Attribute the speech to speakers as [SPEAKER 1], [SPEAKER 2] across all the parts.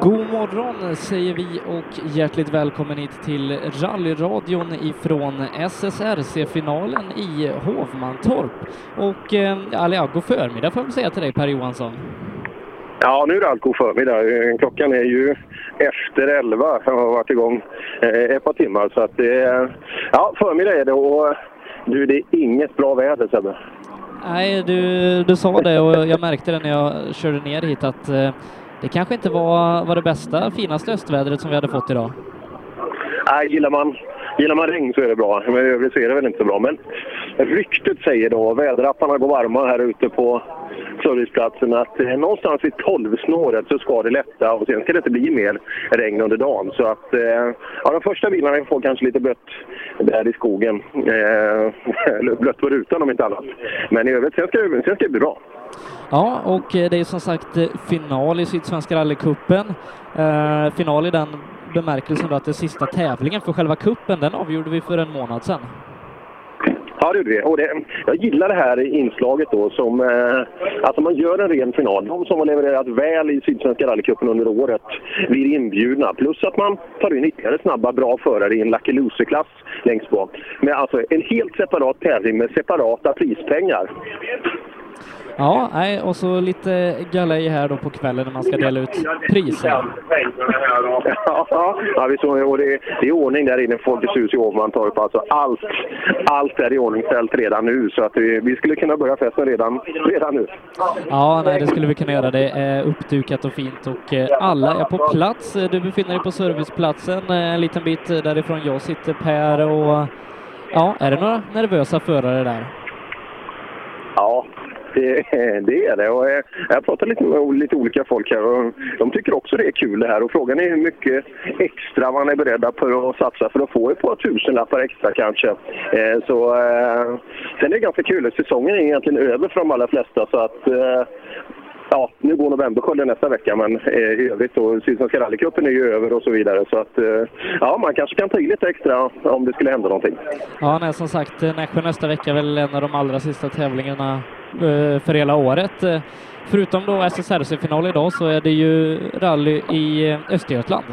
[SPEAKER 1] God morgon säger vi och hjärtligt välkommen hit till rallyradion ifrån SSRC-finalen i Hovmantorp. Och eh, ja, god förmiddag får jag väl säga till dig Per Johansson.
[SPEAKER 2] Ja, nu är det allt god förmiddag. Eh, Klockan är ju efter elva. Jag har varit igång eh, ett par timmar. Så att det är, ja, förmiddag är det och du, det är inget bra väder Sebbe.
[SPEAKER 1] Nej, du, du sa det och jag märkte det när jag körde ner hit att eh, det kanske inte var, var det bästa, finaste östvädret som vi hade fått idag.
[SPEAKER 2] Nej, gillar man, gillar man regn så är det bra. Men i övrigt så är det väl inte så bra. Men ryktet säger då, väderapparna går varma här ute på serviceplatsen, att eh, någonstans vid 12-snåret så ska det lätta och sen ska det inte bli mer regn under dagen. Så att, eh, ja, de första bilarna får kanske lite blött där i skogen. Eh, eller blött på rutan om inte annat. Men i övrigt, sen ska, det- sen ska det bli bra.
[SPEAKER 1] Ja, och eh, det är som sagt eh, final i Sydsvenska rallycupen. Eh, final i den bemärkelsen då att den sista tävlingen för själva cupen, den avgjorde vi för en månad sedan.
[SPEAKER 2] Ja, det gjorde vi. Och det, jag gillar det här inslaget då som... Eh, alltså man gör en ren final. De som har levererat väl i Sydsvenska rallycupen under året blir inbjudna. Plus att man tar in ytterligare snabba, bra förare i en Lucky Loser-klass längst bak. Men alltså en helt separat tävling med separata prispengar.
[SPEAKER 1] Ja, nej, och så lite galej här då på kvällen när man ska dela ut priser.
[SPEAKER 2] Ja, ja vi såg, och det, det är ordning där inne i Folkets hus i Ovantorp. Alltså allt, allt är i ordning ställt redan nu. Så att vi, vi skulle kunna börja festen redan, redan nu.
[SPEAKER 1] Ja, nej, det skulle vi kunna göra. Det är uppdukat och fint och eh, alla är på plats. Eh, Du befinner dig på serviceplatsen eh, en liten bit därifrån jag sitter Per och ja, är det några nervösa förare där?
[SPEAKER 2] Ja, det, det är det. Och eh, jag pratar lite med lite olika folk här och de tycker också det är kul det här. Och frågan är hur mycket extra man är beredda på att satsa för att få ett par tusenlappar extra kanske. Eh, Så, eh, sen är det ganska kul. Säsongen är egentligen över för de allra flesta så att eh, Ja, nu går novemberskölden nästa vecka, men eh, i övrigt då, Sydsvenska rallycupen är ju över och så vidare. Så att, eh, ja, man kanske kan ta i lite extra om det skulle hända någonting.
[SPEAKER 1] Ja, nej, som sagt, eh, Nässjö nästa vecka är väl en av de allra sista tävlingarna eh, för hela året. Eh, Förutom då SSRC-final idag så är det ju rally i eh, Östergötland.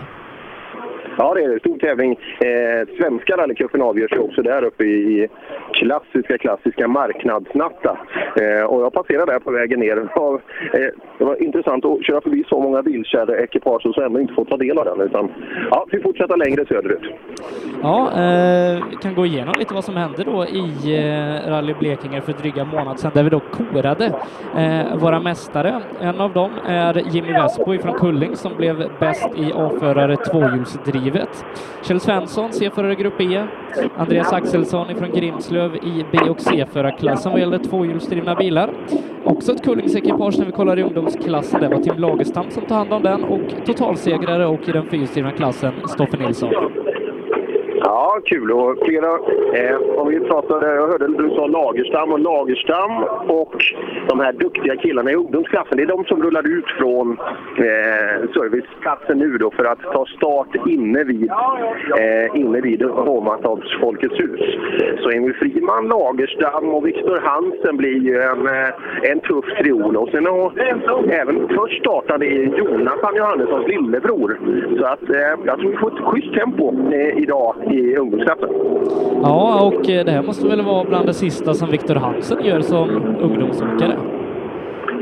[SPEAKER 2] Ja, det är en stor tävling. Eh, svenska rallycupen avgörs ju också där uppe i klassiska, klassiska marknadsnatta. Eh, och jag passerade där på vägen ner. Det var, eh, det var intressant att köra förbi så många bilkärrekipage och så ändå inte få ta del av den. Utan, ja, vi fortsätter längre söderut.
[SPEAKER 1] Ja, eh, vi kan gå igenom lite vad som hände då i eh, Rally Blekinge för dryga en månad sedan där vi då korade eh, våra mästare. En av dem är Jimmy Westbo från Kulling som blev bäst i A-förare tvåhjulsdrivet. Kjell Svensson, C-förare Grupp E. Andreas Axelsson från Grimslöv i B och C-förarklassen vad gäller tvåhjulsdrivna bilar. Också ett Kullingsekipage när vi kollar i ungdomsklassen. Det var Tim Lagerstam som tar hand om den och totalsegrare och i den fyrhjulsdrivna klassen Stoffe Nilsson.
[SPEAKER 2] Ja, kul. Och flera, eh, om vi pratade, jag hörde du sa Lagerstam och Lagerstam och de här duktiga killarna i ungdomsklassen. Det är de som rullar ut från eh, serviceplatsen nu då för att ta start inne vid, eh, inne vid Hovmantorps Folkets hus. Så Emil Friman, Lagerstam och Viktor Hansen blir ju en, eh, en tuff triol. Och sen har även först startade Jonathan Johannessons lillebror. Så att, eh, jag tror vi får ett schysst tempo eh, idag i ungdomsklassen.
[SPEAKER 1] Ja, och eh, det här måste väl vara bland det sista som Viktor Hansen gör som ungdomsåkare.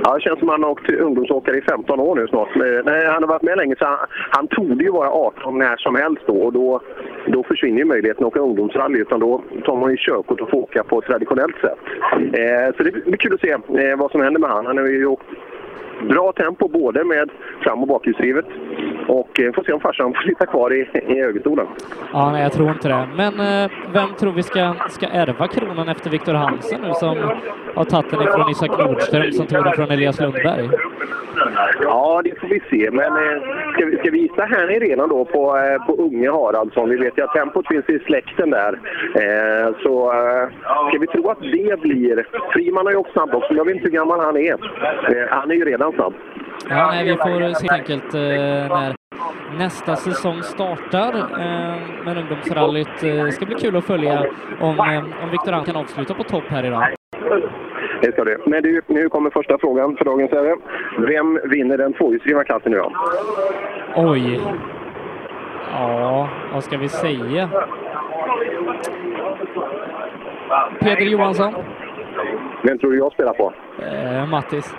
[SPEAKER 2] Ja, det känns som han har åkt ungdomsåkare i 15 år nu snart. Men, nej, han har varit med länge så han, han torde ju vara 18 när som helst då och då, då försvinner ju möjligheten att åka ungdomsrally utan då tar man ju körkort och får åka på ett traditionellt sätt. Eh, så det blir kul att se eh, vad som händer med han. Han har ju åkt bra tempo både med fram och bakhjulsdrivet och eh, får se om farsan får sitta kvar i, i högerstolen.
[SPEAKER 1] Ja, nej, jag tror inte det. Men eh, vem tror vi ska, ska ärva kronan efter Viktor Hansen nu som har tagit den ifrån Isak Nordström som tog den från Elias Lundberg?
[SPEAKER 2] Ja, det får vi se. Men eh, ska, vi, ska vi gissa här i redan då på, eh, på unge Haraldsson? Vi vet ju att tempot finns i släkten där. Eh, så eh, ska vi tro att det blir... Friman har ju åkt snabb också. Jag vet inte hur gammal han är. Eh, han är ju redan snabb.
[SPEAKER 1] Ja, nej, vi får se helt enkelt eh, när nästa säsong startar. Eh, men ungdomsrallyt eh, ska bli kul att följa om, eh, om Viktor Hansen kan avsluta på topp här idag.
[SPEAKER 2] Det ska det. Men du, nu kommer första frågan för dagens ämne. Vem vinner den tvåhjulsdrivna klassen idag?
[SPEAKER 1] Oj. Ja, vad ska vi säga? Peter Johansson,
[SPEAKER 2] Vem tror du jag spelar på?
[SPEAKER 1] eh, Mattis.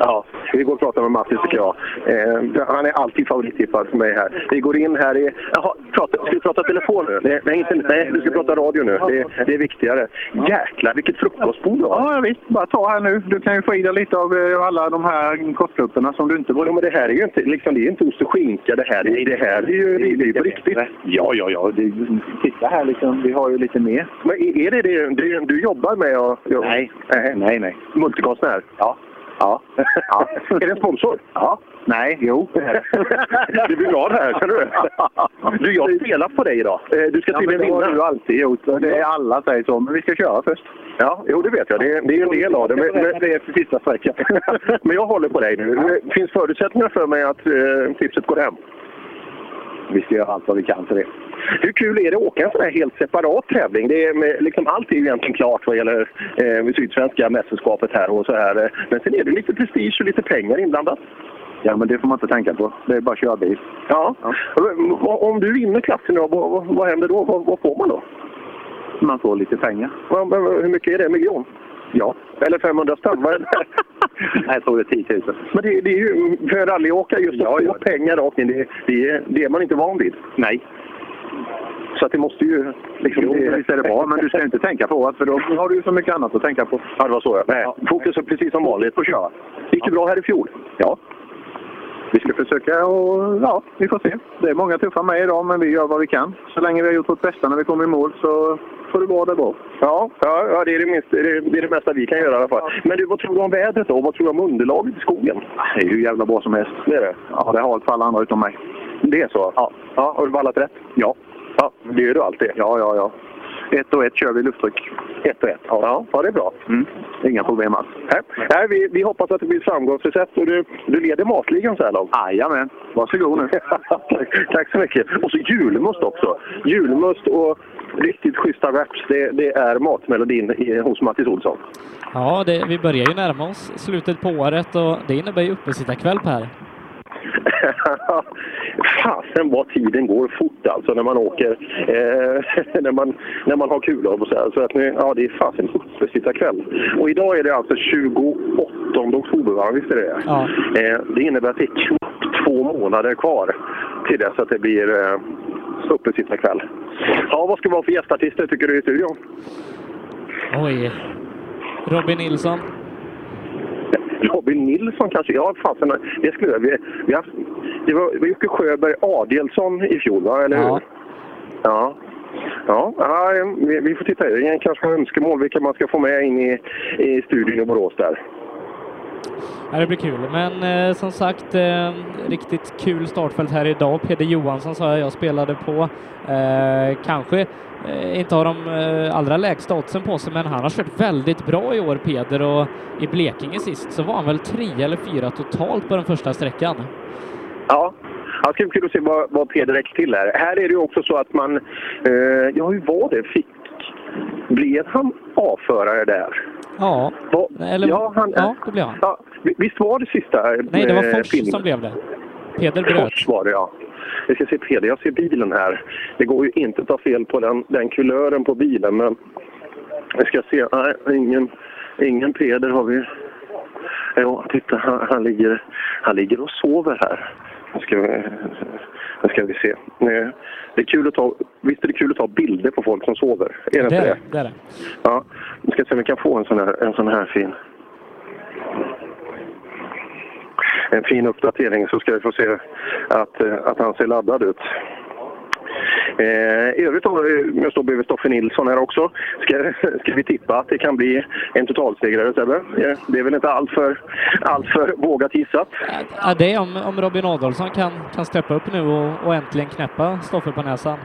[SPEAKER 2] Ja, vi går och pratar med Mattis tycker jag. Eh, han är alltid favorittippad för mig här. Vi går in här i... Jaha, prata, ska vi prata telefon nu? Nej, nej, inte, nej du ska prata radio nu. Det, det är viktigare. Jäklar, vilket frukostbord du har!
[SPEAKER 3] Ja, ja, visst. Bara ta här nu. Du kan ju få i dig lite av eh, alla de här kortklubborna som du inte
[SPEAKER 2] Ja,
[SPEAKER 3] borde...
[SPEAKER 2] men det här är ju inte, liksom, det är inte ost och skinka det här. Det, det här är ju ribby på riktigt.
[SPEAKER 3] Ja, ja, ja. Det, titta här liksom. Vi har ju lite mer.
[SPEAKER 2] Men är är det det du, du jobbar med? Och, och,
[SPEAKER 3] Nej. Nej, nej.
[SPEAKER 2] Multikonstnär?
[SPEAKER 3] Ja. Ja.
[SPEAKER 2] Ja. Är det en sponsor?
[SPEAKER 3] Ja. Nej, jo.
[SPEAKER 2] Du blir glad här, känner du? Du, jag har spelat på dig idag. Eh, Du ska
[SPEAKER 3] Ja, men
[SPEAKER 2] tydligen
[SPEAKER 3] det har
[SPEAKER 2] vinna.
[SPEAKER 3] du alltid gjort. Det är alla säger så. Men vi ska köra först.
[SPEAKER 2] Ja, jo det vet jag. Det, är- det är ju en del av det. Men, men,
[SPEAKER 3] är för sista sträckan.
[SPEAKER 2] men jag håller på dig nu. Finns förutsättningar för mig att eh, tipset går hem?
[SPEAKER 3] vi ska göra allt vad vi kan för det.
[SPEAKER 2] Hur kul är det att åka en sån här helt separat tävling? Det är, med- liksom, allt är ju egentligen klart vad gäller eh, Sydsvenska mästerskapet här och så här. eh. Men sen är det lite prestige och lite pengar inblandat.
[SPEAKER 3] Ja, men det får man inte tänka på. Det är bara att köra bil.
[SPEAKER 2] Ja. Och eh, Om du vinner klassen, då, vad, vad- vad händer då? Vad, vad får man då?
[SPEAKER 3] Man får lite pengar.
[SPEAKER 2] Vad- vad- Hur mycket är det? En miljon? Ja. Eller 500 spänn? Vad är det?
[SPEAKER 3] Jag tror det är 10 000.
[SPEAKER 2] Men det, det är ju för en rallyåkare just att
[SPEAKER 3] Ja,
[SPEAKER 2] få
[SPEAKER 3] ja.
[SPEAKER 2] pengar rakt in, det, det, är- det är man inte van vid.
[SPEAKER 3] Nej.
[SPEAKER 2] Så att det måste ju... Liksom,
[SPEAKER 3] Jo, men visst är det bra. Men du ska inte tänka på att för då har du ju så mycket annat att tänka på.
[SPEAKER 2] Ja, det var så ja. Nej,
[SPEAKER 3] Ja.
[SPEAKER 2] fokus är precis som vanligt. På köra. Gick det bra här i fjol?
[SPEAKER 3] Ja. Vi ska försöka och ja, vi får se. Det är många tuffa med idag, men vi gör vad vi kan. Så länge vi har gjort vårt bästa när vi kommer i mål så får det vara där bra.
[SPEAKER 2] Ja, ja, ja det, är det, minst, det, är, det är det mesta vi kan göra i alla fall. Men du, vad tror du om vädret då? Och vad tror du om underlaget i skogen?
[SPEAKER 3] Det är ju hur jävla bra som helst.
[SPEAKER 2] Det är det.
[SPEAKER 3] Ja, det har allt för alla andra utom mig.
[SPEAKER 2] Det är så? Ja. ja har du vallat rätt?
[SPEAKER 3] Ja.
[SPEAKER 2] Ja, det gör du alltid.
[SPEAKER 3] Ja, ja, ja. Ett och ett kör vi lufttryck.
[SPEAKER 2] Ett och ett. Ja, ja. det är bra.
[SPEAKER 3] Mm. Inga problem alls.
[SPEAKER 2] Nej, Nej, vi, vi hoppas att det blir ett framgångsrecept och du, du leder matligan så här långt.
[SPEAKER 3] Jajamän. Varsågod nu.
[SPEAKER 2] Tack- Tack så mycket. Och så julmust också. Julmust och riktigt schyssta raps. Det, det är matmelodin i, hos Mattis Olsson.
[SPEAKER 1] Ja, det, vi börjar ju närma oss slutet på året och det innebär ju uppesittarkväll Per.
[SPEAKER 2] Fasen vad tiden går fort alltså när man åker, eh, när, man, när man har kul av och så här. Så att nu, ja det är fasen uppesittarkväll. Och idag är det alltså 28 oktober, va? visst är det det?
[SPEAKER 1] Ja.
[SPEAKER 2] Eh, det innebär att det är knappt två månader kvar till dess att det blir eh, uppesittarkväll. Ja, vad ska vi ha för gästartister tycker du i studion?
[SPEAKER 1] Oj. Robin Nilsson.
[SPEAKER 2] Robin Nilsson kanske? Ja, fasen, det skulle jag. Vi, vi har, det var det var Jocke Sjöberg Adelsson i fjol, va? eller
[SPEAKER 1] Ja.
[SPEAKER 2] hur? Ja. Ja, ja vi, vi får titta. Det kanske har önskemål vilka man ska få med in i, i studion i Borås där.
[SPEAKER 1] Ja, det blir kul. Men eh, som sagt, eh, riktigt kul startfält här idag. Peder Johansson sa jag, jag spelade på. Eh, kanske eh, inte har de eh, allra lägsta oddsen på sig, men han har kört väldigt bra i år, Peder. Och i Blekinge sist så var han väl tre eller fyra totalt på den första sträckan.
[SPEAKER 2] Ja. Ja, det ska bli kul att se vad, vad Peder räcker till här. Här är det ju också så att man... Eh, ja, hur var det? Fick, blev han avförare där?
[SPEAKER 1] Ja,
[SPEAKER 2] Vad-
[SPEAKER 1] eller,
[SPEAKER 2] ja, han,
[SPEAKER 1] ja det blev han.
[SPEAKER 2] Ja, vi- visst var det sista?
[SPEAKER 1] Nej, det
[SPEAKER 2] eh,
[SPEAKER 1] var Fors
[SPEAKER 2] filmen?
[SPEAKER 1] som blev det. Peder bröt.
[SPEAKER 2] Fors var det, ja. Vi ska se Peder, jag ser bilen här. Det går ju inte att ta fel på den, den kulören på bilen, men vi ska se. Nej, ingen, ingen Peder har vi. Jo, titta, han, han, ligger, han ligger och sover här. Nu ska vi, nu ska vi se. Nu- Det är kul att ta, visst är det kul att ta bilder på folk som sover? Är det
[SPEAKER 1] Det
[SPEAKER 2] inte
[SPEAKER 1] är
[SPEAKER 2] det?
[SPEAKER 1] det. det, är det.
[SPEAKER 2] Ja, vi ska se om vi kan få en sån här, en sån här fin. En fin uppdatering så ska vi få se att, eh, att han ser laddad ut. Eh, I övrigt har vi- jag står bredvid Stoffe Nilsson här också. Ska, ska vi tippa att det kan bli en totalsegrare Sebbe? Eh, Det är väl inte allt för, allt för vågat gissat?
[SPEAKER 1] Ja, det är om, om Robin Adolfsson kan, kan steppa upp nu och, och äntligen knäppa Stoffe på näsan.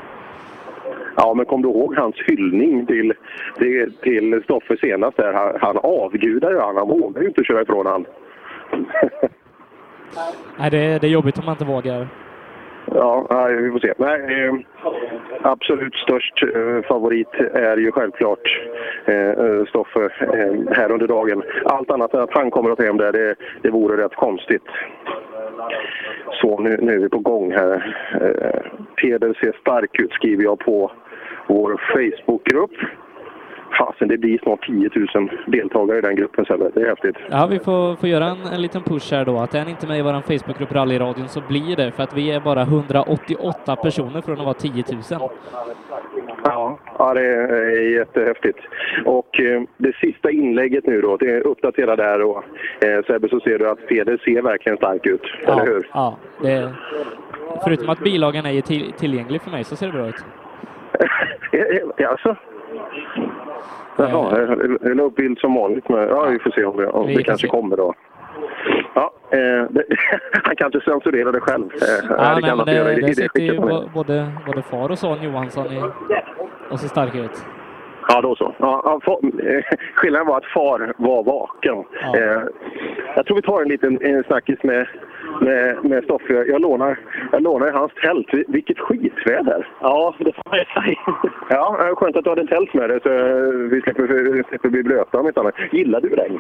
[SPEAKER 2] Ja, men kom du ihåg hans hyllning till, till, till Stoffe senast? Där? Han, han avgudar ju han, han vågar ju inte köra ifrån han.
[SPEAKER 1] Nej, det, det är jobbigt om man inte vågar.
[SPEAKER 2] Ja, nej, vi får se. Nej, eh, absolut störst eh, favorit är ju självklart eh, eh, Stoffe eh, här under dagen. Allt annat än att han kommer att ta hem det, det, det vore rätt konstigt. Så nu, nu är vi på gång här. Eh, Peder ser stark ut skriver jag på vår Facebookgrupp. Fasen, det blir snart 10 000 deltagare i den gruppen Sebbe. Det är häftigt.
[SPEAKER 1] Ja, vi får, får göra en, en liten push här då, att är ni inte med i vår Facebookgrupp Rallyradion så blir det, för att vi är bara 188 personer från att vara 10 000.
[SPEAKER 2] Ja, ja det är jättehäftigt. Och eh, det sista inlägget nu då, det är uppdatera där och eh, Sebbe så ser du att Peder ser verkligen stark ut, eller hur?
[SPEAKER 1] ja det, förutom att bilagan är till, tillgänglig för mig så ser det bra ut.
[SPEAKER 2] Ja, Alltså? Jaha, jag- jag la eh, upp bild som vanligt. Men, ja, vi får se om det, om
[SPEAKER 1] Vi
[SPEAKER 2] det
[SPEAKER 1] får
[SPEAKER 2] kanske
[SPEAKER 1] se.
[SPEAKER 2] kommer då. Ja, eh, det, han kanske censurerar det själv. Eh,
[SPEAKER 1] Ja, nej, men
[SPEAKER 2] han inte göra
[SPEAKER 1] det,
[SPEAKER 2] i
[SPEAKER 1] det
[SPEAKER 2] det
[SPEAKER 1] sitter
[SPEAKER 2] skicket
[SPEAKER 1] ju
[SPEAKER 2] han är.
[SPEAKER 1] bo- både, både far och son Johansson i, och ser starka ut.
[SPEAKER 2] Ja, då så. Ja, ja, fa- eh, skillnaden var att far var vaken.
[SPEAKER 1] Ja.
[SPEAKER 2] Eh, jag tror vi tar en liten eh, snackis med, med, med Stoffe. Jag lånar, jag lånar hans tält. Vil- Vilket skitväder! Ja, det får jag säga. Ja, eh, skönt att du hade tält med dig så eh, vi slipper, slipper bli blöta om inte annat. Gillar du regn?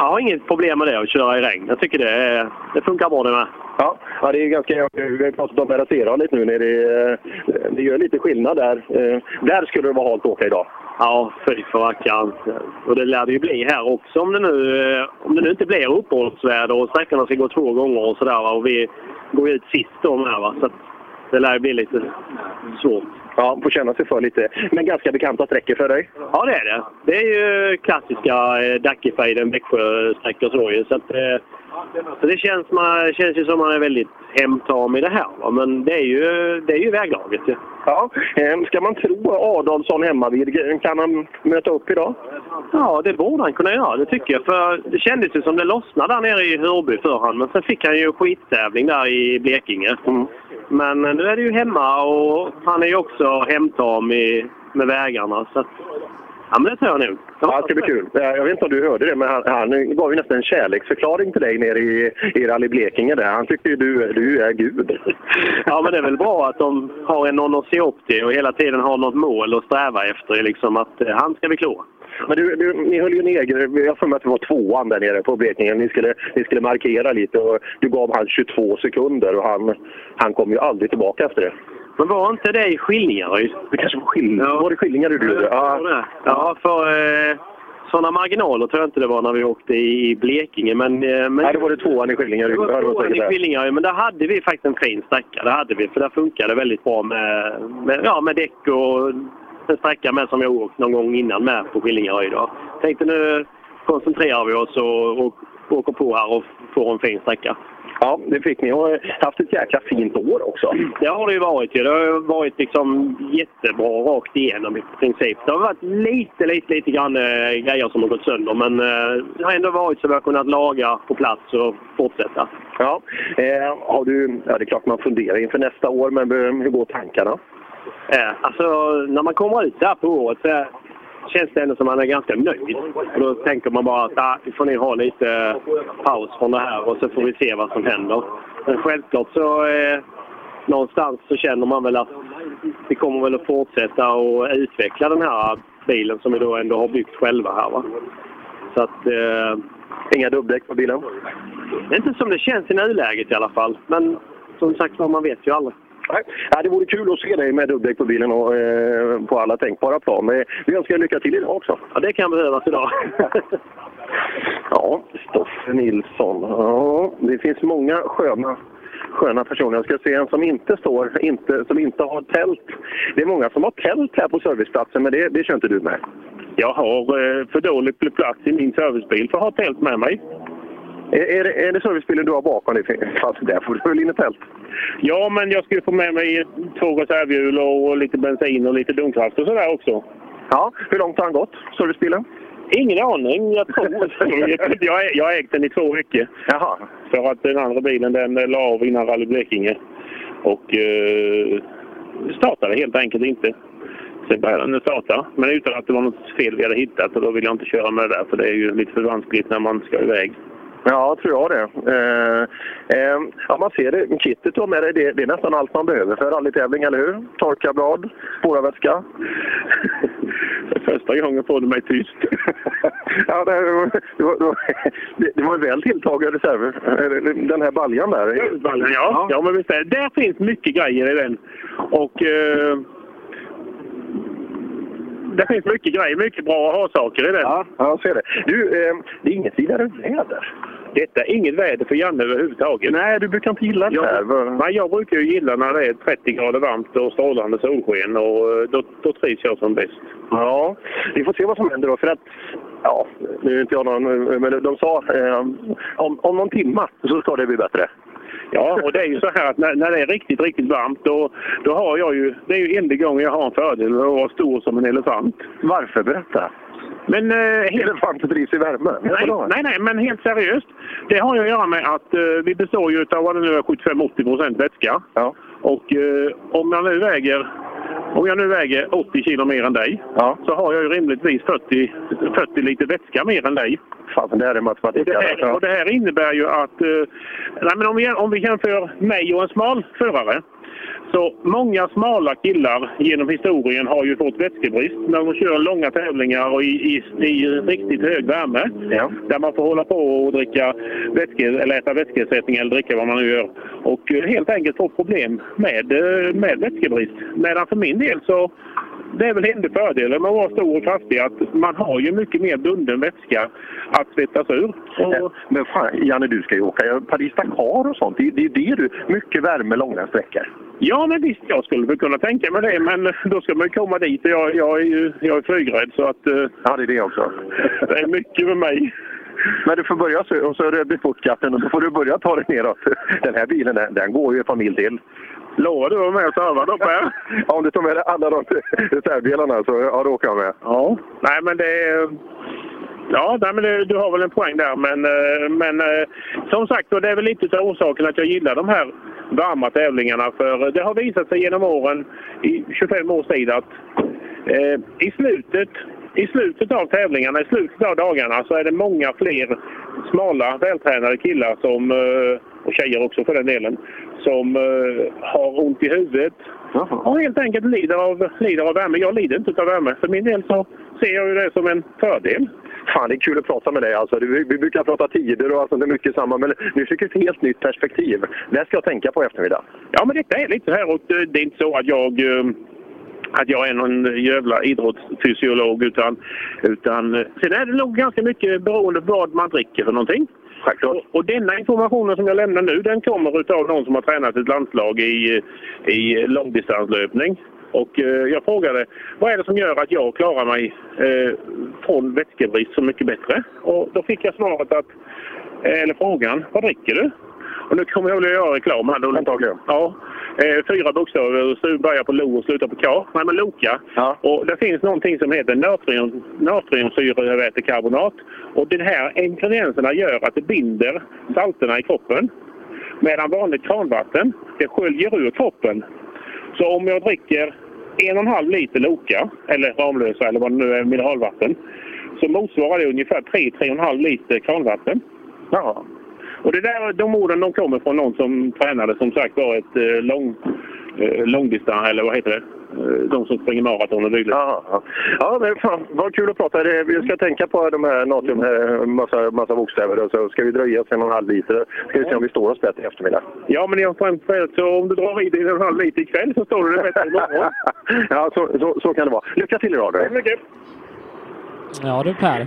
[SPEAKER 4] Jag har inget problem med det, att köra i regn. Jag tycker det, är- det funkar bår det med.
[SPEAKER 2] Ja, ja det är ganska... Vi har pratat om Berasera lite nu. När det, eh, det gör lite skillnad där. Eh, Där skulle det vara halt att åka idag.
[SPEAKER 4] Ja, fy för rackarn. Och det lär det ju bli här också om det nu, eh, om det nu inte blir uppehållsväder och sträckorna ska gå två gånger och sådär. va. Och vi går ju ut sist om här va. Så att det lär ju bli lite svårt.
[SPEAKER 2] Ja, får känna sig för lite. Men ganska bekanta sträckor för dig.
[SPEAKER 4] Ja, det är det. Det är ju klassiska eh, Dackefejden, Växjö-sträckor så ju. Så att, eh, så det känns, man, känns ju som man är väldigt hemtam i det här. Va? Men det är ju, det är ju väglaget ju.
[SPEAKER 2] Ja, eh, ska man tro Adolfsson hemmavid, kan han möta upp idag?
[SPEAKER 4] Ja, det borde han kunna göra, det tycker jag. För det kändes ju som det lossnade där nere i Hörby för han. Men sen fick han ju skittävling där i Blekinge.
[SPEAKER 2] Mm.
[SPEAKER 4] Men eh, nu är det ju hemma och han är ju också hemtam i, med vägarna. Så att, ja, men det tror jag nog.
[SPEAKER 2] Ja, det ska bli kul. Eh, Jag vet inte om du hörde det, men han, han gav ju nästan en kärleksförklaring till dig nere i, i Rally Blekinge. Där. Han tyckte ju du, du är Gud.
[SPEAKER 4] Ja, men det är väl bra att de har en någon att se upp till och hela tiden har något mål att sträva efter. Liksom att eh, han ska bli klok.
[SPEAKER 2] Men du, du, ni höll ju ner, jag får mig att det var tvåan där nere på Blekinge. Ni skulle, ni skulle markera lite och du gav han 22 sekunder och han, han kom ju aldrig tillbaka efter det.
[SPEAKER 4] Men var inte det i Skillingaryd?
[SPEAKER 2] Det kanske var skillingar,
[SPEAKER 4] Ja.
[SPEAKER 2] var det skillingar du gjorde? Ja.
[SPEAKER 4] Ja, för eh, sådana marginaler tror jag inte det var när vi åkte i Blekinge. Men, eh, men
[SPEAKER 2] Nej, det var det tvåan i skillingar.
[SPEAKER 4] det
[SPEAKER 2] Ja, det
[SPEAKER 4] var
[SPEAKER 2] var
[SPEAKER 4] tvåan
[SPEAKER 2] säkert
[SPEAKER 4] i
[SPEAKER 2] det.
[SPEAKER 4] Skillingaryd, men där hade vi faktiskt en fin sträcka. Det hade vi, för där funkade det väldigt bra med, med, ja, med däck och en sträcka med som jag åkt någon gång innan med på Skillingaryd. då. Tänkte nu koncentrerar vi oss och, och åker på här och får en fin sträcka.
[SPEAKER 2] Ja, det fick ni. Och eh, haft ett jäkla fint år också.
[SPEAKER 4] Det har det ju varit. Ju. Det har ju varit liksom jättebra rakt igenom i princip. Det har varit lite, lite, lite grann eh, grejer som har gått sönder. Men eh, det har ändå varit så vi har kunnat laga på plats och fortsätta.
[SPEAKER 2] Ja, eh, har du, ja, det är klart man funderar inför nästa år, men eh, hur går tankarna?
[SPEAKER 4] Eh, alltså, när man kommer ut så här på året så känns det ändå som att man är ganska nöjd. Och då tänker man bara att ah, vi får ni ha lite paus från det här och så får vi se vad som händer. Men självklart så eh, någonstans så känner man väl att vi kommer väl att fortsätta och utveckla den här bilen som vi då ändå har byggt själva här. Va? Så att eh,
[SPEAKER 2] Inga dubbdäck på bilen?
[SPEAKER 4] det är inte som det känns i nuläget i alla fall. Men som sagt var, man vet ju aldrig.
[SPEAKER 2] Nej, ja, det vore kul att se dig med dubbdäck på bilen och eh, på alla tänkbara plan. Men vi önskar er lycka till idag också.
[SPEAKER 4] Ja, det kan behövas idag.
[SPEAKER 2] Ja, Stoffe Nilsson. Ja, det finns många sköna, sköna personer. Jag ska se en som inte står, inte, som inte har tält. Det är många som har tält här på serviceplatsen, men det, det kör inte du med.
[SPEAKER 4] Jag har eh, för dålig plats i min servicebil för att ha tält med mig.
[SPEAKER 2] Är, är, det, är det servicebilen du har bakom dig? Fast där får du väl in ett tält?
[SPEAKER 4] Ja, men jag skulle få med mig två reservhjul och lite bensin och lite domkraft och sådär också.
[SPEAKER 2] Ja, hur långt har han gått, servicebilen?
[SPEAKER 4] Ingen aning. Jag tror jag, jag har ägt den i två veckor.
[SPEAKER 2] Jaha.
[SPEAKER 4] För att den andra bilen den eh, la av innan Rally Blekinge. Och eh, startade helt enkelt inte. Sen började den starta. Men utan att det var något fel vi hade hittat. Och då vill jag inte köra med det där. För det är ju lite för vanskligt när man ska iväg.
[SPEAKER 2] Ja, tror jag det. Eh, eh, ja, man ser det. Kittet du har med dig, det, det är nästan allt man behöver för rallytävling, eller hur? Torkarblad, spårarvätska. Första gången får du mig tyst. ja, det, var, det, var, det, var, det var väl tilltagna reserver. Den här baljan där.
[SPEAKER 4] Ölballen, ja. ja. men visst är det. Där finns mycket grejer i den. Och... Eh, det finns mycket grejer, mycket bra ha-saker i den.
[SPEAKER 2] Ja, jag ser det. Du, eh, det är inget vidare väder.
[SPEAKER 4] Detta är inget väder för Janne överhuvudtaget.
[SPEAKER 2] Nej, du brukar inte gilla det här.
[SPEAKER 4] Jag,
[SPEAKER 2] va?
[SPEAKER 4] nej, jag brukar ju gilla när det är 30 grader varmt och strålande solsken och eh, då, då trivs jag som bäst.
[SPEAKER 2] Ja, vi får se vad som händer då. För att, ja, nu är inte jag någon, men de sa eh, om, om någon timme så ska det bli bättre.
[SPEAKER 4] Ja, och det är ju så här att när, när det är riktigt, riktigt varmt då, då har jag ju... Det är ju enda gången jag har en fördel att vara stor som en elefant.
[SPEAKER 2] Varför? Berätta.
[SPEAKER 4] Men eh, helt,
[SPEAKER 2] Elefanter drivs i värme.
[SPEAKER 4] nej,
[SPEAKER 2] Vadå?
[SPEAKER 4] nej, nej, men helt seriöst. Det har ju att göra med att eh, vi består ju av vad det nu är 75-80 procent vätska.
[SPEAKER 2] Ja.
[SPEAKER 4] Och eh, om jag nu väger om jag nu väger 80 kilo mer än dig
[SPEAKER 2] Ja.
[SPEAKER 4] så har jag ju rimligtvis 40, 40 liter vätska mer än dig.
[SPEAKER 2] Fan, det här är matematik.
[SPEAKER 4] Och det här, och det här innebär ju att... Eh, nej men om, vi, om vi jämför mig och en smal förare. Så många smala killar genom historien har ju fått vätskebrist när de kör långa tävlingar och i, i, i riktigt hög värme.
[SPEAKER 2] Ja.
[SPEAKER 4] Där man får hålla på och dricka vätske, eller äta vätskeersättning eller dricka vad man nu gör. Och eh, helt enkelt få problem med, eh, med vätskebrist. Medan för min del så det är väl enda fördelen med att vara stor och kraftig att man har ju mycket mer bunden vätska att svettas ur.
[SPEAKER 2] Ja,
[SPEAKER 4] Och,
[SPEAKER 2] Eh, Men fan, Janne, du ska ju åka Paris-Dakar och sånt. Det, det, det är du. Mycket värme långa sträckor.
[SPEAKER 4] ja men visst, jag skulle väl kunna tänka mig det men då ska man ju komma dit och jag, jag är ju jag är flygrädd så att eh,
[SPEAKER 2] Ja, det är det också.
[SPEAKER 4] det är mycket med mig.
[SPEAKER 2] Men du får börja sö- och så rödbit bort katten och så får du börja ta dig neråt. Den här bilen, den, den går ju ett par mil till.
[SPEAKER 4] Lovar du att vara med och serva då Per?
[SPEAKER 2] Ja, om du tar med dig alla de reservdelarna så ja, då åker jag med.
[SPEAKER 4] Ja. Nej men det är... Ja, nej, men det, du har väl en poäng där. Men, eh, men eh, som sagt, och det är väl lite av orsaken att jag gillar de här varma tävlingarna. För det har visat sig genom åren, i 25 års tid, att eh, i, slutet, i slutet av tävlingarna, i slutet av dagarna, så är det många fler smala, vältränade killar som, eh, och tjejer också för den delen, som eh, har ont i huvudet, och helt enkelt lider av, lider av värme. Jag lider inte av värme. För min del så ser jag ju det som en fördel.
[SPEAKER 2] Fan, det är kul att prata med dig. Alltså. Du- Vi brukar prata tider och allt sånt där mycket samma, men nu fick vi ett helt nytt perspektiv. Det här ska jag tänka på i eftermiddag.
[SPEAKER 4] Ja, men detta är lite så här och det det är inte så att jag eh, att jag är någon jävla idrottsfysiolog utan, utan eh, sen är det nog ganska mycket beroende på vad man dricker för någonting.
[SPEAKER 2] Självklart.
[SPEAKER 4] Och, och denna informationen som jag lämnar nu den kommer utav någon som har tränat ett landslag i, eh, i långdistanslöpning. Och eh, jag frågade vad är det som gör att jag klarar mig eh, från vätskebrist så mycket bättre? Och då fick jag svaret att, eh, eller frågan, vad dricker du? Och nu kommer jag väl att göra reklam här. då.
[SPEAKER 2] Antagligen.
[SPEAKER 4] Ja. Eh, fyra bokstäver, så börjar på Lo och slutar på K. Nej, men Loka.
[SPEAKER 2] Ja.
[SPEAKER 4] Och det finns någonting som heter natrium, natriumsyrevätekarbonat. Och den här ingredienserna gör att det binder salterna i kroppen. Medan vanligt kranvatten, det sköljer ur kroppen. Så om jag dricker en och en halv liter Loka, eller Ramlösa eller vad det nu är, mineralvatten, så motsvarar det ungefär 3-3,5 liter kranvatten.
[SPEAKER 2] Ja.
[SPEAKER 4] Och det där, de orden de kommer från någon som tränade som sagt var ett eh, lång, eh, långdistans, eller vad heter det? Eh, de som springer maraton och dylikt.
[SPEAKER 2] Ja, ja. ja men fan, vad kul att prata. Det- Vi
[SPEAKER 4] Mm.
[SPEAKER 2] ska tänka på de här natrium, här, massa, massa bokstäver och så ska vi dröja oss en och en halv liter. Ska vi se om vi står oss bättre i eftermiddag.
[SPEAKER 4] Ja, men jag har så om du drar i dig en halv liter ikväll så står du det bättre imorgon.
[SPEAKER 2] ja, så, så, så kan det vara. Lycka till idag
[SPEAKER 4] Tack så
[SPEAKER 2] du.
[SPEAKER 4] mycket.
[SPEAKER 1] Ja du Per.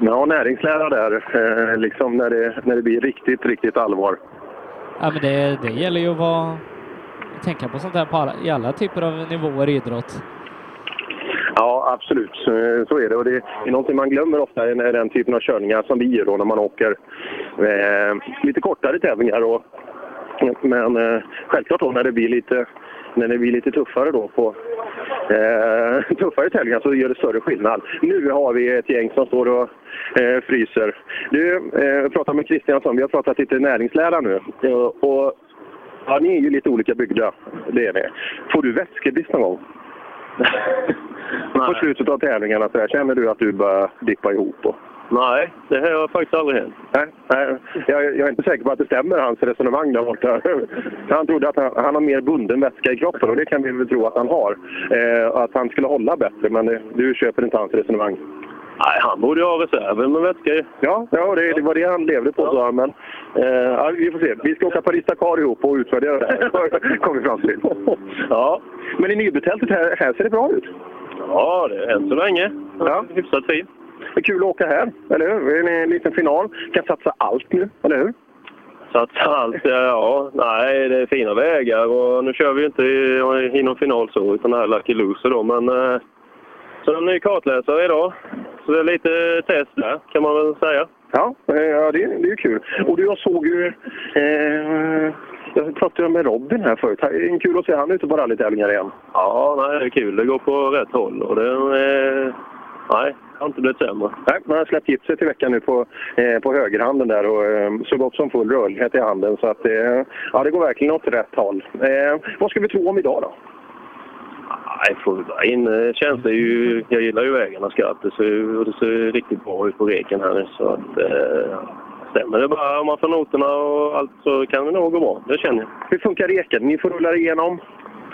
[SPEAKER 2] Ja, näringslära där, eh, liksom när det, när det blir riktigt, riktigt allvar.
[SPEAKER 1] Ja, men det, det gäller ju att vara, tänka på sånt här på alla, i alla typer av nivåer i idrott.
[SPEAKER 2] Ja, absolut. Så, så är det. Och det är någonting man glömmer ofta i den- den typen av körningar som vi gör då när man åker eh, lite kortare tävlingar. Och, men eh, självklart då när det blir lite, när det blir lite tuffare då på eh, tuffare tävlingar så gör det större skillnad. Nu har vi ett gäng som står och eh, fryser. Du, eh, jag pratar med Kristiansson. Vi har pratat lite näringslära nu. Eh, Och, ja, ni är ju lite olika byggda. Det är ni. Får du vätskebrist någon gång?
[SPEAKER 4] Nej.
[SPEAKER 2] På slutet av tävlingarna så här, känner du att du börjar dippa ihop? Och...
[SPEAKER 4] Nej, det har faktiskt aldrig hänt.
[SPEAKER 2] Nej, nej, jag, jag är inte säker på att det stämmer, hans resonemang där borta. Han trodde att han, han har mer bunden vätska i kroppen och det kan vi väl tro att han har. Eh, och att han skulle hålla bättre, men eh, du köper inte hans resonemang.
[SPEAKER 4] Nej, han borde ju ha reserven med vätska ju.
[SPEAKER 2] Ja, ja det, det var det han levde på, sa han. Men eh, ja, vi får se. Vi ska åka Paris-Dakar ihop och utvärdera det här, kom vi fram till. Ja. Men i Nybetältet här, här ser det bra ut.
[SPEAKER 4] Ja, det än så länge.
[SPEAKER 2] Ja.
[SPEAKER 4] Hyfsat fin.
[SPEAKER 2] Det är kul att åka här, eller hur? Det är En liten final. Kan satsa allt nu, eller hur?
[SPEAKER 4] Så att allt, ja, nej, det är fina vägar och nu kör vi ju inte i, i någon final så, utan det här är Lucky Loser då, men... eh, Så det är en ny kartläsare idag. Så det är lite test där, kan man väl säga.
[SPEAKER 2] Ja, eh, ja det, det är ju kul. Och du, jag såg ju... Eh, jag pratade med Robin här förut. Det är Kul att se han ute på rallytävlingar igen.
[SPEAKER 4] Ja, nej, det är kul. Det går på rätt håll och det... eh, Nej, det har inte blivit sämre.
[SPEAKER 2] Nej, man har släppt gipset i veckan nu på, eh, på högerhanden där och eh, så gott som full rörlighet i handen. Så att, eh, ja, det går verkligen åt rätt håll. Eh, vad ska vi tro om idag då?
[SPEAKER 4] Nej, får vi bara in eh, känns det ju... Jag gillar ju vägarna skarpt. Det ser, ju- det ser ju riktigt bra ut på reken här nu, så att... Eh, stämmer det bara om man får noterna och allt så kan det nog gå bra. Det känner jag.
[SPEAKER 2] Hur funkar reken? Ni får rulla igenom.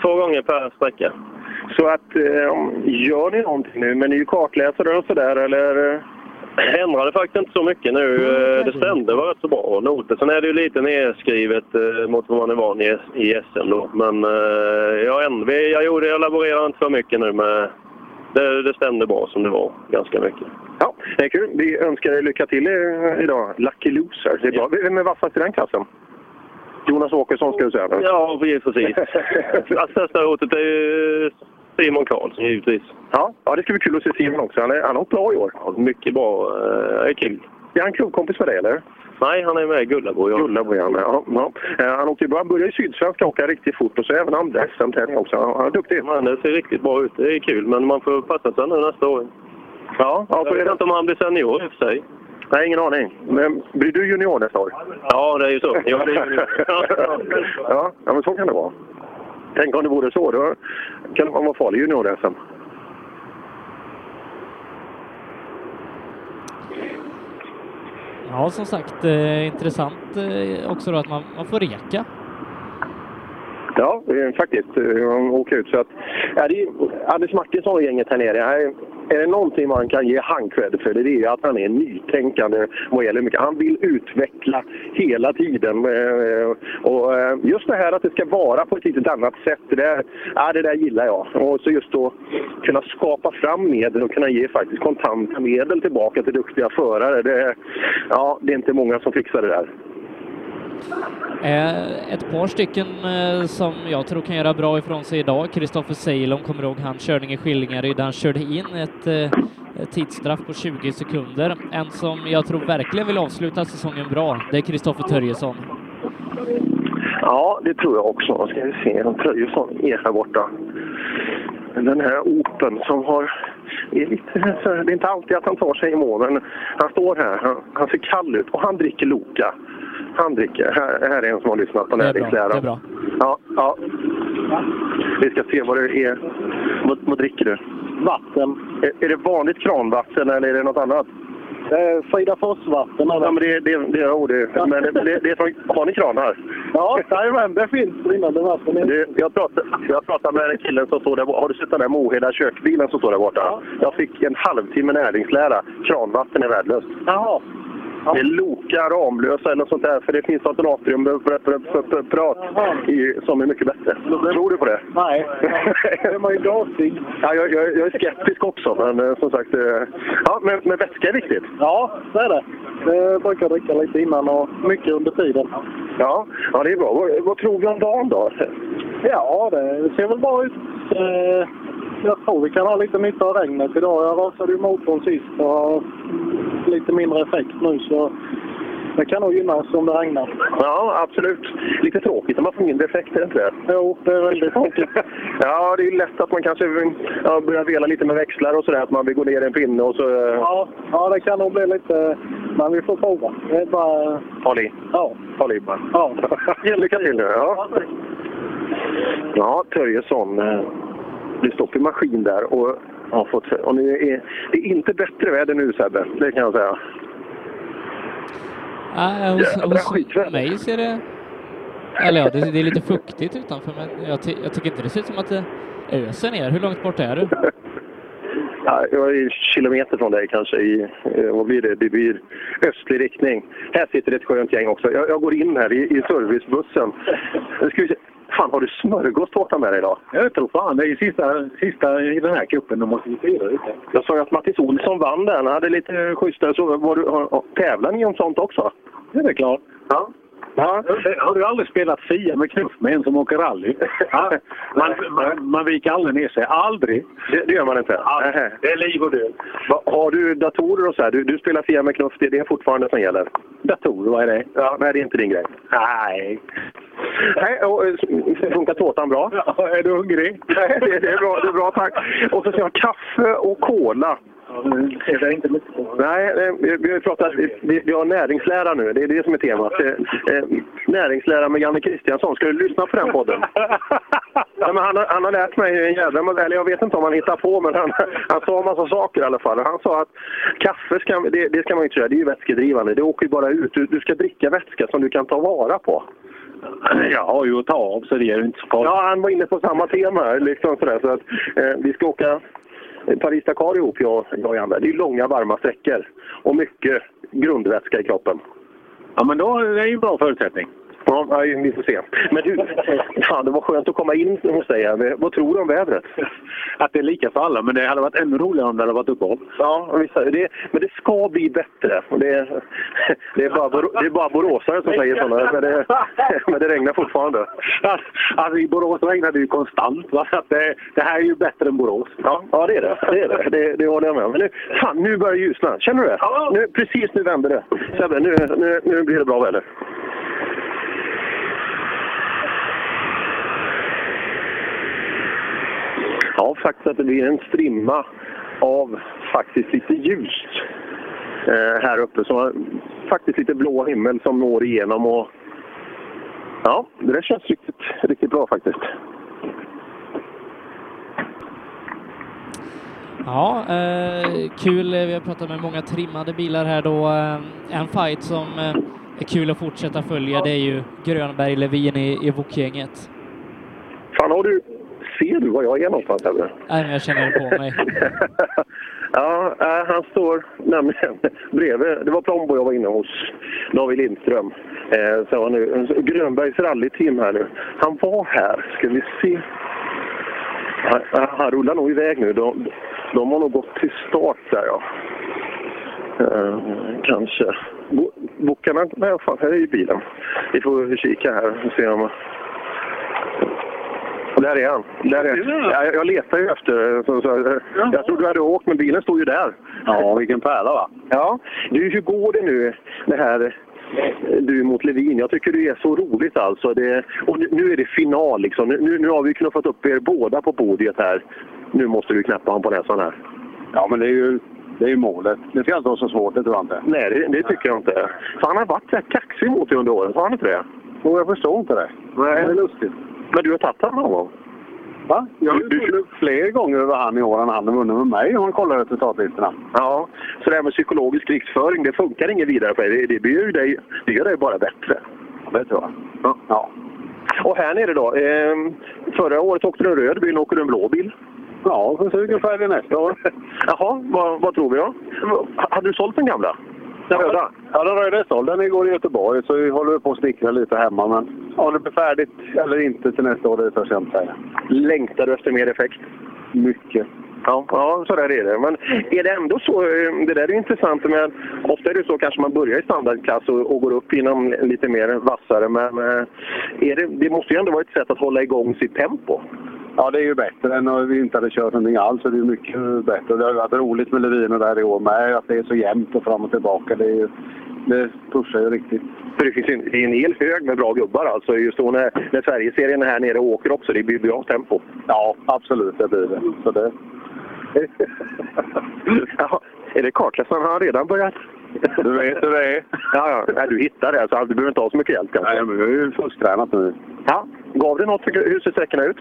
[SPEAKER 4] Två gånger per sträcka.
[SPEAKER 2] Så att, eh, gör ni någonting nu? Men ni är ju kartläsare och sådär eller? eh?
[SPEAKER 4] Det ändrade faktiskt inte så mycket nu. Eh, Det stämde var rätt så bra. Noter. Sen är det ju lite nedskrivet eh, mot vad man är van i, i SM då. Men eh, jag, änd- vi- jag, gjorde, jag laborerade inte för mycket nu med... Det, det stämde bra som det var, ganska mycket.
[SPEAKER 2] Ja, det är kul. Vi önskar er lycka till eh, idag. Lucky loser. Det är bra. Vem är vassast i den klassen? Jonas Åkesson ska du säga. nu.
[SPEAKER 4] Ja, precis. Att största hotet är ju Simon Karlsson givetvis.
[SPEAKER 2] Ja, ja, det ska bli kul att se Simon också. Han, är, han har hållit bra i år.
[SPEAKER 4] Ja, mycket bra. Eh, Det är kul.
[SPEAKER 2] Är han krogkompis med dig eller?
[SPEAKER 4] Nej, han är med i Gullabo. Ja.
[SPEAKER 2] Gullabo är han ja. ja. Eh, Han, åkte, ju- han började i Sydsvenska åka riktigt fort och så även andra SM-tävlingar också. Han han är duktig.
[SPEAKER 4] Men det ser riktigt bra ut. Det är kul, men man får passa sig nu nästa år.
[SPEAKER 2] Ja, ja
[SPEAKER 4] Jag
[SPEAKER 2] så är
[SPEAKER 4] vet
[SPEAKER 2] det.
[SPEAKER 4] inte om han blir senior i och för sig.
[SPEAKER 2] Nej, ingen aning. Men blir du junior nästa år?
[SPEAKER 4] Ja, det är ju så. Jo, det är ju
[SPEAKER 2] ja, ja, men så kan det vara. Tänk om det vore så. Då kan man vara farlig junior-SM.
[SPEAKER 1] Ja, som sagt, eh, intressant eh, också då att man, man får reka.
[SPEAKER 2] Ja, eh, faktiskt. eh, Man åker ut. Så att, ja, det är, Anders Martinsson och gänget här nere. Här, är det någonting man kan ge han cred för det är ju att han är nytänkande vad gäller mycket. Han vill utveckla hela tiden. eh, Och eh, just det här att det ska vara på ett lite annat sätt, det där, ja, det där gillar jag. Och så just att kunna skapa fram medel och kunna ge faktiskt kontanta medel tillbaka till duktiga förare. Det, ja, det är inte många som fixar det där.
[SPEAKER 1] Eh, Ett par stycken eh, som jag tror kan göra bra ifrån sig idag. Kristoffer Seilon, kommer du ihåg han körning i Skillingaryd? Han körde in ett eh, tidsstraff på 20 sekunder. En som jag tror verkligen vill avsluta säsongen bra, det är Kristoffer Törjesson.
[SPEAKER 2] Ja, det tror jag också. Vad Ska vi se om Tröjesson är här borta. Den här Open som har... Är lite, så här- det är inte alltid att han tar sig i mål, men han står här. Han, han ser kall ut och han dricker Loka. Han dricker. Här, här är en som har lyssnat på
[SPEAKER 1] Det är bra,
[SPEAKER 2] näringslära.
[SPEAKER 1] det är bra.
[SPEAKER 2] Ja, ja. Vi ska se vad det är. Vad, vad dricker du?
[SPEAKER 4] Vatten.
[SPEAKER 2] Är, är det vanligt kranvatten eller är det något annat?
[SPEAKER 4] Eh, Fridaforsvatten.
[SPEAKER 2] Ja, men det, det, det, ja, det, men det, det, det är från, har ni kranar?
[SPEAKER 4] Ja, jajamän. Det finns rinnande vatten.
[SPEAKER 2] Du, jag, pratade, jag pratade med den killen som står där borta. Har du sett den där Moheda kökbilen som står där borta? Jag fick en halvtimme näringslära. Kranvatten är värdelöst.
[SPEAKER 4] Jaha.
[SPEAKER 2] Det är Loka, Ramlösa eller något sånt där. För det finns något natriumprat i- som är mycket bättre. Tror du på det?
[SPEAKER 4] Nej.
[SPEAKER 2] man ju glasig. Ja, jag, jag, jag är skeptisk också, men eh, som sagt... eh, Ja, men, men vätska är viktigt.
[SPEAKER 4] Ja, det är det. Det brukar jag dricka lite innan och mycket under tiden.
[SPEAKER 2] Ja, ja det är bra. Vad, vad tror vi om dagen då?
[SPEAKER 4] Ja, det ser väl bra ut. Eh, Jag tror vi kan ha lite nytta av regnet idag. Jag rasade ju motorn sist och har lite mindre effekt nu så det kan nog gynnas om det regnar.
[SPEAKER 2] Ja, absolut. Lite tråkigt när man får mindre effekter, är det inte det?
[SPEAKER 4] Jo, Oh, det är väldigt tråkigt.
[SPEAKER 2] Ja, det är lätt att man kanske ja, börjar vela lite med växlar och sådär. Att man vill gå ner i en pinne och så... eh, Ja.
[SPEAKER 4] Ja, ja, det kan nog bli lite... Men vi får prova. Det är bara...
[SPEAKER 2] Håll i.
[SPEAKER 4] Ja.
[SPEAKER 2] Håll i bara.
[SPEAKER 4] ja.
[SPEAKER 2] Lycka till nu. Ja, ja Törjesson. eh, Det står på maskin där och har fått... Och nu är, det är inte bättre väder nu Sebbe, det kan jag säga.
[SPEAKER 1] Nej, Eh, hos,
[SPEAKER 2] Jävla
[SPEAKER 1] hos
[SPEAKER 2] skitväder.
[SPEAKER 1] mig ser det... Eller ja, det, det är lite fuktigt utanför, men jag, ty- jag tycker inte det ser ut som att det öser ner. Hur långt bort är du?
[SPEAKER 2] Ja, jag är en kilometer från dig kanske i, eh, vad blir det, det blir östlig riktning. Här sitter det ett skönt gäng också. Jag, jag går in här i, i servicebussen. Nu Ska vi se. Fan, har du smörgåstårta med dig idag?
[SPEAKER 3] Jag vet inte fan, det är ju sista, sista i den här cupen. Då måste vi fira lite.
[SPEAKER 2] Jag sa ju att Mattis Olsson vann den. Han hade lite eh, schyssta... Så var du, har, har- tävlar ni om sånt också?
[SPEAKER 3] Det är väl klart.
[SPEAKER 2] Ja. ja.
[SPEAKER 3] Har du aldrig spelat Fia med knuff med en som åker rally? Ja, man, man, man viker aldrig ner sig. Aldrig!
[SPEAKER 2] Det, det gör man inte? Nähä.
[SPEAKER 3] Det är liv och död.
[SPEAKER 2] Va, har du datorer och så här? Du, du spelar Fia med knuff, det, det är fortfarande som gäller?
[SPEAKER 3] Datorer, vad är det?
[SPEAKER 2] Ja, nej, det är inte din grej.
[SPEAKER 3] Nej.
[SPEAKER 2] Nej, och, eh, funkar tårtan bra?
[SPEAKER 3] Ja, är du hungrig?
[SPEAKER 2] Nej, det, det, är bra, det är bra, tack. Och så ska jag ha kaffe och cola.
[SPEAKER 3] Det är inte mycket på.
[SPEAKER 2] Nej, eh, vi, vi har ju pratat, vi, vi- vi har näringslära nu. Det är det som är temat. Eh, eh, näringslära med Janne Kristiansson. Ska du lyssna på den podden? Nej, men han, har- han har lärt mig en jävla massa- eller jag vet inte om han hittar på, men han, han sa en massa saker i alla fall. Han sa att kaffe ska, det, det ska man ju inte göra, det är ju vätskedrivande. Det åker ju bara ut. Du, du ska dricka vätska som du kan ta vara på.
[SPEAKER 3] Jag har ju att ta av så det är ju inte så farligt.
[SPEAKER 2] Ja, han var inne på samma tema. här, Liksom sådär, så att, eh, vi ska åka Paris-Dakar ihop, jag, jag och Janne. Det är ju långa varma sträckor och mycket grundvätska i kroppen.
[SPEAKER 3] Ja, men då är det ju en bra förutsättning.
[SPEAKER 2] Ja, ja, vi får se. Men du, fan, det var skönt att komma in hos dig. här. Vad tror du om vädret?
[SPEAKER 3] Att det är lika för alla, men det hade varit ännu roligare om det hade varit uppehåll.
[SPEAKER 2] Ja, och visst, det, men det ska bli bättre. Och Det, det, är bara, Bor- det är bara boråsare som säger sådana, men det, men det regnar fortfarande.
[SPEAKER 3] Alltså, I Borås regnar det ju konstant, va? så att det, det här är ju bättre än Borås.
[SPEAKER 2] Ja, ja det är det. Det, är det. det, det håller jag med om. Men nu, fan, nu börjar det ljusna. Känner du det?
[SPEAKER 3] Ja.
[SPEAKER 2] Nu, precis nu vänder det. Sebbe, nu, nu, nu blir det bra väder. Ja, faktiskt att det blir en strimma av faktiskt lite ljust eh, här uppe. Så faktiskt lite blå himmel som når igenom. Och, ja, det där känns riktigt, riktigt bra faktiskt.
[SPEAKER 1] Ja, eh, kul. Eh, Vi har pratat med många trimmade bilar här då. Eh, en fight som eh, är kul att fortsätta följa, det är ju Grönberg-Levin i, i Wok-gänget.
[SPEAKER 2] Fan, har du... Ser du var jag är någonstans? Eller?
[SPEAKER 1] Nej, Äh, men jag känner det på mig.
[SPEAKER 2] ja, eh, han står nämligen bredvid. Det var Plombo jag var inne hos. David Lindström. Eh, så han nu, Grönbergs rallyteam här nu. Han var här. Ska vi se. Han, han- han rullar nog iväg nu. De, de har nog gått till start där ja. Eh, kanske. Bo- Bokarna? Nej, fan, här är ju bilen. Vi får kika här och se om... Och där är han. Där är... Ja, jag- jag letar ju efter... Så, så, jag trodde du hade åkt, men bilen stod ju där.
[SPEAKER 3] Ja, vilken pärla va?
[SPEAKER 2] Ja. Du, hur går det nu, det här eh, du mot Levin? Jag tycker det är så roligt alltså. Det, och nu, nu är det final liksom. Nu- Nu, nu har vi knuffat upp er båda på podiet här. Nu måste du knäppa honom på näsan här.
[SPEAKER 3] Ja, men det är ju, det är ju målet. Det ska inte vara så svårt, det tror jag inte.
[SPEAKER 2] Nej, det, det tycker jag inte. För han har varit så här kaxig mot dig under åren, har han inte det?
[SPEAKER 3] Jo, jag förstår inte det.
[SPEAKER 2] Nej.
[SPEAKER 3] Det är lustigt.
[SPEAKER 2] Men du har tagit honom någon gång?
[SPEAKER 3] Va? Jag har ju
[SPEAKER 2] Du- du-
[SPEAKER 3] vunnit fler gånger över han i år än han har vunnit med mig om man kollar resultatlistorna.
[SPEAKER 2] Ja. Så det här med psykologisk krigsföring, det funkar inget vidare för dig. Det, det, blir ju dig, det gör dig bara bättre.
[SPEAKER 3] Det tror jag.
[SPEAKER 2] Ja.
[SPEAKER 3] Ja.
[SPEAKER 2] Och här nere då. ehm, förra året åkte du en röd bil, nu åker du en blå bil.
[SPEAKER 3] Ja, så ungefär det nästa år.
[SPEAKER 2] Jaha, vad, vad tror vi då? H- Hade du sålt den gamla? Den röda?
[SPEAKER 3] Ja, den röda är såld. Den går i Göteborg, så vi håller på att snickra lite hemma. Men om det blir färdigt eller inte till nästa år, det törs jag inte säga.
[SPEAKER 2] Längtar du efter mer effekt?
[SPEAKER 3] Mycket.
[SPEAKER 2] Ja, ja, så där är det. Men är det ändå så, eh, det där är ju intressant, men ofta är det så kanske man börjar i standardklass och, och går upp inom lite mer vassare, men eh, är det, det måste ju ändå vara ett sätt att hålla igång sitt tempo.
[SPEAKER 3] Ja, det är ju bättre än om vi inte hade kört någonting alls. Så det är ju mycket bättre. Det har ju varit roligt med Levin och där i år med. Att det är så jämnt och fram och tillbaka. Det, är ju, det pushar ju riktigt.
[SPEAKER 2] För det finns ju en, det är en hel hög med bra gubbar alltså, just då när, när Sverigeserien är här nere och åker också, det blir bra tempo.
[SPEAKER 3] Ja, absolut. Det blir det. Så det.
[SPEAKER 2] Jaha, är det kartläsaren? Har han redan börjat?
[SPEAKER 3] Du vet hur det är.
[SPEAKER 2] Ja, ja. Nej, du hittar det, så du behöver inte ha så mycket hjälp kanske.
[SPEAKER 3] Nej, men vi har ju fusktränat nu.
[SPEAKER 2] Ja, gav det något? Hur ser sträckorna ut?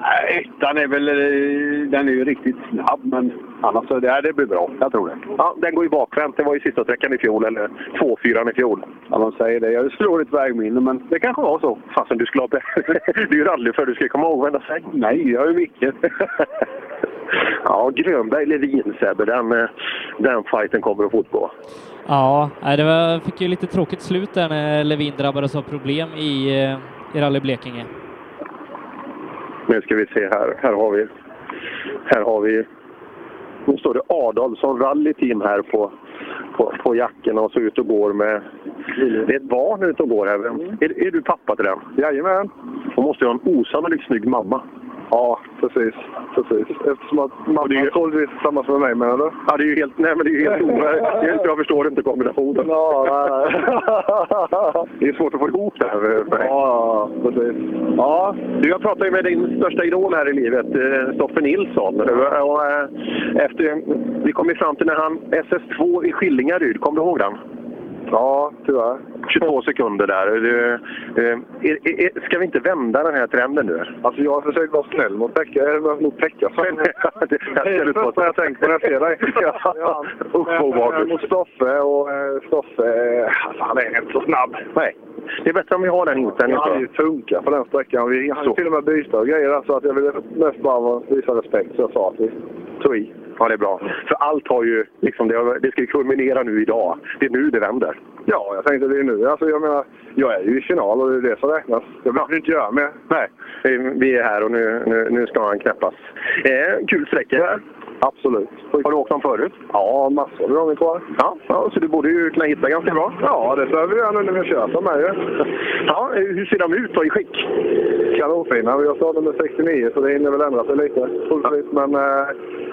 [SPEAKER 5] Nej, Ettan är väl... eh, Den är ju riktigt snabb, men annars så det, det blir bra. Jag tror det.
[SPEAKER 2] Ja, den går ju bakvänt. Det var ju sista sträckan i fjol, eller 2-4 i fjol.
[SPEAKER 5] Ja, de säger det. Jag slår ett vägminne, men det kanske var så.
[SPEAKER 2] Fasen, du skulle ha... du är ju rallyförare, du ska ju komma ihåg varenda sväng.
[SPEAKER 5] Nej, jag är mycket.
[SPEAKER 2] Ja, Grönberg-Levin, Sebbe, den, eh, den fighten kommer att fortgå.
[SPEAKER 1] Ja, nej, det var, fick ju lite tråkigt slut där när Levin drabbades av problem i, eh, i Rally Blekinge.
[SPEAKER 2] Nu ska vi se här. Här har vi... Här har vi... Nu står det Adolfsson Rally Team här på, på, på jackorna och så ut och går med... Det är ett barn ute och går här. Vem- Är, är du pappa till den?
[SPEAKER 5] Mm. Jajamän.
[SPEAKER 2] Hon måste ju ha en osannolikt snygg mamma.
[SPEAKER 5] Ja, precis. precis. Eftersom att mamma är troligtvis tillsammans med mig, menar du?
[SPEAKER 2] Ja, det är ju helt... Nej, men det är ju helt omöjligt. Jag förstår inte kombinationen.
[SPEAKER 5] Ja, nej, nej.
[SPEAKER 2] Det är svårt att få ihop det här. eh, För mig.
[SPEAKER 5] ja, precis.
[SPEAKER 2] Ja, du, jag pratade ju med din största idol här i livet, eh, Stoffe Nilsson. Och, eh, efter, vi kom ju fram till när han SS2 i Skillingaryd, kommer du ihåg den?
[SPEAKER 5] Ja, tyvärr.
[SPEAKER 2] 22 sekunder där. Du, eh, är, är, ska vi inte vända den här trenden nu?
[SPEAKER 5] Alltså jag har försökt vara snäll mot Pekka, eller mot Pekka.
[SPEAKER 2] Det
[SPEAKER 5] är det första jag tänkt på när jag ser dig.
[SPEAKER 2] Ja, usch vad
[SPEAKER 5] Men, eh,
[SPEAKER 2] obehagligt.
[SPEAKER 5] Mot Stoffe och eh, Stoffe, eh, alltså han är inte så snabb.
[SPEAKER 2] Nej, det är bättre om vi har den inställningen.
[SPEAKER 5] Han
[SPEAKER 2] tror
[SPEAKER 5] hade
[SPEAKER 2] jag.
[SPEAKER 5] ju funkat på den sträckan. Vi hade
[SPEAKER 2] Så.
[SPEAKER 5] till och med byte och grejer där, så att jag ville mest bara visa respekt. Så jag sa att vi tog i.
[SPEAKER 2] Ja, det är bra. För allt har ju, liksom, det, har- det ska ju kulminera nu idag. Det är nu det vänder.
[SPEAKER 5] Ja, jag tänkte det är nu. Alltså jag menar, jag är ju i final och det är det som räknas. Jag behöver inte göra mer.
[SPEAKER 2] Nej, vi- vi är här och nu, nu, nu ska han knäppas. Eh, kul sträcka.
[SPEAKER 5] Absolut.
[SPEAKER 2] Har du åkt dem förut?
[SPEAKER 5] Ja, massor av gånger tror jag.
[SPEAKER 2] Ja, ja, så du borde ju kunna hitta ganska bra.
[SPEAKER 5] Ja, det behöver vi göra nu när vi kör som är ju.
[SPEAKER 2] Ja, eh, hur ser de ut då i skick?
[SPEAKER 5] Kanonfina. Vi har startat med 69 så det hinner väl ändra sig lite. Troligtvis. Men eh,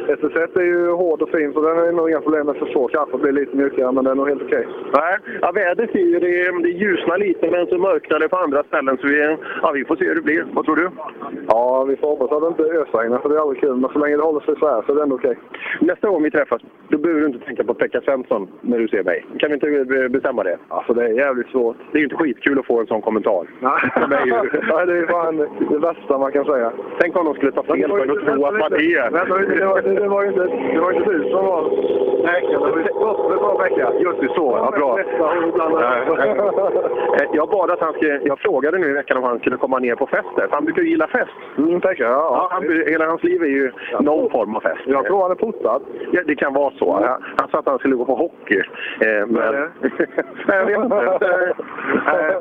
[SPEAKER 5] SS1 är ju hård och fin så den är nog inga problem. SS2 kanske blir lite mjukare men den är nog helt okej.
[SPEAKER 2] Nej, ja, vädret är ju, det, det ljusnar lite men så mörknar det på andra ställen så vi, ja, vi får se hur det blir. Vad tror du?
[SPEAKER 5] Ja, vi får hoppas att det inte ösregnar för det är aldrig kul. Men så länge det håller sig så här så är det ändå okej.
[SPEAKER 2] Nästa gång vi träffas, då behöver du inte tänka på Pekka Svensson när du ser mig. Kan vi inte eh, bestämma det?
[SPEAKER 5] Alltså det är jävligt svårt.
[SPEAKER 2] Det är ju inte skitkul att få en sån kommentar. För mig är det-
[SPEAKER 5] Nej, det är fan det värsta man kan säga.
[SPEAKER 2] Tänk om de skulle ta fel på en och tro att man är...
[SPEAKER 5] Vänta lite, det var, det var ju inte, det var inte du som var läkaren. Det var ju Stoffe som var läkaren.
[SPEAKER 2] Just det, så. Ja, bra. Eh, Jag bad att han skulle, jag frågade nu i veckan om han skulle komma ner på fest där, för han brukar ju gilla fest.
[SPEAKER 5] Mm, tackar.
[SPEAKER 2] Ja,
[SPEAKER 5] Ja,
[SPEAKER 2] han, hela hans liv är ju någon form av fest.
[SPEAKER 5] jag tror han är portad.
[SPEAKER 2] Ja, det kan vara så. Han, han sa att han skulle gå på hockey. Eh,
[SPEAKER 5] Vad är
[SPEAKER 2] men...
[SPEAKER 5] det?
[SPEAKER 2] Nej, jag vet inte. Eh, eh,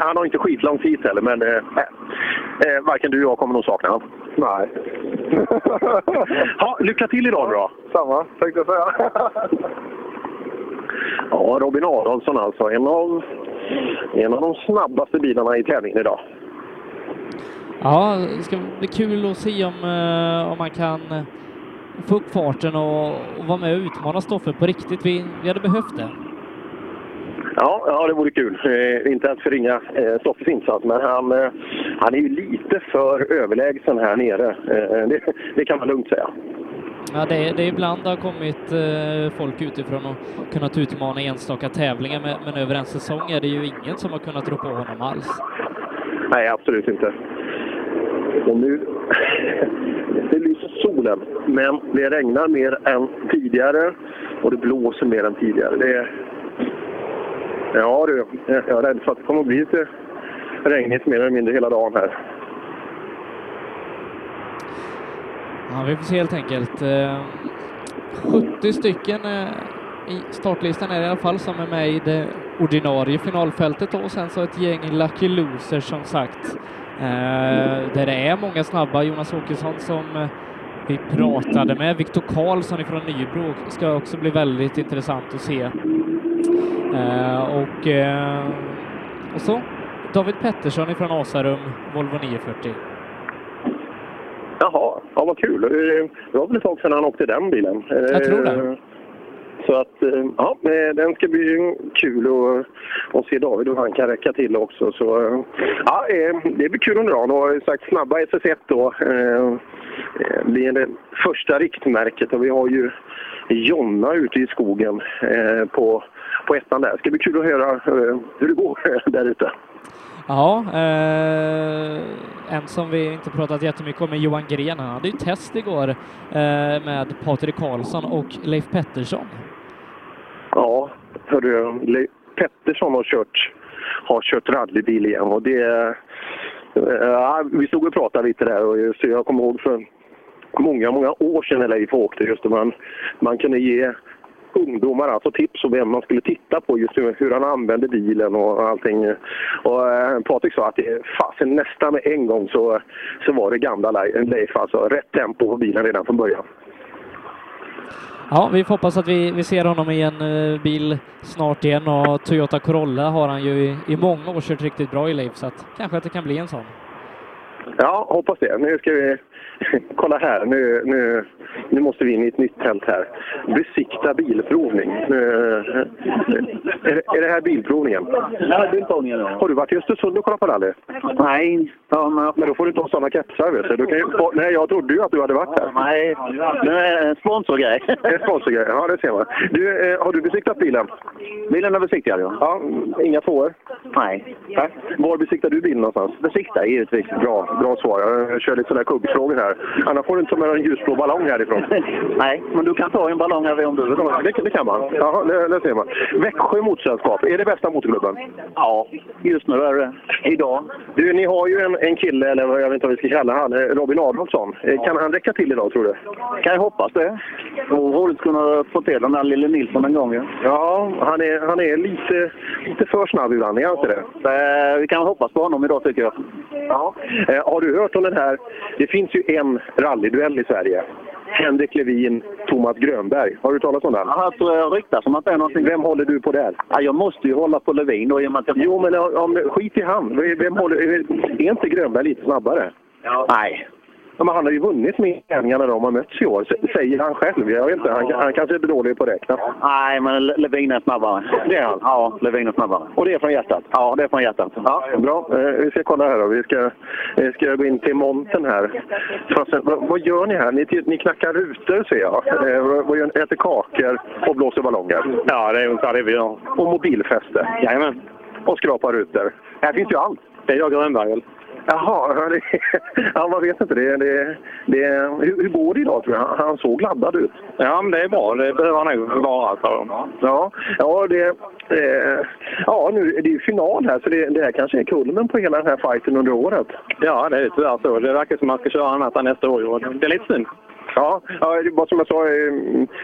[SPEAKER 2] han har inte skitlång tid heller, men eh, eh, varken du och jag kommer nog sakna honom.
[SPEAKER 5] Nej.
[SPEAKER 2] Ha, lycka till idag då!
[SPEAKER 5] Samma, tänkte jag säga.
[SPEAKER 2] Ja, Robin Adolfsson alltså. En av, en av de snabbaste bilarna i tävlingen idag.
[SPEAKER 1] Ja, det ska bli kul att se om, eh, om man kan eh, få upp farten och, och vara med och utmana Stoffe på riktigt. Vi, vi hade behövt det.
[SPEAKER 2] Ja, ja det vore kul. Eh, inte ens förringa eh, Stoffes insats, men han, eh, han är ju lite för överlägsen här nere. Eh, det, det kan man lugnt säga.
[SPEAKER 1] Ja, det, det är ibland det har kommit eh, folk utifrån och kunnat utmana enstaka tävlingar, men, men över en säsong är det ju ingen som har kunnat rå på honom alls.
[SPEAKER 2] Nej, absolut inte. Och nu... det lyser solen, men det regnar mer än tidigare och det blåser mer än tidigare. Det är... Ja du, jag är rädd för att det kommer att bli lite regnigt mer eller mindre hela dagen här.
[SPEAKER 1] Ja, vi får se helt enkelt. Eh, 70 stycken eh, i startlistan är det i alla fall som är med i det ordinarie finalfältet då, och sen så ett gäng lucky losers som sagt. Eh, där det är många snabba. Jonas Åkesson som eh, vi pratade med, Viktor Karlsson ifrån Nybro ska också bli väldigt intressant att se. Eh, och, eh, och så David Pettersson ifrån Asarum, Volvo 940.
[SPEAKER 2] Jaha, ja, vad kul. Eh, Det var väl ett tag sedan han åkte den bilen. Eh,
[SPEAKER 1] Jag tror det.
[SPEAKER 2] Så att, eh, ja, eh, den ska bli kul att- att se David och han kan räcka till också. Så, eh, ja, eh, det blir kul under dagen och eh, sagt snabba SS1 då eh, eh, blir det första riktmärket och vi har ju Jonna ute i skogen eh, på, på ettan där. Det ska bli kul att höra eh, hur det går där ute.
[SPEAKER 1] Ja, eh, en som vi inte pratat jättemycket om är Johan Gren. Han hade ju test igår eh, med Patrik Karlsson och Leif Pettersson.
[SPEAKER 2] Ja, hörru, Le- Pettersson har kört, har kört rallybil igen. Och det, eh, vi stod och pratade lite där och just, jag kommer ihåg för många, många år sedan när Leif åkte just det, man, man kunde ge ungdomar alltså tips om vem man skulle titta på, just hur, hur han använde bilen och allting. Och eh, Patrik sa att det, fasen, nästan med en gång så, så var det gamla Le- Leif, alltså rätt tempo på bilen redan från början.
[SPEAKER 1] Ja, vi får hoppas att vi, vi ser honom i en eh, bil snart igen och Toyota Corolla har han ju i, i många år kört riktigt bra i Leif så att kanske att det kan bli en sån.
[SPEAKER 2] Ja, hoppas det. Nu ska vi... Kolla här, nu, nu, nu måste vi in i ett nytt tält här. Besikta bilprovning. Nu, eh, är, är det här bilprovningen?
[SPEAKER 6] Ja, bilprovningen ja.
[SPEAKER 2] Har du varit i Östersund och kollat på rally?
[SPEAKER 6] Nej, ja, men,
[SPEAKER 2] Men då får du inte ha sådana kepsar, vet du. du kan ju, nej, jag trodde ju att du hade varit där.
[SPEAKER 6] nej, nu är det en sponsorgrej.
[SPEAKER 2] Det är sponsorgrej. Ja, det ser man. Du, eh, har du besiktat bilen?
[SPEAKER 6] Bilen är besiktigad ja.
[SPEAKER 2] Ja, inga tvåor.
[SPEAKER 6] Nej.
[SPEAKER 2] Nej. Var besiktar du bilen någonstans?
[SPEAKER 6] Besiktar givetvis.
[SPEAKER 2] Bra, bra svar. Jag kör lite sådana här kuggfrågor här. Annars får du inte ta med en ljusblå ballong härifrån.
[SPEAKER 6] nej, men du kan ta en ballong här om du vill.
[SPEAKER 2] Ja, Det, det kan man. Ja, det, det ser man. Växjö Motorsällskap, är det bästa motorklubben?
[SPEAKER 6] Ja, just nu är det idag.
[SPEAKER 2] Du, ni har ju en, en kille, eller vad- jag vet inte vad vi ska kalla han, eh, Robin Adolfsson. Eh, Kan han räcka till idag, tror du?
[SPEAKER 6] Kan jag hoppas det. Det vore roligt att kunna få till den där lille Nilsson en gång ja.
[SPEAKER 2] Ja, han är, han är lite, lite för snabb ibland, är han inte det?
[SPEAKER 6] Eh, Vi kan hoppas på honom idag tycker jag.
[SPEAKER 2] Ja. Eh, har du hört om den här? Det finns ju en rallyduell i Sverige. Henrik Levin, Thomas Grönberg. Har du talat om den?
[SPEAKER 6] Ja, Här tror jag ryktas om eh, att det är någonting.
[SPEAKER 2] Vem håller du på där?
[SPEAKER 6] Ja, jag måste ju hålla på Levin då i och med att jag...
[SPEAKER 2] Jo, men om, skit i han. Vem håller, är inte Grönberg lite snabbare?
[SPEAKER 6] Nej.
[SPEAKER 2] Ja, men han har ju vunnit med tävlingar när de har mötts i år, s- säger han själv. Jag vet inte, han, han kanske är dålig på att räkna.
[SPEAKER 6] Nej, men Le- Levin är snabbare.
[SPEAKER 2] Det är han.
[SPEAKER 6] Ja, Levin är snabbare.
[SPEAKER 2] Och det är från hjärtat?
[SPEAKER 6] Ja, det är från hjärtat.
[SPEAKER 2] Ja, bra. Eh, vi ska kolla här då. Vi ska, vi ska gå in till montern här. Fasen, vad, vad gör ni här? Ni, ni knackar rutor ser jag. Eh, vad- vad gör ni? Äter kakor och blåser ballonger.
[SPEAKER 4] Ja, det är ungefär det vi gör.
[SPEAKER 2] Och mobilfester.
[SPEAKER 4] Jajamän.
[SPEAKER 2] Och skrapar rutor. Här finns ju allt.
[SPEAKER 4] Det är jag Grönberg.
[SPEAKER 2] Jaha, ja, det, ja, man vet inte. Det, det, det, hur, hur går det idag tror jag? Han- Han såg laddad ut.
[SPEAKER 4] Ja, men det är bra. Det behöver han nog vara, sa de.
[SPEAKER 2] Ja, ja, det, eh, ja nu är det ju final här så det, det här kanske är kulmen på hela den här fighten under året.
[SPEAKER 4] Ja, det är tyvärr så. Det verkar som att man ska köra annat än nästa år. och Det är lite synd.
[SPEAKER 2] Ja, ja det var som jag sa, eh,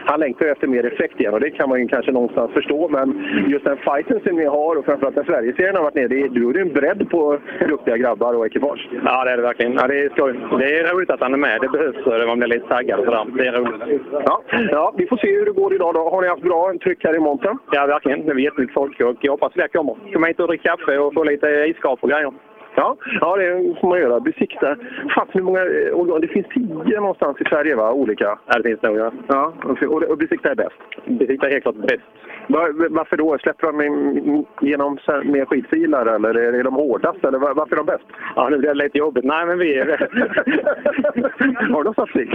[SPEAKER 2] han längtar ju efter mer effekt igen och det kan man ju kanske någonstans förstå. Men just den fighten som vi har och framförallt när Sverigeserien har varit nere, det är, då är det en bredd på duktiga grabbar och ekipage.
[SPEAKER 4] Ja, det är det verkligen. Ja, det är skoj. Det är roligt att han är med. Det behövs. eh, Man blir lite taggad och sådär. Det är roligt.
[SPEAKER 2] Ja, ja, vi får se hur det går idag då. Har ni haft bra tryck här i montern?
[SPEAKER 4] Ja, verkligen. Det är jättemycket folk och jag hoppas fler kommer. Komma hit och dricka kaffe och få lite iskap och grejer.
[SPEAKER 2] Ja, ja, det får man göra. Besikta. Fasen hur många eh, organ? Det finns tio någonstans i Sverige va? Olika.
[SPEAKER 4] Ja, det finns nog. Ja.
[SPEAKER 2] Ja, och, och besikta är bäst.
[SPEAKER 4] Besikta är helt klart bäst.
[SPEAKER 2] Var- Varför då? Släpper de in- genom så här mer skitfilar eller är är de hårdast? Eller var- varför är de bäst?
[SPEAKER 4] Ja, nu blir det lite jobbigt. Nej, men vi är...
[SPEAKER 2] Har de statistik?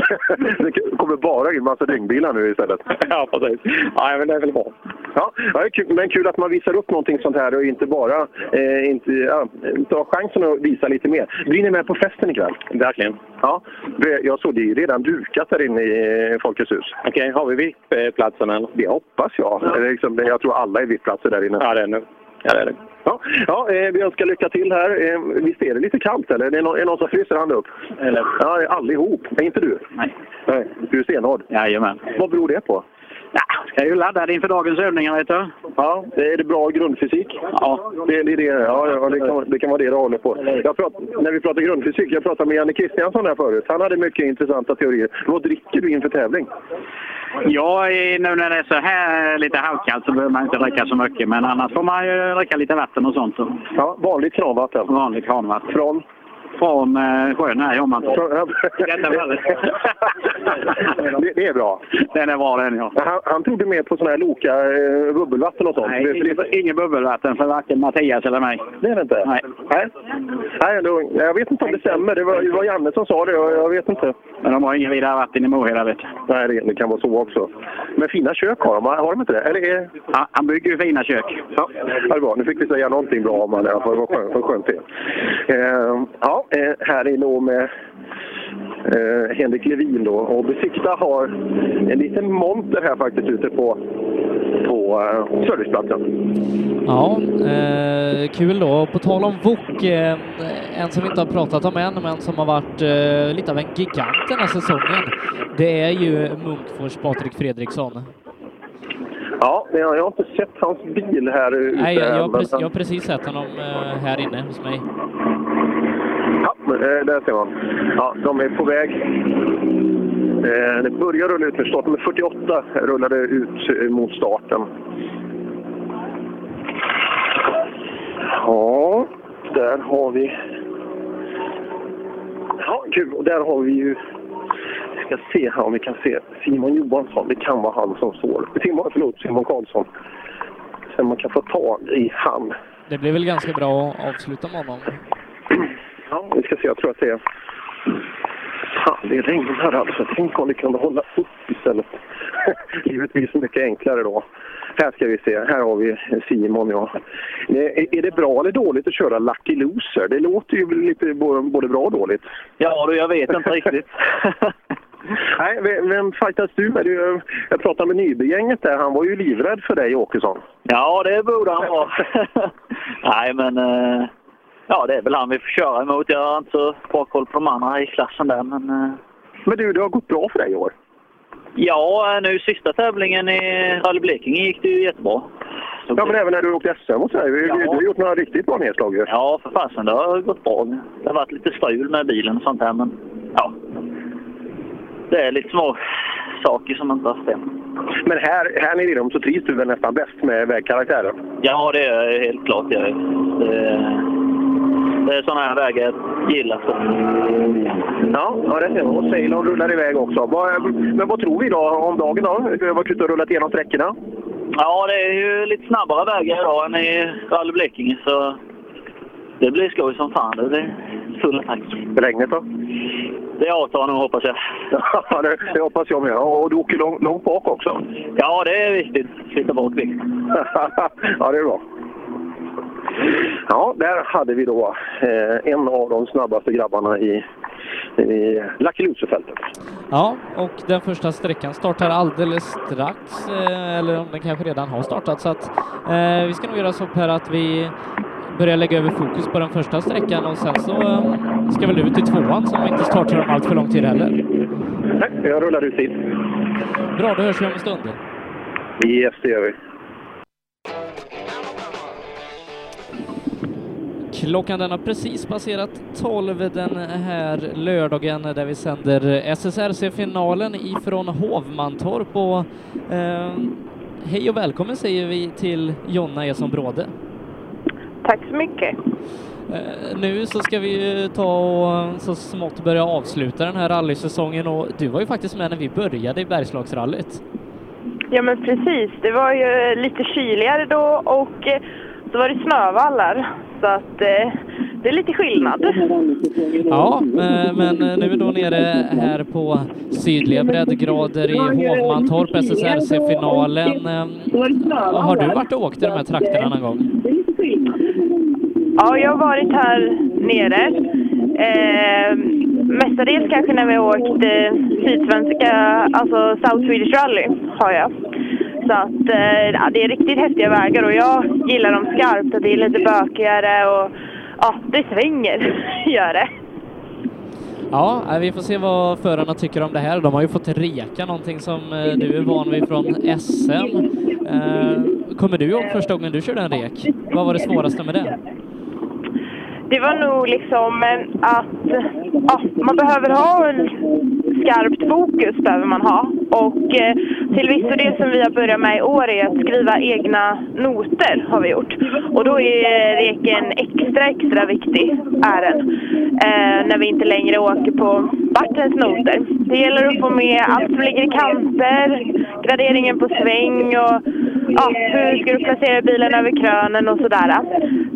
[SPEAKER 2] Det kommer bara in massa dyngbilar nu istället.
[SPEAKER 4] ja, precis. Nej, men det är väl bra.
[SPEAKER 2] Ja, ja, det är kul, men kul att man visar upp någonting sånt här och inte bara eh, inte, ja, ta chansen att visa lite mer. Blir ni med på festen ikväll?
[SPEAKER 4] Verkligen.
[SPEAKER 2] Ja, det- jag såg det är ju redan dukat där inne i eh, Folkets hus.
[SPEAKER 4] Okej, har vi VIP-platsen eller?
[SPEAKER 2] Det hoppas jag. Eller Liksom, jag tror alla är VIP-platser där inne.
[SPEAKER 4] Ja, det är nu. Ja, det är det.
[SPEAKER 2] Ja, ja eh, vi önskar lycka till här. Eh, visst är det lite kallt eller? Är det någon, är det någon som fryser? Hand upp.
[SPEAKER 6] Eller?
[SPEAKER 2] Ja, allihop. Men inte du?
[SPEAKER 6] Nej.
[SPEAKER 2] Nej. Du är stenhård.
[SPEAKER 6] Jajamän.
[SPEAKER 2] Vad beror det på?
[SPEAKER 6] Ja, ska ju ladda det inför dagens övningar vet du.
[SPEAKER 2] Ja, är det bra grundfysik?
[SPEAKER 6] Ja.
[SPEAKER 2] Det, det, det, ja, ja, det, kan, det kan vara det det håller på. Jag prat, när vi pratar grundfysik, jag pratade med Janne Kristiansson här förut. Han hade mycket intressanta teorier. Vad dricker du inför tävling?
[SPEAKER 6] Ja, i- nu när det är så här lite halvkallt så behöver man inte dricka så mycket. Men annars får man ju dricka lite vatten och sånt. Så
[SPEAKER 2] Ja, vanligt kranvatten.
[SPEAKER 6] vanligt kranvatten.
[SPEAKER 2] Från?
[SPEAKER 6] Från eh, sjön här i Åmantorp.
[SPEAKER 2] från
[SPEAKER 6] Detta var det.
[SPEAKER 2] det, det är bra.
[SPEAKER 6] Den är bra den ja.
[SPEAKER 2] Han, han trodde mer på sådana här Loka eh, bubbelvatten och sånt.
[SPEAKER 6] Nej,
[SPEAKER 2] För det-
[SPEAKER 6] ingen, ingen bubbelvatten för varken Mattias eller mig.
[SPEAKER 2] Det är det inte?
[SPEAKER 6] Nej.
[SPEAKER 2] Nej, Nej då, jag vet inte om det stämmer. Det var, det var Janne som sa det. Jag, jag vet inte.
[SPEAKER 6] Men de har ingen vidare vatten i Moheda vet du.
[SPEAKER 2] Nej, det, det kan vara så också. Men fina kök har de, har de inte det? Eller är...
[SPEAKER 6] Han, han bygger ju fina kök.
[SPEAKER 2] Ja, ja, det var. Nu fick vi säga någonting bra om han i alla fall. Det var skönt, det var skönt det. Eh, ja, eh, här inne och med eh, Henrik Levin. Då. Och Besikta har en liten monter här faktiskt ute på, på eh, serviceplatsen.
[SPEAKER 1] Ja, eh, kul då. På tal om Wok, eh, en som vi inte har pratat om än, men som har varit eh, lite av en gigant den här säsongen, det är ju Munkfors Patrik Fredriksson.
[SPEAKER 2] Ja, men jag har inte sett hans bil här ute.
[SPEAKER 1] Nej, jag, jag, har
[SPEAKER 2] men-
[SPEAKER 1] precis, jag har precis sett honom eh, här inne hos mig.
[SPEAKER 2] Ja, men, eh, där ser man. Ja, de är på väg. Eh, Det börjar rulla ut nu. Startnummer 48 rullade ut eh, mot starten. Ja, där har vi... Ja, kul. Och där har vi ju... Vi ska se här om vi kan se Simon Johansson. Det kan vara han som står. Simon, förlåt, Simon Karlsson. Sen man kan få tag i han.
[SPEAKER 1] Det blir väl ganska bra att avsluta med honom.
[SPEAKER 2] Ja, vi ska se. Jag tror att det är... Fan, det regnar alltså. Tänk om det kunde hålla upp istället. Livet blir så mycket enklare då. Här ska vi se. Här har vi Simon, ja. Eh, Är- Är det bra eller dåligt att köra Lucky Loser? Det låter ju lite bo- både bra och dåligt.
[SPEAKER 4] Ja, du, jag vet inte riktigt.
[SPEAKER 2] Nej, vem, vem fightas du med? Du, jag pratade med Nybygänget där. Han var ju livrädd för dig, Åkesson.
[SPEAKER 6] Ja, det borde han vara. Nej, men... eh, Ja, det är väl han vi får köra emot. Jag har inte så bra koll på de andra i klassen där, men... eh,
[SPEAKER 2] Men du, det har gått bra för dig i år.
[SPEAKER 6] Ja, nu sista tävlingen i Rally Blekinge gick det ju jättebra. Så-
[SPEAKER 2] Ja, men även när du åkte SM och sådär. Du,
[SPEAKER 6] Ja.
[SPEAKER 2] du har gjort några riktigt bra nedslag ju.
[SPEAKER 6] Ja, för fasen, det har gått bra. Det har varit lite strul med bilen och sånt här, men ja. Det är lite små saker som inte har stämt.
[SPEAKER 2] Men här, här nere i dem så trivs du väl nästan bäst med vägkaraktären?
[SPEAKER 6] Ja, det är jag helt klart. Jag, det, det är sådana här vägar jag gillar.
[SPEAKER 2] Ja, ja det ser man. Och Ceylon rullar iväg också. Vad, men vad tror vi då om dagen? Då? Du har varit ute och rullat igenom sträckorna.
[SPEAKER 6] Ja, det är ju lite snabbare vägar idag än i Rally Blekinge, så det blir skoj som fan. Det blir full attack.
[SPEAKER 2] Regnet då?
[SPEAKER 6] Det avtar nog, hoppas jag.
[SPEAKER 2] Ja, det, det hoppas jag med. Och du åker lång, långt bak också.
[SPEAKER 6] Ja, det är viktigt. Flytta bort viktigt.
[SPEAKER 2] ja, det är bra. Ja, där hade vi då eh, en av de snabbaste grabbarna i, i Lucky Loser-fältet.
[SPEAKER 1] Ja, och den första sträckan startar alldeles strax, eh, eller om den kanske redan har startat, så att eh, vi ska nog göra så här att vi börjar lägga över fokus på den första sträckan och sen så eh, ska väl du till tvåan som inte startar om allt för lång tid heller.
[SPEAKER 2] Nej, jag rullar ut dit.
[SPEAKER 1] Bra, då hörs vi om en stund.
[SPEAKER 2] Yes, det gör vi.
[SPEAKER 1] Klockan den har precis passerat 12 den här lördagen där vi sänder SSRC-finalen ifrån Hovmantorp och eh, hej och välkommen säger vi till Jonna Eson Bråde.
[SPEAKER 7] Tack så mycket.
[SPEAKER 1] Eh, Nu så ska vi ju ta och eh, så smått börja avsluta den här rallysäsongen och du var ju faktiskt med när vi började i Bergslagsrallyt.
[SPEAKER 7] Ja men precis, det var ju lite kyligare då och eh, så var det snövallar. Så att eh, det är lite skillnad.
[SPEAKER 1] Ja, eh, men nu då nere här på sydliga breddgrader i Hovmantorp, SSRC-finalen. Eh, Har du varit och åkt i de här trakterna någon gång?
[SPEAKER 7] Ja, jag har varit här nere. Eh, mestadels kanske när vi har åkt eh, sydsvenska, alltså South Swedish Rally har jag. Så att eh, ja, det är riktigt häftiga vägar och jag gillar dem skarpt. att Det är lite bökigare och ja, det svänger, gör det.
[SPEAKER 1] Ja, eh, vi får se vad förarna tycker om det här. De har ju fått reka någonting som eh, du är van vid från SM. Eh, Kommer du ihåg första gången du körde en rek? Vad var det svåraste med det?
[SPEAKER 7] Det var nog liksom eh, att ja, man behöver ha en skarpt fokus behöver man ha. Och eh, till viss del det som vi har börjat med i år är att skriva egna noter har vi gjort. Och då är reken extra, extra viktig, är den. Eh, när vi inte längre åker på bartens noter. Alltså, Det gäller att få med allt som ligger i kanter, graderingen på sväng och ja, hur ska du placera bilen över krönen och sådär.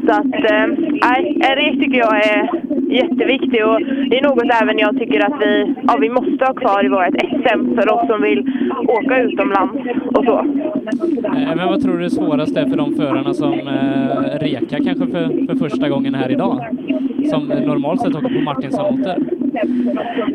[SPEAKER 7] Så att, eh, nej, en rek tycker jag är jätteviktig och det är något även jag tycker att vi, ja, vi måste ha kvar i vårt SM för oss som vill åka utomlands och så.
[SPEAKER 1] Eh, Men vad tror du det svåraste är för de förarna som eh, rekar kanske för, för första gången här idag? som normalt sett åker på Martinsson-åter?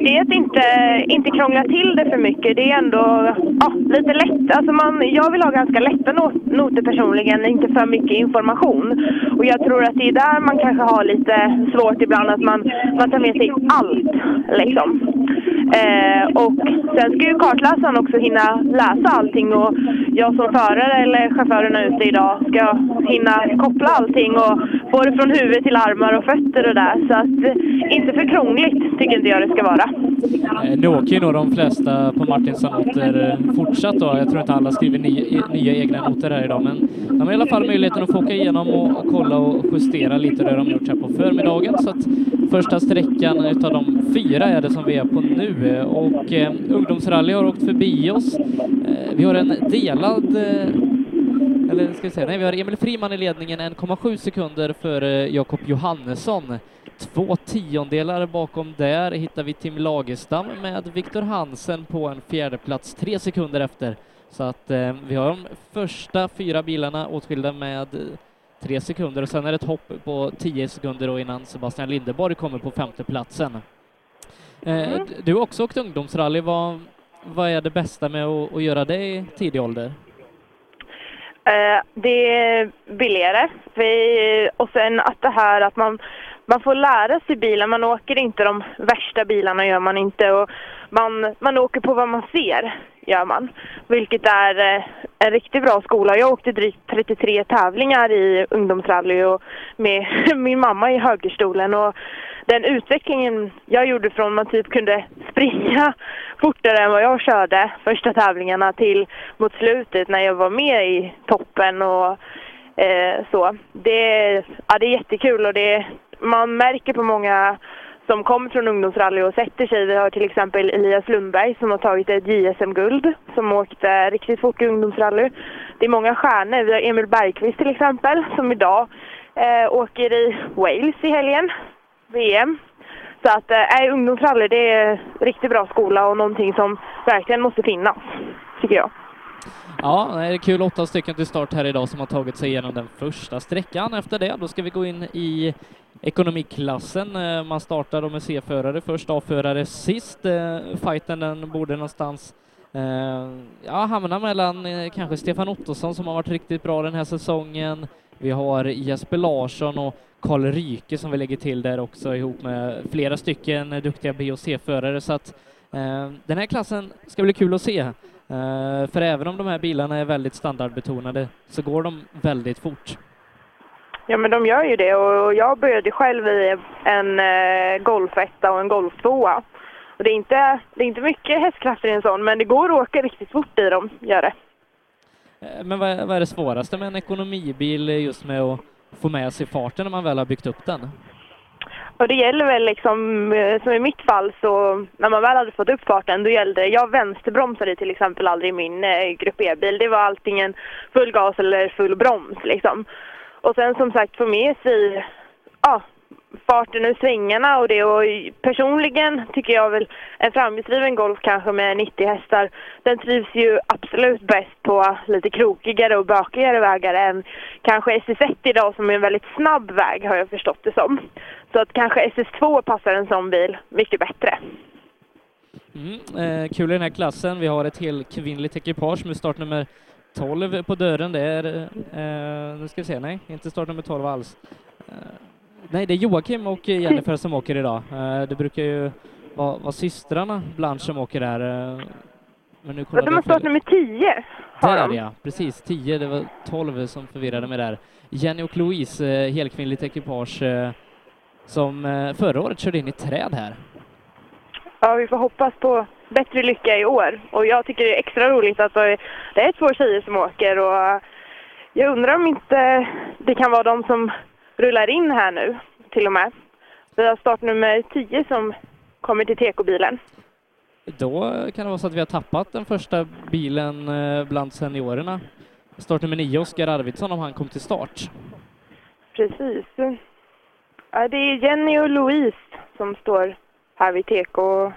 [SPEAKER 7] Det är att inte, inte krångla till det för mycket. Det är ändå ja, lite lätt. Alltså man, jag vill ha ganska lätta not- noter personligen, inte för mycket information. Och jag tror att det är där man kanske har lite svårt ibland, att man, man tar med sig allt. Liksom. Eh, och sen ska ju kartläsaren också hinna läsa allting och jag som förare eller chaufförerna ute idag ska hinna koppla allting och både från huvud till armar och fötter och där. Så att, eh, inte för krångligt tycker inte jag det ska vara.
[SPEAKER 1] Eh, Nu åker ju nog de flesta på Martinsson-noter eh, fortsatt då. Jag tror inte alla skriver nya, e- nya egna noter här idag, men de har i alla fall möjligheten att få åka igenom och, och kolla och justera lite det de gjort här på förmiddagen. Så att första sträckan utav de fyra är det som vi är på nu eh, och eh, ungdomsrally har åkt förbi oss. Eh, vi har en delad eh, eller ska vi säga, nej vi har Emil Friman i ledningen 1,7 sekunder för eh, Jakob Johannesson. Två tiondelar bakom där hittar vi Tim Lagerstam med Viktor Hansen på en fjärde plats tre sekunder efter. Så att eh, vi har de första fyra bilarna åtskilda med eh, tre sekunder och sen är det ett hopp på tio sekunder då innan Sebastian Lindeborg kommer på femte platsen. Eh, d- du har också åkt ungdomsrally. Vad, vad är det bästa med att, att göra det i tidig ålder?
[SPEAKER 7] Eh, det är billigare. Vi, och sen att det här att man, man får lära sig bilen. Man åker inte de värsta bilarna, gör man inte. Och man, man åker på vad man ser, gör man. Vilket är eh, en riktigt bra skola. Jag åkte drygt 33 tävlingar i ungdomsrally och med min mamma i högerstolen. Och den utvecklingen jag gjorde från man typ kunde springa fortare än vad jag körde första tävlingarna till mot slutet när jag var med i toppen och eh, så. Det, ja, det är jättekul och det, man märker på många som kommer från ungdomsrally och sätter sig. Vi har till exempel Elias Lundberg som har tagit ett JSM-guld som åkte riktigt fort i ungdomsrally. Det är många stjärnor. Vi har Emil Bergqvist till exempel som idag eh, åker i Wales i helgen, VM. Så att eh, nej, ungdomsrally det är en riktigt bra skola och någonting som verkligen måste finnas, tycker jag.
[SPEAKER 1] Ja, nej, det är kul. Åtta stycken till start här idag som har tagit sig igenom den första sträckan. Efter det, då ska vi gå in i ekonomiklassen. Eh, Man startar då med C-förare först, A-förare sist. Eh, Fighten den borde någonstans eh, ja, hamna mellan eh, kanske Stefan Ottosson som har varit riktigt bra den här säsongen. Vi har Jesper Larsson och Karl Ryke som vi lägger till där också ihop med flera stycken duktiga B och C-förare. Så att eh, den här klassen ska bli kul att se. Eh, För även om de här bilarna är väldigt standardbetonade så går de väldigt fort.
[SPEAKER 7] Ja, men de gör ju det. Och jag började själv i en eh, golfetta och en golftvåa. Och det, är inte, det är inte mycket hästkrafter i en sån, men det går att åka riktigt fort i dem. Gör det.
[SPEAKER 1] Eh, Men vad är, vad är det svåraste med en ekonomibil eh, just med att få med sig farten när man väl har byggt upp den?
[SPEAKER 7] Och det gäller väl liksom, eh, som i mitt fall, så när man väl hade fått upp farten, då gällde det, jag vänsterbromsade till exempel aldrig i min eh, Grupp E-bil. Det var antingen full gas eller full broms liksom. Och sen som sagt få med sig ja, farten ur svängarna och det. Och personligen tycker jag väl en framhjulsdriven Golf kanske med 90 hästar, den trivs ju absolut bäst på lite krokigare och bökigare vägar än kanske SS1 idag som är en väldigt snabb väg har jag förstått det som. Så att kanske SS2 passar en sån bil mycket bättre.
[SPEAKER 1] Mm, eh, kul i den här klassen. Vi har ett helt kvinnligt ekipage med startnummer 12 på dörren. Det är, eh, nu ska vi se, nej, inte startnummer 12 alls. Eh, nej, det är Joakim och Jennifer som åker idag. Eh, det brukar ju vara vara systrarna Blanche som åker där. Eh, men nu
[SPEAKER 7] Och
[SPEAKER 1] kollade
[SPEAKER 7] de har
[SPEAKER 1] jag fel.
[SPEAKER 7] startnummer 10.
[SPEAKER 1] Där är det ja, precis. 10, det var 12 som förvirrade mig där. Jenny och Louise, eh, helkvinnligt ekipage eh, som eh, förra året körde in i träd här.
[SPEAKER 7] Ja, vi får hoppas på bättre lycka i år. Och jag tycker det är extra roligt att det är två tjejer som åker och jag undrar om inte det kan vara de som rullar in här nu till och med. Vi har startnummer 10 som kommer till TK-bilen.
[SPEAKER 1] Då eh, kan det vara så att vi har tappat den första bilen eh, bland seniorerna. Startnummer 9, Oskar Arvidsson, om han kom till start.
[SPEAKER 7] Precis. Ja, det är Jenny och Louise som står här vid TK och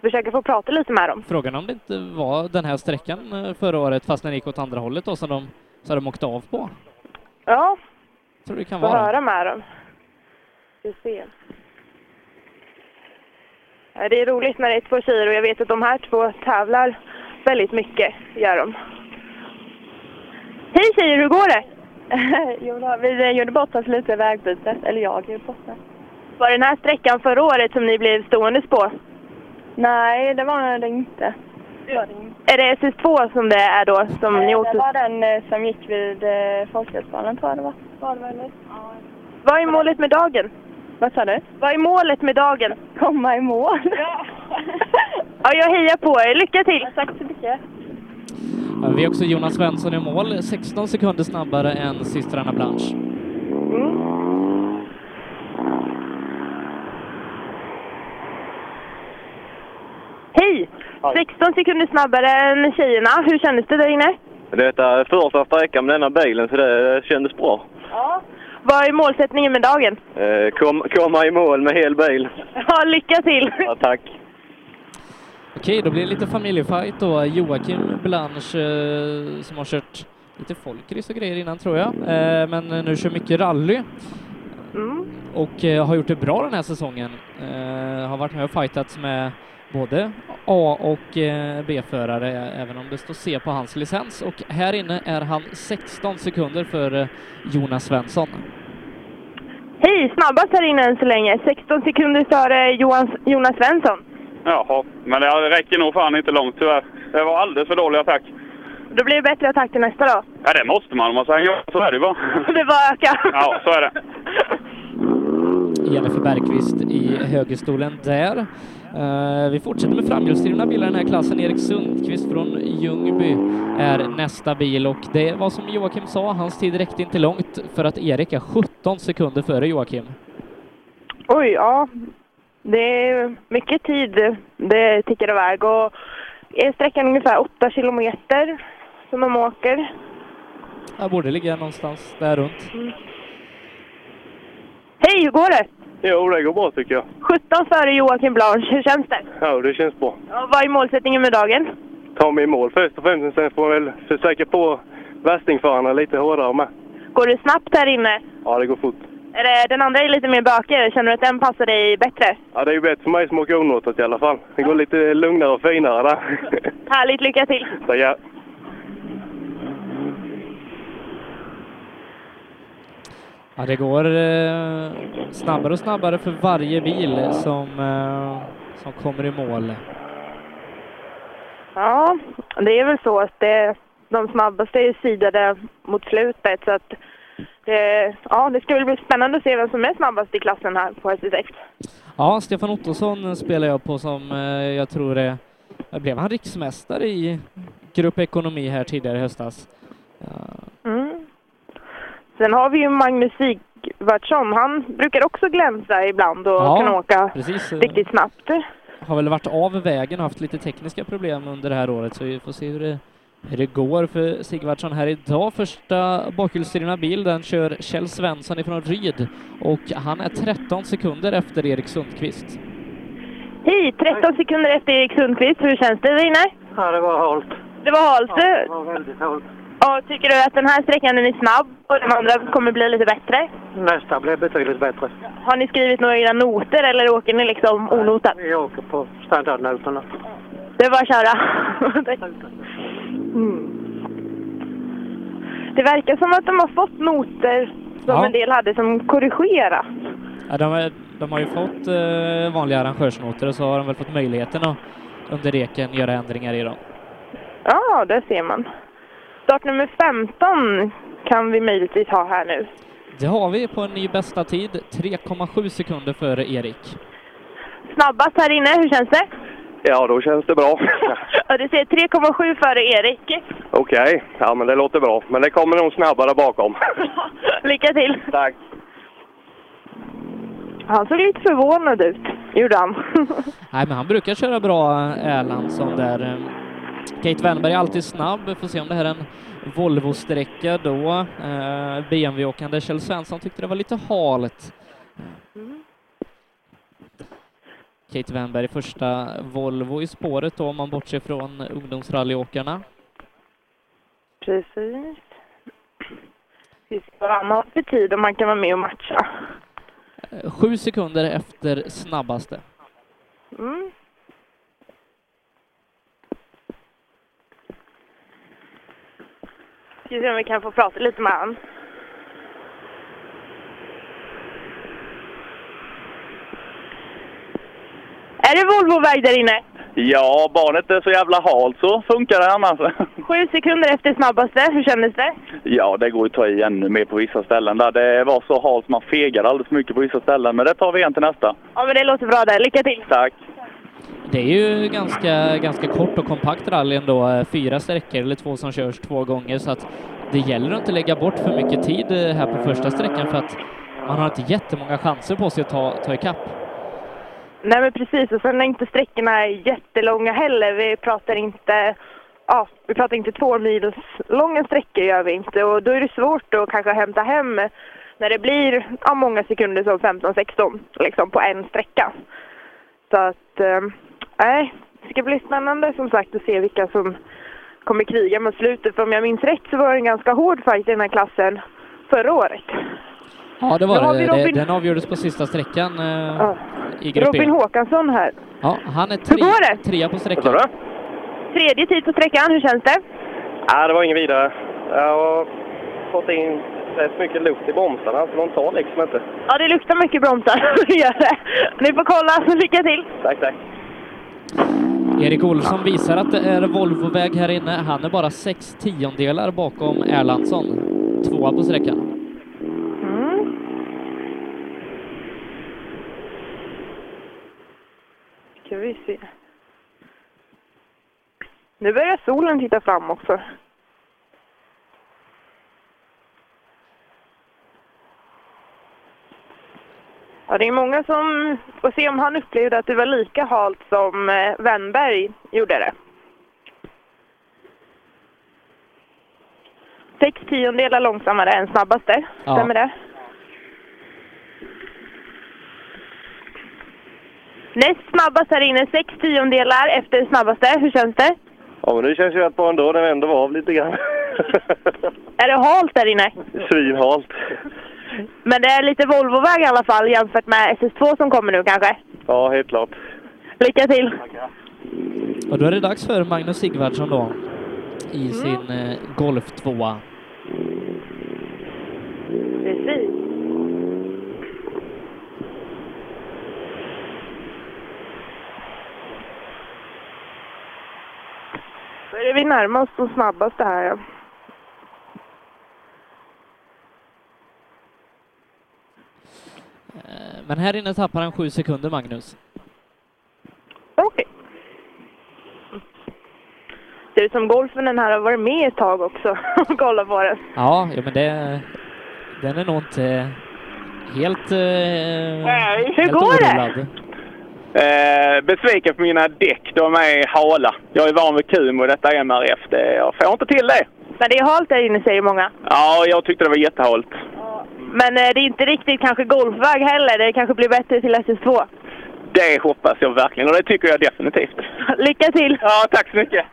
[SPEAKER 7] försöker få prata lite med dem.
[SPEAKER 1] Frågan om det inte var den här sträckan eh, förra året, fast när det gick åt andra hållet då, som de, så de åkte av på.
[SPEAKER 7] Ja,
[SPEAKER 1] Tror det kan
[SPEAKER 7] få
[SPEAKER 1] vara.
[SPEAKER 7] höra med dem. ska se. Ja, Det är roligt när det är två tjejer och jag vet att de här två tävlar väldigt mycket, gör de. Hej tjejer, hur går det? jo, då, vi gjorde bort oss lite i vägbytet, eller jag gjorde bort mig. Var det den här sträckan förra året som ni blev ståendes på? Nej, det var det inte. Är det SS2 som det är då? Som ni åkte...
[SPEAKER 8] den som gick vid Folkrättsbanan tror jag det var. Var det väl?
[SPEAKER 7] Vad är målet med dagen? Vad sa du? Vad är målet med dagen? Komma i mål. Ja, jag hejar på er. Lycka till! Tack så mycket.
[SPEAKER 1] Ja, Vi har också Jonas Svensson i mål, 16 sekunder snabbare än systrarna Blanche.
[SPEAKER 7] Hej! 16 sekunder snabbare än tjejerna. Hur kändes det där inne?
[SPEAKER 9] Detta
[SPEAKER 10] eh,
[SPEAKER 9] är första sträckan med denna bilen så det kändes bra.
[SPEAKER 7] Ja. Vad är målsättningen med dagen?
[SPEAKER 9] Eh, Kom, komma i mål med hel bil.
[SPEAKER 7] Ja, lycka till!
[SPEAKER 9] Ja, tack.
[SPEAKER 1] Okej, då blir det lite familjefight då. Joakim Blanche eh, som har kört lite folkrace och grejer innan tror jag, eh, men nu kör mycket rally och eh, har gjort det bra den här säsongen. Eh, har varit med och fightats med både A och eh, B-förare, även om det står C på hans licens. Och här inne är han 16 sekunder för eh, Jonas Svensson.
[SPEAKER 7] Hej! Snabbast här inne än så länge. 16 sekunder före Johan, Jonas Svensson.
[SPEAKER 11] Jaha, men det räcker nog fan inte långt tyvärr. Det var alldeles för dålig attack.
[SPEAKER 7] Då blir det bättre attack till nästa då.
[SPEAKER 11] Ja, det måste man om man ska hänga med. Så är det ju bara.
[SPEAKER 7] Det är bara att öka.
[SPEAKER 11] Ja, så är det.
[SPEAKER 1] Jennifer Bergqvist i högerstolen där. Eh, vi fortsätter med framhjulsdrivna bilar i den här klassen. Erik Sundqvist från Ljungby är nästa bil och det var som Joakim sa, hans tid räckte inte långt för att Erik är 17 sekunder före Joakim.
[SPEAKER 7] Oj, ja. Det är mycket tid det tickar iväg. Och är sträckan ungefär 8 kilometer som de åker.
[SPEAKER 1] Jag borde ligga någonstans där runt.
[SPEAKER 7] Hej, hur går det?
[SPEAKER 10] Jo, det går bra tycker jag.
[SPEAKER 7] 17 före Joakim Blanche. Hur känns det?
[SPEAKER 10] Ja, det känns bra.
[SPEAKER 7] Och vad är målsättningen med dagen?
[SPEAKER 10] Ta mig i mål först och främst, sen får man väl försöka på värstingförarna lite hårdare med.
[SPEAKER 7] Går det snabbt här inne?
[SPEAKER 10] Ja, det går fort.
[SPEAKER 7] Är det, den andra är lite mer bökig. Känner du att den passar dig bättre?
[SPEAKER 10] Ja, det är ju bättre för mig som åker onåtat i alla fall. Det går lite lugnare och finare där.
[SPEAKER 7] Härligt, lycka till!
[SPEAKER 10] Så ja.
[SPEAKER 1] Ja, det går eh, snabbare och snabbare för varje bil som, eh, som kommer i mål.
[SPEAKER 7] Ja, det är väl så att det, de snabbaste är sidade mot slutet. Så att det, ja, det ska väl bli spännande att se vem som är snabbast i klassen här på SS6.
[SPEAKER 1] Ja, Stefan Ottosson spelar jag på som eh, jag tror är... Blev han riksmästare i grupp ekonomi här tidigare i höstas?
[SPEAKER 7] Mm. Sen har vi ju Magnus Sigvardsson. Han brukar också glänsa ibland och
[SPEAKER 1] Ja,
[SPEAKER 7] kan åka
[SPEAKER 1] precis. eh,
[SPEAKER 7] riktigt snabbt.
[SPEAKER 1] Har väl varit av vägen och haft lite tekniska problem under det här året, så vi får se hur det, hur det går för Sigvardsson här idag. Första bakhjulsdrivna bil, den kör Kjell Svensson ifrån Ryd och han är 13 sekunder efter Erik Sundqvist.
[SPEAKER 7] Hej! 13 sekunder efter Erik Sundqvist. Hur känns det där inne?
[SPEAKER 12] Ja, det var halt.
[SPEAKER 7] Det var halt.
[SPEAKER 12] det var väldigt halt.
[SPEAKER 7] Och tycker du att den här sträckan den är snabb och den andra kommer bli lite bättre?
[SPEAKER 12] Nästa blev betydligt bättre.
[SPEAKER 7] Har ni skrivit några noter eller åker ni liksom onotat?
[SPEAKER 12] Vi åker på standardnoterna.
[SPEAKER 7] Det är bara att köra. Mm. Det verkar som att de har fått noter som
[SPEAKER 1] Ja.
[SPEAKER 7] en del hade som korrigera.
[SPEAKER 1] Ja, de, är- de har ju fått eh, vanliga arrangörsnoter och så har de väl fått möjligheten att under reken göra ändringar i dem.
[SPEAKER 7] Ja, där ser man. Start nummer 15 kan vi möjligtvis ha här nu.
[SPEAKER 1] Det har vi på en ny bästa tid, 3,7 sekunder före Erik.
[SPEAKER 7] Snabbast här inne, hur känns det?
[SPEAKER 9] Ja, då känns det bra.
[SPEAKER 7] Ja, du ser 3,7 före Erik.
[SPEAKER 9] Okej, ja men det låter bra. Men det kommer nog snabbare bakom.
[SPEAKER 7] Lycka till! Tack! Han såg lite förvånad ut, gjorde han.
[SPEAKER 1] Nej, men han brukar köra bra, Erlandsson där. Eh, Kate Wennberg är alltid snabb, Vi får se om det här är en Volvo-sträcka då. Eh, BMW-åkande Kjell Svensson tyckte det var lite halt. Kate Wennberg, första Volvo i spåret då, om man bortser från ungdomsrallyåkarna.
[SPEAKER 7] Precis. Vi ska se vad han har för tid om man kan vara med och matcha.
[SPEAKER 1] Eh, Sju sekunder efter snabbaste.
[SPEAKER 7] Mm. Ska vi se om vi kan få prata lite med han. Är det Volvoväg där inne?
[SPEAKER 9] Ja, barnet är så jävla halt så funkar det annars.
[SPEAKER 7] Sju sekunder efter snabbaste, hur kändes det?
[SPEAKER 9] Ja, det går ju att ta i ännu mer på vissa ställen. Där det var så halt så man fegade alldeles för mycket på vissa ställen. Men det tar vi igen till nästa.
[SPEAKER 7] Ja men det låter bra där, lycka till!
[SPEAKER 9] Tack!
[SPEAKER 1] Det är ju ganska, ganska kort och kompakt rally ändå. eh, Fyra sträckor eller två som körs två gånger så att det gäller att inte lägga bort för mycket tid eh, här på första sträckan för att man har inte jättemånga chanser på sig att ta, ta ikapp.
[SPEAKER 7] Nej men precis, och sen är inte sträckorna jättelånga heller. Vi pratar inte, ja, vi pratar inte två mils långa sträckor gör vi inte. Och då är det svårt att kanske hämta hem när det blir ja, många sekunder som 15-16 liksom på en sträcka. Så att, eh, nej, det ska bli spännande som sagt att se vilka som kommer kriga mot slutet. För om jag minns rätt så var det en ganska hård fight i den här klassen förra året.
[SPEAKER 1] Ja, det
[SPEAKER 7] Då har
[SPEAKER 1] var
[SPEAKER 7] vi
[SPEAKER 1] det. det.
[SPEAKER 7] Robin-
[SPEAKER 1] Den avgjordes på sista sträckan eh, i grupp
[SPEAKER 7] Robin
[SPEAKER 1] E.
[SPEAKER 7] Håkansson här.
[SPEAKER 1] Ja, han är tre, trea på sträckan.
[SPEAKER 7] Tredje tid på sträckan, hur känns det?
[SPEAKER 13] Nej, det var ingen vidare. Jag har fått in rätt mycket luft i bromsarna, så de tar liksom inte.
[SPEAKER 7] Ja, det luktar mycket bromsar. Det gör det. Ni får kolla, så lycka till!
[SPEAKER 13] Tack, tack.
[SPEAKER 1] Erik Olsson visar att det är Volvoväg här inne. Han är bara sex tiondelar bakom Erlandsson. Tvåa på sträckan.
[SPEAKER 7] Ska vi se. Nu börjar solen titta fram också. Ja, det är många som får se om han upplevde att det var lika halt som eh, Wennberg gjorde det. Sex tiondelar långsammare än snabbaste.
[SPEAKER 1] Ja.
[SPEAKER 7] Stämmer det? Näst snabbast här inne, sex tiondelar efter snabbaste. Hur känns det?
[SPEAKER 13] Ja, men det känns ju rätt bra ändå. Den ändå var av lite grann.
[SPEAKER 7] Är det halt där inne?
[SPEAKER 13] Svinhalt.
[SPEAKER 7] Men det är lite Volvoväg i alla fall jämfört med SS2 som kommer nu kanske.
[SPEAKER 13] Ja, helt klart.
[SPEAKER 7] Lycka till!
[SPEAKER 1] Och då är det dags för Magnus Sigvardsson då i sin eh, Golf 2.
[SPEAKER 7] Precis. Börjar vi närma oss de snabbaste här ja.
[SPEAKER 1] Eh, Men här inne tappar han sju sekunder, Magnus.
[SPEAKER 7] Det ser ut som golfen den här har varit med ett tag också. Kolla på den.
[SPEAKER 1] Ja, ja men det... Den är nog inte helt... Eh,
[SPEAKER 7] Nej, hur
[SPEAKER 1] helt
[SPEAKER 7] går det?
[SPEAKER 1] oroad.
[SPEAKER 9] Eh, besviken på mina däck. De är hala. Jag är van vid Kumo och detta är MRF. Det, jag får inte till det.
[SPEAKER 7] Men det är halt där inne säger många.
[SPEAKER 9] Ja, jag tyckte det var jättehalt.
[SPEAKER 7] Men eh, det är inte riktigt kanske golfväg heller. Det kanske blir bättre till SS2.
[SPEAKER 9] Det hoppas jag verkligen och det tycker jag definitivt.
[SPEAKER 7] Lycka till!
[SPEAKER 9] Ja, tack så mycket!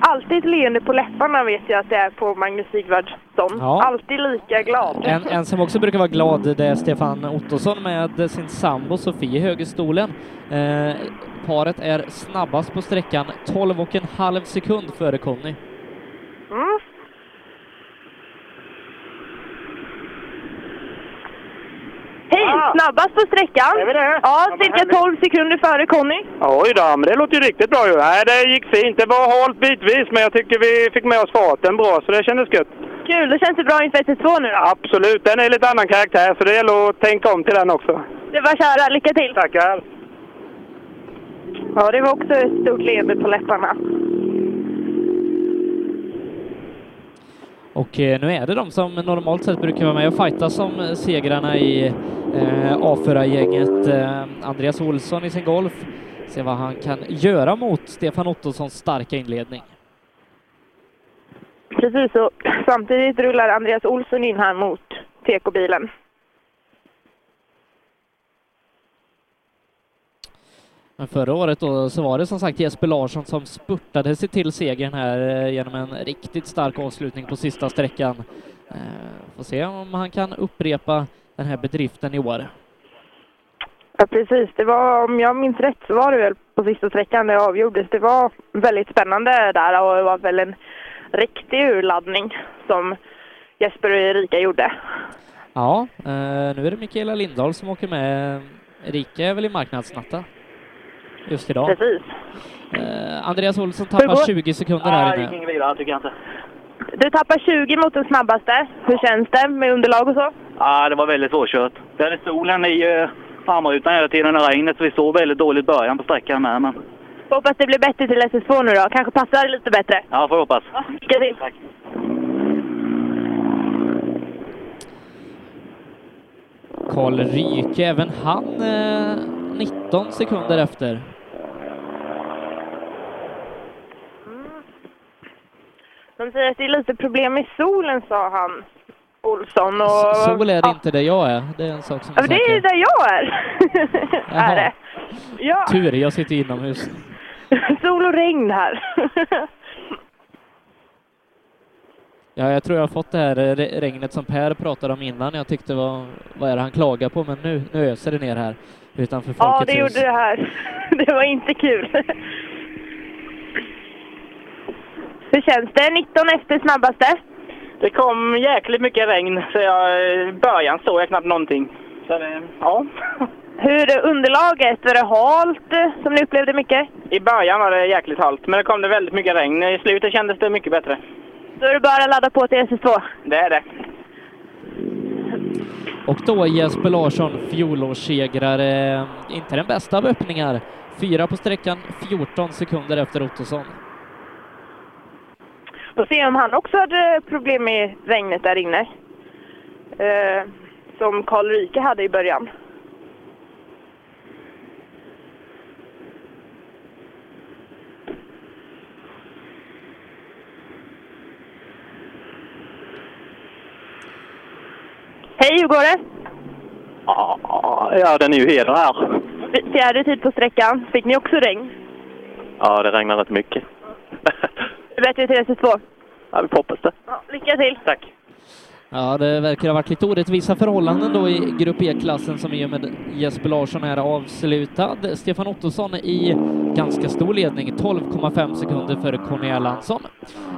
[SPEAKER 7] Alltid ett leende på läpparna vet jag att det är på Magnus Sigvardsson.
[SPEAKER 1] Ja.
[SPEAKER 7] Alltid lika glad.
[SPEAKER 1] En, en som också brukar vara glad, det är Stefan Ottosson med sin sambo Sofie i högerstolen. Eh, paret är snabbast på sträckan, 12 och en halv sekund före Conny.
[SPEAKER 7] Mm. Hej! Snabbast på sträckan. Är vi det? Ja, cirka 12 sekunder före Conny.
[SPEAKER 13] Oj då, men det låter ju riktigt bra ju. Nej, det gick fint. Det var halt bitvis, men jag tycker vi fick med oss farten bra, så det kändes gött.
[SPEAKER 7] Kul, det känns det bra inför SS2 nu då?
[SPEAKER 13] Absolut, den är lite annan karaktär, så det gäller att tänka om till den också.
[SPEAKER 7] Det var köra, lycka till!
[SPEAKER 13] Tackar!
[SPEAKER 7] Ja, det var också ett stort leende på läpparna.
[SPEAKER 1] Och eh, nu är det de som normalt sett brukar vara med och fighta som eh, segrarna i eh, A4-gänget. Eh, Andreas Olsson i sin Golf. Se vad han kan göra mot Stefan Ottossons starka inledning.
[SPEAKER 7] Precis, och samtidigt rullar Andreas Olsson in här mot TK-bilen.
[SPEAKER 1] Men förra året då så var det som sagt Jesper Larsson som spurtade sig till segern här eh, genom en riktigt stark avslutning på sista sträckan. Eh, Får se om han kan upprepa den här bedriften i år.
[SPEAKER 7] Ja, precis. Det var, om jag minns rätt så var det väl på sista sträckan det avgjordes. Det var väldigt spännande där och det var väl en riktig urladdning som Jesper och Erika gjorde.
[SPEAKER 1] Ja, eh, nu är det Mikaela Lindahl som åker med. Erika är väl i marknadsnatta just idag.
[SPEAKER 7] Precis.
[SPEAKER 1] Eh, Andreas Olsson
[SPEAKER 7] Hur går-
[SPEAKER 1] tappar 20 sekunder här
[SPEAKER 6] Nej, det
[SPEAKER 1] inne.
[SPEAKER 6] gick inget vidare tycker jag inte.
[SPEAKER 7] Du tappar 20 mot den snabbaste. Hur känns det med underlag och så?
[SPEAKER 6] Ja, det var väldigt svårkört. Vi hade solen i eh, framrutan hela tiden och regnet så vi såg väldigt dåligt början på sträckan med. Men
[SPEAKER 7] Får Hoppas det blir bättre till SS2 nu då. Kanske passar lite bättre.
[SPEAKER 6] ja, får hoppas.
[SPEAKER 7] Lycka till!
[SPEAKER 1] Karl Ryke, även han eh, 19 sekunder efter.
[SPEAKER 7] De säger att det är lite problem med solen, sa han. Olsson och...
[SPEAKER 1] Sol är det inte där jag är, det är en sak som
[SPEAKER 7] Ja,
[SPEAKER 1] är
[SPEAKER 7] men det är ju
[SPEAKER 1] säker.
[SPEAKER 7] där jag är! är det. Ja,
[SPEAKER 1] Tur, jag sitter inomhus.
[SPEAKER 7] sol och regn här.
[SPEAKER 1] Ja, jag tror jag har fått det här eh, re- regnet som Per pratade om innan. Jag tyckte vad, vad är det han klagar på, men nu, nu öser det ner här utanför
[SPEAKER 7] ja,
[SPEAKER 1] Folkets
[SPEAKER 7] det
[SPEAKER 1] hus.
[SPEAKER 7] gjorde det här. det var inte kul. Hur känns det? 19 efter snabbaste?
[SPEAKER 14] Det kom jäkligt mycket regn, så jag, i början såg jag knappt någonting. Så det, ja.
[SPEAKER 7] Hur är underlaget? Var det halt eh, som ni upplevde mycket?
[SPEAKER 14] I början var det jäkligt halt, men det kom det väldigt mycket regn. I slutet kändes det mycket bättre.
[SPEAKER 7] Då är det bara att ladda på till SS2.
[SPEAKER 14] Det är det.
[SPEAKER 1] Och då Jesper Larsson, fjolårssegrare. Inte den bästa av öppningar. Fyra på sträckan, 14 sekunder efter Ottosson.
[SPEAKER 7] Får se om han också hade problem med regnet där inne. Eh, som Karl Ryke hade i början. Hej, hur går det?
[SPEAKER 15] Ja, den är ju heder här.
[SPEAKER 7] F- Fjärde tid på sträckan. Fick ni också regn?
[SPEAKER 15] Ja, det regnar rätt mycket.
[SPEAKER 7] Det är Bättre till SS2.
[SPEAKER 15] Ja, vi får hoppas det.
[SPEAKER 7] Ja, lycka till! Tack!
[SPEAKER 1] Ja, det verkar ha varit lite orättvisa förhållanden då i Grupp E-klassen som i och med Jesper Larsson är avslutad. Stefan Ottosson i ganska stor ledning, 12,5 sekunder före Cornelia Lansson.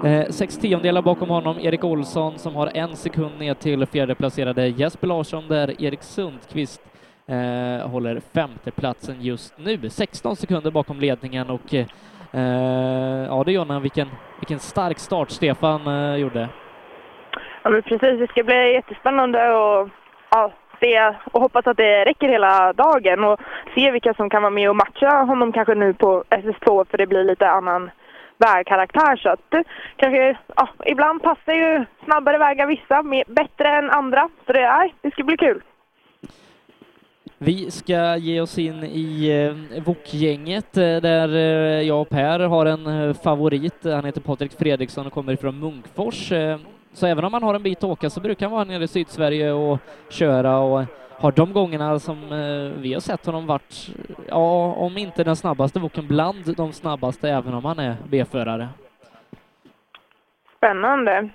[SPEAKER 1] Eh, sex tiondelar bakom honom, Erik Olsson som har en sekund ner till fjärdeplacerade Jesper Larsson där Erik Sundqvist eh, håller femteplatsen just nu. 16 sekunder bakom ledningen och eh, ja du Jonna, vilken, vilken stark start Stefan eh, gjorde.
[SPEAKER 7] Ja, men precis. Det ska bli jättespännande och, ja, se, och hoppas att det räcker hela dagen och se vilka som kan vara med och matcha honom kanske nu på SS2 för det blir lite annan vägkaraktär. Så att eh, kanske, ja, ibland passar ju snabbare vägar vissa mer, bättre än andra. Så det, nej, det ska bli kul.
[SPEAKER 1] Vi ska ge oss in i eh, Wok-gänget eh, där eh, jag och Per har en eh, favorit. Han heter Patrik Fredriksson och kommer ifrån Munkfors. Eh, så även om man har en bit att åka så brukar han vara nere i Sydsverige och köra och har de gångerna som eh, vi har sett honom varit, ja, om inte den snabbaste Woken, bland de snabbaste även om han är B-förare.
[SPEAKER 7] Spännande.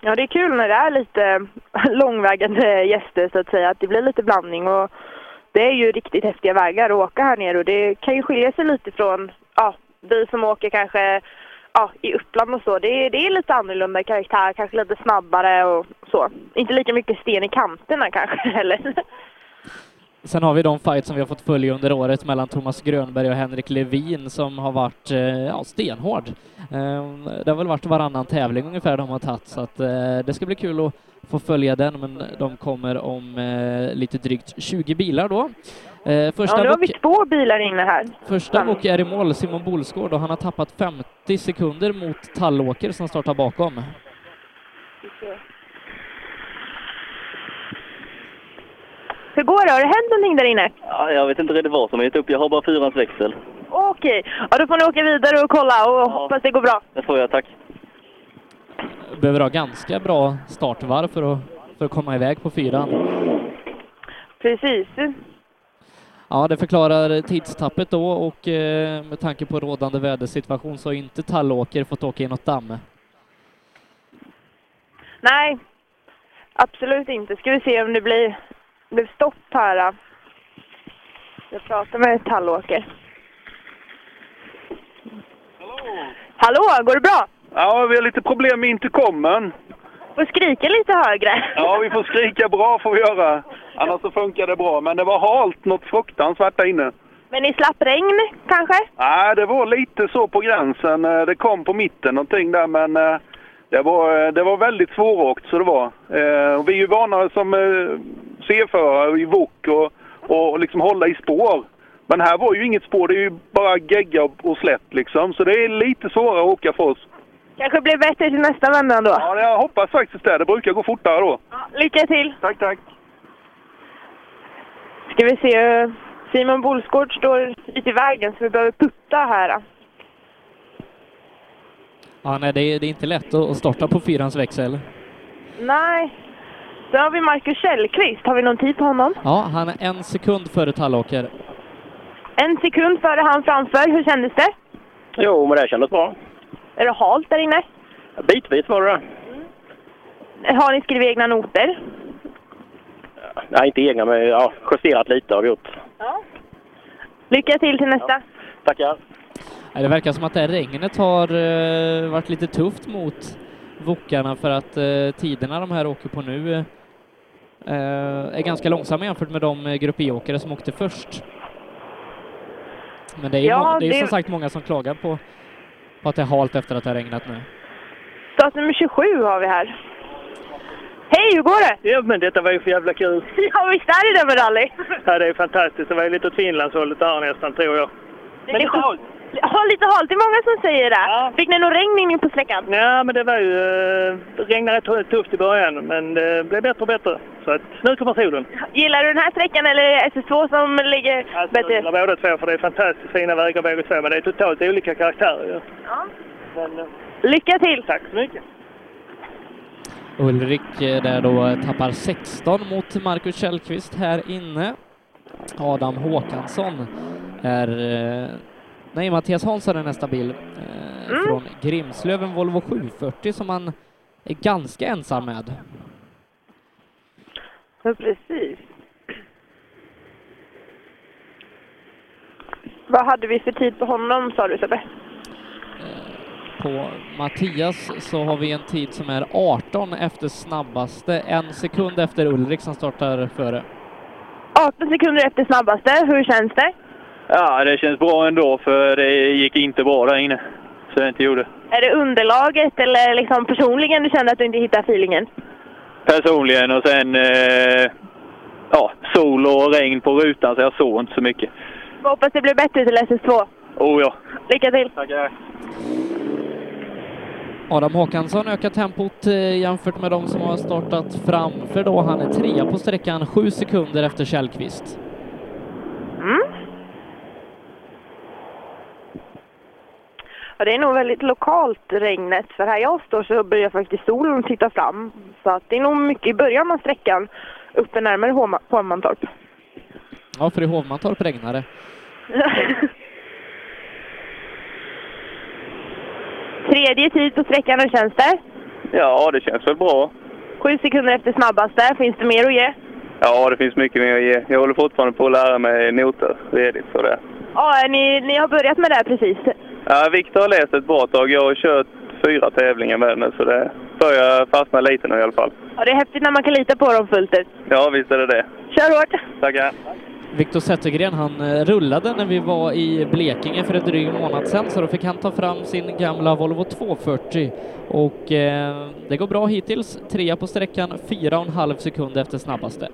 [SPEAKER 7] Ja, det är kul när det är lite långvägande gäster så att säga, att det blir lite blandning. Och det är ju riktigt häftiga vägar att åka här nere och det kan ju skilja sig lite från ja, vi som åker kanske ja, i Uppland och så. Det är, det är lite annorlunda karaktär, kanske lite snabbare och så. Inte lika mycket sten i kanterna kanske heller.
[SPEAKER 1] Sen har vi de fight som vi har fått följa under året mellan Thomas Grönberg och Henrik Levin som har varit eh, ja, stenhård. Eh, Det har väl varit varannan tävling ungefär de har tagit så att eh, det ska bli kul att få följa den men de kommer om eh, lite drygt 20 bilar då. Eh,
[SPEAKER 7] ja,
[SPEAKER 1] Första
[SPEAKER 7] nu har
[SPEAKER 1] book-
[SPEAKER 7] vi två bilar inne här.
[SPEAKER 1] Första bok är i mål, Simon Bolsgård, och han har tappat 50 sekunder mot Tallåker som startar bakom.
[SPEAKER 7] Hur går det? Har det hänt någonting där inne?
[SPEAKER 15] Ja, jag vet inte riktigt vad som är gett upp. Jag har bara fyrans växel.
[SPEAKER 7] Okej, ja, då får ni åka vidare och kolla och hoppas det går bra.
[SPEAKER 15] Det får jag, tack.
[SPEAKER 1] Behöver ha ganska bra startvarv för att, för att komma iväg på fyran.
[SPEAKER 7] Precis.
[SPEAKER 1] Ja, det förklarar tidstappet då och eh, med tanke på rådande vädersituation så har inte Tallåker fått åka i något damm.
[SPEAKER 7] Nej. Absolut inte. Ska vi se om det blir, blir stopp här. då. Jag pratar med Tallåker. Hallå! Hallå, går det bra?
[SPEAKER 3] Ja, vi har lite problem med intercomen.
[SPEAKER 7] Får skrika lite högre.
[SPEAKER 3] Ja, vi får skrika bra får vi göra. Annars så funkar det bra. Men det var halt något fruktansvärt där inne.
[SPEAKER 7] Men ni slapp regn kanske?
[SPEAKER 3] Nej, det var lite så på gränsen. Eh, Det kom på mitten någonting där, men eh, det var, eh, det var väldigt svåråkt så det var. Eh, och Vi är ju vana som eh, C-förare i vok och, och liksom hålla i spår. Men här var ju inget spår, det är ju bara gegga och, och slätt liksom. Så det är lite svårare att åka för oss.
[SPEAKER 7] Kanske blir bättre till nästa vända ändå.
[SPEAKER 3] Ja, jag hoppas faktiskt det. Det brukar gå fortare då.
[SPEAKER 7] Lycka till!
[SPEAKER 3] Tack, tack!
[SPEAKER 7] Ska vi se. eh, Simon Bolsgård står lite i vägen så vi behöver putta här. då.
[SPEAKER 1] Ja, nej, det är, det är inte lätt att att starta på fyrans växel.
[SPEAKER 7] Nej. Då har vi Marcus Källqvist. Har vi någon tid på honom?
[SPEAKER 1] Ja, han är en sekund före Tallåker.
[SPEAKER 7] En sekund före han framför. Hur kändes det?
[SPEAKER 16] Jo, men det kändes bra.
[SPEAKER 7] Är det halt där inne?
[SPEAKER 16] Bitvis var det
[SPEAKER 7] Har ni skrivit egna noter?
[SPEAKER 16] Nej, inte egna, men ja, justerat lite har vi gjort.
[SPEAKER 7] Lycka till till nästa.
[SPEAKER 16] Tackar.
[SPEAKER 1] Nej, det verkar som att det här regnet har eh, varit lite tufft mot vokarna för att eh, tiderna de här åker på nu eh, är ganska långsamma jämfört med de eh, Grupp E-åkare som åkte först. Men det är, ju
[SPEAKER 7] Ja,
[SPEAKER 1] må- det är
[SPEAKER 7] det-
[SPEAKER 1] som sagt många som klagar på, på att det är halt efter att det har regnat nu.
[SPEAKER 7] Start nummer 27 har vi här. Hej, hur går det?
[SPEAKER 4] Ja, men detta var ju för jävla kul.
[SPEAKER 7] Ja, visst är det det med rally?
[SPEAKER 4] Ja, det är fantastiskt. Det var ju lite åt Finlandshållet där nästan, tror jag.
[SPEAKER 7] Men lite halt. Ja, lite halt. Det är många som säger det. Fick ni någon regn in på släckan?
[SPEAKER 4] Ja, men det var ju... eh, Det regnade rätt tufft i början, men det blev bättre och bättre. Så att nu kommer solen.
[SPEAKER 7] Gillar du den här sträckan eller är det SS2 som ligger
[SPEAKER 4] Alltså, Jag
[SPEAKER 7] bättre?
[SPEAKER 4] gillar båda två, för det är fantastiskt fina vägar båda två, men det är totalt olika karaktärer ju.
[SPEAKER 7] Ja.
[SPEAKER 4] Men, eh,
[SPEAKER 7] Lycka till!
[SPEAKER 4] Tack så mycket!
[SPEAKER 1] Ulrik eh, där då tappar 16 mot Marcus Källqvist här inne. Adam Håkansson är... eh, Nej, Mattias Hansson är nästa bil eh, från Grimslöven Volvo 740 som han är ganska ensam med.
[SPEAKER 7] Ja, precis. Vad hade vi för tid på honom sa du Sebbe?
[SPEAKER 1] På Mattias så har vi en tid som är 18 efter snabbaste, en sekund efter Ulrik som startar före.
[SPEAKER 7] 18 sekunder efter snabbaste. Hur känns det?
[SPEAKER 17] Ja, det känns bra ändå för det gick inte bra där inne. Så jag inte gjorde.
[SPEAKER 7] Är det underlaget eller liksom personligen du kände att du inte hittar feelingen?
[SPEAKER 17] Personligen och sen eh, ja, sol och regn på rutan så jag såg inte så mycket.
[SPEAKER 7] Jag hoppas det blir bättre till SS2.
[SPEAKER 17] Oh ja.
[SPEAKER 7] Lycka till!
[SPEAKER 17] Tackar.
[SPEAKER 1] Adam Håkansson ökar tempot eh, jämfört med de som har startat framför då. Han är trea på sträckan, sju sekunder efter Källqvist.
[SPEAKER 7] Ja, det är nog väldigt lokalt regnet, för här jag står så börjar faktiskt solen titta fram. Så att det är nog mycket i början av sträckan, uppe närmare Håma- Håmantorp.
[SPEAKER 1] Ja, för i Hovmantorp regnar det.
[SPEAKER 7] Tredje tid på sträckan, hur känns det?
[SPEAKER 18] Ja, det känns väl bra.
[SPEAKER 7] Sju sekunder efter snabbaste, finns det mer att ge?
[SPEAKER 18] Ja, det finns mycket mer att ge. Jag håller fortfarande på att lära mig noter redigt för det.
[SPEAKER 7] Ja, ni, ni har börjat med det här precis.
[SPEAKER 18] Ja, Viktor har läst ett bra tag. Jag har kört fyra tävlingar med nu, så det börjar fastna lite nu i alla fall.
[SPEAKER 7] Ja, det är häftigt när man kan lita på dem fullt ut.
[SPEAKER 18] Ja, visst är det det.
[SPEAKER 7] Kör hårt!
[SPEAKER 18] Tackar.
[SPEAKER 1] Viktor Zettergren, han eh, rullade när vi var i Blekinge för en dryg månad sedan, så då fick han ta fram sin gamla Volvo 240. Och eh, det går bra hittills. Trea på sträckan, fyra och en halv sekund efter snabbaste.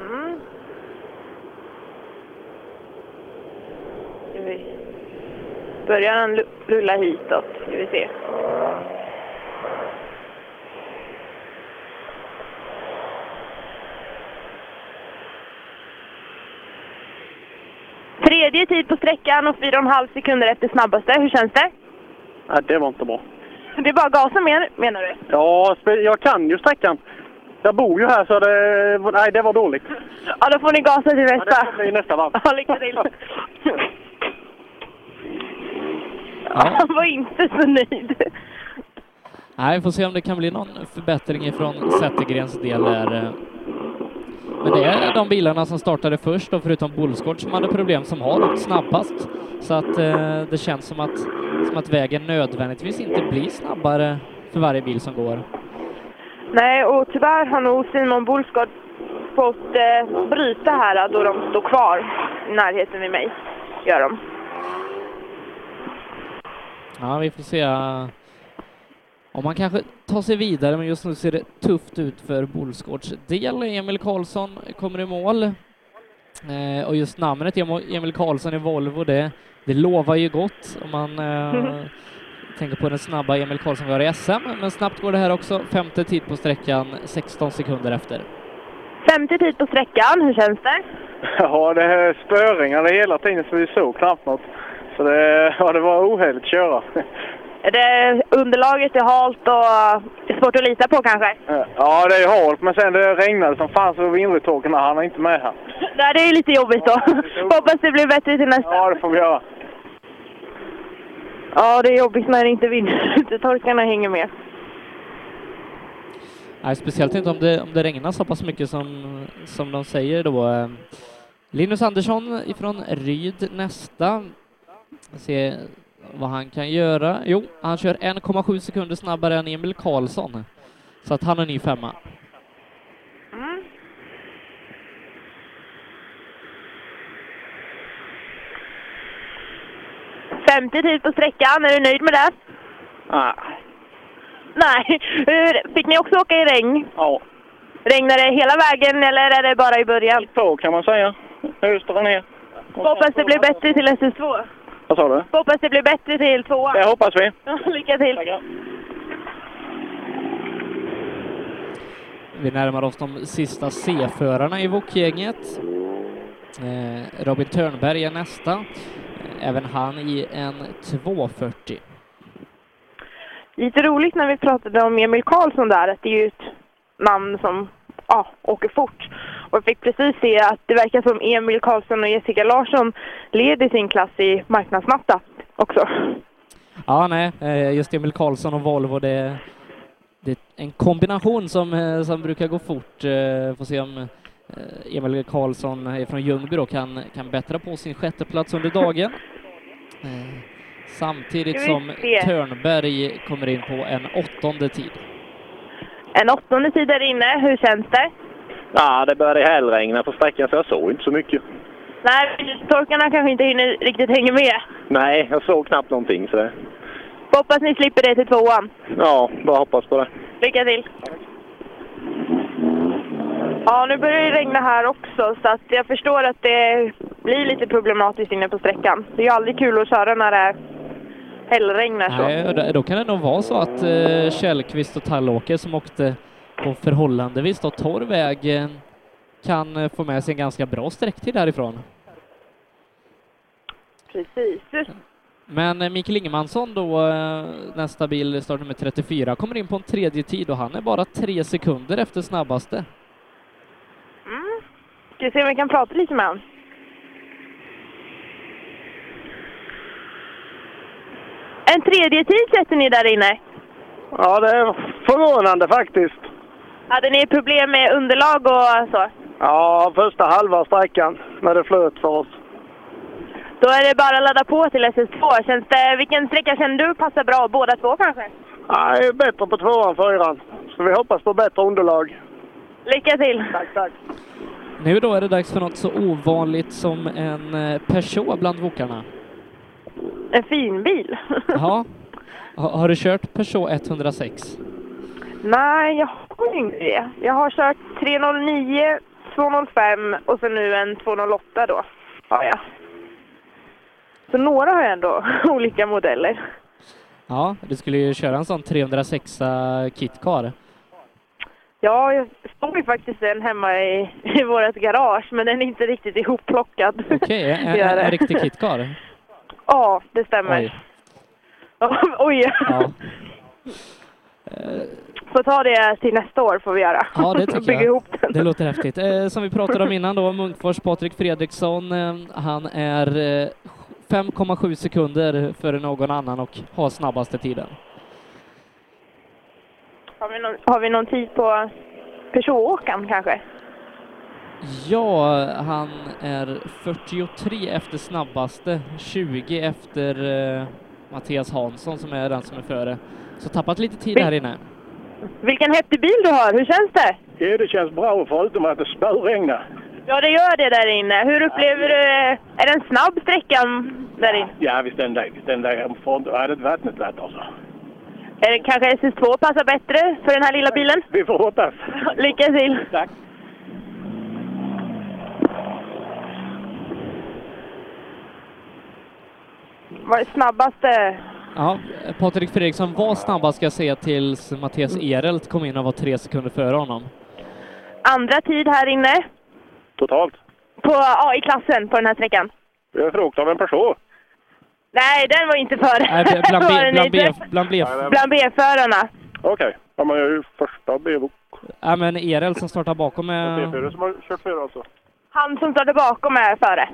[SPEAKER 7] Mm. Ska vi- Börjar han lu- rulla hitåt? Ska vi se. Tredje tid på sträckan och fyra och en halv sekunder efter snabbaste. Hur känns det?
[SPEAKER 4] Ja, det var inte bra.
[SPEAKER 7] Det är bara gasa mer, menar du?
[SPEAKER 4] Ja, spe- jag kan ju sträckan. Jag bor ju här, så det... Nej, det var dåligt.
[SPEAKER 7] Ja, då får ni gasa till nästa.
[SPEAKER 4] Ja, det får bli nästa varv.
[SPEAKER 7] Ja, lycka till. Han var inte så nöjd.
[SPEAKER 1] Nej, får se om det kan bli någon förbättring ifrån Zettergrens del där. Men det är de bilarna som startade först och förutom Bullsgård som hade problem som har åkt snabbast. Så att eh, det känns som att, som att vägen nödvändigtvis inte blir snabbare för varje bil som går.
[SPEAKER 7] Nej, och tyvärr har nog Simon Bullskott fått eh, bryta här då de står kvar i närheten vid mig. Gör de.
[SPEAKER 1] Ja, vi får se om man kanske tar sig vidare, men just nu ser det tufft ut för Bolsgårds del. Emil Karlsson kommer i mål. Eh, och just namnet Emo- Emil Karlsson i Volvo, det, det lovar ju gott om man eh, tänker på den snabba Emil Karlsson vi har i SM. Men snabbt går det här också. Femte tid på sträckan, 16 sekunder efter.
[SPEAKER 7] Femte tid på sträckan, hur känns det?
[SPEAKER 13] Ja, det är spöringar det hela tiden så vi såg knappt något. Så det, ja, det var ohejligt att köra.
[SPEAKER 7] Är det underlaget är halt och eh, svårt att lita på kanske?
[SPEAKER 13] Ja, det är halt, men sen det regnade som fan så vindrutetorkarna hann inte med här.
[SPEAKER 7] Nej, det är lite jobbigt då. Hoppas det blir bättre till nästa.
[SPEAKER 13] Ja, det får vi göra.
[SPEAKER 7] Ja, det är jobbigt när inte vindrutetorkarna hänger med.
[SPEAKER 1] Nej, speciellt inte om det, om det regnar så pass mycket som, som de säger då. Ehm, Linus Andersson ifrån Ryd nästa. Se vad han kan göra. Jo, han kör 1,7 sekunder snabbare än Emil Karlsson. Så att han är ny femma.
[SPEAKER 7] Femte tid på sträckan, är du nöjd med det?
[SPEAKER 9] Nej.
[SPEAKER 7] Nej. Hur, fick ni också åka i regn?
[SPEAKER 9] Ja.
[SPEAKER 7] Regnar det hela vägen eller är det bara i början?
[SPEAKER 9] På kan man säga. Östra ner.
[SPEAKER 7] Hoppas det blir bättre till SS2.
[SPEAKER 9] Vad sa du?
[SPEAKER 7] Hoppas det blir bättre till tvåan.
[SPEAKER 9] Det hoppas vi.
[SPEAKER 7] Lycka till!
[SPEAKER 1] Vi närmar oss de sista C-förarna i VOK-gänget. Eh, Robin Törnberg är nästa. Även han i en 240.
[SPEAKER 7] Lite roligt när vi pratade om Emil Karlsson där, att det är ju ett namn som ja, åker fort. Och jag fick precis se att det verkar som Emil Karlsson och Jessica Larsson leder sin klass i marknadsnatta också.
[SPEAKER 1] Ja, nej, eh, just Emil Karlsson och Volvo, det, det är en kombination som, eh, som brukar gå fort. Eh, Får se om eh, Emil Karlsson är från Ljungby då kan, kan bättra på sin sjätteplats under dagen. Eh, Samtidigt
[SPEAKER 7] Ska vi
[SPEAKER 1] som
[SPEAKER 7] se.
[SPEAKER 1] Törnberg kommer in på en åttonde tid.
[SPEAKER 7] En åttonde tid där inne, hur känns det?
[SPEAKER 19] Ja, det började hällregna på sträckan så jag såg inte så mycket.
[SPEAKER 7] Nej, torkarna kanske inte hinner riktigt hänga med.
[SPEAKER 19] Nej, jag såg knappt någonting så det...
[SPEAKER 7] Hoppas ni slipper det till tvåan.
[SPEAKER 19] Ja, bara hoppas på det.
[SPEAKER 7] Lycka till! Ja, nu börjar det regna här också så att jag förstår att det blir lite problematiskt inne på sträckan. Det är ju aldrig kul att köra när det hällregnar så.
[SPEAKER 1] Nej, och då- då kan det nog vara så att eh, Källqvist och Tallåker som åkte på förhållandevis då torr väg eh, kan eh, få med sig en ganska bra sträcktid därifrån.
[SPEAKER 7] Precis.
[SPEAKER 1] Men eh, Mikael Ingemansson då, eh, nästa bil, startnummer 34, kommer in på en tredje tid och han är bara tre sekunder efter snabbaste.
[SPEAKER 7] Mm. Ska vi se om vi kan prata lite med honom? En tredje tid sätter ni där inne.
[SPEAKER 13] Ja, det är förvånande faktiskt.
[SPEAKER 7] Hade ni problem med underlag och så?
[SPEAKER 13] Ja, första halva sträckan när det flöt för oss.
[SPEAKER 7] Då är det bara att ladda på till SS2. Känns det, vilken sträcka känner du passar bra? Båda två kanske?
[SPEAKER 13] Nej, bättre på tvåan, fyran. Så vi hoppas på bättre underlag.
[SPEAKER 7] Lycka till! Tack, tack!
[SPEAKER 1] Nu då är det dags för något så ovanligt som en eh, Peugeot bland vokarna.
[SPEAKER 7] En fin bil.
[SPEAKER 1] Ja. Ha- Har du kört Peugeot 106?
[SPEAKER 7] Nej, jag har inte det. Jag har kört 309, 205 och så nu en 208 då. Ja, ja. Så några har jag ändå, olika modeller.
[SPEAKER 1] Ja, du skulle ju köra en sån 306 KitKar.
[SPEAKER 7] Ja, jag står ju faktiskt en hemma i, i vårt garage, men den är inte riktigt ihopplockad.
[SPEAKER 1] Okej, en,
[SPEAKER 7] Det är
[SPEAKER 1] en,
[SPEAKER 7] det.
[SPEAKER 1] en riktig KitKar?
[SPEAKER 7] Ja, det stämmer.
[SPEAKER 1] Oj.
[SPEAKER 7] Ja, Oj!
[SPEAKER 1] Ja.
[SPEAKER 7] Får ta det till nästa år får vi göra.
[SPEAKER 1] Ja, det tycker
[SPEAKER 7] Bygga
[SPEAKER 1] jag.
[SPEAKER 7] ihop den.
[SPEAKER 1] Det låter häftigt. Eh, som vi pratade om innan då, Munkfors Patrik Fredriksson, eh, han är eh, 5,7 sekunder före någon annan och har snabbaste tiden.
[SPEAKER 7] Har vi någon, har vi någon tid på Peugeot-åkaren kanske?
[SPEAKER 1] Ja, han är 43 efter snabbaste, 20 efter eh, Mattias Hansson som är den som är före. Så tappat lite tid här inne.
[SPEAKER 7] Vilken häftig bil du har! Hur känns det?
[SPEAKER 20] Ja, det känns bra förutom att det spöregnar.
[SPEAKER 7] Ja, det gör det där inne. Hur upplever du... eh, Är det en snabb sträcka där inne?
[SPEAKER 20] Ja, visst den där, den där från, ja, det är vattnet lätt alltså.
[SPEAKER 7] Är det kanske SS2 passar bättre för den här lilla bilen?
[SPEAKER 20] Vi får hoppas.
[SPEAKER 7] Lycka till!
[SPEAKER 20] Tack!
[SPEAKER 7] Var det snabbaste?
[SPEAKER 1] Ja, Patrik Fredriksson var snabbast ska jag säga tills Mattias Erelt kom in och var tre sekunder före honom.
[SPEAKER 7] Andra tid här inne?
[SPEAKER 11] Totalt.
[SPEAKER 7] På AI-klassen på den här sträckan?
[SPEAKER 11] Vi är frukt av en person.
[SPEAKER 7] Nej, den var inte före.
[SPEAKER 1] Nej, bl- bland B-
[SPEAKER 7] Var den
[SPEAKER 1] bland
[SPEAKER 7] inte?
[SPEAKER 1] B- bland B-
[SPEAKER 7] Bland B-förarna.
[SPEAKER 11] Okej. Ja, men jag är ju första B-bok.
[SPEAKER 1] Ja, men Erelt som startar bakom är...
[SPEAKER 11] som har kört fyra alltså.
[SPEAKER 7] Han som står där bakom är före.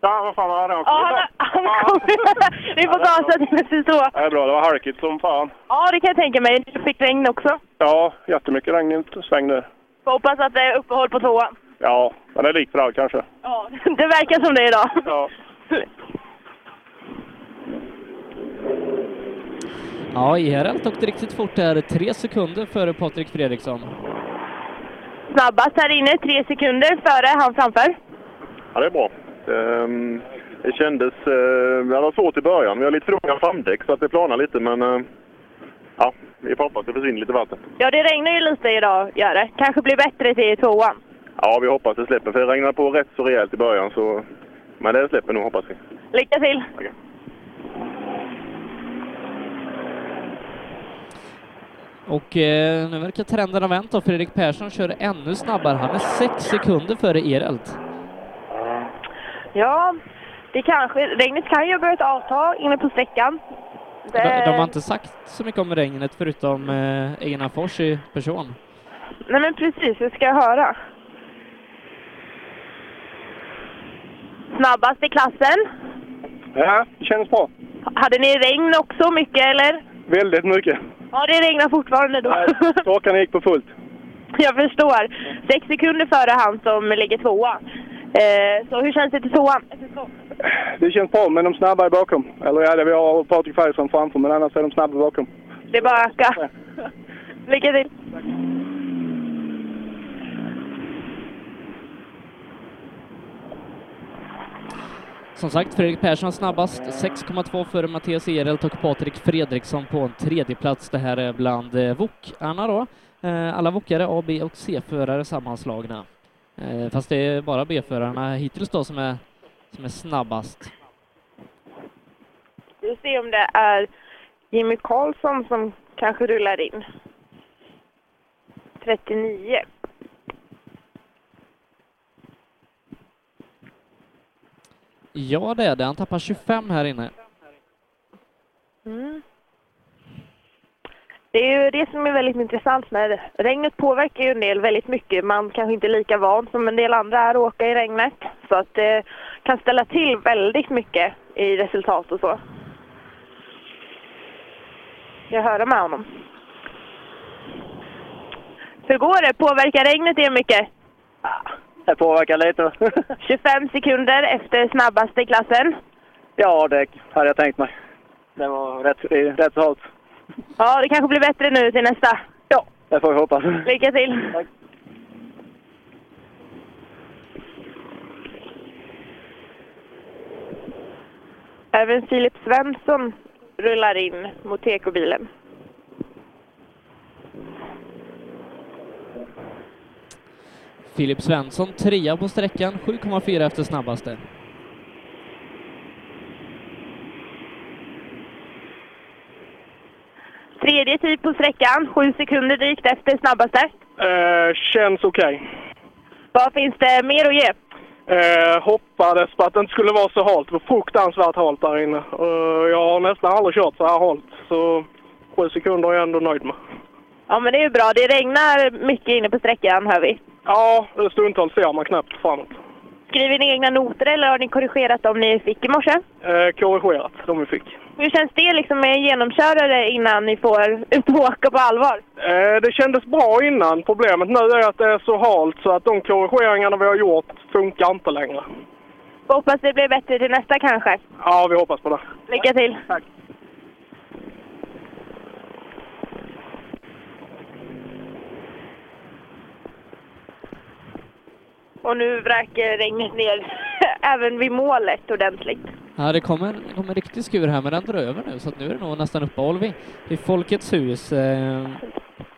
[SPEAKER 11] Ja, vad fan var det?
[SPEAKER 7] Ja, han, han kommer. Vi får gasa till SS2.
[SPEAKER 11] Det är bra, det var halkigt som fan.
[SPEAKER 7] Ja, det kan jag tänka mig. Du fick regn också.
[SPEAKER 11] Ja, jättemycket regn i en sväng nu.
[SPEAKER 7] Får hoppas att det är uppehåll på tvåan.
[SPEAKER 11] Ja, men det är likt för allt kanske.
[SPEAKER 7] Ja, det verkar som det idag.
[SPEAKER 11] Ja.
[SPEAKER 1] Ja, Erelt åkte riktigt fort där, tre sekunder före Patrik Fredriksson.
[SPEAKER 7] Snabbast här inne, tre sekunder före han framför.
[SPEAKER 21] Ja, det är bra. Ehm, Det kändes... eh, Det var svårt i början. Vi har lite för långa framdäck så att det planar lite, men... eh, Ja, vi får hoppas det försvinner lite vatten.
[SPEAKER 7] Ja, det regnar ju lite idag, gör det. Kanske blir bättre till tvåan.
[SPEAKER 21] Ja, vi hoppas det släpper, för det regnade på rätt så rejält i början, så... Men det släpper nog, hoppas vi.
[SPEAKER 7] Lycka till!
[SPEAKER 1] Och eh, nu verkar trenden ha vänt och Fredrik Persson kör ännu snabbare. Han är sex sekunder före Erelt.
[SPEAKER 7] Ja, det kanske... Regnet kan ju ha börjat avta inne på sträckan.
[SPEAKER 1] De, de har inte sagt så mycket om regnet förutom eh, Einar Fors i person.
[SPEAKER 7] Nej, men precis. Det ska jag höra. Snabbast i klassen.
[SPEAKER 10] Ja, det känns bra.
[SPEAKER 7] Hade ni regn också mycket, eller?
[SPEAKER 10] Väldigt mycket.
[SPEAKER 7] Ja, det regnar fortfarande då.
[SPEAKER 10] Torkarna gick på fullt.
[SPEAKER 7] Jag förstår. Sex sekunder före han som ligger tvåa. Eh, så hur känns det till tvåan?
[SPEAKER 10] Det känns bra, men de snabba är bakom. Eller ja, det vi har Patrik Färjesson framför, men annars är de snabba bakom.
[SPEAKER 7] Det bara ökar. Lycka till!
[SPEAKER 1] Som sagt, Fredrik Persson snabbast, 6,2 före Mattias Erelt och Patrik Fredriksson på en tredje plats. Det här är bland eh, Vokarna då. Eh, Alla Vokare, A, B och C-förare sammanslagna. Eh, Fast det är bara B-förarna hittills då som är, som är snabbast.
[SPEAKER 7] Vi får se om det är Jimmy Karlsson som kanske rullar in. 39.
[SPEAKER 1] Ja, det är det. Han tappar 25 här inne.
[SPEAKER 7] Mm. Det är ju det som är väldigt intressant med det. Regnet påverkar ju en del väldigt mycket. Man kanske inte är lika van som en del andra är att åka i regnet. Så att det kan ställa till väldigt mycket i resultat och så. Jag hörde med honom. Hur går det? Påverkar regnet er mycket?
[SPEAKER 6] Det påverkar lite.
[SPEAKER 7] 25 sekunder efter snabbaste i klassen.
[SPEAKER 6] ja, det hade jag tänkt mig. Det var rätt, rätt halt.
[SPEAKER 7] Ja, det kanske blir bättre nu till nästa. Ja.
[SPEAKER 6] Det får vi hoppas.
[SPEAKER 7] Lycka till! Även Filip Svensson rullar in mot tekobilen.
[SPEAKER 1] Filip Svensson trea på sträckan, 7,4 efter snabbaste.
[SPEAKER 7] Tredje tid på sträckan, sju sekunder drygt efter snabbaste.
[SPEAKER 13] Eh, känns okej.
[SPEAKER 7] Vad finns det mer att ge?
[SPEAKER 13] Eh, hoppades på att det inte skulle vara så halt. Det var fruktansvärt halt där inne. Eh, jag har nästan aldrig kört så här halt. Så sju sekunder är jag ändå nöjd med.
[SPEAKER 7] Ja, men det är ju bra. Det regnar mycket inne på sträckan, hör vi.
[SPEAKER 13] Ja, stundtals ser man knappt framåt.
[SPEAKER 7] Skriver ni egna noter eller har ni korrigerat dem ni fick i morse?
[SPEAKER 13] Eh, korrigerat, de vi fick.
[SPEAKER 7] Hur känns det liksom med en genomkörare innan ni får ut och åka på allvar?
[SPEAKER 10] Eh, Det kändes bra innan. Problemet nu är att det är så halt så att de korrigeringarna vi har gjort funkar inte längre.
[SPEAKER 7] Får Hoppas det blir bättre till nästa kanske.
[SPEAKER 10] Ja, vi hoppas på det.
[SPEAKER 7] Lycka till! Tack. Och nu vräker regnet ner även vid målet ordentligt.
[SPEAKER 1] Ja, det kom en, det kom en riktig skur här, men den drar över nu, så att nu är det nog nästan uppehåll vid, vid Folkets hus. Eh,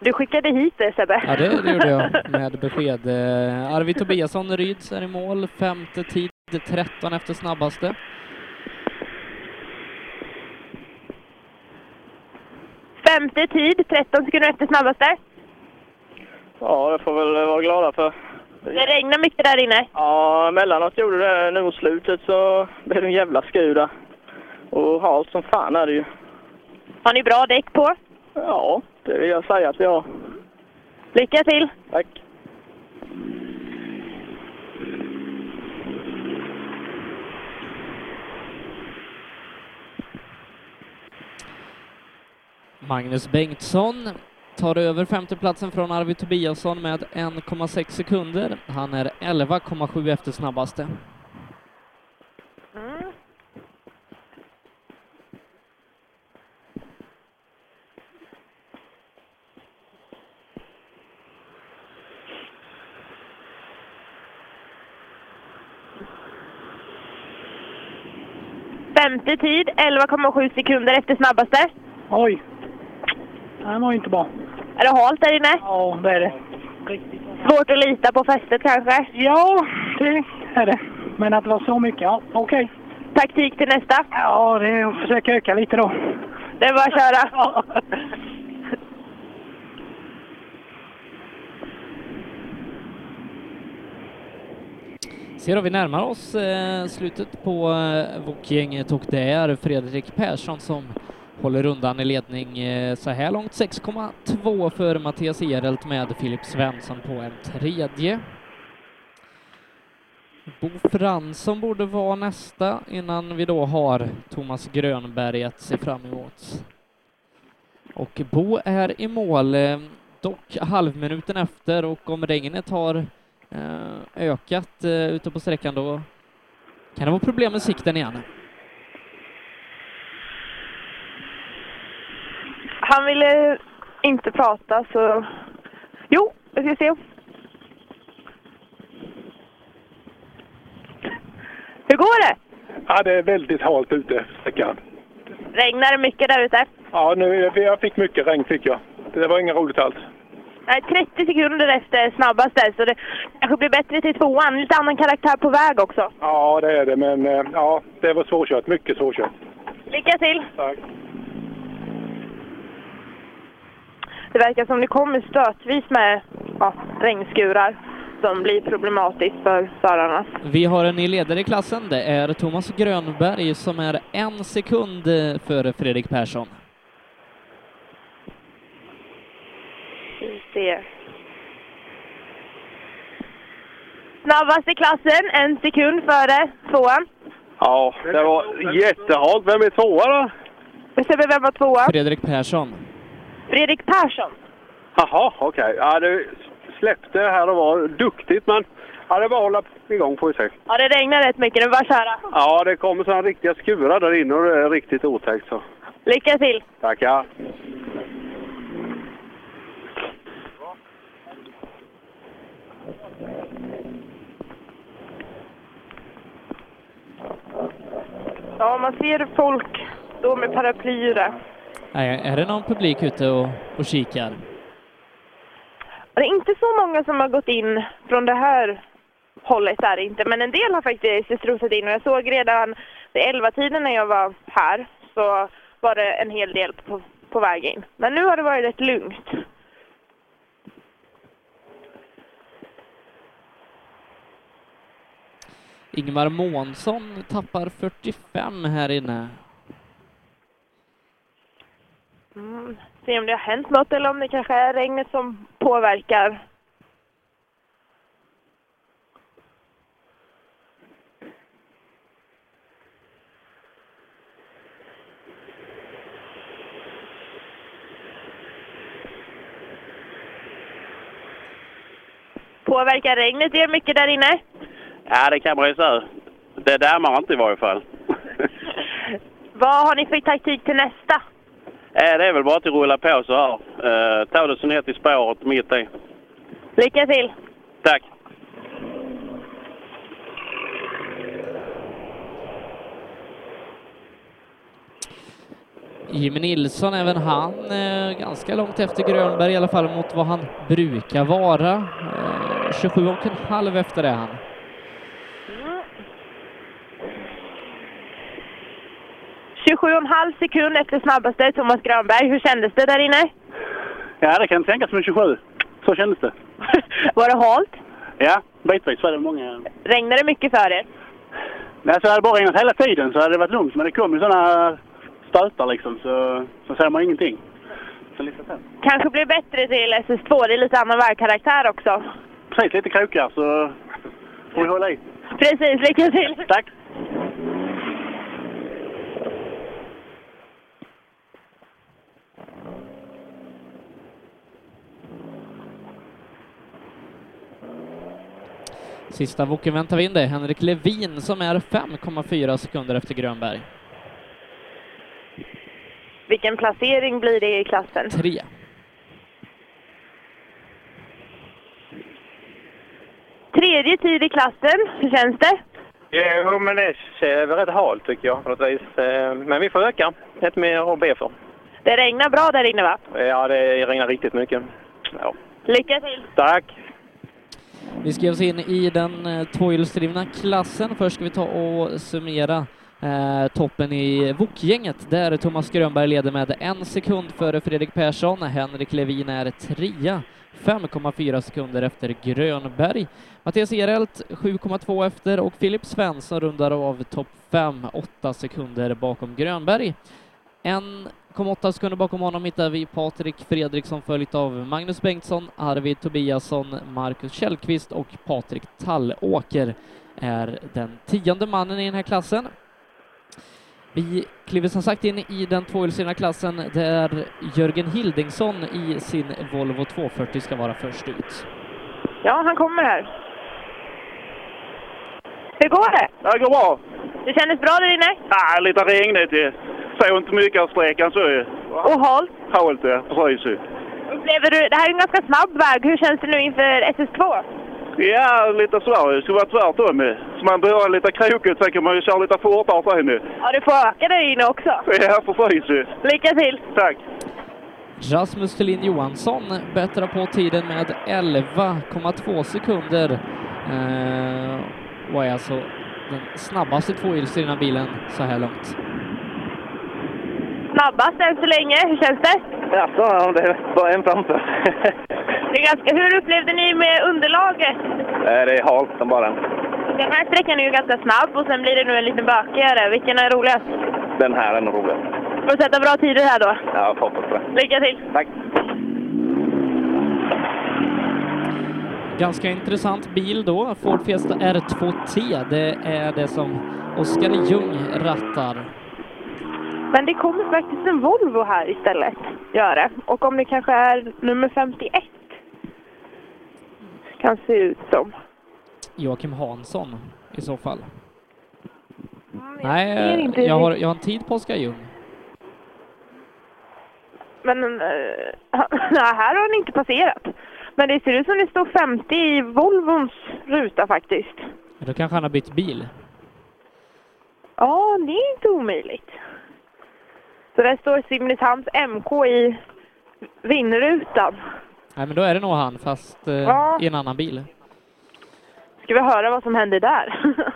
[SPEAKER 7] Du skickade hit det Sebbe.
[SPEAKER 1] Ja, det, det gjorde jag med besked. Eh, Arvid Tobiasson, Ryds, är i mål. Femte tid, 13 efter snabbaste.
[SPEAKER 7] Femte tid, 13 sekunder efter snabbaste.
[SPEAKER 14] Ja, det får väl vara glada för.
[SPEAKER 7] Det regnar mycket där inne.
[SPEAKER 14] Ja, emellanåt gjorde det. Nu mot slutet så blev det en jävla skur där. Och halt som fan är det ju.
[SPEAKER 7] Har ni bra däck på?
[SPEAKER 14] Ja, det vill jag säga att vi har.
[SPEAKER 7] Lycka till!
[SPEAKER 14] Tack.
[SPEAKER 1] Magnus Bengtsson tar över femteplatsen från Arvid Tobiasson med 1,6 sekunder. Han är 11,7 efter snabbaste.
[SPEAKER 7] Mm. Femte tid, 11,7 sekunder efter snabbaste.
[SPEAKER 22] Oj. Den var ju inte bra.
[SPEAKER 7] Är det halt där inne?
[SPEAKER 22] Ja, det är det.
[SPEAKER 7] Svårt att lita på fästet kanske?
[SPEAKER 22] Ja, det är Mm, det. Men att det var så mycket, ja okej.
[SPEAKER 7] Taktik till nästa?
[SPEAKER 22] Ja, det är att försöka öka lite då.
[SPEAKER 7] Det är bara att köra.
[SPEAKER 1] Ser då, vi närmar oss eh, slutet på eh, Wok-gänget och det är Fredrik Persson som håller undan i ledning eh, så här långt. 6,2 för Mattias Ehrelt med Filip Svensson på en tredje. Bo Fransson borde vara nästa innan vi då har Thomas Grönberg att se fram emot. Och Bo är i mål, eh, dock halvminuten efter och om regnet har eh, ökat eh, ute på sträckan då kan det vara problem med sikten igen.
[SPEAKER 7] Han ville inte prata så... Jo, vi ska se. Hur går det?
[SPEAKER 20] Ja, det är väldigt halt ute på sträckan.
[SPEAKER 7] Regnar det mycket där ute?
[SPEAKER 20] Ja, nu, jag fick mycket regn fick jag. Det var inget roligt alls.
[SPEAKER 7] Nej, 30 sekunder efter snabbaste, så det kanske blir bättre till tvåan. Lite annan karaktär på väg också.
[SPEAKER 20] Ja, det är det, men eh, ja, det var svårkört. Mycket svårkört.
[SPEAKER 7] Lycka till!
[SPEAKER 20] Tack.
[SPEAKER 7] Det verkar som det kommer stötvis med ja, regnskurar som blir problematiskt för förarna.
[SPEAKER 1] Vi har en ny ledare i klassen. Det är Thomas Grönberg som är en sekund eh, före Fredrik Persson.
[SPEAKER 7] Vi ser. Snabbast i klassen, en sekund före tvåan.
[SPEAKER 9] Ja, det var jättehalt. Vem är tvåa då?
[SPEAKER 7] Sebbe, vem var tvåa?
[SPEAKER 1] Fredrik Persson.
[SPEAKER 7] Fredrik Persson.
[SPEAKER 9] Jaha, okej. Ja, du släppte det här och var duktigt, men ja, det är bara att hålla igång får vi se.
[SPEAKER 7] Ja, det regnar rätt mycket. Det är bara att köra.
[SPEAKER 9] Ja, det kommer sådana riktiga skurar där inne och det är riktigt otäckt så.
[SPEAKER 7] Lycka till!
[SPEAKER 9] Tackar.
[SPEAKER 7] Ja, man ser folk stå med paraplyer där.
[SPEAKER 1] Nej, Är det någon publik ute och, och kikar?
[SPEAKER 7] Det är inte så många som har gått in från det här hållet är det inte, men en del har faktiskt strosat in och jag såg redan vid elva-tiden när jag var här så var det en hel del på, på väg in. Men nu har det varit rätt lugnt.
[SPEAKER 1] Ingmar Månsson tappar 45 här inne.
[SPEAKER 7] Mm. Se om det har hänt något eller om det kanske är regnet som påverkar. Påverkar regnet er mycket där inne?
[SPEAKER 4] Ja, det kan man ju säga. Det dammar inte i varje fall.
[SPEAKER 7] Vad har ni för taktik till nästa?
[SPEAKER 4] Eh, Det är väl bara att rulla på så här. Eh, Ta det så ner till spåret mitt i.
[SPEAKER 7] Lycka till!
[SPEAKER 4] Tack!
[SPEAKER 1] Jimmy Nilsson, även han eh, ganska långt efter Grönberg i alla fall mot vad han brukar vara. Eh, 27 och en halv efter det är han.
[SPEAKER 7] Mm. 27,5 sekund efter snabbaste Thomas Grönberg. Hur kändes det där inne?
[SPEAKER 22] Ja, det kan tänkas med 27. Så kändes det.
[SPEAKER 7] Var det halt?
[SPEAKER 22] Ja, bitvis var det många.
[SPEAKER 7] Regnade det mycket för er?
[SPEAKER 22] Nej, så hade det bara regnat hela tiden så hade det varit lugnt. Men det kom ju sådana stötar liksom så, så ser man ingenting. Så lite så.
[SPEAKER 7] Kanske blev bättre till SS2. Det är lite annan vägkaraktär också.
[SPEAKER 22] Precis, lite krokar så får vi hålla i.
[SPEAKER 7] Precis, lycka till!
[SPEAKER 22] Tack!
[SPEAKER 1] Sista boken väntar vi in det. Henrik Levin som är 5,4 sekunder efter Grönberg.
[SPEAKER 7] Vilken placering blir det i klassen?
[SPEAKER 1] Tre.
[SPEAKER 7] Tredje tid i klassen. Hur känns det?
[SPEAKER 22] Jo, men det är rätt halt tycker jag på något vis. Eh, Men vi får öka. Ett mer att be för.
[SPEAKER 7] Det regnar bra där inne va?
[SPEAKER 22] Ja, det regnar riktigt mycket. Ja.
[SPEAKER 7] Lycka till!
[SPEAKER 22] Tack!
[SPEAKER 1] Vi ska ge oss in i den eh, tvåhjulsdrivna klassen. Först ska vi ta och summera eh, toppen i Wok-gänget där Thomas Grönberg leder med en sekund före Fredrik Persson. Henrik Levin är trea, 5,4 sekunder efter Grönberg. Mattias Ehrelt 7,2 efter och Filip Svensson rundar av topp 5, 8 sekunder bakom Grönberg. 1,8 sekunder bakom honom hittar vi Patrik Fredriksson följt av Magnus Bengtsson, Arvid Tobiasson, Marcus Källqvist och Patrik Tallåker är den tionde mannen i den här klassen. Vi kliver som sagt in i den tvåhjulsdrivna klassen där Jörgen Hildingsson i sin Volvo 240 ska vara först ut.
[SPEAKER 7] Ja, han kommer här. Hur går det?
[SPEAKER 4] Det går bra.
[SPEAKER 7] Det kändes bra där inne?
[SPEAKER 4] Nej, lite regnigt ju. Såg inte mycket av sträckan så ju.
[SPEAKER 7] Och halt?
[SPEAKER 4] Halt ja, precis ju.
[SPEAKER 7] Upplever du, det här är en ganska snabb väg. Hur känns det nu inför SS2?
[SPEAKER 4] Ja, lite sådär. Det skulle vara tvärtom ju. Så man börjar lite krokigt, sen kan man ju köra lite fortare sen ju.
[SPEAKER 7] Ja, du får öka där inne också.
[SPEAKER 4] Ja, precis ju.
[SPEAKER 7] Lycka till!
[SPEAKER 4] Tack!
[SPEAKER 1] Rasmus Thulin Johansson bättrar på tiden med 11,2 sekunder eh, och är alltså den snabbaste tvåhjulsdrivna bilen så här långt.
[SPEAKER 7] Snabbast än så länge. Hur känns det?
[SPEAKER 22] Jaså, om det är bara en framför.
[SPEAKER 7] det är ganska, hur upplevde ni med underlaget?
[SPEAKER 22] Eh, det är halt som bara den.
[SPEAKER 7] Den här sträckan är ju ganska snabb och sen blir det nu en lite bökigare. Vilken är roligast?
[SPEAKER 22] Den här är nog roligast.
[SPEAKER 7] Får du sätta bra tider här då?
[SPEAKER 22] Ja, jag hoppas på det.
[SPEAKER 7] Lycka till!
[SPEAKER 22] Tack!
[SPEAKER 1] Ganska intressant bil då, Ford Fiesta R2T. Det är det som Oskar Ljung rattar.
[SPEAKER 7] Men det kommer faktiskt en Volvo här istället. Gör det. Och om det kanske är nummer 51. Kan se ut som.
[SPEAKER 1] Joakim Hansson i så fall. Nej,
[SPEAKER 7] ser inte
[SPEAKER 1] eh, jag har,
[SPEAKER 7] riktigt.
[SPEAKER 1] jag har en tid på Oskar Ljung.
[SPEAKER 7] Men eh, nej, här har den inte passerat. Men det ser ut som det står 50 i Volvons ruta faktiskt.
[SPEAKER 1] Men Då kanske han har bytt bil.
[SPEAKER 7] Ja, det är inte omöjligt. Så där står Simrishamns MK i vindrutan.
[SPEAKER 1] Nej, men då är det nog han, fast eh,
[SPEAKER 7] Ja.
[SPEAKER 1] i en annan bil.
[SPEAKER 7] Ska vi höra vad som händer där?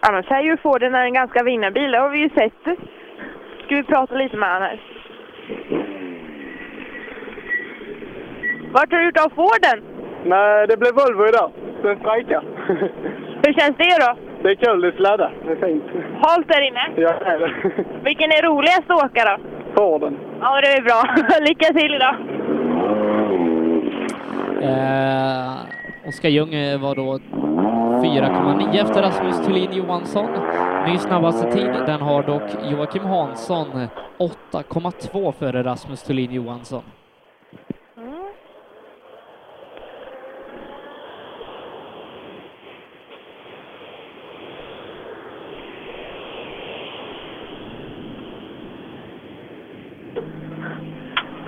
[SPEAKER 7] Annars är ju Forden en ganska vinnarbil, det har vi ju sett. Ska vi prata lite med honom här? Vart har du gjort av Forden?
[SPEAKER 23] Nej, det blev Volvo idag. Den strejkar.
[SPEAKER 7] Hur känns det då?
[SPEAKER 23] Det är kul, det sladdar. Det är fint.
[SPEAKER 7] Halt där inne?
[SPEAKER 23] Ja, det är det.
[SPEAKER 7] Vilken är roligast att åka då?
[SPEAKER 23] Forden.
[SPEAKER 7] Ja, det är bra. Lycka till idag!
[SPEAKER 1] Eh, Oskar Ljung eh, var då 4,9 efter Rasmus Thulin Johansson. Ny snabbaste tid, den har dock Joakim Hansson, 8,2 före Rasmus Thulin Johansson.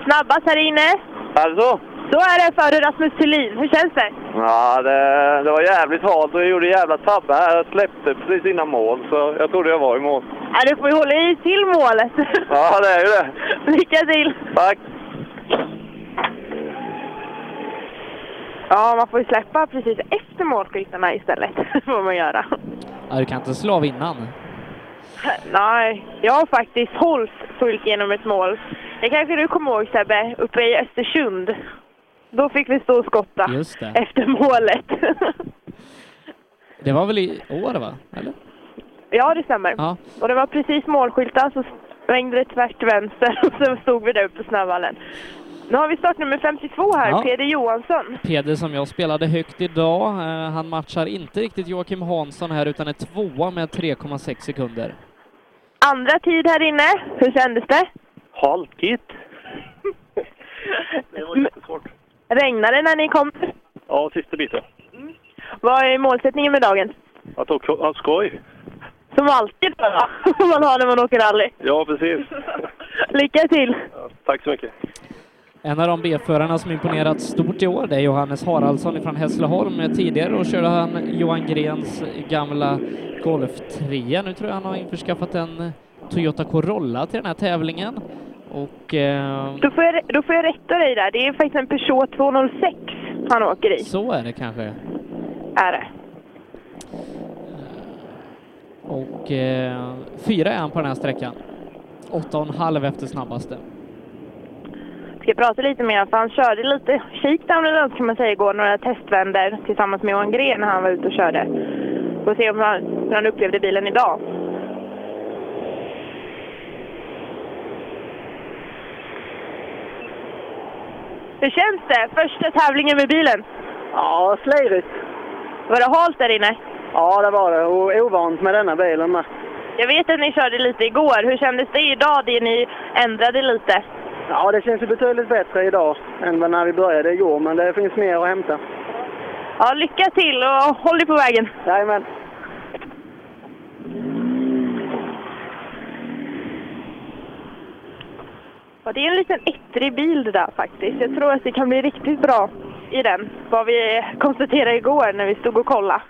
[SPEAKER 7] Snabbast här inne.
[SPEAKER 19] Alltså?
[SPEAKER 7] Så är det före Rasmus Thulin. Hur känns det?
[SPEAKER 19] Ja, det, det var jävligt halt och jag gjorde jävla tabbe här. Jag släppte precis innan mål, så jag trodde jag var i mål.
[SPEAKER 7] Ja, du får ju hålla i till målet.
[SPEAKER 19] Ja, det är ju det.
[SPEAKER 7] Lycka till!
[SPEAKER 19] Tack!
[SPEAKER 7] Ja, man får ju släppa precis efter målskyttarna istället. får man göra.
[SPEAKER 1] Ja, du kan inte slå av innan.
[SPEAKER 7] Nej, jag har faktiskt hållit fullt genom ett mål. Det kanske du kommer ihåg Sebbe, uppe i Östersund. Då fick vi stå och skotta
[SPEAKER 1] Just det.
[SPEAKER 7] efter målet.
[SPEAKER 1] Det var väl i år, va? Eller?
[SPEAKER 7] ja, det stämmer.
[SPEAKER 1] Ja.
[SPEAKER 7] Och det var precis målskyltar så svängde det tvärt till vänster och så stod vi där uppe på snövallen. Nu har vi startnummer 52 här,
[SPEAKER 1] Ja.
[SPEAKER 7] Peder Johansson.
[SPEAKER 1] Peder som jag spelade högt idag, eh, han matchar inte riktigt Joakim Hansson här utan är tvåa med 3,6 sekunder.
[SPEAKER 7] Andra tid här inne. Hur kändes det?
[SPEAKER 19] Halkigt.
[SPEAKER 7] Det var jättesvårt. Regnade det när ni kom?
[SPEAKER 19] Ja, sista biten.
[SPEAKER 7] Vad är målsättningen med dagen?
[SPEAKER 19] Jag tog jag skoj.
[SPEAKER 7] Som alltid bara, man har när man åker rally.
[SPEAKER 19] Ja, precis.
[SPEAKER 7] Lycka till!
[SPEAKER 19] Tack så mycket.
[SPEAKER 1] En av de B-förarna som imponerat stort i år, det är Johannes Haraldsson från Hässleholm. Tidigare då körde han Johan Grens gamla Golf 3. Nu tror jag han har införskaffat en Toyota Corolla till den här tävlingen. Och eh,
[SPEAKER 7] Då får, jag, då får jag rätta dig där. Det är faktiskt en Peugeot 206 han åker i.
[SPEAKER 1] så är det kanske.
[SPEAKER 7] Är det.
[SPEAKER 1] Och eh, fyra är han på den här sträckan. Åtta och en halv efter snabbaste.
[SPEAKER 7] Ska prata lite med honom, för han körde lite shakedown runt kan man säga igår, några testvänder tillsammans med Johan Gren när han var ute och körde. Får se om han, hur han upplevde bilen idag. Hur känns det? Första tävlingen med bilen?
[SPEAKER 12] Ja, slirigt.
[SPEAKER 7] Var det halt där inne?
[SPEAKER 12] Ja, det var det. Och ovant med denna bilen med.
[SPEAKER 7] Jag vet att ni körde lite igår. Hur kändes det idag, det ni ändrade lite?
[SPEAKER 12] Ja, det känns ju betydligt bättre idag än vad när vi började igår, men det finns mer att hämta.
[SPEAKER 7] Ja, lycka till och håll dig på vägen.
[SPEAKER 12] Jajamän.
[SPEAKER 7] Ja, det är en liten ettrig bil det där faktiskt. Jag tror att det kan bli riktigt bra i den, vad vi konstaterade igår när vi stod och kollade.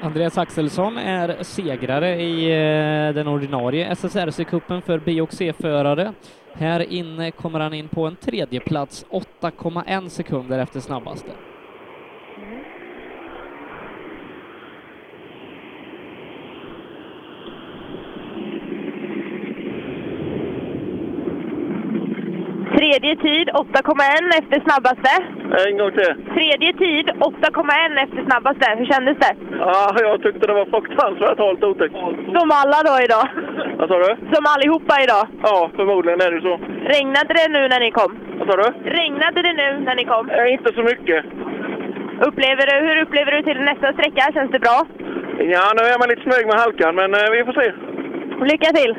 [SPEAKER 1] Andreas Axelsson är segrare i eh, den ordinarie SSRC-cupen för B och C-förare. Här inne kommer han in på en tredje plats 8,1 sekunder efter snabbaste.
[SPEAKER 7] Tredje tid 8,1 efter snabbaste.
[SPEAKER 19] En gång till.
[SPEAKER 7] Tredje tid 8,1 efter snabbaste. Hur kändes det?
[SPEAKER 19] Ja, jag tyckte det var fruktansvärt halt och otäckt.
[SPEAKER 7] Som alla då idag.
[SPEAKER 19] Vad sa du?
[SPEAKER 7] Som allihopa idag.
[SPEAKER 19] Ja, förmodligen är det så.
[SPEAKER 7] Regnade det nu när ni kom?
[SPEAKER 19] Vad sa du?
[SPEAKER 7] Regnade det nu när ni kom?
[SPEAKER 19] Inte så mycket.
[SPEAKER 7] Upplever du, hur upplever du till nästa sträcka? Känns det bra?
[SPEAKER 19] Ja, nu är man lite smög med halkan, men eh, vi får se.
[SPEAKER 7] Lycka till!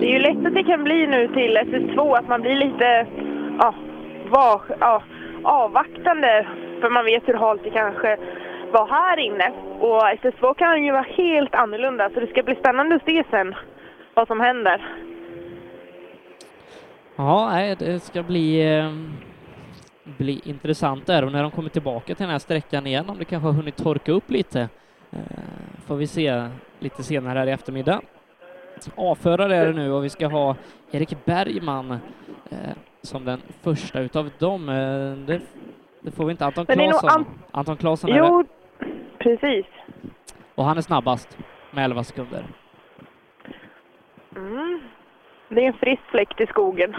[SPEAKER 7] Det är ju lätt att det kan bli nu till SS2 att man blir lite ja, var, ja, avvaktande för man vet hur halt det kanske var här inne. Och SS2 kan ju vara helt annorlunda så det ska bli spännande att se sen vad som händer.
[SPEAKER 1] Ja, nej, det ska bli, eh, bli intressant där och när de kommer tillbaka till den här sträckan igen, om det kanske har hunnit torka upp lite, eh, får vi se lite senare här i eftermiddag. A-förare är det nu och vi ska ha Erik Bergman eh, som den första utav dem. Eh, det, det får vi inte. Anton
[SPEAKER 7] Men det är nog
[SPEAKER 1] Claesson.
[SPEAKER 7] Ant-
[SPEAKER 1] Anton Claesson är
[SPEAKER 7] Jo,
[SPEAKER 1] det.
[SPEAKER 7] precis.
[SPEAKER 1] Och han är snabbast med 11 sekunder.
[SPEAKER 7] Mm. Det är en frisk fläkt i skogen.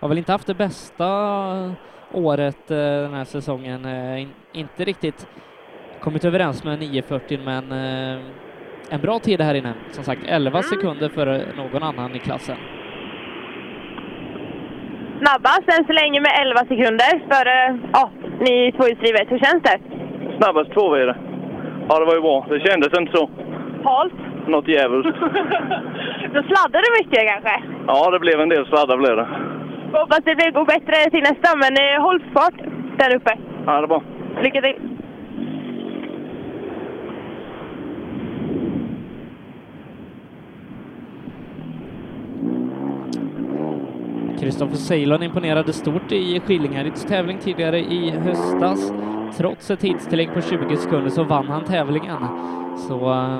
[SPEAKER 1] Har väl inte haft det bästa året eh, den här säsongen. eh, in- Inte riktigt kommit överens med 940 men eh, en bra tid här inne. Som sagt, 11 sekunder före någon annan i klassen.
[SPEAKER 24] Snabbast än så länge med 11 sekunder före ja, ni tvåhjulsdrivet. Hur känns det?
[SPEAKER 25] Snabbast två var det. Ja, det var ju bra. Det kändes inte så.
[SPEAKER 24] Halt?
[SPEAKER 25] Något djävulskt.
[SPEAKER 24] Då sladdar du mycket kanske?
[SPEAKER 25] Ja, det blev en del sladdar blev det.
[SPEAKER 24] Hoppas det blir går bättre till nästa, men eh, håll fart där uppe.
[SPEAKER 25] Ja, det var bra.
[SPEAKER 24] Lycka till!
[SPEAKER 1] Kristoffer Ceylon imponerade stort i Skillingaryds tävling tidigare i höstas. Trots ett tidstillägg på 20 sekunder så vann han tävlingen. Så eh,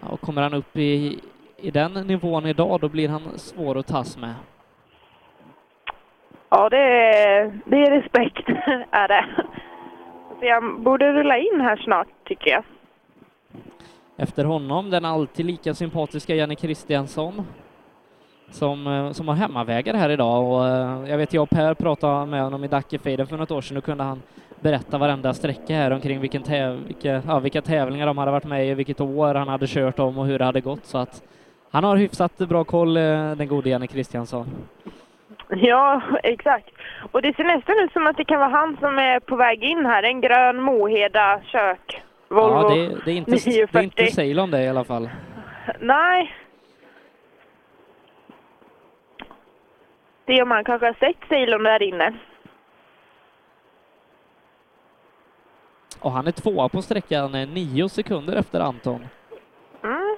[SPEAKER 1] ja, och kommer han upp i, i den nivån idag, då blir han svår att tas med.
[SPEAKER 7] Ja, det är, det är respekt, är det. Så jag borde rulla in här snart, tycker jag.
[SPEAKER 1] Efter honom den alltid lika sympatiska Jenny Kristiansson som, eh, som har hemmavägar här idag och eh, jag vet jag och Per pratade med honom i Dackefejden för något år sedan och kunde han berätta varenda sträcka här omkring vilken täv- vilka, ja, vilka tävlingar de hade varit med i, vilket år han hade kört om och hur det hade gått så att han har hyfsat bra koll eh, den gode Jenny Kristiansson.
[SPEAKER 7] Ja, exakt. Och det ser nästan ut som att det kan vara han som är på väg in här. En grön Moheda kök. Volvo
[SPEAKER 1] Ja, det, det är inte, det är
[SPEAKER 7] 940.
[SPEAKER 1] inte Ceylon det i alla fall.
[SPEAKER 7] Nej. Det är om han kanske har sett Ceylon där inne.
[SPEAKER 1] Och han är tvåa på sträckan, eh, nio sekunder efter Anton.
[SPEAKER 7] Mm.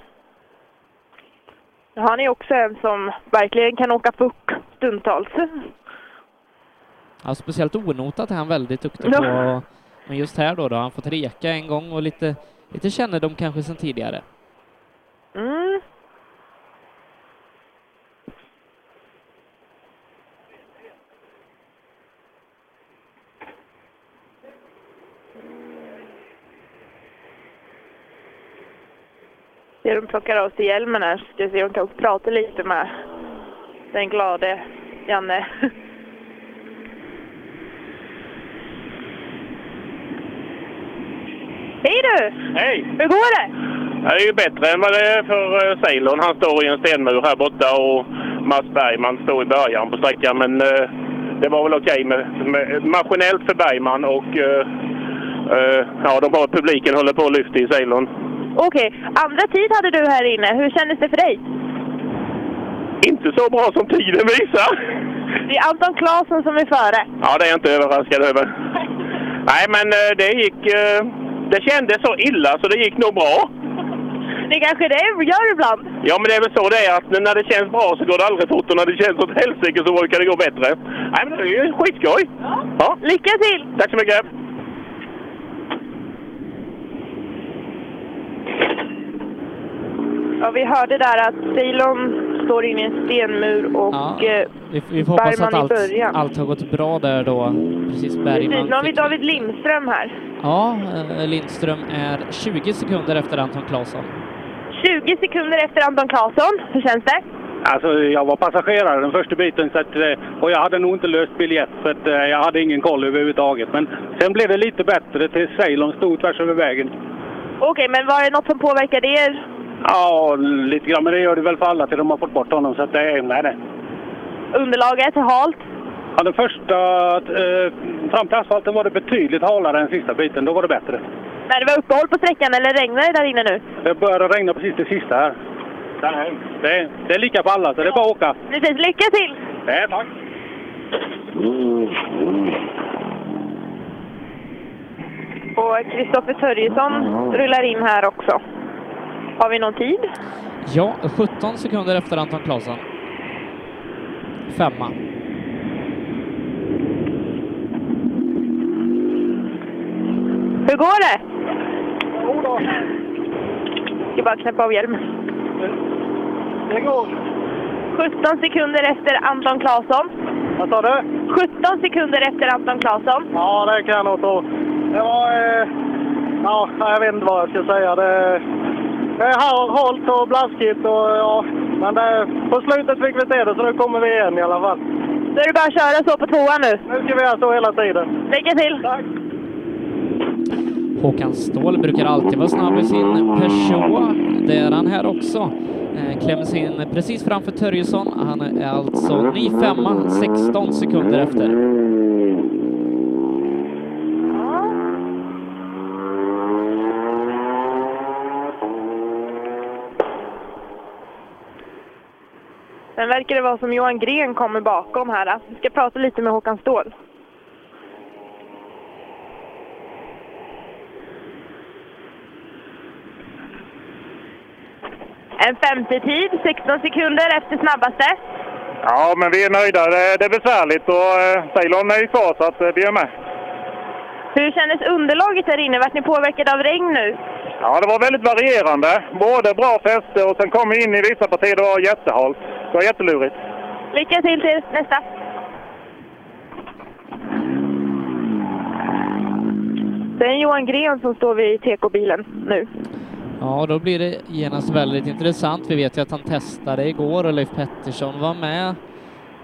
[SPEAKER 7] Han är också en som verkligen kan åka puck stundtals.
[SPEAKER 1] Ja, speciellt onotat är han väldigt duktig
[SPEAKER 7] Ja.
[SPEAKER 1] på. Men just här då, då har han fått reka en gång och lite, lite kännedom kanske sedan tidigare.
[SPEAKER 7] Mm. Det de plockar av sig hjälmen här, ska se om de kan prata lite med den glade Janne. Hej du!
[SPEAKER 4] Hej!
[SPEAKER 7] Hur går det?
[SPEAKER 4] Ja, Det är ju bättre än vad det är för eh, Ceylon. Han står i en stenmur här borta och Mats Bergman står i början på sträckan. Men eh, det var väl okej med, med, maskinellt för Bergman och eh, eh, ja, de har, publiken håller på att lyfta i Ceylon.
[SPEAKER 7] Okej, andra tid hade du här inne. Hur kändes det för dig?
[SPEAKER 4] Inte så bra som tiden visar.
[SPEAKER 7] Det är Anton Claesson som är före.
[SPEAKER 4] Ja, det är jag inte överraskad över. Nej, men eh, det gick... eh, Det kändes så illa så det gick nog bra.
[SPEAKER 7] Det är kanske det gör ibland.
[SPEAKER 4] Ja, men det är väl så det är att när det känns bra så går det aldrig fort och när det känns åt helsike så brukar det gå bättre. Nej, men det är ju skitskoj! Ja.
[SPEAKER 7] Lycka till!
[SPEAKER 4] Tack så mycket!
[SPEAKER 7] Ja, vi hörde där att Ceylon står inne i en stenmur och...
[SPEAKER 1] Ja,
[SPEAKER 7] eh,
[SPEAKER 1] Vi, vi får hoppas att
[SPEAKER 7] Bergman i
[SPEAKER 1] allt,
[SPEAKER 7] början.
[SPEAKER 1] allt har gått bra där då. Precis
[SPEAKER 7] Precis, nu
[SPEAKER 1] Bergman.
[SPEAKER 7] har vi David Lindström här.
[SPEAKER 1] Ja, eh, Lindström är 20 sekunder efter Anton Claesson.
[SPEAKER 7] 20 sekunder efter Anton Claesson. Hur känns det?
[SPEAKER 22] Alltså, jag var passagerare den första biten så att, eh, och jag hade nog inte löst biljett för att, eh, jag hade ingen koll överhuvudtaget. Men sen blev det lite bättre tills Ceylon stod tvärs över vägen.
[SPEAKER 7] Okej, men var det något som påverkade er?
[SPEAKER 22] Ja, lite grann. Men det gör det väl för alla till de har fått bort honom. Så att det är, nej, nej.
[SPEAKER 7] Underlaget är halt.
[SPEAKER 22] Ja, den första, eh, fram till asfalten var det betydligt halare än sista biten. Då var det bättre.
[SPEAKER 7] När det var uppehåll på sträckan eller regnar det där inne nu?
[SPEAKER 22] Det började regna precis det sista här. Det, är- det är lika för alla, så det är bara att åka.
[SPEAKER 7] Precis, lycka till!
[SPEAKER 22] Nej, tack.
[SPEAKER 7] Och Kristoffer Törjesson rullar in här också. Har vi någon tid?
[SPEAKER 1] Ja, 17 sekunder efter Anton Claesson. Femma.
[SPEAKER 7] Hur går det? Ska bara knäppa av hjälmen. Det går. 17 sekunder efter Anton Claesson. Vad sa du? 17 sekunder efter Anton Claesson.
[SPEAKER 22] Ja, det kan jag nog tro. Det var... Eh, ja, jag vet inte vad jag ska säga. Det, det är hal- halt och blaskigt. Och, ja, men det, på slutet fick vi se det, så nu kommer vi igen i alla fall.
[SPEAKER 7] Då är det bara att köra så på tvåan nu.
[SPEAKER 22] Nu ska vi göra så hela tiden.
[SPEAKER 7] Lycka till!
[SPEAKER 1] Håkan Ståhl brukar alltid vara snabb i sin Peugeot. Det är han här också. Eh, Klämmer sig in precis framför Törjesson. Han är alltså ny femma, 16 sekunder efter.
[SPEAKER 7] Sen verkar det vara som Johan Gren kommer bakom här. Alltså, vi ska prata lite med Håkan Ståhl. En femte tid, 16 sekunder efter snabbaste.
[SPEAKER 11] Ja, men vi är nöjda. Det det är besvärligt och eh, Ceylon är ju kvar så att eh, vi är med.
[SPEAKER 7] Hur kändes underlaget där inne? Vart ni påverkade av regn nu?
[SPEAKER 11] Ja, det var väldigt varierande. Både bra fäste och sen kom vi in i vissa partier det var jättehalt. Det var jättelurigt.
[SPEAKER 7] Lycka till till nästa! Det är Johan Gren som står vid TK-bilen nu.
[SPEAKER 1] Ja, då blir det genast väldigt intressant. Vi vet ju att han testade igår och Leif Pettersson var med.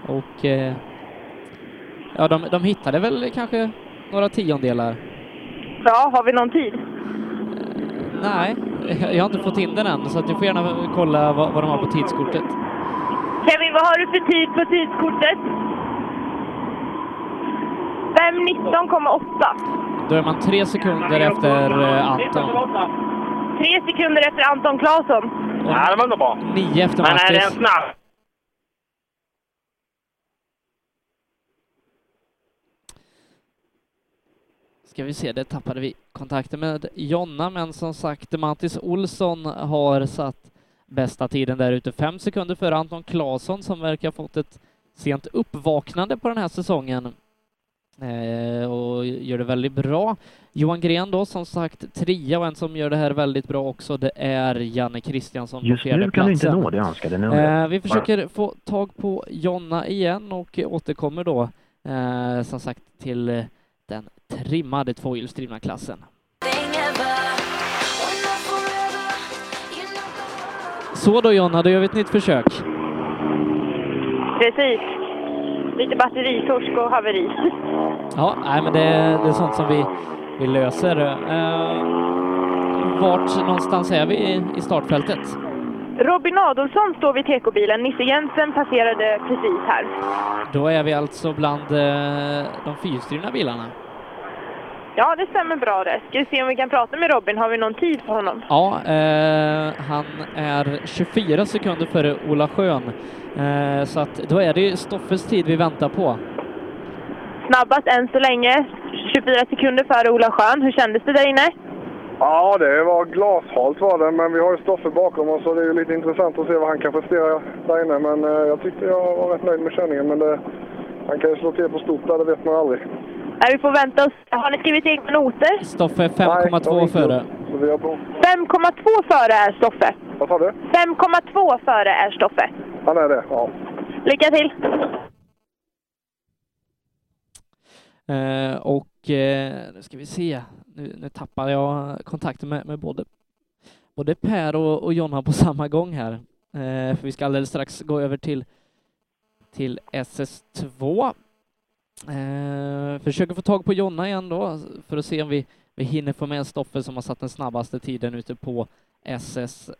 [SPEAKER 1] Och eh, ja, de, de hittade väl kanske några tiondelar.
[SPEAKER 7] Ja, har vi någon tid?
[SPEAKER 1] Nej, jag har inte fått in den än, så att jag får gärna kolla vad, vad de har på tidskortet.
[SPEAKER 7] Kevin, vad har du för tid på tidskortet? 5.19,8.
[SPEAKER 1] Då är man tre sekunder efter eh, Anton.
[SPEAKER 7] Tre sekunder efter Anton Claesson.
[SPEAKER 1] Ja,
[SPEAKER 11] det var nog bra.
[SPEAKER 1] Nio efter
[SPEAKER 11] Men är det en
[SPEAKER 1] Marcus.
[SPEAKER 11] snabb?
[SPEAKER 1] Ska vi se, det tappade vi kontakten med Jonna, men som sagt, Mattis Olsson har satt bästa tiden där ute. Fem sekunder före Anton Claesson som verkar ha fått ett sent uppvaknande på den här säsongen eh, och gör det väldigt bra. Johan Gren då, som sagt, trea och en som gör det här väldigt bra också, det är Janne Kristiansson på
[SPEAKER 26] Just nu kan du inte
[SPEAKER 1] fjärdeplatsen.
[SPEAKER 26] nå det önskade numret.
[SPEAKER 1] Eh, vi försöker få tag på Jonna igen och återkommer då eh, som sagt till eh, den trimmade tvåhjulsdrivna klassen. Så då Jonna, då gör vi ett nytt försök.
[SPEAKER 7] Precis. Lite batteritorsk och haveri.
[SPEAKER 1] Ja, nej, men det, det är sånt som vi, vi löser. Eh, vart någonstans är vi i, i startfältet?
[SPEAKER 7] Robin Adolfsson står vid TK-bilen. Nisse Jensen passerade precis här.
[SPEAKER 1] Då är vi alltså bland eh, de fyrhjulsdrivna bilarna.
[SPEAKER 7] Ja, det stämmer bra det. Ska vi se om vi kan prata med Robin? Har vi någon tid på honom?
[SPEAKER 1] Ja, eh, han är 24 sekunder före Ola Schön. Eh, så att då är det ju Stoffes tid vi väntar på.
[SPEAKER 7] Snabbast än så länge, 24 sekunder före Ola Schön. Hur kändes det där inne?
[SPEAKER 5] Ja, det var glashalt var det, men vi har ju Stoffe bakom oss så det är ju lite intressant att se vad han kan prestera där inne. Men eh, jag tyckte jag var rätt nöjd med körningen, men det, han kan ju slå till på stort där, det vet man aldrig.
[SPEAKER 7] Nej, vi får vänta oss. Har ni skrivit egna noter?
[SPEAKER 1] Stoffe är 5,2 före.
[SPEAKER 5] Så vi har på.
[SPEAKER 7] 5,2 före är Stoffe.
[SPEAKER 5] Vad sa du?
[SPEAKER 7] 5,2 före är Stoffe.
[SPEAKER 5] Han är det, ja.
[SPEAKER 7] Lycka till!
[SPEAKER 1] Eh, och eh, nu ska vi se, nu, nu tappar jag kontakten med, med både, både Per och, och Jonna på samma gång här. Eh, för vi ska alldeles strax gå över till, till SS2. Eh, försöker få tag på Jonna igen då för att se om vi, vi hinner få med Stoffe som har satt den snabbaste tiden ute på SS1.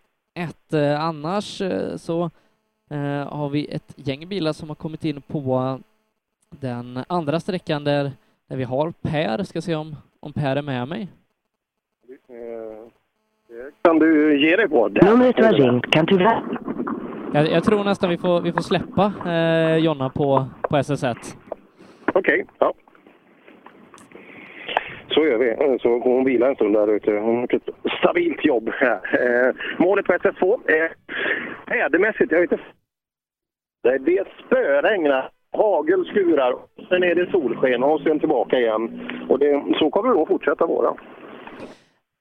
[SPEAKER 1] Eh, annars eh, så eh, har vi ett gäng bilar som har kommit in på den andra sträckan där, där vi har Per. Ska se om, om Per är med mig.
[SPEAKER 4] Kan du ge dig på?
[SPEAKER 1] Numret var ringt kan tyvärr... Jag, jag tror nästan vi får, vi får släppa eh, Jonna på, på SS1.
[SPEAKER 2] Okej, ja. Så gör vi. Eh, Så går hon vila en stund där ute. Hon har gjort ett stabilt jobb här. Eh, målet på SS2 är vädermässigt. Jag vet inte.
[SPEAKER 4] Det är dels spöregnar, hagelskurar, sen är det solsken och sen tillbaka igen.
[SPEAKER 2] Och det, så kommer det nog fortsätta vara.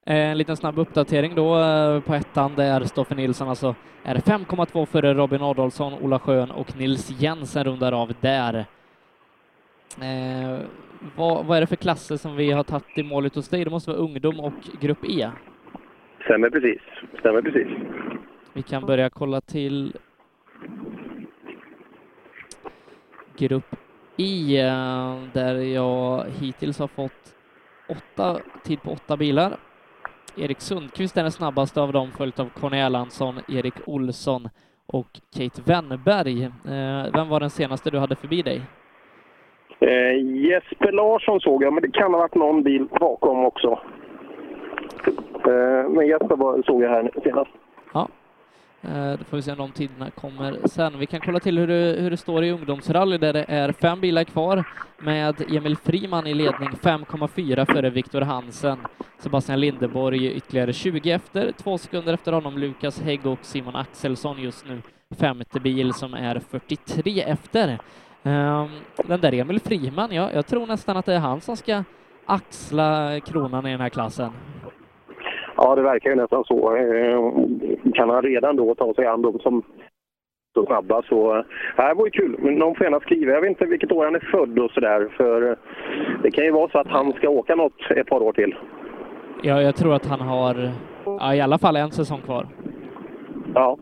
[SPEAKER 1] Eh, En liten snabb uppdatering då eh, på ettan där Stoffe Nilsson alltså är 5,2 före Robin Adolfsson, Ola Schön och Nils Jensen rundar av där. Eh, vad, vad är det för klasser som vi har tagit i målet hos dig? Det måste vara ungdom och grupp E.
[SPEAKER 2] Stämmer precis. Stämmer precis.
[SPEAKER 1] Vi kan börja kolla till grupp E, eh, där jag hittills har fått åtta, tid på åtta bilar. Erik Sundqvist är den snabbaste av dem, följt av Conny Erlandsson, Erik Olsson och Kate Wennberg. Eh, vem var den senaste du hade förbi dig?
[SPEAKER 2] Eh, Jesper Larsson såg jag, men det kan ha varit någon bil bakom också. Eh, men Jesper var, såg jag här nu senast.
[SPEAKER 1] Ja. Eh, Då får vi se om de tiderna kommer sen. Vi kan kolla till hur det, hur det står i ungdomsrally där det är fem bilar kvar med Emil Friman i ledning 5,4 före Viktor Hansen. Sebastian Lindeborg ytterligare 20 efter, två sekunder efter honom Lukas Hägg och Simon Axelsson just nu. Femte bil som är 43 efter. Ehm, Den där Emil Friman, ja, jag tror nästan att det är han som ska axla kronan i den här klassen.
[SPEAKER 2] Ja, det verkar ju nästan så. Eh, Kan han redan då ta sig an de som så snabba så... eh, Det här var ju kul. Men någon får gärna skriva. Jag vet inte vilket år han är född och sådär. För eh, det kan ju vara så att han ska åka något ett par år till.
[SPEAKER 1] Ja, jag tror att han har ja, i alla fall en säsong kvar.
[SPEAKER 2] Ja.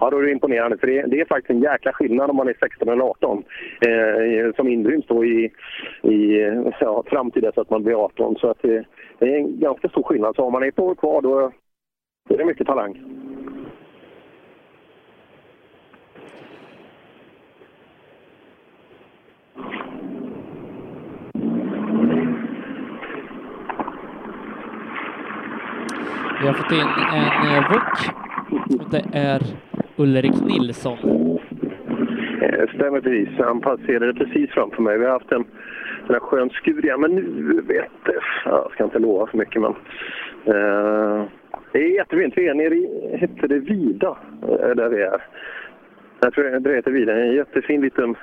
[SPEAKER 2] Ja, då är det imponerande. För det, det är faktiskt en jäkla skillnad om man är 16 eller 18. Eh, som inryms då i, i eh, ja, fram till dess att man blir 18. Så att det, det är en ganska stor skillnad. Så om man är ett år kvar då då är det mycket talang.
[SPEAKER 1] Vi har fått in en eh, VUC. Och Det är Ulrik Nilsson.
[SPEAKER 2] Eh, Stämmer precis. Han passerade precis framför mig. Vi har haft en sån här skön skur igen, men nu vet det. Ja, Jag ska inte lova för mycket, men... Eh, det är jättefint. Vi är nere i... Hette det Vida? Eh, där vi är. Jag tror det- det heter Vida. En jättefin liten,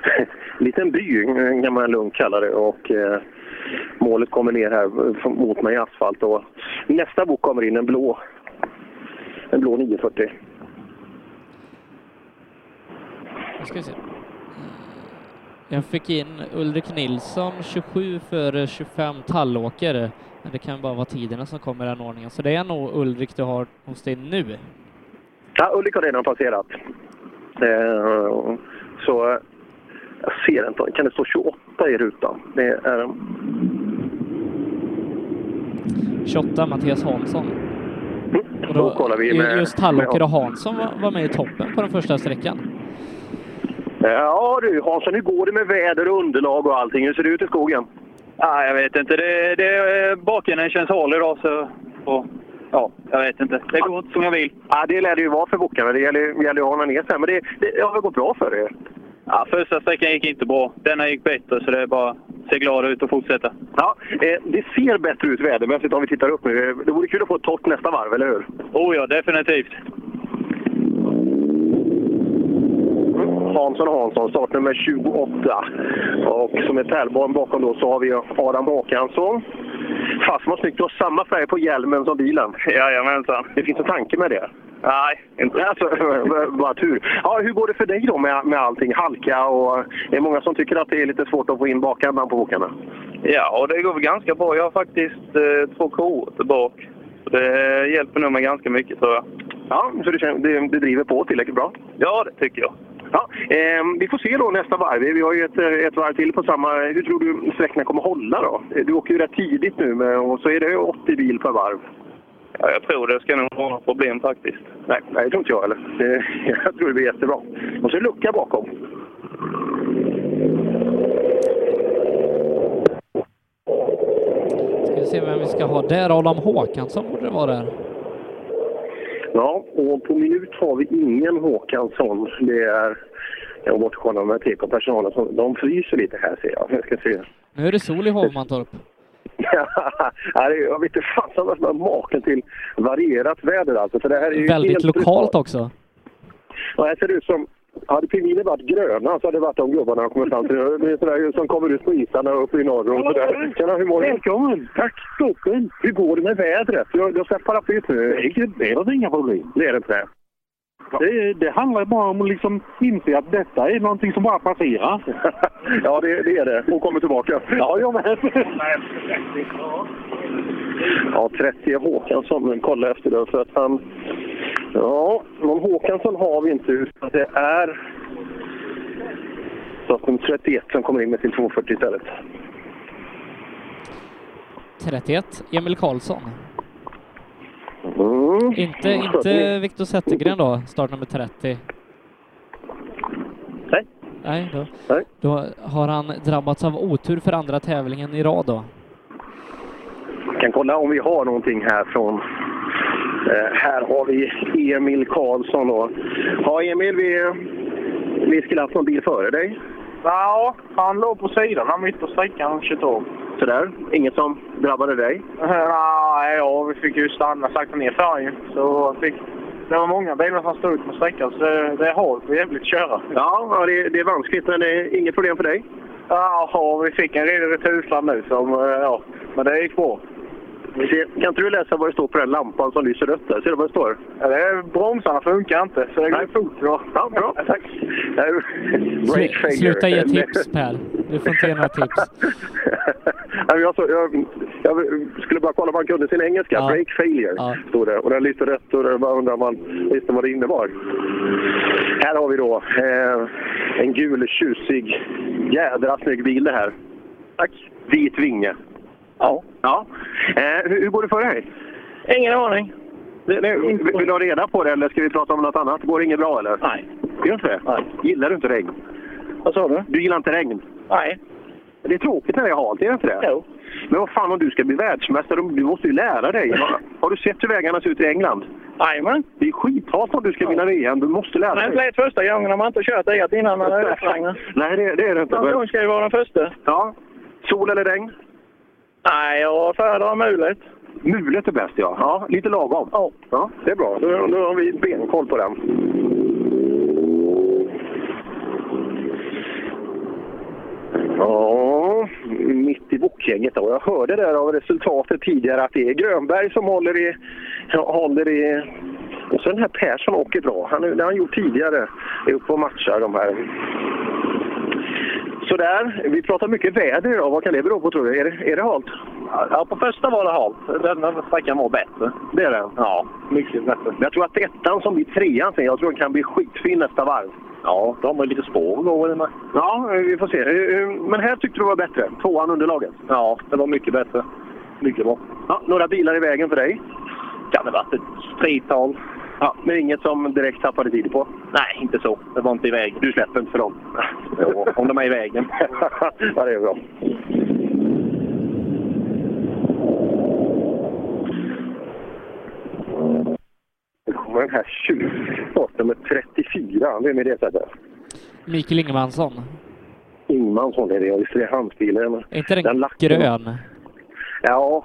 [SPEAKER 2] liten by kan man lugnt kalla det. Och, eh, målet kommer ner här eh, mot mig i asfalt. Och nästa bok kommer in, en blå. En blå 940.
[SPEAKER 1] Nu ska vi se. Eh, Jag fick in Ulrik Nilsson 27 före 25 Tallåker. Men det kan bara vara tiderna som kommer i den ordningen. Så det är nog Ulrik du har hos dig nu.
[SPEAKER 2] Ja, Ulrik har redan passerat. Eh, så eh, jag ser inte. Kan det stå 28 i rutan? Det är,
[SPEAKER 1] 28 Mattias Hansson. Och
[SPEAKER 2] då kollar vi
[SPEAKER 1] ju-
[SPEAKER 2] med-
[SPEAKER 1] Just Tallåker
[SPEAKER 2] med-
[SPEAKER 1] och Hansson var, var med i toppen på den första sträckan.
[SPEAKER 2] ja du Hansson, hur går det med väder och underlag och allting? Hur ser det ut i skogen?
[SPEAKER 15] Ja, jag vet inte. Det, det, bakänden känns hal idag så... Och, ja, jag vet inte. Det går inte som jag vill.
[SPEAKER 2] Ja, det lär det ju vara för bokarna. Det gäller ju gäller ju att hålla ner sig. Men det, det, har väl gått bra för er?
[SPEAKER 15] Ja, första sträckan gick inte bra. Denna gick bättre så det är bara att se glad ut och fortsätta.
[SPEAKER 2] Ja, eh, det ser bättre ut vädermässigt om vi tittar upp nu. Eh, Det vore kul att få ett torrt nästa varv, eller hur?
[SPEAKER 15] Oh ja, definitivt.
[SPEAKER 2] Hansson och Hansson, startnummer 28. Och som är pärlbarn bakom då så har vi Adam Håkansson. Fast vad snyggt, du har samma färg på hjälmen som bilen. Jajamensan. Det finns en tanke med det? Nej, inte. Alltså, bara tur. Ja, hur går det för dig då med, med allting? Halka och... Det är många som tycker att det är lite svårt att få in bakandan på bokarna.
[SPEAKER 26] Ja, och det går väl ganska bra. Jag har faktiskt eh, två kohorter bak. Så Det eh, hjälper nog mig ganska mycket, tror jag.
[SPEAKER 2] Ja, så du, känner, du, du driver på tillräckligt bra?
[SPEAKER 26] Ja, det tycker jag.
[SPEAKER 2] Ja, ehm, vi får se då nästa varv. Vi har ju ett, eh, ett varv till på samma... Hur tror du sträckorna kommer hålla då? Du åker ju rätt tidigt nu men- och så är det 80 bil per varv.
[SPEAKER 26] Ja, jag tror det ska nog vara något problem faktiskt.
[SPEAKER 2] Nej, nej det tror inte jag heller. Det- Jag tror det blir jättebra. Och så är det lucka bakom.
[SPEAKER 1] Ska vi se vem vi ska ha där. Adam Håkansson borde det vara där.
[SPEAKER 2] Ja, och på minut har vi ingen Håkansson. Det är... Jag var borta och kollade med TK-personalen. så De fryser lite här ser jag. Jag ska se.
[SPEAKER 1] Nu är det sol i Hovmantorp.
[SPEAKER 2] Ja, det är- jag vet inte fasen vad som är maken till varierat väder alltså. För det här är ju
[SPEAKER 1] Väldigt
[SPEAKER 2] helt
[SPEAKER 1] lokalt också.
[SPEAKER 2] Ja, här ser det ut som... Hade pingviner varit gröna så hade det varit de gubbarna som kommer fram till. Det är sådär, som kommer ut på isarna uppe i norr och sådär. Tjena, hur mår du? Välkommen! Tack Stoppen! Hur går det med vädret? Jag, jag släpper paraplyet nu.
[SPEAKER 27] Det är inga problem.
[SPEAKER 2] Det är det inte det?
[SPEAKER 27] Det, det handlar bara om att liksom inse att detta är någonting som bara passerar.
[SPEAKER 2] ja, det, det är det. Hon kommer tillbaka. Ja, jag med. Ja, 30 Håkansson men kolla efter det för att han... Ja, någon Håkansson har vi inte utan det är... Startnummer 31 som kommer in med sin 240 istället.
[SPEAKER 1] 31, Emil Karlsson.
[SPEAKER 2] Mm.
[SPEAKER 1] Inte, inte Viktor Zettergren då, startnummer 30.
[SPEAKER 2] Nej.
[SPEAKER 1] Nej, då, då har han drabbats av otur för andra tävlingen i rad då.
[SPEAKER 2] kan kolla om vi har någonting här från... Eh, här har vi Emil Karlsson. Då. Ja, Emil, vi, vi skulle haft någon bil före dig.
[SPEAKER 3] Ja, han låg på sidan han mitt på sträckan och kört av.
[SPEAKER 2] Sådär, inget som drabbade dig?
[SPEAKER 3] Nej, ja, vi fick ju stanna sakta ner för ju. Så fick, det var många bilar som stod ut på sträckan så det, det är halt och jävligt att köra.
[SPEAKER 2] Ja, ja, det, det är vanskligt, men det är inget problem för dig?
[SPEAKER 3] Ja, vi fick en redig retursladd nu som, eh, ja, men det gick bra.
[SPEAKER 2] Se, kan inte du läsa vad det står på den lampan som lyser rött där? Ser du vad det står?
[SPEAKER 3] Ja, det är, bromsarna funkar inte så det går fort. då.
[SPEAKER 2] Ja, bra, tack.
[SPEAKER 1] Slu-
[SPEAKER 2] Break failure.
[SPEAKER 1] Sluta ge tips Per. Du får inte ge några tips.
[SPEAKER 2] Nej, men jag, så, jag, jag skulle bara kolla om han kunde sin engelska.
[SPEAKER 1] Ja.
[SPEAKER 2] Break failure, stod det. Och den lyste rätt och det bara undrar man visste vad det innebar. Här har vi då eh, en gul tjusig, jädra snygg bil det här. Tack. Vit vinge. Ja. ja. Eh, hur, hur går det för dig?
[SPEAKER 3] Ingen aning.
[SPEAKER 2] Det, det, vill vill du ha reda på det eller ska vi prata om något annat? Går det inget bra eller? Nej. Gör inte det? Nej. Gillar du inte regn? Vad sa du? Du gillar inte regn? Nej. Det är tråkigt när det är halt, är det inte det? Jo. Men vad fan om du ska bli världsmästare, du måste ju lära dig. Har, har du sett hur vägarna ser ut i England? Jajamän. Det är skithalt om du ska vinna VM, du måste lära
[SPEAKER 3] Det är
[SPEAKER 2] dig.
[SPEAKER 3] inte lätt första gången när man inte har kört eget innan man överflänger.
[SPEAKER 2] Nej, det, det är det inte.
[SPEAKER 3] Man ska ju vara den första.
[SPEAKER 2] Ja. Sol eller regn?
[SPEAKER 3] Nej, jag föredrar mulet.
[SPEAKER 2] Mulet är bäst, ja. ja lite lagom. Ja. ja. Det är bra. Nu, nu har vi benkoll på den. Ja, mitt i bokgänget då. Jag hörde där av resultatet tidigare att det är Grönberg som håller i... Håller i och så den här Persson åker bra. Han, det har han gjort tidigare. Är uppe och matchar de här. Sådär, vi pratar mycket väder idag. Vad kan det bero på tror du? Är det, är det halt? Ja, på första var det halt. Den sträckan var bättre. Det är den? Ja, mycket bättre. Jag tror att ettan som blir trean sen, jag tror den kan bli skitfin nästa varv. Ja, de har lite spår att gå med. Ja, vi får se. Eh, eh, Men här tyckte du var bättre? Tvåan underlaget? Ja, det var mycket bättre. Mycket bra. Ja, några bilar i vägen för dig? Kan det varit ett tretal. Ja, men inget som direkt tappade tid på? Nej, inte så. Det var inte i vägen. Du släpper inte för dem? Jo, om de är i vägen. ja, det är bra. Nu kommer den här tjuven. Startnummer 34. Vem är det? Så där?
[SPEAKER 1] Mikael Ingemansson.
[SPEAKER 2] Ingmansson är det. Ja, Visst är det hans bil?
[SPEAKER 1] Är inte den,
[SPEAKER 2] lack-
[SPEAKER 1] grön?
[SPEAKER 2] Ja,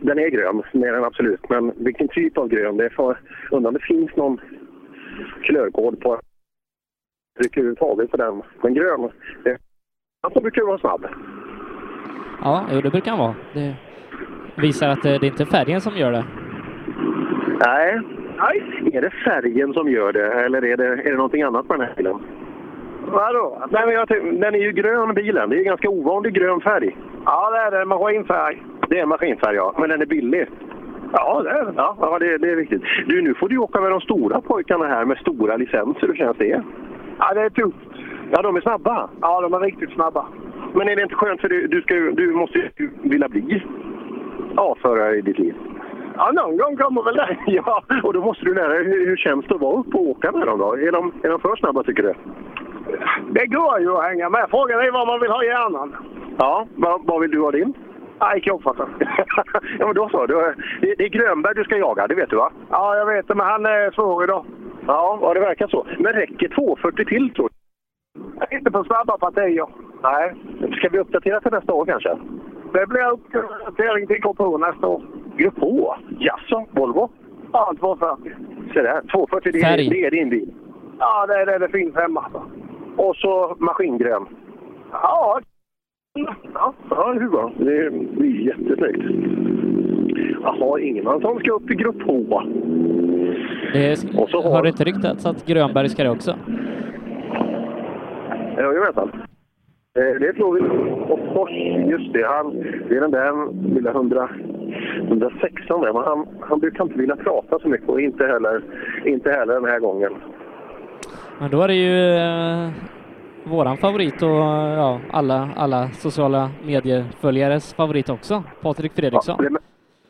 [SPEAKER 2] den är grön. Mer än absolut. Men vilken typ av grön? Det är för... Undrar om det finns någon klörkod på tryck överhuvudtaget på den. Men grön, det är han som brukar vara snabb.
[SPEAKER 1] Ja, jo, det brukar han vara. Det visar att eh, det, det är inte färgen som gör det.
[SPEAKER 2] Nej. Nej. Är det färgen som gör det eller är det, är det någonting annat på den här bilen? Vadå? Nej, men jag tänkte- den är ju grön bilen. Det är ju ganska ovanlig grön färg. Ja, det är det. Maskinfärg. Det är maskinfärg, ja. Men den är billig. Ja, det är den. Ja, ja, det, det är viktigt. Du, nu får du ju åka med de stora pojkarna här med stora licenser. Hur känns det? Ja, det är tufft. Ja, de är snabba. Ja, de är riktigt snabba. Men är det inte skönt för du, du, ska, ju- du måste ju vilja bli A-förare i ditt liv? Ja, någon gång kommer väl det. ja, och då måste du lära dig hur, hur känns det att vara uppe och åka med dem då? Är de, är de för snabba tycker du?
[SPEAKER 3] Det går ju att hänga med. Frågan är vad man vill ha i hjärnan.
[SPEAKER 2] Ja, vad, vad vill du ha din? Nej, kroppsfattare. ja, men då så. Du, det, det är Grönberg du ska jaga, det vet du va?
[SPEAKER 3] Ja, jag vet det, men han är svår idag.
[SPEAKER 2] Ja, ja det verkar så. Men räcker 240 till tror du? Inte på snabba partier. Nej. Ska vi uppdatera till nästa år kanske?
[SPEAKER 3] Det blir uppdatering till grupp H nästa år.
[SPEAKER 2] Grupp H? Jaså, Volvo?
[SPEAKER 3] Ja, 240.
[SPEAKER 2] Se där, 240 det är,
[SPEAKER 3] Färg.
[SPEAKER 2] det är din bil.
[SPEAKER 3] Ja, det är det det finns hemma.
[SPEAKER 2] Och så maskingrön.
[SPEAKER 3] Ja,
[SPEAKER 2] Ja, ja det är bra. Det är, det är jättesnyggt. Jaha, Ingemansson ska upp i Grupp H.
[SPEAKER 1] det är, har det inte ryktats att Grönberg ska det också?
[SPEAKER 2] Jajamensan. Eh, Det slog vi. Och Fors, just det. Han, det är den där lilla 100, 116 där. Men han, han brukar inte vilja prata så mycket och inte heller, inte heller den här gången.
[SPEAKER 1] Men då är det ju eh, våran favorit och ja, alla, alla sociala medieföljares favorit också, Patrik Fredriksson.
[SPEAKER 2] Ja, det,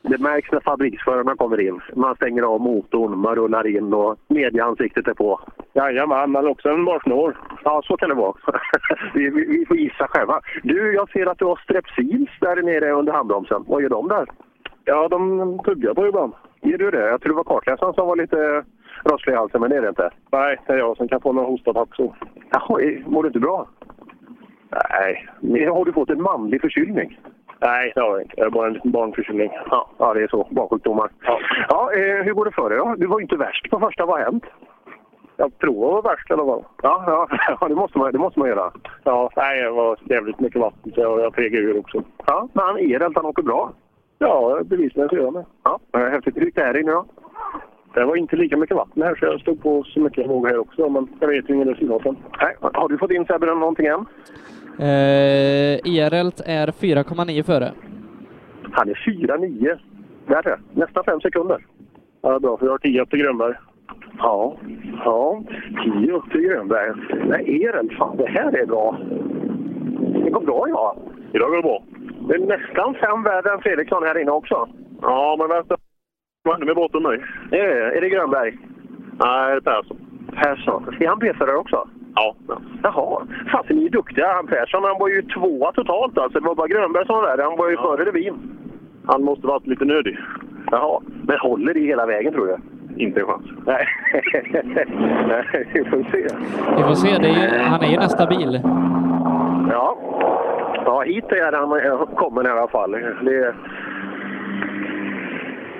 [SPEAKER 2] det märks när fabriksförarna kommer in. Man stänger av motorn, man rullar in och medieansiktet är på. Jajamän, men också en marsnål. Ja, så kan det vara. vi, vi, vi får gissa själva. Du, jag ser att du har strepsils där nere under handbromsen. Vad gör de där? Ja, de tuggar på ibland. Gör du det? Jag tror det var kartläsaren som var lite rosslig i halsen, men det är det inte. Nej, det är jag som kan få någon hostattack så. Jaha, eh, mår du inte bra? Nej. Men Har du fått en manlig förkylning? Nej, det har jag inte. Det är bara en liten barnförkylning. Ja, ja det är så. Barnsjukdomar. Ja. Ja, eh, hur går det för dig då? Du var ju inte värst på första. Vad har hänt? Jag tror jag var värst i alla fall. Ja, ja, ja det, måste man, det måste man göra. Ja, nej, det var jävligt mycket vatten så jag, jag pegade ur också. Ja, men han är han åker bra. Ja, bevisligen så gör jag med. Ja, eh, häftigt. Hur gick det här inne då? Det var inte lika mycket vatten här så jag stod på så mycket jag vågade här också. Men jag vet ju ingen resultaten. Nej, har du fått in Sebbe någonting än?
[SPEAKER 1] Eh, Erelt är 4,9 före.
[SPEAKER 2] Han är 4-9. Värre. Nästan fem sekunder. Ja, bra, för jag har 10 upp till Grönberg. Ja, ja. 10 upp till Grönberg. Nej, Erel, fan det här är bra. Det går bra idag. Idag går det bra. Det är nästan fem värre än Fredriksson här inne också. Ja, men vänta. Vad hände med båten nu? Är det, Eh, är det Grönberg? Nej, det är Persson. Persson. Är han B-förare också? Ja. Jaha. Fasen, ni är duktiga. Han Persson han var ju tvåa totalt alltså. Det var bara Grönberg som var värre. Han var ju före Levin. Han måste varit lite nödig. Jaha. Men håller det hela vägen tror du? Inte en chans. Nej, Nej, vi får se.
[SPEAKER 1] Vi får se, det är, ju- han är ju nästa bil.
[SPEAKER 2] Ja. ja, hit är han eh, kommen i alla fall. Det,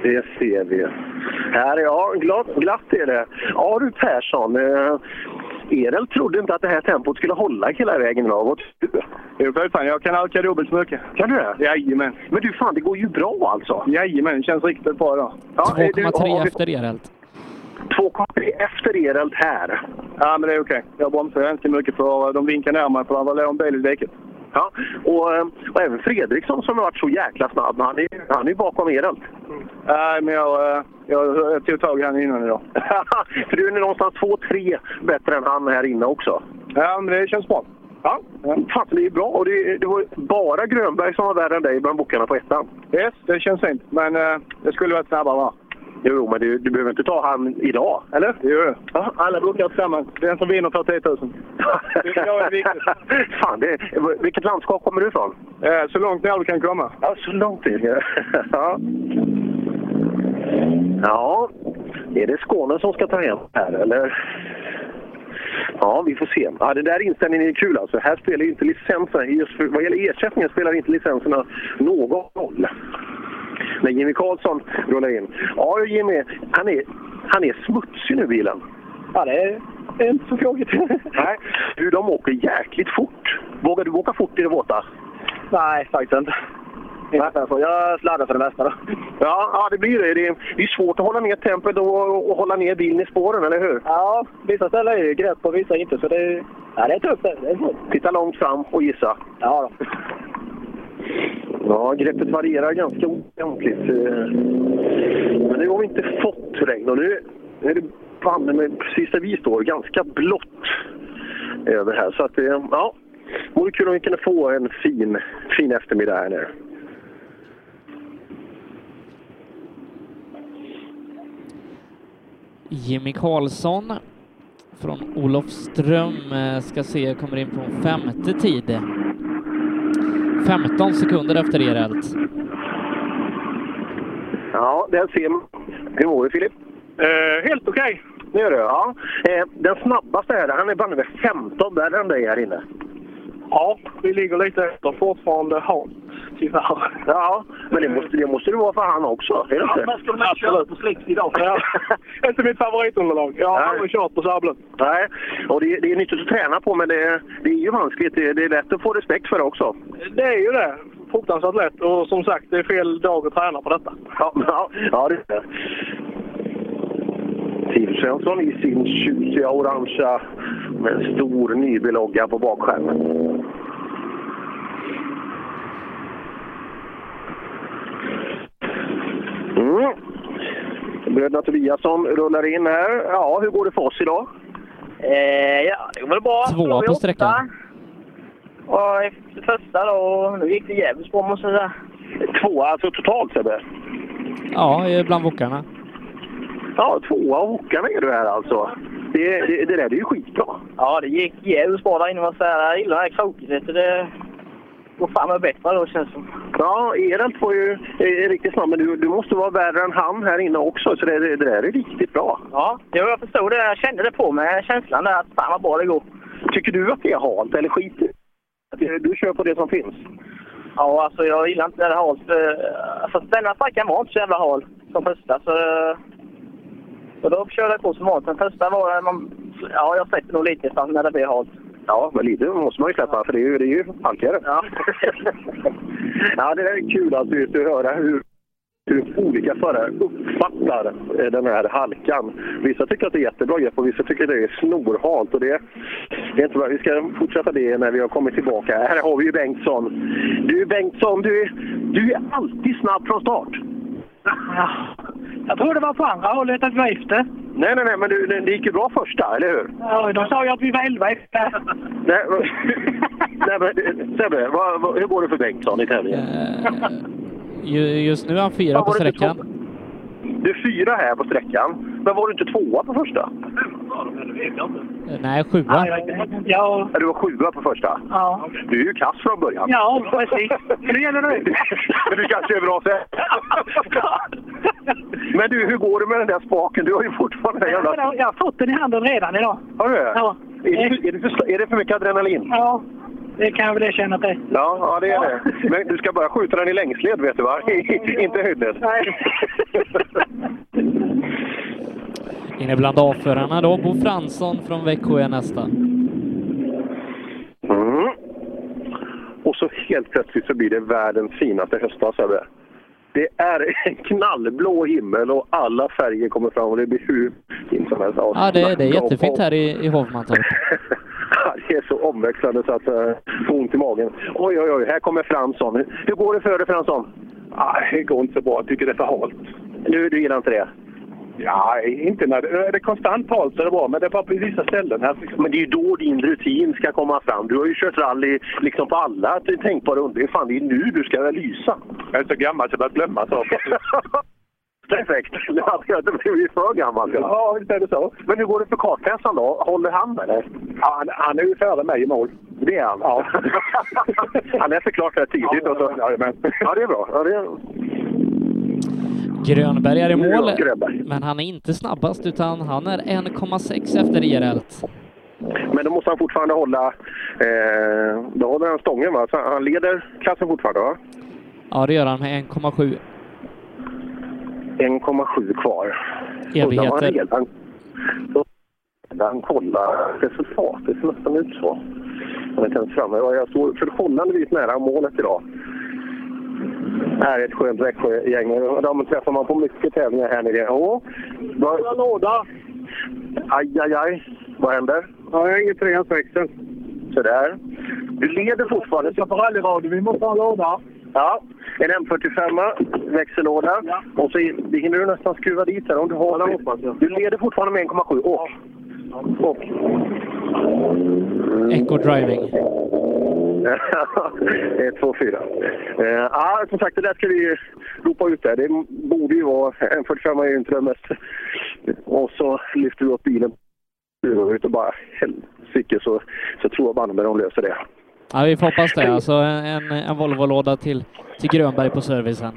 [SPEAKER 2] det ser vi. Här, ja, glatt, glatt är det. Ja du Persson, eh, Erel trodde inte att det här tempot skulle hålla hela vägen idag. Vad tror du?
[SPEAKER 20] Jo, för fan, jag kan halka dubbelt så mycket.
[SPEAKER 2] Kan du det?
[SPEAKER 20] Jajamän.
[SPEAKER 2] Men du, fan, det går ju bra alltså.
[SPEAKER 20] Jajamän, det känns riktigt bra idag.
[SPEAKER 2] Ja, eh, du,
[SPEAKER 1] 2,3
[SPEAKER 2] har vi-
[SPEAKER 1] efter Erelt.
[SPEAKER 2] 2,3 efter Erelt här.
[SPEAKER 20] Ja, men det är okej. Jag bromsade inte mycket för de vinkade ner mig för det var en bil i diket.
[SPEAKER 2] Ja, och, eh, och även Fredriksson som har varit så jäkla snabb. Han är, han är ju bakom Erelt.
[SPEAKER 20] Nej, men jag, eh, jag, jag tog tag i han innan idag.
[SPEAKER 2] För du är någonstans 2-3 bättre än han här inne också.
[SPEAKER 20] Ja, men det känns bra.
[SPEAKER 2] Ja, fan det är ju bra. Och det, det var bara Grönberg som var värre än dig bland bokarna på ettan.
[SPEAKER 20] Yes, det känns fint. Men eh, jag skulle varit snabbare va?
[SPEAKER 2] Jo, men du, du behöver inte ta han idag.
[SPEAKER 20] Eller? Jo.
[SPEAKER 2] Ja,
[SPEAKER 20] alla brukar tillsammans. Den som vinner tar 10 000. jag är viktigt.
[SPEAKER 2] Fan, det, vilket landskap kommer du ifrån?
[SPEAKER 20] Eh, så långt ner du kan komma.
[SPEAKER 2] Ja, så långt ner. ja. ja, är det Skåne som ska ta hem här eller? Ja, vi får se. Ja, den där inställningen är kul alltså. Här spelar ju inte licenserna, just för, vad gäller ersättningen spelar inte licenserna någon roll. När Jimmy Karlsson rullar in. Ja, Jimmy, han är, han är smutsig nu bilen. Ja, det är inte så tråkigt. Nej, du, de åker jäkligt fort. Vågar du åka fort i det våta?
[SPEAKER 14] Nej, faktiskt inte. Inte därför. Jag sladdar för det mesta. Då.
[SPEAKER 2] Ja, ja det blir det. Det är, det är svårt att hålla ner tempot och, och hålla ner bilen i spåren, eller hur? Ja, vissa ställen är ju grepp och vissa inte. Så det, ja, det är tufft. Det är svårt. Titta långt fram och gissa. Ja, då. Ja, greppet varierar ganska ordentligt. eh. Men nu har vi inte fått regn och nu är det banne med precis där vi står ganska blått över här. Så att, eh, ja, vore kul om vi kunde få en fin, fin eftermiddag här nu.
[SPEAKER 1] Jimmy Karlsson från Olofström eh, ska se, kommer in på en femte tid. 15 sekunder efter Erelt.
[SPEAKER 2] Ja, där ser man. Hur mår du Filip?
[SPEAKER 13] Eh,
[SPEAKER 2] helt okej. Det gör du? Ja. Eh, den snabbaste här, han är banne mig 15 värre än dig här inne.
[SPEAKER 13] Ja, vi ligger lite efter fortfarande Hans, tyvärr.
[SPEAKER 2] Ja, men det måste, det måste det vara för han också, är det inte?
[SPEAKER 13] skulle man köra på slicks idag? Ja.
[SPEAKER 2] inte mitt favoritunderlag. Jag har aldrig kört på sablen. Nej, och det, det är nyttigt att träna på, men det, det är ju vanskligt. Det, det är lätt att få respekt för det också.
[SPEAKER 13] Det är ju det. Fruktansvärt lätt. Och som sagt, det är fel dag att träna på detta.
[SPEAKER 2] Ja, ja, ja det är det. Tim Svensson i sin tjusiga orangea med en stor Nyby-logga på bakskärmen. Mm. Bröderna Tobiasson rullar in här. Ja, hur går det för oss idag?
[SPEAKER 28] Eh, ja, det går väl bra.
[SPEAKER 1] Tvåa
[SPEAKER 28] Då var vi
[SPEAKER 1] på sträckan.
[SPEAKER 28] åtta. Och efter första då, nu gick det jävligt bra måste jag säga.
[SPEAKER 11] Tvåa alltså totalt Sebbe?
[SPEAKER 1] Ja, eh, bland wokarna.
[SPEAKER 11] Ja, tvåa och hockarna är du här alltså. Det, det, det där det är ju skitbra.
[SPEAKER 28] Ja, det gick jävligt bra där inne måste jag säga. Jag gillar det här krokigheten. Det går fan med bättre då känns det som.
[SPEAKER 2] Ja, Erelt var ju eh, riktigt snabb, men du, du måste vara värre än han här inne också, så det, det, det där är riktigt bra.
[SPEAKER 28] Ja, jo, jag förstod det. Jag kände det på mig, känslan där att fan vad bra det går.
[SPEAKER 2] Tycker du att det är halt eller skit i- att du- Du kör på det som finns.
[SPEAKER 28] Ja, alltså jag gillar inte det här halt. eh, Fast denna sträckan var inte så jävla hal som första. Så, eh, så då körde jag på som vanligt. Den första var... eh, Man, ja, jag släpper nog lite fast när det blir halt.
[SPEAKER 2] Ja, men lite måste man ju släppa, för det är ju, det är ju halkigare.
[SPEAKER 28] Ja.
[SPEAKER 2] ja, det där är kul att just att höra hur, hur olika förare uppfattar eh, den här halkan. Vissa tycker att det är jättebra grepp och vissa tycker att det är snorhalt. Och det, det är inte bra. Vi ska fortsätta det när vi har kommit tillbaka. Här har vi ju Bengtsson. Du Bengtsson, du, är- du är alltid snabb från start.
[SPEAKER 21] Jag tror det var på andra hållet att vi var efter.
[SPEAKER 2] Nej, nej, nej, men du, det- det gick ju bra första, eller hur?
[SPEAKER 21] Ja, de sa ju att vi var elva efter.
[SPEAKER 2] Nej, vad- nej men Sebbe, vad, vad, hur går det för Bengtsson i tävlingen?
[SPEAKER 1] Eh, Ju- Just nu är han fyra på sträckan.
[SPEAKER 2] Du är fyra här på sträckan, men var du inte tvåa på första?
[SPEAKER 1] Eh, Nej, sjua.
[SPEAKER 21] Ja.
[SPEAKER 2] Du var sjua på första?
[SPEAKER 21] Ja.
[SPEAKER 2] Du är ju kass från början.
[SPEAKER 21] Ja, precis.
[SPEAKER 2] Men det gäller det. Men du kanske är bra sen. Men du, hur går det med den där spaken? Du har ju fortfarande den jävla...
[SPEAKER 21] Jag har fått den i handen redan idag.
[SPEAKER 2] Har du det?
[SPEAKER 21] Ja.
[SPEAKER 2] Är det, för- är, det för, är det för mycket adrenalin?
[SPEAKER 21] Ja, det kan jag väl erkänna att det är.
[SPEAKER 2] Ja, ja det är det. Men du ska bara skjuta den i längsled, vet du va? Inte höjdled.
[SPEAKER 1] Inne bland avförarna då, Bo Fransson från Växjö är nästa.
[SPEAKER 2] Mm. Och så helt plötsligt så blir det världens finaste höstdag, Sebbe. Det är en knallblå himmel och alla färger kommer fram och det blir hur fint som helst.
[SPEAKER 1] Ja, det, det är jättefint här i, i Hovmantorp.
[SPEAKER 2] Ja, Det är så omväxlande så att jag får ont i magen. Oj, oj, oj, här kommer Fransson. Hur går det för dig Fransson? Nej, Ah, det går inte så bra. Jag tycker det är för halt. Du, du gillar inte det? Ja, inte när det är det konstant halt så är det bra, men det är bara på vissa ställen. Här. Men det är ju då din rutin ska komma fram. Du har ju kört rally liksom på alla tänkbara under. Fan, det är nu du ska lysa. Jag är så gammal så jag börjar glömma saker. Perfekt! Det blev ju för gammalt. Ja, visst är det så. Men hur går det för kartläsaren då? Håller han eller? Han, han är ju före mig i mål. Det är han? Ja. han läser klart rätt tidigt. Ja, så. ja, det är bra. Ja, det är...
[SPEAKER 1] Grönberg är i
[SPEAKER 2] Nu är
[SPEAKER 1] mål,
[SPEAKER 2] jag Grönberg.
[SPEAKER 1] men han är inte snabbast utan han är 1,6 efter E Gerelt.
[SPEAKER 2] Men då måste han fortfarande hålla... Eh, då håller han stången va? Så han leder klassen fortfarande va?
[SPEAKER 1] Ja, det gör han med 1,7.
[SPEAKER 2] 1,7 kvar.
[SPEAKER 1] Evigheter.
[SPEAKER 2] Undrar vad han redan- Då han kolla resultatet. Det ser nästan ut så. Men jag kan inte framme. Ja, Jag står förhållandevis nära målet idag. Här är ett skönt Växjögäng. Och De träffar man på mycket tävlingar här nere. Åh, vad... låda! Aj, aj, aj. Vad händer? Ja, jag inget treans växel. Sådär. Du leder fortfarande. Jag på rallyradio. Vi måste ha en låda. Ja, en M45 växellåda. Och så det hinner du nästan skruva dit den om du har... Du leder fortfarande med 1,7. Åk! Åk!
[SPEAKER 1] Eco driving.
[SPEAKER 2] Det är 2-4. Eh, Ja, som sagt, det där ska vi ropa ut där. Det borde ju vara... En 45 är ju inte det mest... Och så lyfter vi upp bilen ut och bara helsike så, så tror jag banne mig de löser det.
[SPEAKER 1] Ja, vi får hoppas det. Alltså en, en- en Volvo-låda till, till Grönberg på servicen.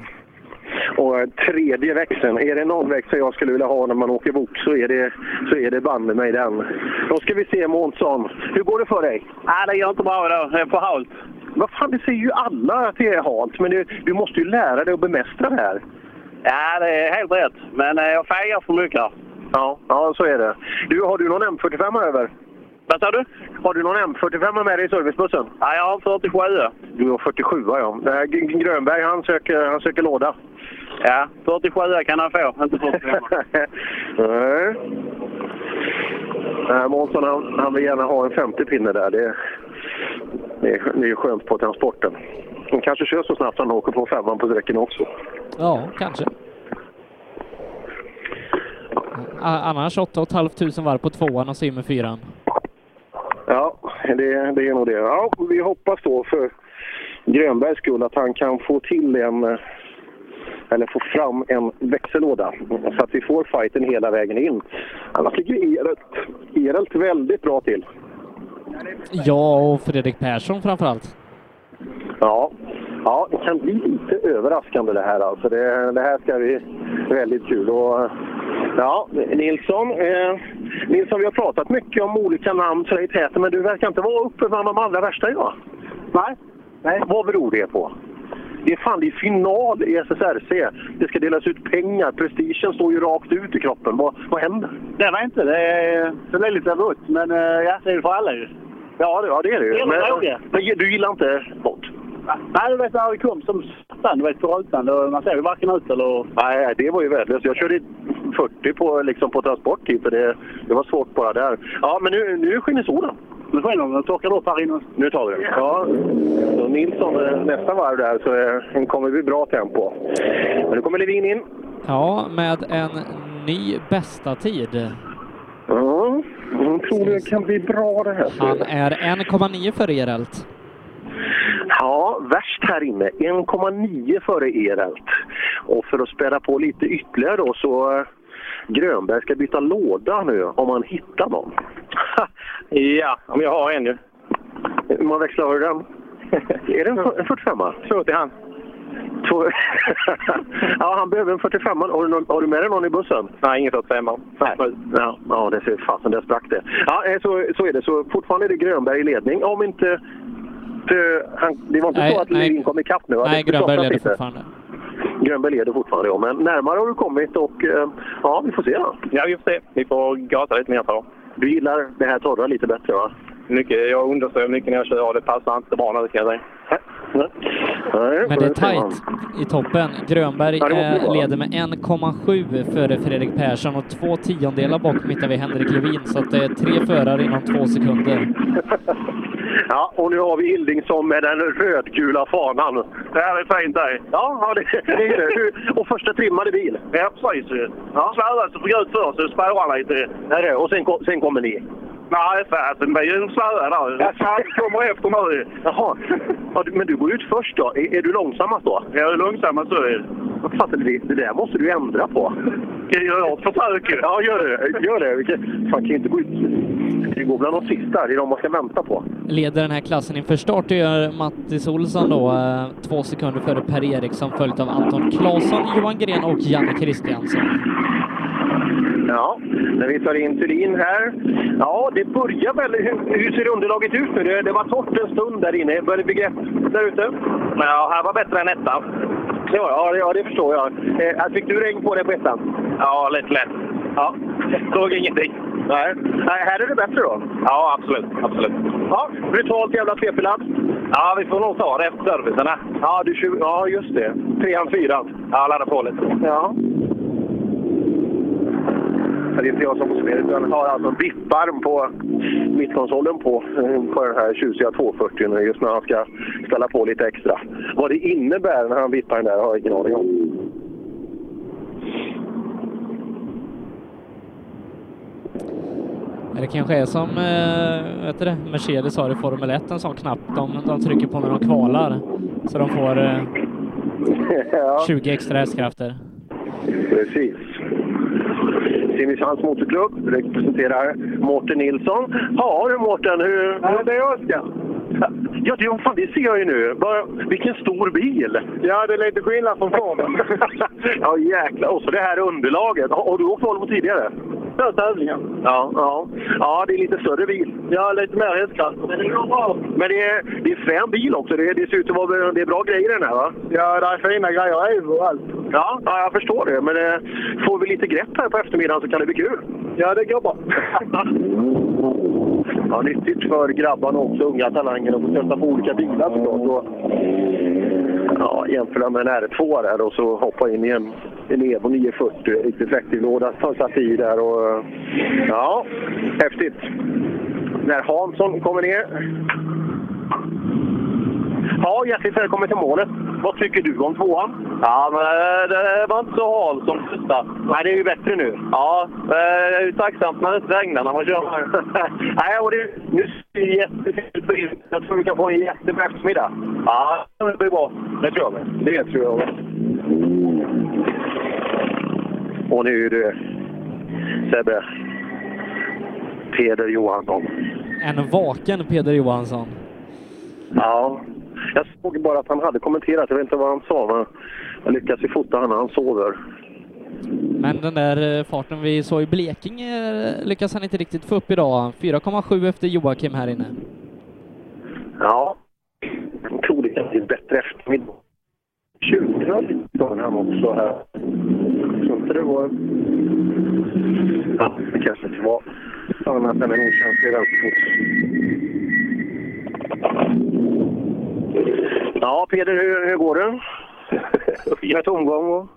[SPEAKER 2] Och eh, tredje växeln, är det någon växel jag skulle vilja ha när man åker bok så är det, så är det banne mig den. Då ska vi se Månsson, hur går det för dig? Nej, det går inte bra idag. Det är för halt. Vad fan, det säger ju alla att det är halt, men du, du måste ju lära dig att bemästra det här.
[SPEAKER 29] Ja, det är helt rätt. Men eh, jag fegar för mycket här.
[SPEAKER 2] Ja, ja så är det. Du, har du någon M45 över? Vad sa du? Har du någon M45 med dig i servicebussen? Nej, jag har en 47. Du har 47 ja. Det här G- Grönberg, han söker, han söker låda.
[SPEAKER 29] Ja, 47 kan han få, inte 45.
[SPEAKER 2] Nej. Nej, Månsson han, han vill gärna ha en 50-pinne där. Det, det, är, det är skönt på transporten. Han kanske kör så snabbt han åker på femman på sträckan också.
[SPEAKER 1] Ja, kanske. A- Annars 8 500 varv på tvåan och så in med fyran.
[SPEAKER 2] Ja, det, det är nog det. Ja, vi hoppas då för Grönbergs skull att han kan få till en eh, eller få fram en växellåda så att vi får fighten hela vägen in. Annars ligger Erelt, Erelt väldigt bra till.
[SPEAKER 1] Ja, och Fredrik Persson framförallt.
[SPEAKER 2] Ja, ja det kan bli lite överraskande det här. Alltså det, det här ska bli väldigt kul. Och, ja, Nilsson, eh, Nilsson, vi har pratat mycket om olika namn så här i täten, men du verkar inte vara uppe bland de allra värsta idag. Nej. Nej. Vad beror det på? Det är fan det är final i SSRC. Det ska delas ut pengar. Prestigen står ju rakt ut i kroppen. Vad, vad händer?
[SPEAKER 29] Det var inte. Det, är- det blev lite abrupt, men eh, ja, det är det för alla ju.
[SPEAKER 2] Ja, det, ja, det är det ju.
[SPEAKER 29] Det är en fråga.
[SPEAKER 2] Men, men du gillar inte sport?
[SPEAKER 29] Nej, du vet när det kom som satan, du vet, på rutan. då- Man ser ju varken ut eller...
[SPEAKER 2] Nej, det var ju värdelöst. Jag körde 40 på, liksom, på transport typ, för det, det var svårt bara där. Ja, men nu, nu skiner solen. Nu skiner den. torkar upp här inne. Nu tar vi det. Ja. Så Nilsson, eh, nästa varv där så eh, kommer vi bra tempo. Men nu kommer Levin in.
[SPEAKER 1] Ja, med en ny bästa tid.
[SPEAKER 2] Ja, jag tror det kan bli bra det här.
[SPEAKER 1] Han är 1,9 före Geralt.
[SPEAKER 2] Ja, värst här inne. 1,9 före Erelt. Och för att späda på lite ytterligare då så eh, Grönberg ska byta låda nu om han hittar någon. ja, om jag har en nu. Hur många växlar har du den? Är det en fyr- en 45 Två till han. Två... ja, han behöver en 45 har du, någon, har du med dig någon i bussen? Nej, ingen 45 Nej. Ja, ja, det ser fasen, där sprack det. Ja, eh, så, så är det. Så fortfarande är det Grönberg i ledning om inte inte- han, det var inte
[SPEAKER 1] Nej,
[SPEAKER 2] så att
[SPEAKER 1] nej.
[SPEAKER 2] Levin kom ikapp nu? va?
[SPEAKER 1] Nej,
[SPEAKER 2] Det- det
[SPEAKER 1] Grönberg
[SPEAKER 2] saknas
[SPEAKER 1] leder
[SPEAKER 2] lite.
[SPEAKER 1] fortfarande.
[SPEAKER 2] Grönberg leder fortfarande, ja. Men närmare har du kommit och eh, ja, vi får se då. Ja, vi får se. Vi får gasa lite mer på. Du gillar det här torra lite bättre, va?
[SPEAKER 26] Mycket, jag understöder mycket när jag kör och det passar inte bra nu kan jag säga.
[SPEAKER 1] Men det är tajt i toppen. Grönberg
[SPEAKER 26] Ja, det måste det
[SPEAKER 1] eh,
[SPEAKER 26] vara.
[SPEAKER 1] leder med 1,7 före Fredrik Persson och två tiondelar bak mittar vi Henrik Levin, så att det är tre förare inom två sekunder.
[SPEAKER 2] Ja, och nu har vi Ildingsson med den rödgula fanan. Det här är fint där. Ja, ja det, det är det. Hur- Och första trimmade bil. Ja, precis. Ja. Svära så får jag ut först, så spårar han lite. Är det? Och sen, ko- sen kommer ni? Nej, fasen. Det är ju en slöa där. Ja, fan, kommer efter nu. Jaha. Ja, du- men du går ut först då. Är, är du långsammast då? Jag är långsammast då. Fasen, det, det där måste du ändra på. Jag gör ett försök. Ja, gör det. Gör det. Vi kan- Fan, kan ju inte gå ut. Det går bland de sista. Det är de man ska vänta på.
[SPEAKER 1] Leder den här klassen inför start, det gör Mattis Olsson då, eh, två sekunder före Per Eriksson, följt av Anton Claesson, Johan Gren och Janne Kristiansson.
[SPEAKER 2] Ja, när vi tar in Turin här. Ja, det börjar väl... Hur, hur ser underlaget ut nu? Det, det var torrt en stund där inne. Börjar det bli grepp där ute? Ja, här var bättre än ettan. Ja, ja, det- ja det förstår jag. Eh, fick du regn på dig på ettan? Ja, lite lätt. Ja, såg ingenting. Nej. Nej, här är det bättre då? Ja, absolut. absolut. Ja, brutalt jävla tvepillad. Ja, vi får nog ta det efter servicerna. Ja, du, kör- ja just det. Trean, fyran. Ja, ladda på lite. Ja. Ja, Det är inte jag som får spela, utan jag har alltså en vipparm på mittkonsolen på, eh, på den här tjusiga 240 just när han ska ställa på lite extra. Vad det innebär när han vippar den där har jag ingen aning om.
[SPEAKER 1] Ja, Det kanske är som eh, vet du det, Mercedes har i Formel 1, en sån knapp de, de trycker på när de kvalar. Så de får eh, 20 extra hästkrafter.
[SPEAKER 2] Precis. Simrishamns motorklubb representerar Mårten Nilsson. Ja du Mårten, hur... Ja, det är jag Oskar. Ja, det, fan, det ser jag ju nu. Vad- Vilken stor bil! Ja, det är lite skillnad från formen. ja, jäklar. Och så det här underlaget. Har, har du åkt Volvo tidigare? Två tävlingar. Ja, ja. ja, det är lite större bil. Ja, lite mer hästkraft. Men det går bra. Men det är, det är frän bil också. Det, det ser ut att vara det är bra grejer i den här va? Ja, det är fina grejer överallt. Ja, ja, jag förstår det. Men eh, får vi lite grepp här på eftermiddagen så kan det bli kul. Ja, det går bra. ja, nyttigt för grabbarna också, unga talanger, att få testa på olika bilar såklart. Och, ja, jämföra med en R2 där och så hoppa in i en, en Evo 940 i reflektivlåda, ta satt i där och... eh, Ja, häftigt. När Hansson kommer ner. Ja, hjärtligt välkommen till målet. Vad tycker du om tvåan?
[SPEAKER 19] Ja, men eh, det var inte så hal som första.
[SPEAKER 2] Nej, det är ju bättre nu.
[SPEAKER 19] Ja, eh, det är ju tacksamt när det inte regnar när man kör.
[SPEAKER 2] Nej, och det, nu ser det jättefint ut på internet. Jag tror vi kan få en jättebra eftermiddag. Ja, det blir bra. Det tror jag Det tror jag Och nu är det Sebbe. Peder Johansson.
[SPEAKER 1] En vaken Peder Johansson.
[SPEAKER 2] Ja. Jag såg bara att han hade kommenterat. Jag vet inte vad han sa. Men jag lyckas ju fota honom när han sover.
[SPEAKER 1] Men den där eh, farten vi såg i Blekinge eh, lyckas han inte riktigt få upp idag. 4,7 efter Joakim här inne.
[SPEAKER 2] Ja. Jag tror det kan bli bättre eftermiddag. 20 var lite han också här. Jag tror inte det var... Ja, det kanske inte var annat än en okänslig vänsterfot. Ja, Peder, hur, hur går det? Med tomgång och...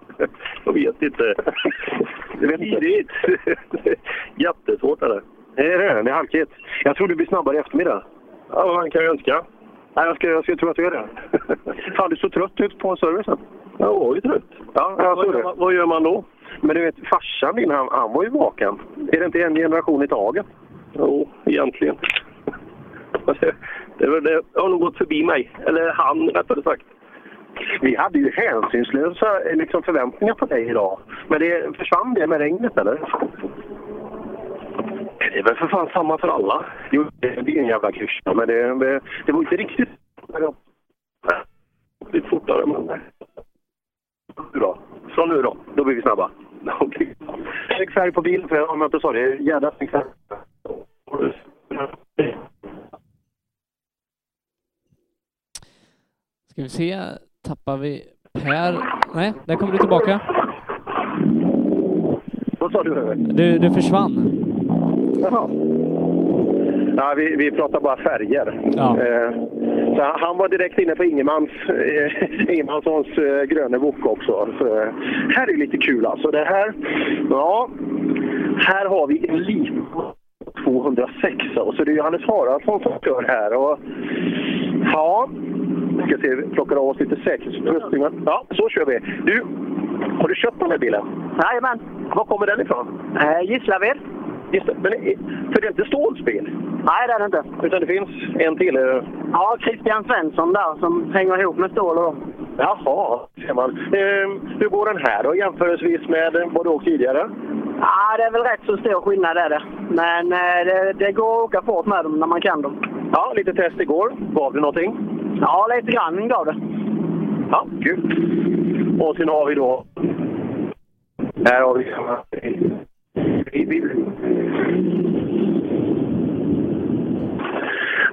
[SPEAKER 26] Jag vet inte. Det är tidigt. Jättesvårt är det.
[SPEAKER 2] Det är det. Det är halkigt. Jag tror du blir snabbare i eftermiddag.
[SPEAKER 26] Ja, vad man kan ju önska.
[SPEAKER 2] Nej, jag ska, jag ska tro att du är det. Fan, du såg trött ut på servicen.
[SPEAKER 26] Jag var ju trött.
[SPEAKER 2] Ja, jag såg
[SPEAKER 26] Vad gör
[SPEAKER 2] det.
[SPEAKER 26] man- vad gör man då?
[SPEAKER 2] Men du vet, farsan din, han, han var ju vaken. Är det inte en generation i taget?
[SPEAKER 26] Jo, egentligen. Det, är väl det Det har nog gått förbi mig. Eller han, rättare sagt.
[SPEAKER 2] Vi hade ju hänsynslösa eh, liksom, förväntningar på dig idag. Men det försvann det med regnet, eller? Det är väl för fan samma för alla. Jo, det är en jävla klyscha, men det, det, det var inte riktigt... Lite fortare, men... Nu då? Så nu då? Då blir vi snabba. Okej. Snygg färg på bilen, för om jag inte sa det. Jädra snygg färg.
[SPEAKER 1] Ska vi se, tappar vi Per? Nej, där kommer du tillbaka.
[SPEAKER 2] Vad sa du?
[SPEAKER 1] Du, du försvann.
[SPEAKER 2] Jaha. Ja, vi, vi pratar bara färger. Eh, så han, han var direkt inne på Ingemans, eh, Ingemanssons eh, gröna bok också. Så, eh, här är lite kul alltså. Det här, ja, här har vi en liten 206 och så alltså. det är Johannes Haraldsson som kör här. Och, ja, vi ska se, vi plockar av oss lite säkerhetsutrustning. va? Ja, så kör vi. Du, har du köpt den här bilen?
[SPEAKER 28] Jajamän.
[SPEAKER 2] Var kommer den ifrån?
[SPEAKER 28] Eh, Gislaved.
[SPEAKER 2] Just det, men i- för det är inte Ståhls bil?
[SPEAKER 28] Nej, det är det inte.
[SPEAKER 2] Utan det finns en till? eh,
[SPEAKER 28] Ja, Christian Svensson där som hänger ihop med Ståhl och dem.
[SPEAKER 2] Jaha, ser man. Ehm, hur går den här då jämförelsevis med eh, vad du åkt tidigare?
[SPEAKER 28] Ja, det är väl rätt så stor skillnad är det. Men eh, det, det går att åka fort med dem när man kan dem.
[SPEAKER 2] Ja, lite test igår. Gav du någonting?
[SPEAKER 28] Ja, lite grann gav det.
[SPEAKER 2] Ja, kul. Och sen har vi då... Här har vi...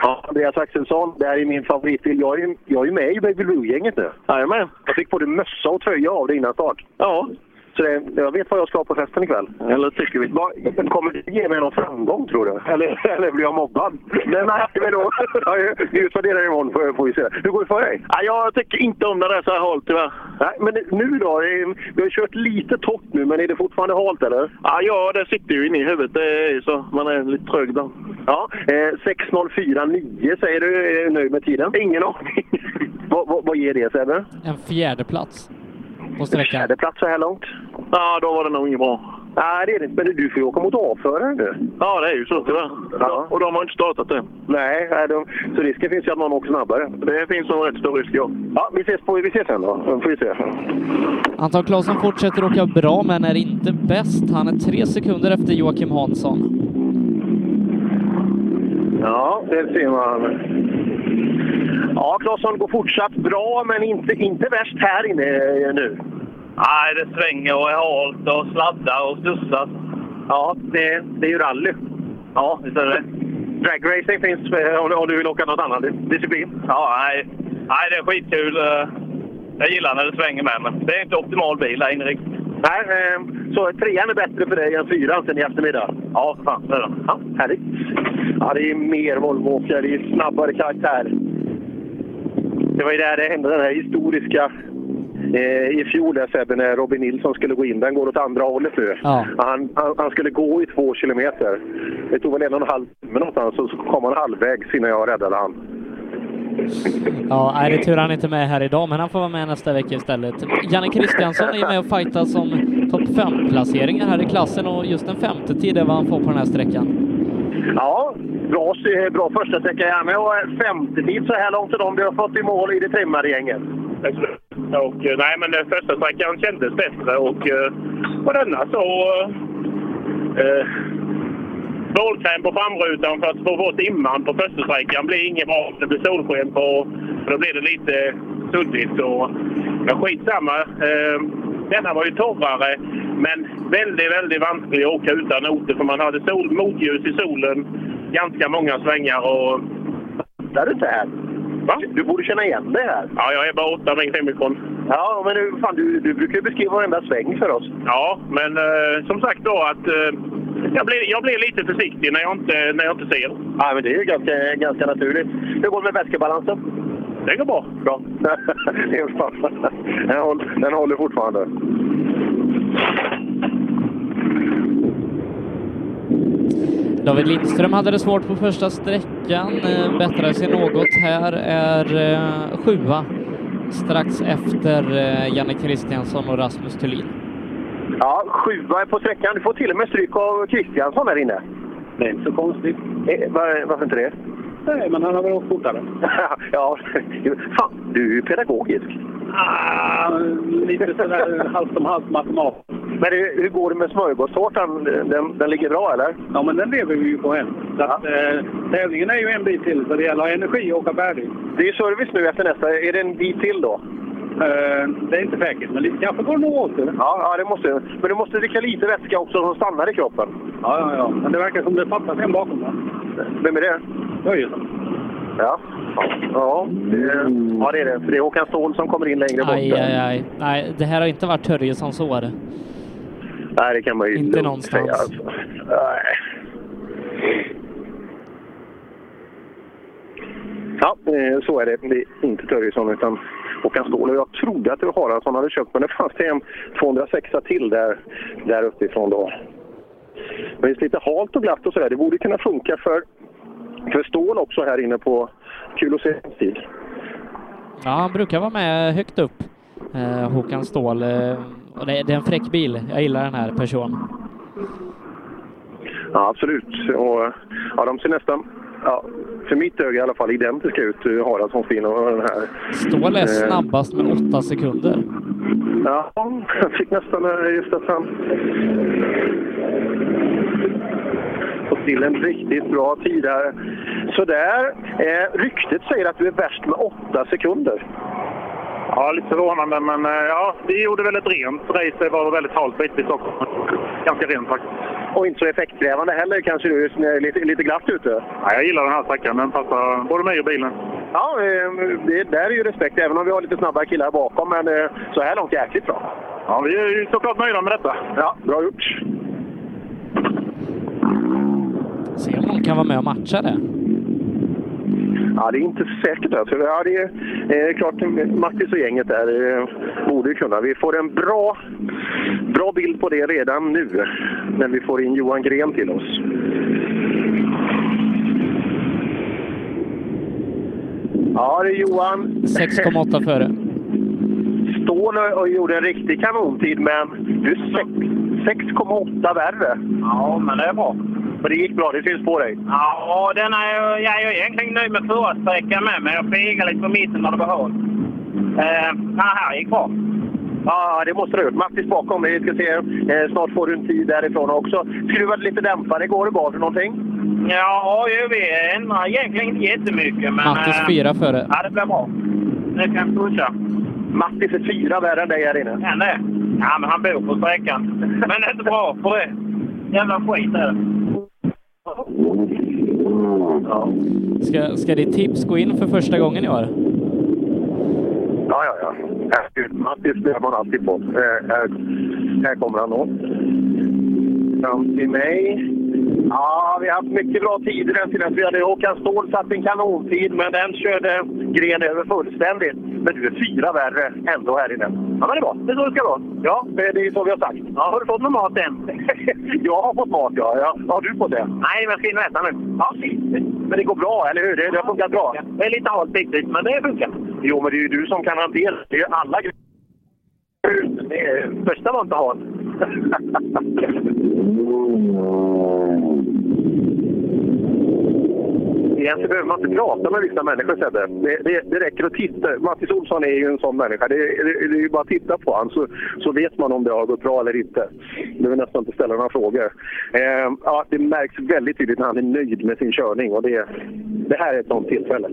[SPEAKER 2] Ja, Andreas Axelsson, det här är min favoritbil. Jag är, ju- jag är ju med i Baby Blue-gänget nu. Jajamän. Jag fick både mössa och tröja av dig innan start. Ja. Så det, jag vet vad jag ska ha på festen ikväll. Eller tycker vi. Vad- Kommer det ge mig någon framgång tror du? Eller, eller blir jag mobbad? Det märker vi då. Ja, Vi utvärderar imorgon får, får vi se. Hur går det för dig? Ja, jag tycker inte om det där så här halt tyvärr. Nej, men nu då? Det är- Vi har kört lite torrt nu, men är det fortfarande halt eller?
[SPEAKER 26] Ja, ja, det sitter ju inne i huvudet. Det är ju så. Man är lite trög då.
[SPEAKER 2] Ja, eh, 6.04,9 säger du. Är du nöjd med tiden? Ingen aning. vad, vad, vad ger det Sebbe?
[SPEAKER 1] En fjärde plats på sträckan.
[SPEAKER 2] Fjärde plats så här långt? Ja, då var det nog inget bra. Nej, det är det inte. Men du får ju åka mot avförare nu.
[SPEAKER 26] Ja, det är ju så tyvärr. Och de har inte startat det.
[SPEAKER 2] Nej, nej de, så risken finns ju att någon åker snabbare.
[SPEAKER 26] Det finns nog rätt stor risk, ja.
[SPEAKER 2] Ja, vi ses, på, vi ses sen då. Då får vi se.
[SPEAKER 1] Anton Claesson fortsätter åka bra, men är inte bäst. Han är tre sekunder efter Joakim Hansson.
[SPEAKER 2] Ja, det ser man. Ja, Claesson går fortsatt bra, men inte, inte värst här inne eh, nu.
[SPEAKER 19] Nej, det svänger och är halt och sladdar och stussar.
[SPEAKER 2] Ja, det, det är ju rally. Ja, visst är det Dragracing finns eh, om du- om du vill åka något annat disciplin.
[SPEAKER 19] Ja, nej. nej, det är skitkul. eh. Jag gillar när det svänger med, men det är inte optimal bil där inne riktigt.
[SPEAKER 2] Nej, eh, så trean är bättre för dig än fyran sen i eftermiddag? Ja, för fan. Det är det. Ja, härligt. Ja, det är mer Volvo-åkare. Det är snabbare karaktär. Det var ju där det hände, den här historiska... Eh, I fjol där Sebbe, när Robin Nilsson skulle gå in. Den går åt andra hållet nu.
[SPEAKER 1] Ja.
[SPEAKER 2] Han, han, han skulle gå i två kilometer. Det tog väl en och en halv timme någonstans och så kom han halvvägs innan jag räddade han.
[SPEAKER 1] Ja, nej, det är tur han inte är med här idag, men han får vara med nästa vecka istället. Janne Kristiansson är med och fightas om topp 5-placeringar här i klassen och just en femte tid är vad han får på den här sträckan.
[SPEAKER 2] Ja, bra, bra första sträcka här med och en femtetid så här långt och de vi har fått i mål i det trimmade gänget.
[SPEAKER 11] Och, eh, nej, men den första sträckan kändes bättre och eh, på denna så... Eh, Vålkräm på framrutan för att få bort imman på första sträckan blir inget bra. Det blir solsken på och då blir det lite suddigt. Och, men skitsamma. Eh, denna var ju torrare men väldigt, väldigt vansklig att åka utan noter för man hade sol, motljus i solen ganska många svängar och...
[SPEAKER 2] Där du inte här?
[SPEAKER 11] Va?
[SPEAKER 2] Du borde känna igen det här.
[SPEAKER 11] Ja, jag är bara åtta mil hemifrån.
[SPEAKER 2] Ja, men du, fan, du, du brukar ju beskriva varenda sväng för oss.
[SPEAKER 11] Ja, men eh, som sagt då att eh, jag, blir, jag blir lite försiktig när jag inte, när jag inte ser.
[SPEAKER 2] Ja, men det är ju ganska, ganska naturligt. Hur går det med vätskebalansen?
[SPEAKER 11] Det går bra.
[SPEAKER 2] Bra. det är fan. den, håller, den håller fortfarande.
[SPEAKER 1] David Lindström hade det svårt på första sträckan, eh, bättrade sig något här, är eh, sjua strax efter eh, Janne Kristiansson och Rasmus Thulin.
[SPEAKER 2] Ja, sjua på sträckan. Du får till och med stryk av Kristiansson där inne. Eh,
[SPEAKER 29] Det är inte så konstigt.
[SPEAKER 2] varför inte det?
[SPEAKER 29] Nej, men han har väl åkt fortare.
[SPEAKER 2] ja, fan, du är ju pedagogisk.
[SPEAKER 29] Ah, lite sådär halvt om halvt matematiskt.
[SPEAKER 2] Men hur, hur går det med smörgåstårtan? Den, den ligger bra, eller?
[SPEAKER 29] Ja, men den lever vi ju på än. Så att, eh, tävlingen är ju en bit till, så det gäller att ha energi och åka färdigt.
[SPEAKER 2] Det är ju service nu efter nästa. Är det en bit till då?
[SPEAKER 29] Eh, det är inte säkert, men lite kaffe går det nog åt.
[SPEAKER 2] Ja, ja, det måste Men du måste dricka lite vätska också som stannar i kroppen.
[SPEAKER 29] Ja, ja, ja. Men det verkar som det fattas en bakom. Va?
[SPEAKER 2] Vem är det?
[SPEAKER 29] Börjesson.
[SPEAKER 2] Ja. Ja, det, ja, det är det. För det är Håkan Ståhl som kommer in längre bort.
[SPEAKER 1] Aj, aj, aj. Nej, det här har inte varit Törjesons år.
[SPEAKER 2] Nej, det kan man ju
[SPEAKER 1] Inte
[SPEAKER 2] lugnt
[SPEAKER 1] någonstans.
[SPEAKER 2] säga, alltså. Nej. Ja, eh, så är det. Det är inte Törjesson utan Håkan Ståhl. Och Jag trodde att det var Haraldsson hade köpt, men det fanns det en 206 till där, där uppifrån då. Men det är lite halt och glatt och sådär. Det borde kunna funka för, för Ståhl också här inne på kul att se hans tid.
[SPEAKER 1] Ja, han brukar vara med högt upp, eh, Håkan Ståhl. Eh, och det, det är en fräck bil. Jag gillar den här personen.
[SPEAKER 2] Ja, absolut. Och, ja, de ser nästan, ja, för mitt öga i alla fall, identiska ut, eh, Haraldssons fin och den här.
[SPEAKER 1] Ståhl är
[SPEAKER 2] Eh,
[SPEAKER 1] snabbast med åtta sekunder.
[SPEAKER 2] Ja, jag fick nästan eh, just att han fått till en riktigt bra tid här. Sådär. Eh, ryktet säger att du är värst med åtta sekunder.
[SPEAKER 3] Ja, lite förvånande, men eh, ja, vi gjorde väldigt rent race. Det var väldigt halt bitvis också. Ganska rent faktiskt.
[SPEAKER 2] Och inte så effektkrävande heller kanske du, just när det är lite, lite glatt ute.
[SPEAKER 3] Ja, jag gillar den här sträckan. Den passar både mig och bilen.
[SPEAKER 2] Ja, eh, det där är ju respekt, även om vi har lite snabbare killar bakom. Men eh, så här långt jäkligt bra.
[SPEAKER 3] Ja, vi är ju såklart nöjda med detta.
[SPEAKER 2] Ja, bra gjort.
[SPEAKER 1] Se om någon kan vara med och matcha det.
[SPEAKER 2] Ja, det är inte säkert. Alltså. Ja, det är eh, klart, Mattis och gänget där eh, borde ju kunna. Vi får en bra, bra bild på det redan nu när vi får in Johan Gren till oss. Ja, det är Johan.
[SPEAKER 1] 6,8 före.
[SPEAKER 2] Ståhl och- och gjorde en riktig kanontid, men du är sex- 6,8 värre.
[SPEAKER 29] Ja, men det är bra.
[SPEAKER 2] Men det gick bra, det syns på dig.
[SPEAKER 29] Ja, den är, jag är ju egentligen nöjd med förra sträckan med, men jag fegade lite på mitten när det var hål. Eh, nej, här gick bra.
[SPEAKER 2] Ja, det måste du ha gjort. Mattis bakom dig. Vi ska se, eh, snart får du en tid därifrån också. Skruvade lite dämpare igår. Gav du någonting?
[SPEAKER 29] Ja, ju, vi ändrar egentligen inte jättemycket, men...
[SPEAKER 1] Mattis
[SPEAKER 29] eh,
[SPEAKER 1] fyra före.
[SPEAKER 29] Ja, det blir bra. Det kan jag pusha.
[SPEAKER 2] Mattis är fyra värre än dig här inne.
[SPEAKER 29] Ja, nej. Ja, men han bor på sträckan. Men det är inte bra för det. Jävla skit är det.
[SPEAKER 1] Ska, ska ditt tips gå in för första gången i år?
[SPEAKER 2] Ja, ja, ja. Herregud, Mattis blir man alltid på. Eh, här, här kommer han då. Fram till mig. Ja, vi har haft mycket bra tider den tiden. Vi hade Håkan Ståhl satt en kanontid, men den körde gren över fullständigt. Men du är fyra värre ändå här inne. Ja, men det är bra. Det är så det ska vara. Ja, det är så vi har sagt. Ja, har du fått någon mat än? jag har fått mat, ja. ja. Har du fått det?
[SPEAKER 29] Nej, men jag ska in och äta nu. Ja,
[SPEAKER 2] Men det går bra, eller hur? Det, det har funkat bra.
[SPEAKER 29] Det är lite halt bitvis, men det funkar.
[SPEAKER 2] Jo, men det är ju du som kan hantera det. Det är ju alla grejer. Det är- Första var inte halt. Egentligen behöver man inte prata med vissa människor, Sebbe. Det, det, det räcker att titta. Mattis Olsson är ju en sån människa. Det, det, det är ju bara att titta på honom så, så vet man om det har gått bra eller inte. Du behöver nästan inte ställa några frågor. Eh, ja, det märks väldigt tydligt när han är nöjd med sin körning och det, det här är ett sånt tillfälle.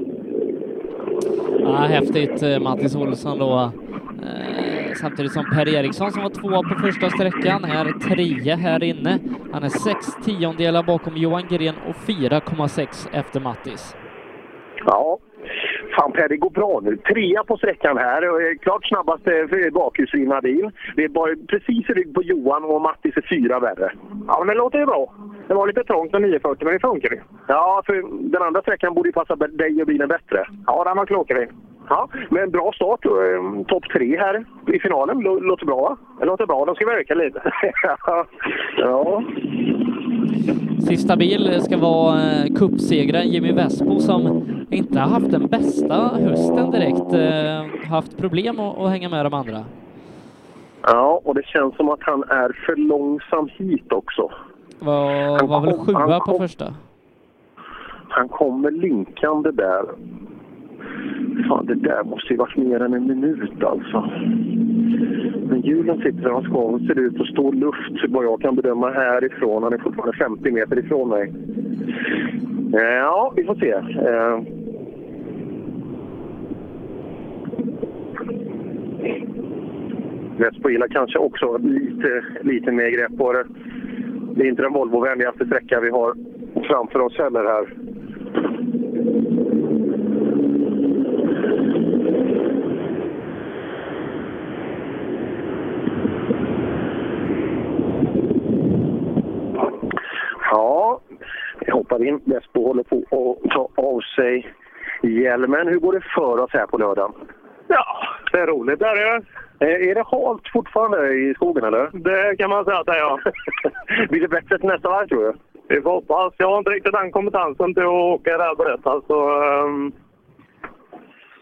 [SPEAKER 1] Ja, häftigt eh, Mattis Olsson då. Eh, Samtidigt som Per Eriksson som var tvåa på första sträckan är trea här inne. Han är sex tiondelar bakom Johan Gren och 4,6 efter Mattis.
[SPEAKER 2] Ja. Fan Per, det går bra nu. Trea på sträckan här. och är Klart snabbast eh, för bakhjulsdrivna bil. Det är bara precis i rygg på Johan och Mattis är fyra värre. Ja, men det låter ju bra. Det var lite trångt med 940, men det funkar ju. Ja, för den andra sträckan borde ju passa b- dig och bilen bättre. Ja, den var klokare. Ja, men bra start. eh, Topp tre här i finalen. Lå- Låter bra, va? Det låter bra. De ska vi öka lite. ja.
[SPEAKER 1] Sista bil ska vara eh, cupsegraren Jimmy Vespo som inte har haft den bästa hösten direkt. eh, Haft problem att att hänga med de andra.
[SPEAKER 2] ja, och det känns som att han är för långsam hit också.
[SPEAKER 1] Var, var väl
[SPEAKER 2] kom- han
[SPEAKER 1] sjua på
[SPEAKER 2] kom-
[SPEAKER 1] första.
[SPEAKER 2] Han kommer linkande där. Fan, det där måste ju varit mer än en minut alltså. Men hjulen sitter där de ska. och ser ut att stå luft vad jag kan bedöma härifrån. Han är fortfarande 50 meter ifrån mig. Eh, Ja, vi får se. Eh, Vespoila kanske också lite, lite mer grepp på det. Det är inte den Volvo-vänligaste sträcka vi har framför oss heller här. Ja, vi hoppar in. Vespo håller på att ta av sig hjälmen. Hur går det för oss här på lördagen? Ja, det är roligt. Där är, är det halt fortfarande i skogen eller?
[SPEAKER 26] Det kan man säga att det är, ja.
[SPEAKER 2] Blir det bättre till nästa varv tror du?
[SPEAKER 26] Vi får hoppas. Jag har inte riktigt den kompetensen till att åka det här brett. Alltså, ehm,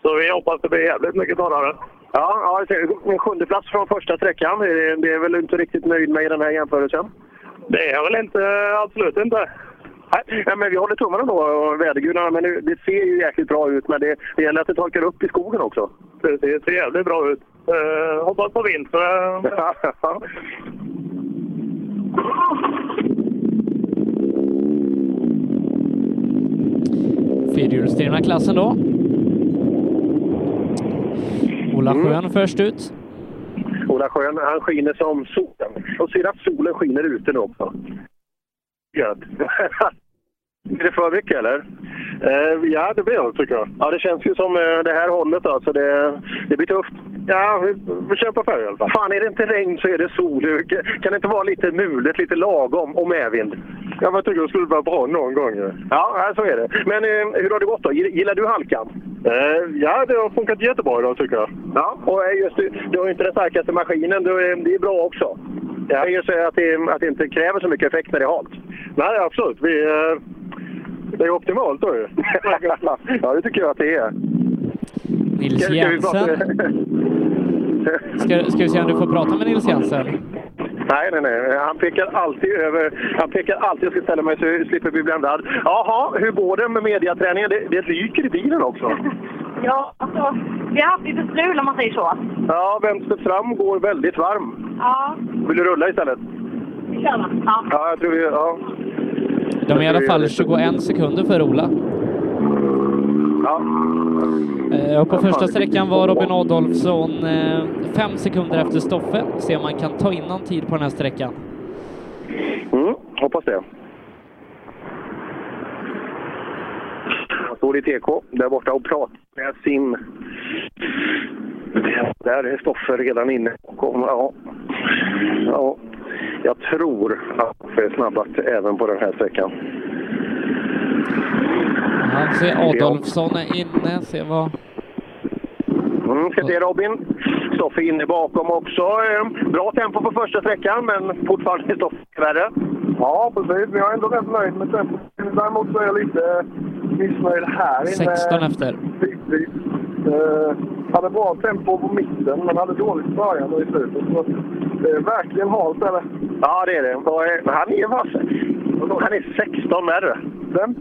[SPEAKER 26] så vi hoppas det blir jävligt mycket torrare.
[SPEAKER 2] Ja, ja jag ser. en sjunde plats från första sträckan. Det är- Det är väl inte riktigt nöjd med i den här jämförelsen?
[SPEAKER 26] Det är väl inte... Absolut inte.
[SPEAKER 2] Nej, ja, men vi håller tummarna då, och vädergudarna. Men det- det ser ju jäkligt bra ut, men det, det gäller att det torkar upp i skogen också.
[SPEAKER 26] Det ser- ser jävligt bra ut. Eh, hoppas på vinter.
[SPEAKER 1] Fyrhjulsdrivna klassen då. Ola Schön först ut.
[SPEAKER 2] Ola Schön, han skiner som solen. Och ser att solen skiner ute nu också. Gött. Är det för mycket eller? Eh, ja, det blir det tycker jag. Ja, det känns ju som eh, det här hållet alltså. Det, det blir tufft. Ja, vi, vi kämpar på i alla fall. Fan, är det inte regn så är det sol. Det Kan kan det inte vara lite mulet, lite lagom och medvind? Ja, men jag tycker det skulle vara bra någon gång. Ja, ja, så är det. Men eh, hur har det gått då? Gill- Gillar du halkan? Eh, ja, det har funkat jättebra idag tycker jag. Ja, och eh, just det, du har ju inte den starkaste maskinen. Du, eh, det är bra också. Ja. Det är ju så att det, att det inte kräver så mycket effekt när det är halt. Nej, absolut. Vi, eh, det är optimalt då ju. ja, det tycker jag att det är.
[SPEAKER 1] Nils
[SPEAKER 2] Ska- ska vi prata-
[SPEAKER 1] Jensen. Ska, ska vi se om du får prata med Nils Jensen?
[SPEAKER 2] Nej, nej, nej. Han pekar alltid över. Han pekar alltid. Jag ska ställa mig så jag slipper bli bländad. Jaha, hur går det med mediaträningen? Det, det ryker i bilen också.
[SPEAKER 6] Ja, alltså, vi har haft lite strul om man säger så.
[SPEAKER 2] Ja, vänster fram går väldigt varm.
[SPEAKER 6] Ja,
[SPEAKER 2] Vill du rulla istället?
[SPEAKER 6] vi kör va? Ja.
[SPEAKER 2] Ja, jag tror vi... Ja.
[SPEAKER 1] De är i alla fall 21 sekunder för Ola.
[SPEAKER 2] Ja.
[SPEAKER 1] Eh, Och på första sträckan var Robin Adolfsson eh, fem sekunder efter Stoffe. Se om man kan ta in någon tid på den här sträckan.
[SPEAKER 2] Mm, hoppas det. Han står i TK där borta och pratar med sin... Där är Stoffer redan inne. bakom. Ja. Ja. Jag tror att Stoffer är snabbast även på den här sträckan.
[SPEAKER 1] Ja, se Adolfsson är inne. Se vad
[SPEAKER 2] Mm, ska se Robin. Stoffe inne bakom också. Eh, Bra tempo på första sträckan, men fortfarande Stoffe värre.
[SPEAKER 5] Ja, precis. Men jag är ändå rätt nöjd med tempot. Däremot så är jag lite missnöjd här inne.
[SPEAKER 1] 16 efter.
[SPEAKER 5] Precis. Eh, hade bra tempo på mitten, men hade dåligt i början och i slutet. Så det är verkligen halt är det.
[SPEAKER 2] Ja, det är det. Och, eh, Han är vass. Han är 16 med du.
[SPEAKER 5] Vem?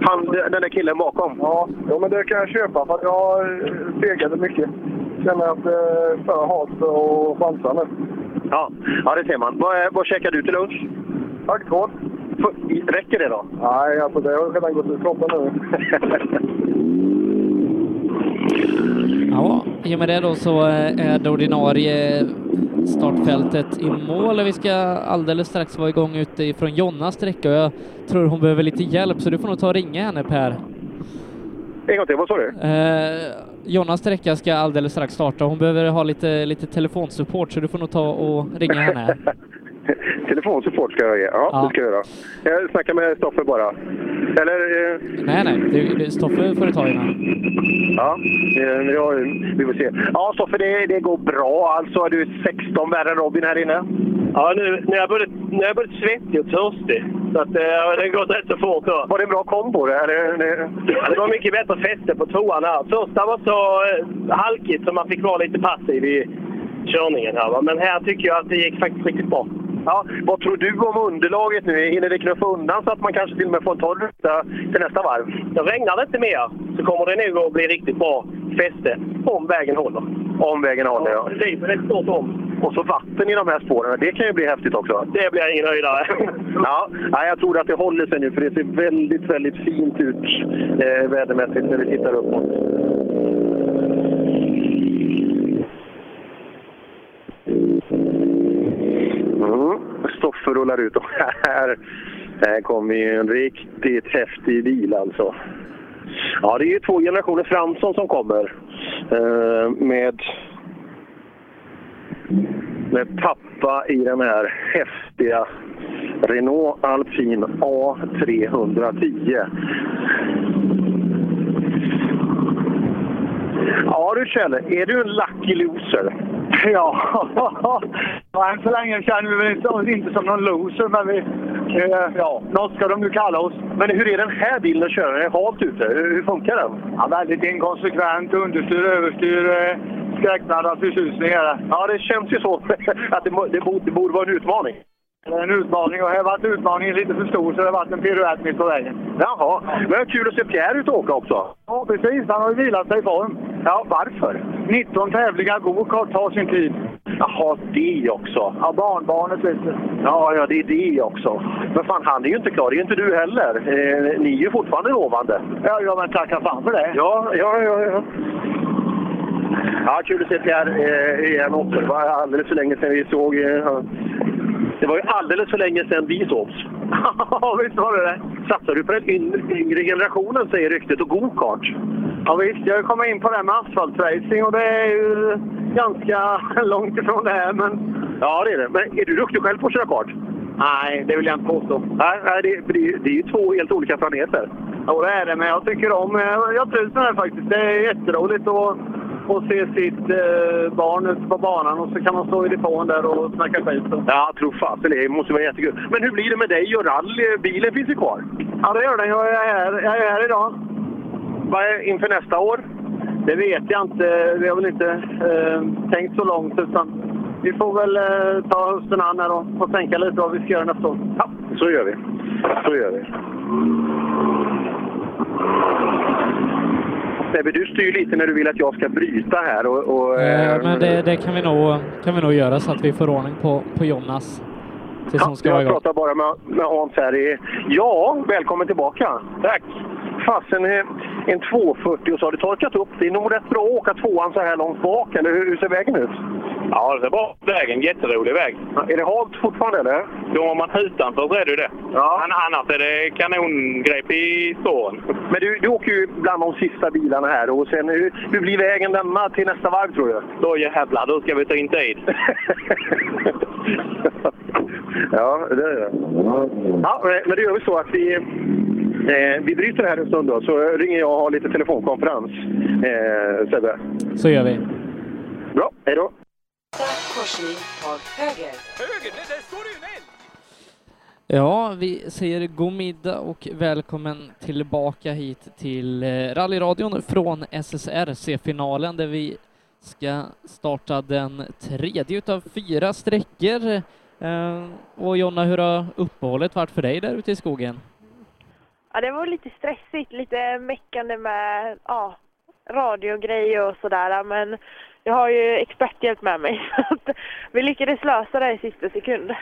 [SPEAKER 2] Han, den där killen bakom.
[SPEAKER 5] Ja, ja, men det kan jag köpa för att jag eh, fegade mycket. Känner att det är för halt för att chansa nu.
[SPEAKER 2] Ja, ja det ser man. Vad, eh, vad käkar du till lunch?
[SPEAKER 5] Taggtråd.
[SPEAKER 2] F- Räcker det då?
[SPEAKER 5] Nej, alltså det har redan gått ur kroppen nu.
[SPEAKER 1] Ja, i och med det då så eh, är det ordinarie startfältet i mål och vi ska alldeles strax vara igång ute ifrån Jonnas sträcka och jag tror hon behöver lite hjälp så du får nog ta och ringa henne Per.
[SPEAKER 2] En gång till, vad sa du?
[SPEAKER 1] Eh, Jonnas sträcka ska alldeles strax starta. Hon behöver ha lite, lite telefonsupport så du får nog ta och ringa henne.
[SPEAKER 2] Telefonsupport ska jag ge. Ja,
[SPEAKER 1] Ja.
[SPEAKER 2] det ska jag göra. Jag snackar med Stoffe bara. Eller... Eh,
[SPEAKER 1] nej, nej, du, du, Stoffe får du ta innan.
[SPEAKER 2] Ja, eh, ja, vi får se. Ja, Stoffe, det, det går bra alltså. Du är 16 värre än Robin här inne.
[SPEAKER 4] Ja, nu, nu, är jag både, nu är jag både svettig och törstig. Så att, eh, det går rätt så fort. Då.
[SPEAKER 2] Var det en bra kombo? Det, här? det, det...
[SPEAKER 4] Ja, det var mycket bättre fäste på toan här. Första var så eh, halkigt så man fick vara lite passiv i körningen. Här, va? Men här tycker jag att det gick faktiskt riktigt bra.
[SPEAKER 2] Ja, vad tror du om underlaget nu? Hinner det knuffa undan så att man kanske till och med får en torr ruta till nästa varv?
[SPEAKER 4] Det regnar det inte mer så kommer det nog att bli riktigt bra fäste om vägen håller.
[SPEAKER 2] Om vägen håller, ja.
[SPEAKER 4] Det är ett stort om.
[SPEAKER 2] Och så vatten i de här spåren. Det kan ju bli häftigt också.
[SPEAKER 4] Det blir ingen höjdare.
[SPEAKER 2] Ja, nej, jag tror att det håller sig nu för det ser väldigt, väldigt fint ut eh, vädermässigt när vi tittar uppåt. Mm. Stoffer rullar ut och här, här kommer ju en riktigt häftig bil alltså. Ja, det är ju två generationer Fransson som kommer eh, med, med pappa i den här häftiga Renault Alpin A310. Ja du Kjell, är du en lucky loser?
[SPEAKER 21] Ja, och än så länge känner vi väl inte oss inte som någon loser, men vi... Eh, ja, något ska de ju kalla oss.
[SPEAKER 2] Men hur är den här bilen att köra? Den är halt ute. Hur hur funkar den?
[SPEAKER 21] Ja, väldigt inkonsekvent, understyr, överstyr, eh, skräckblandad förtjusning är det.
[SPEAKER 2] Ja, det känns ju så. att det, må- det, borde, det borde vara en utmaning.
[SPEAKER 21] Det är en utmaning och här varit utmaningen lite för stor så det har varit en piruett mitt på vägen.
[SPEAKER 2] Jaha, men kul att se Pierre ut och åka också.
[SPEAKER 21] Ja, precis. Han har ju vilat sig i form.
[SPEAKER 2] Ja, varför?
[SPEAKER 21] 19 tävlingar gokart tar sin tid.
[SPEAKER 2] Jaha, det också.
[SPEAKER 21] Ja, barnbarnet lite.
[SPEAKER 2] Ja, ja, det är det också. Men fan, han är ju inte klar. Det är ju inte du heller. Eh, ni är ju fortfarande lovande.
[SPEAKER 21] Ja, ja men tacka fan för det.
[SPEAKER 2] Ja, ja, ja. ja. Ja, kul att se Pierre eh, igen också. Det var alldeles för länge sedan vi såg... Eh, det var ju alldeles för länge sedan vi sågs. Ja, visst var det det. Satsar du på den yngre, yngre generationen, säger ryktet, och gokart?
[SPEAKER 21] Ja, visst, jag kommer in på det här med asfaltracing och det är ju ganska långt ifrån det här, men...
[SPEAKER 2] Ja, det är det. Men är du duktig själv på att köra kart?
[SPEAKER 21] Nej, det vill jag inte påstå.
[SPEAKER 2] Nej, nej det, det, är ju- det är ju två helt olika planeter.
[SPEAKER 21] Jo, det är det, men jag tycker om... eh, Jag trivs med det här faktiskt. Det är jätteroligt att, att se sitt eh, barn ute på banan och så kan man stå i depån där och snacka skit. Och...
[SPEAKER 2] Ja, tro fasen det. måste vara jättekul. Men hur blir det med dig och rally? Bilen finns ju kvar.
[SPEAKER 21] Ja, det gör den. Jag är här, jag är här idag.
[SPEAKER 2] Vad är inför nästa år?
[SPEAKER 21] Det vet jag inte. Vi har väl inte eh, tänkt så långt, utan vi får väl eh, ta hösten an här och, och tänka lite vad vi ska göra nästa år. Ja.
[SPEAKER 2] Så gör vi. Så gör vi. Sebbe, du styr lite när du vill att jag ska bryta här. Och, och,
[SPEAKER 1] Eh,
[SPEAKER 2] eh,
[SPEAKER 1] men det, det kan, vi nog, kan vi nog göra så att vi får ordning på, på Jonas. Tills hon ska vara
[SPEAKER 2] jag
[SPEAKER 1] igång.
[SPEAKER 2] pratar bara med, med Hans här. i- Ja, välkommen tillbaka. Tack. Fasen, eh, en 240 och så har du torkat upp. Det är nog rätt bra att åka tvåan så här långt bak, eller hur, hur ser vägen ut?
[SPEAKER 11] Ja, det är bra vägen. Jätterolig väg.
[SPEAKER 2] Är det halt fortfarande, eller?
[SPEAKER 11] Kommer man utanför så är det ju det. Ja. Annars är det kanongrepp i spåren.
[SPEAKER 2] Men du, du åker ju bland de sista bilarna här och sen hur, hur blir vägen denna till nästa varv tror du?
[SPEAKER 11] Då jävlar, då ska vi ta in tid.
[SPEAKER 2] eh, Ja, det är det. Ja, men det gör vi så att vi, Eh, vi bryter här en stund då, så ringer jag och har lite telefonkonferens, eh, Sebbe.
[SPEAKER 1] Så gör vi.
[SPEAKER 2] Bra, hej då.
[SPEAKER 9] Korsning tar höger. Höger? Där står det ju en älg!
[SPEAKER 1] Ja, vi säger god middag och välkommen tillbaka hit till eh, rallyradion från SSRC-finalen där vi ska starta den tredje utav fyra sträckor. Eh, Och Jonna, hur har uppehållet varit för dig där ute i skogen?
[SPEAKER 7] Ja, det var lite stressigt, lite meckande med ja, radiogrejer och sådär. Men jag har ju experthjälp med mig. Så att vi lyckades lösa det i sista sekund.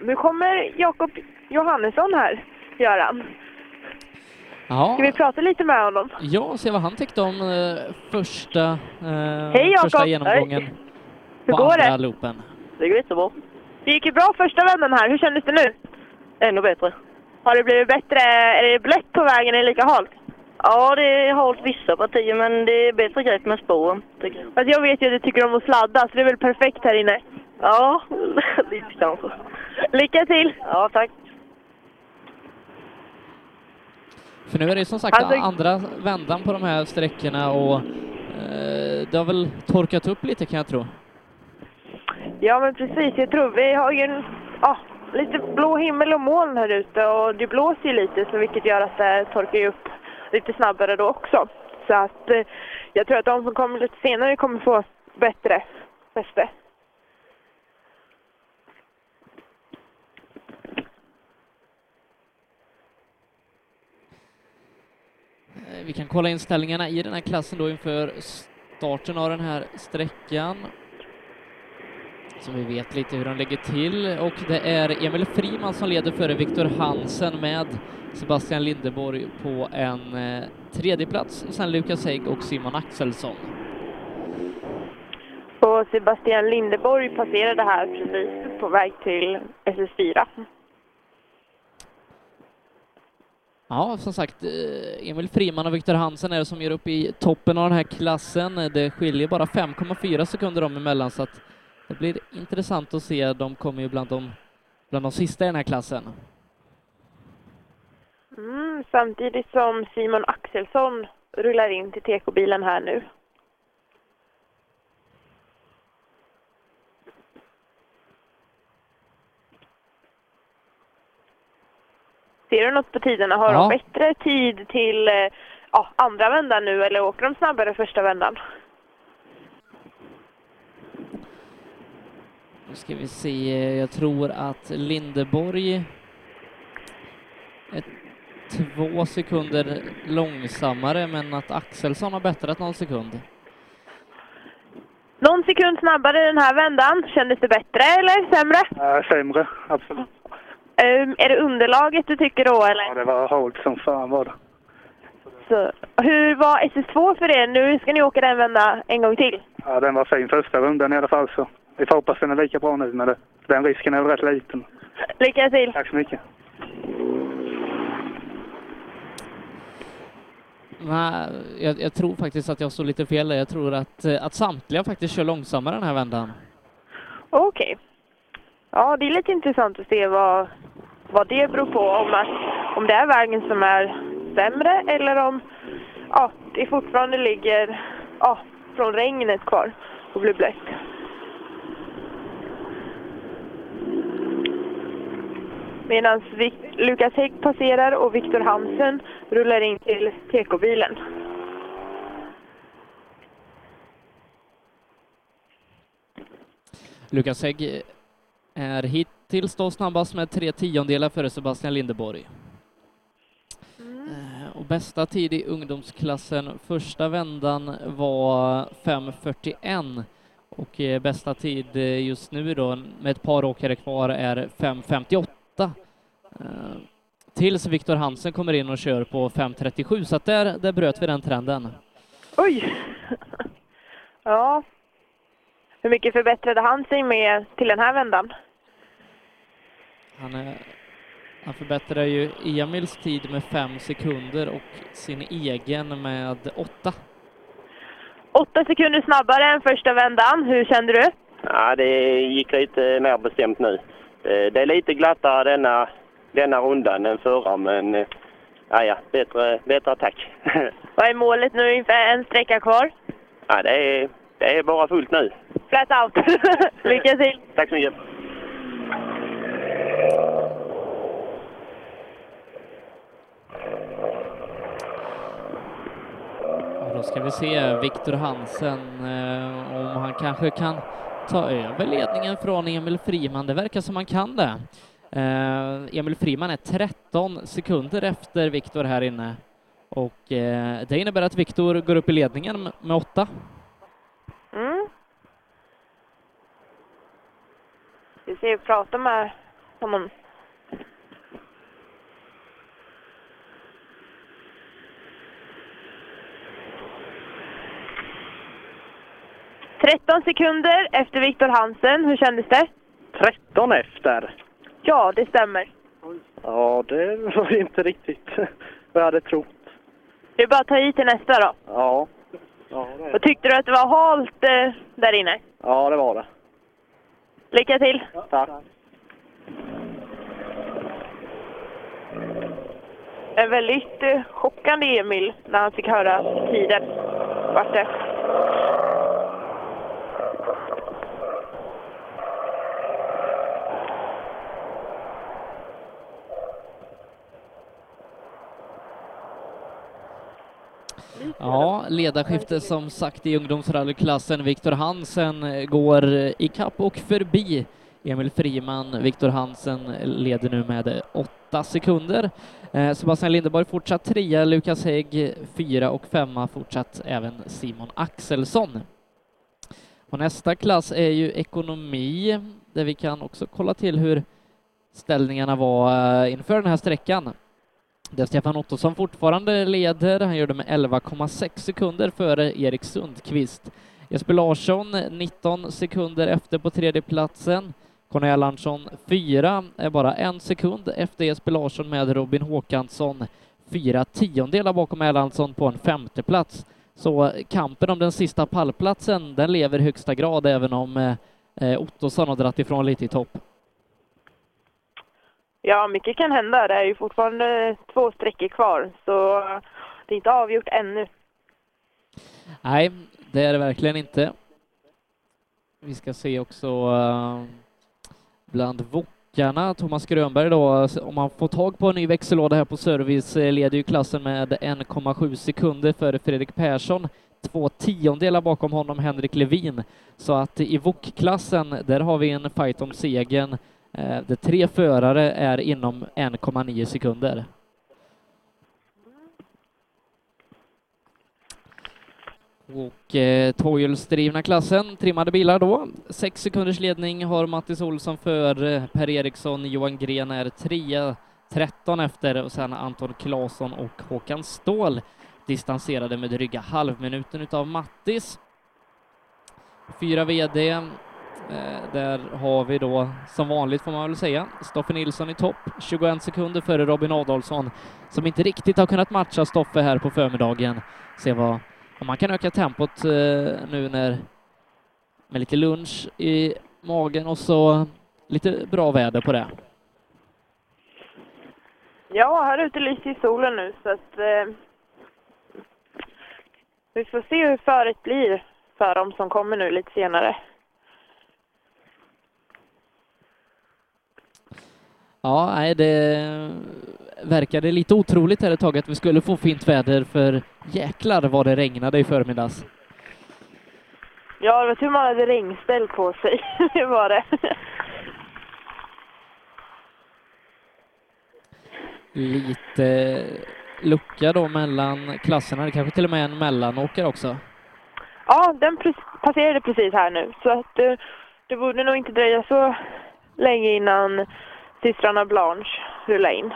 [SPEAKER 7] Nu kommer Jakob Johannesson här, Göran.
[SPEAKER 1] Ja,
[SPEAKER 7] Ska vi prata lite med honom?
[SPEAKER 1] ja se vad han tyckte om eh, första, eh,
[SPEAKER 7] Hej, Jakob.
[SPEAKER 1] första genomgången
[SPEAKER 7] Hej. Hur
[SPEAKER 1] på
[SPEAKER 7] går
[SPEAKER 1] andra
[SPEAKER 7] det?
[SPEAKER 1] loopen.
[SPEAKER 7] Det går jättebra. Det gick ju bra första vändan här. Hur kändes det nu? Ännu bättre. Har det blivit bättre? Är det blött på vägen? Är det lika halt?
[SPEAKER 8] Ja, det har hållit vissa partier, men det är bättre grepp med spåren, tycker jag.
[SPEAKER 7] Fast jag vet ju att du tycker om att sladda, så det är väl perfekt här inne? Ja,
[SPEAKER 8] Lite kanske.
[SPEAKER 7] Lycka till!
[SPEAKER 8] Ja, tack.
[SPEAKER 1] För nu är det ju som sagt
[SPEAKER 7] Alltså-
[SPEAKER 1] andra vändan på de här sträckorna och eh, det har väl torkat upp lite kan jag tro. Eh,
[SPEAKER 7] Ja, men precis. Jag tror vi har ju en, ja, lite blå himmel och moln här ute och det blåser ju lite, så vilket gör att det torkar ju upp lite snabbare då också. Så att eh, jag tror att de som kommer lite senare kommer få bättre fäste.
[SPEAKER 1] Eh, Vi kan kolla inställningarna i den här klassen då inför starten av den här sträckan. Så vi vet lite hur de lägger till och det är Emil Friman som leder före Viktor Hansen med Sebastian Lindeborg på en eh, tredje plats. sen Lukas Hägg och Simon Axelsson.
[SPEAKER 7] Och Sebastian Lindeborg passerade här precis på väg till SS4.
[SPEAKER 1] Ja, som sagt, eh, Emil Friman och Viktor Hansen är det som gör upp i toppen av den här klassen. Det skiljer bara 5,4 sekunder dem emellan, så att det blir intressant att se. De kommer ju bland de, bland de sista i den här klassen.
[SPEAKER 7] Mm, samtidigt som Simon Axelsson rullar in till TK-bilen här nu. Ser du något på tiderna? Har
[SPEAKER 1] Ja.
[SPEAKER 7] de bättre tid till eh, ja, andra vändan nu eller åker de snabbare första vändan?
[SPEAKER 1] Nu ska vi se, jag tror att Lindeborg är två sekunder långsammare, men att Axelsson har bättrat någon sekund.
[SPEAKER 7] Någon sekund snabbare den här vändan. Kändes det bättre eller sämre?
[SPEAKER 10] Nej, sämre. Absolut.
[SPEAKER 7] Ehm, är det underlaget du tycker då eller?
[SPEAKER 10] Ja, det var halt som fan var det.
[SPEAKER 7] Så, hur var SS2 för er? Nu ska ni åka den vända en gång till.
[SPEAKER 10] Ja, den var fin första rundan i alla fall så. Vi får hoppas den är lika bra nu med det. Den risken är väl rätt liten.
[SPEAKER 7] Lycka till!
[SPEAKER 10] Tack så mycket.
[SPEAKER 1] Nej, jag, jag tror faktiskt att jag står lite fel där. Jag tror att, eh, att samtliga faktiskt kör långsammare den här vändan.
[SPEAKER 7] Okej. Ja, det är lite intressant att se vad, vad det beror på. Om, att, om det är vägen som är sämre eller om ja, det fortfarande ligger ja, från regnet kvar och blir blött. Medan Vik- Lukas Hägg passerar och Viktor Hansen rullar in till TK-bilen.
[SPEAKER 1] Lukas Hägg är hittills då snabbast med tre tiondelar före Sebastian Lindeborg. Eh, Och bästa tid i ungdomsklassen första vändan var 5.41 och eh, bästa tid eh, just nu då med ett par åkare kvar är 5.58. Eh, Tills Viktor Hansen kommer in och kör på 5.37 så att där, där bröt vi den trenden.
[SPEAKER 7] Oj! ja. Hur mycket förbättrade han sig med till den här vändan?
[SPEAKER 1] Han, eh, han förbättrar ju Emils tid med fem sekunder och sin egen med åtta.
[SPEAKER 7] Åtta sekunder snabbare än första vändan. Hur kände du?
[SPEAKER 12] Ja, det gick lite mer bestämt nu. Eh, Det är lite glattare denna denna rundan än förra, men eh, ja, ja, bättre, bättre attack.
[SPEAKER 7] Vad är målet nu inför en sträcka kvar?
[SPEAKER 12] ja, det, är, det är bara fullt nu.
[SPEAKER 7] Flat out. Lycka till!
[SPEAKER 12] Tack så mycket.
[SPEAKER 1] Då ska vi se Viktor Hansen eh, om han kanske kan ta över ledningen från Emil Friman. Det verkar som han kan det. Eh, Emil Friman är 13 sekunder efter Viktor här inne och eh, det innebär att Viktor går upp i ledningen med åtta.
[SPEAKER 7] Mm. Vi ser prata med honom. Tretton sekunder efter Viktor Hansen. Hur kändes det?
[SPEAKER 14] 13 efter.
[SPEAKER 7] Ja, det stämmer.
[SPEAKER 14] Ja, det var ju inte riktigt vad jag hade trott.
[SPEAKER 7] Det är bara att ta i till nästa då.
[SPEAKER 14] Ja. Ja, det,
[SPEAKER 7] Och tyckte du att det var halt eh, där inne?
[SPEAKER 14] ja, det var det.
[SPEAKER 7] Lycka till!
[SPEAKER 14] Tack.
[SPEAKER 7] En väldigt eh, chockande Emil när han fick höra tiden. Vart det?
[SPEAKER 1] Ja, ledarskifte som sagt i ungdomsrallyklassen. Viktor Hansen eh, går i kapp och förbi Emil Friman. Viktor Hansen eh, leder nu med åtta sekunder. Eh, Sebastian Lindeborg fortsatt trea, Lukas Hägg fyra och femma fortsatt även Simon Axelsson. Och nästa klass är ju ekonomi, där vi kan också kolla till hur ställningarna var eh, inför den här sträckan. Där Stefan Ottosson fortfarande leder, han gör det med 11,6 sekunder före Erik Sundqvist. Jesper Larsson 19 sekunder efter på tredje platsen. Conny Erlandsson 4, är bara en sekund efter Jesper Larsson med Robin Håkansson. Fyra tiondelar bakom Erlandsson på en femte plats. Så kampen om den sista pallplatsen, den lever i högsta grad även om eh, eh, Ottosson har dragit ifrån lite i topp.
[SPEAKER 7] Ja, mycket kan hända. Det är ju fortfarande eh, två sträckor kvar, så eh, det är inte avgjort ännu.
[SPEAKER 1] Nej, det är det verkligen inte. Vi ska se också eh, bland wokarna, Thomas Grönberg då, om han får tag på en ny växellåda här på service eh, leder ju klassen med 1,7 sekunder före Fredrik Persson, två tiondelar bakom honom Henrik Levin. Så att i wokklassen, där har vi en fight om segern eh, där tre förare är inom 1,9 sekunder. Och eh, tvåhjulsdrivna klassen, trimmade bilar då. Sex sekunders ledning har Mattis Olsson för eh, Per Eriksson, Johan Gren är trea, 13 efter och sen Anton Claesson och Håkan Ståhl distanserade med dryga halvminuten utav Mattis. Fyra VD, eh, där har vi då som vanligt får man väl säga, Stoffe Nilsson i topp, 21 sekunder före Robin Adolfsson som inte riktigt har kunnat matcha Stoffe här på förmiddagen. Se vad om man kan öka tempot eh, nu när med lite lunch i magen och så lite bra väder på det.
[SPEAKER 7] Ja, här ute lyser ju solen nu, så att... Eh, vi får se hur föret blir för dem som kommer nu lite senare.
[SPEAKER 1] Ja, nej, det verkade lite otroligt här ett tag att vi skulle få fint väder för jäklar vad det regnade i förmiddags.
[SPEAKER 7] Ja, det var tur man hade regnställ på sig. det var det.
[SPEAKER 1] Lite lucka då mellan klasserna, det kanske till och med är en mellanåkare också.
[SPEAKER 7] Ja, den pres- passerade precis här nu, så att eh, det borde nog inte dröja så länge innan systrarna Blanche rullar in.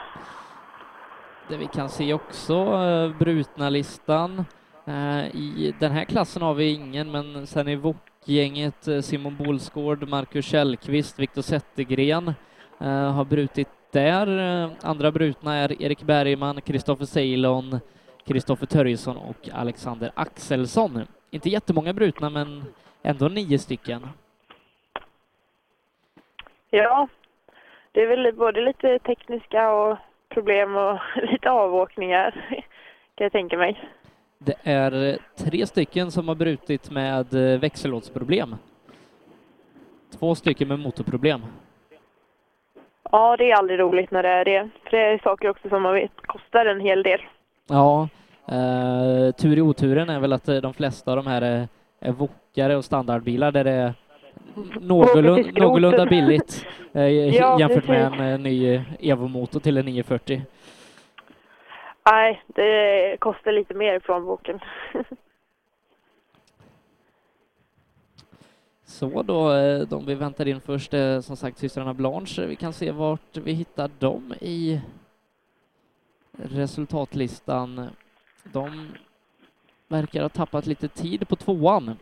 [SPEAKER 1] Det vi kan se också, eh, brutna listan. Eh, I den här klassen har vi ingen, men sen i VOK-gänget eh, Simon Bolsgård, Marcus Källqvist, Viktor Zettergren eh, har brutit där. Eh, Andra brutna är Erik Bergman, Kristoffer Ceylon, Kristoffer Törjesson och Alexander Axelsson. Inte jättemånga brutna, men ändå nio stycken.
[SPEAKER 7] Ja, Det är väl både lite tekniska och problem och lite avåkningar kan jag tänka mig.
[SPEAKER 1] Det är eh, tre stycken som har brutit med eh, växellådsproblem. Två stycken med motorproblem.
[SPEAKER 7] Ja, det är aldrig roligt när det är det. För det är saker också som man vet kostar en hel del.
[SPEAKER 1] Ja, eh, tur i oturen är väl att eh, de flesta av de här är, är wokare och standardbilar där det är
[SPEAKER 7] Åker till
[SPEAKER 1] någorlunda,
[SPEAKER 7] skroten.
[SPEAKER 1] någorlunda billigt eh,
[SPEAKER 7] Ja,
[SPEAKER 1] jämfört med
[SPEAKER 7] precis.
[SPEAKER 1] en eh, ny eh, Evo-motor till en 940.
[SPEAKER 7] Nej, det kostar lite mer i plånboken.
[SPEAKER 1] Så då, eh, de vi väntar in först är som sagt systrarna Blanche. Vi kan se vart vi hittar dem i resultatlistan. De verkar ha tappat lite tid på tvåan. Eh,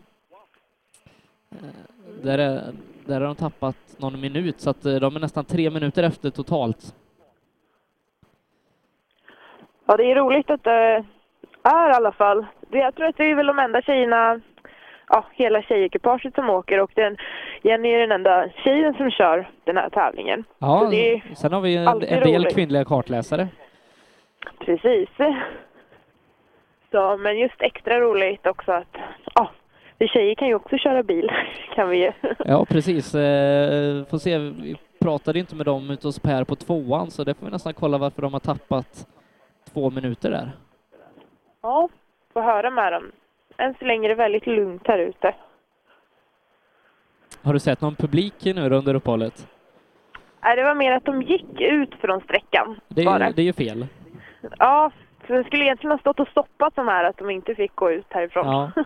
[SPEAKER 1] Där, är, där har de tappat någon minut, så att eh, de är nästan tre minuter efter totalt.
[SPEAKER 7] Ja, det är roligt att det är i alla fall. Det- Jag tror att det är väl de enda tjejerna, ja, hela tjejekipaget som åker och den, Jenny är den enda tjejen som kör den här tävlingen.
[SPEAKER 1] Ja,
[SPEAKER 7] Så det är
[SPEAKER 1] sen har vi en,
[SPEAKER 7] alltid
[SPEAKER 1] en del
[SPEAKER 7] roligt.
[SPEAKER 1] kvinnliga kartläsare.
[SPEAKER 7] Precis. Så, men just extra roligt också att, ja, vi tjejer kan ju också köra bil, kan vi ju.
[SPEAKER 1] Ja, precis. Eh, Får se, vi pratade inte med dem ute hos Per på tvåan, så det får vi nästan kolla varför de har tappat två minuter där.
[SPEAKER 7] Ja, får höra med dem. Än så länge är det väldigt lugnt här ute.
[SPEAKER 1] Har du sett någon publik nu då under uppehållet?
[SPEAKER 7] Nej, Äh, det var mer att de gick ut från sträckan.
[SPEAKER 1] Det
[SPEAKER 7] var
[SPEAKER 1] är, det är ju fel.
[SPEAKER 7] Ja, så det skulle egentligen ha stått och stoppat de här att de inte fick gå ut härifrån.
[SPEAKER 1] Ja.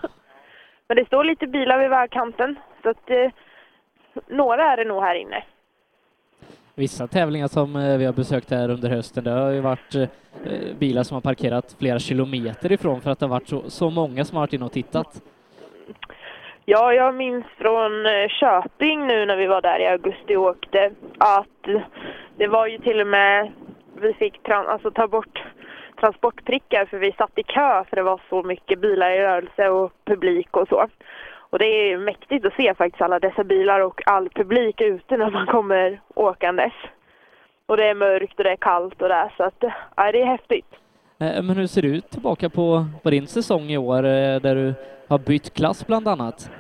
[SPEAKER 7] Men det står lite bilar vid vägkanten, så att eh, några är det nog här inne.
[SPEAKER 1] Vissa tävlingar som eh, vi har besökt här under hösten, det har ju varit eh, bilar som har parkerat flera kilometer ifrån för att det har varit så, så många som har varit inne och tittat.
[SPEAKER 7] Ja, jag minns från eh, Köping nu när vi var där i augusti och åkte att det var ju till och med, vi fick tran- alltså, ta bort transportprickar för vi satt i kö för det var så mycket bilar i rörelse och publik och så. Och det är ju mäktigt att se faktiskt alla dessa bilar och all publik ute när man kommer åkandes. Och det är mörkt och det är kallt och det är så att, eh, ja, det är häftigt.
[SPEAKER 1] Eh, Men hur ser det ut tillbaka på, på din säsong i år, eh, där du har bytt klass bland annat?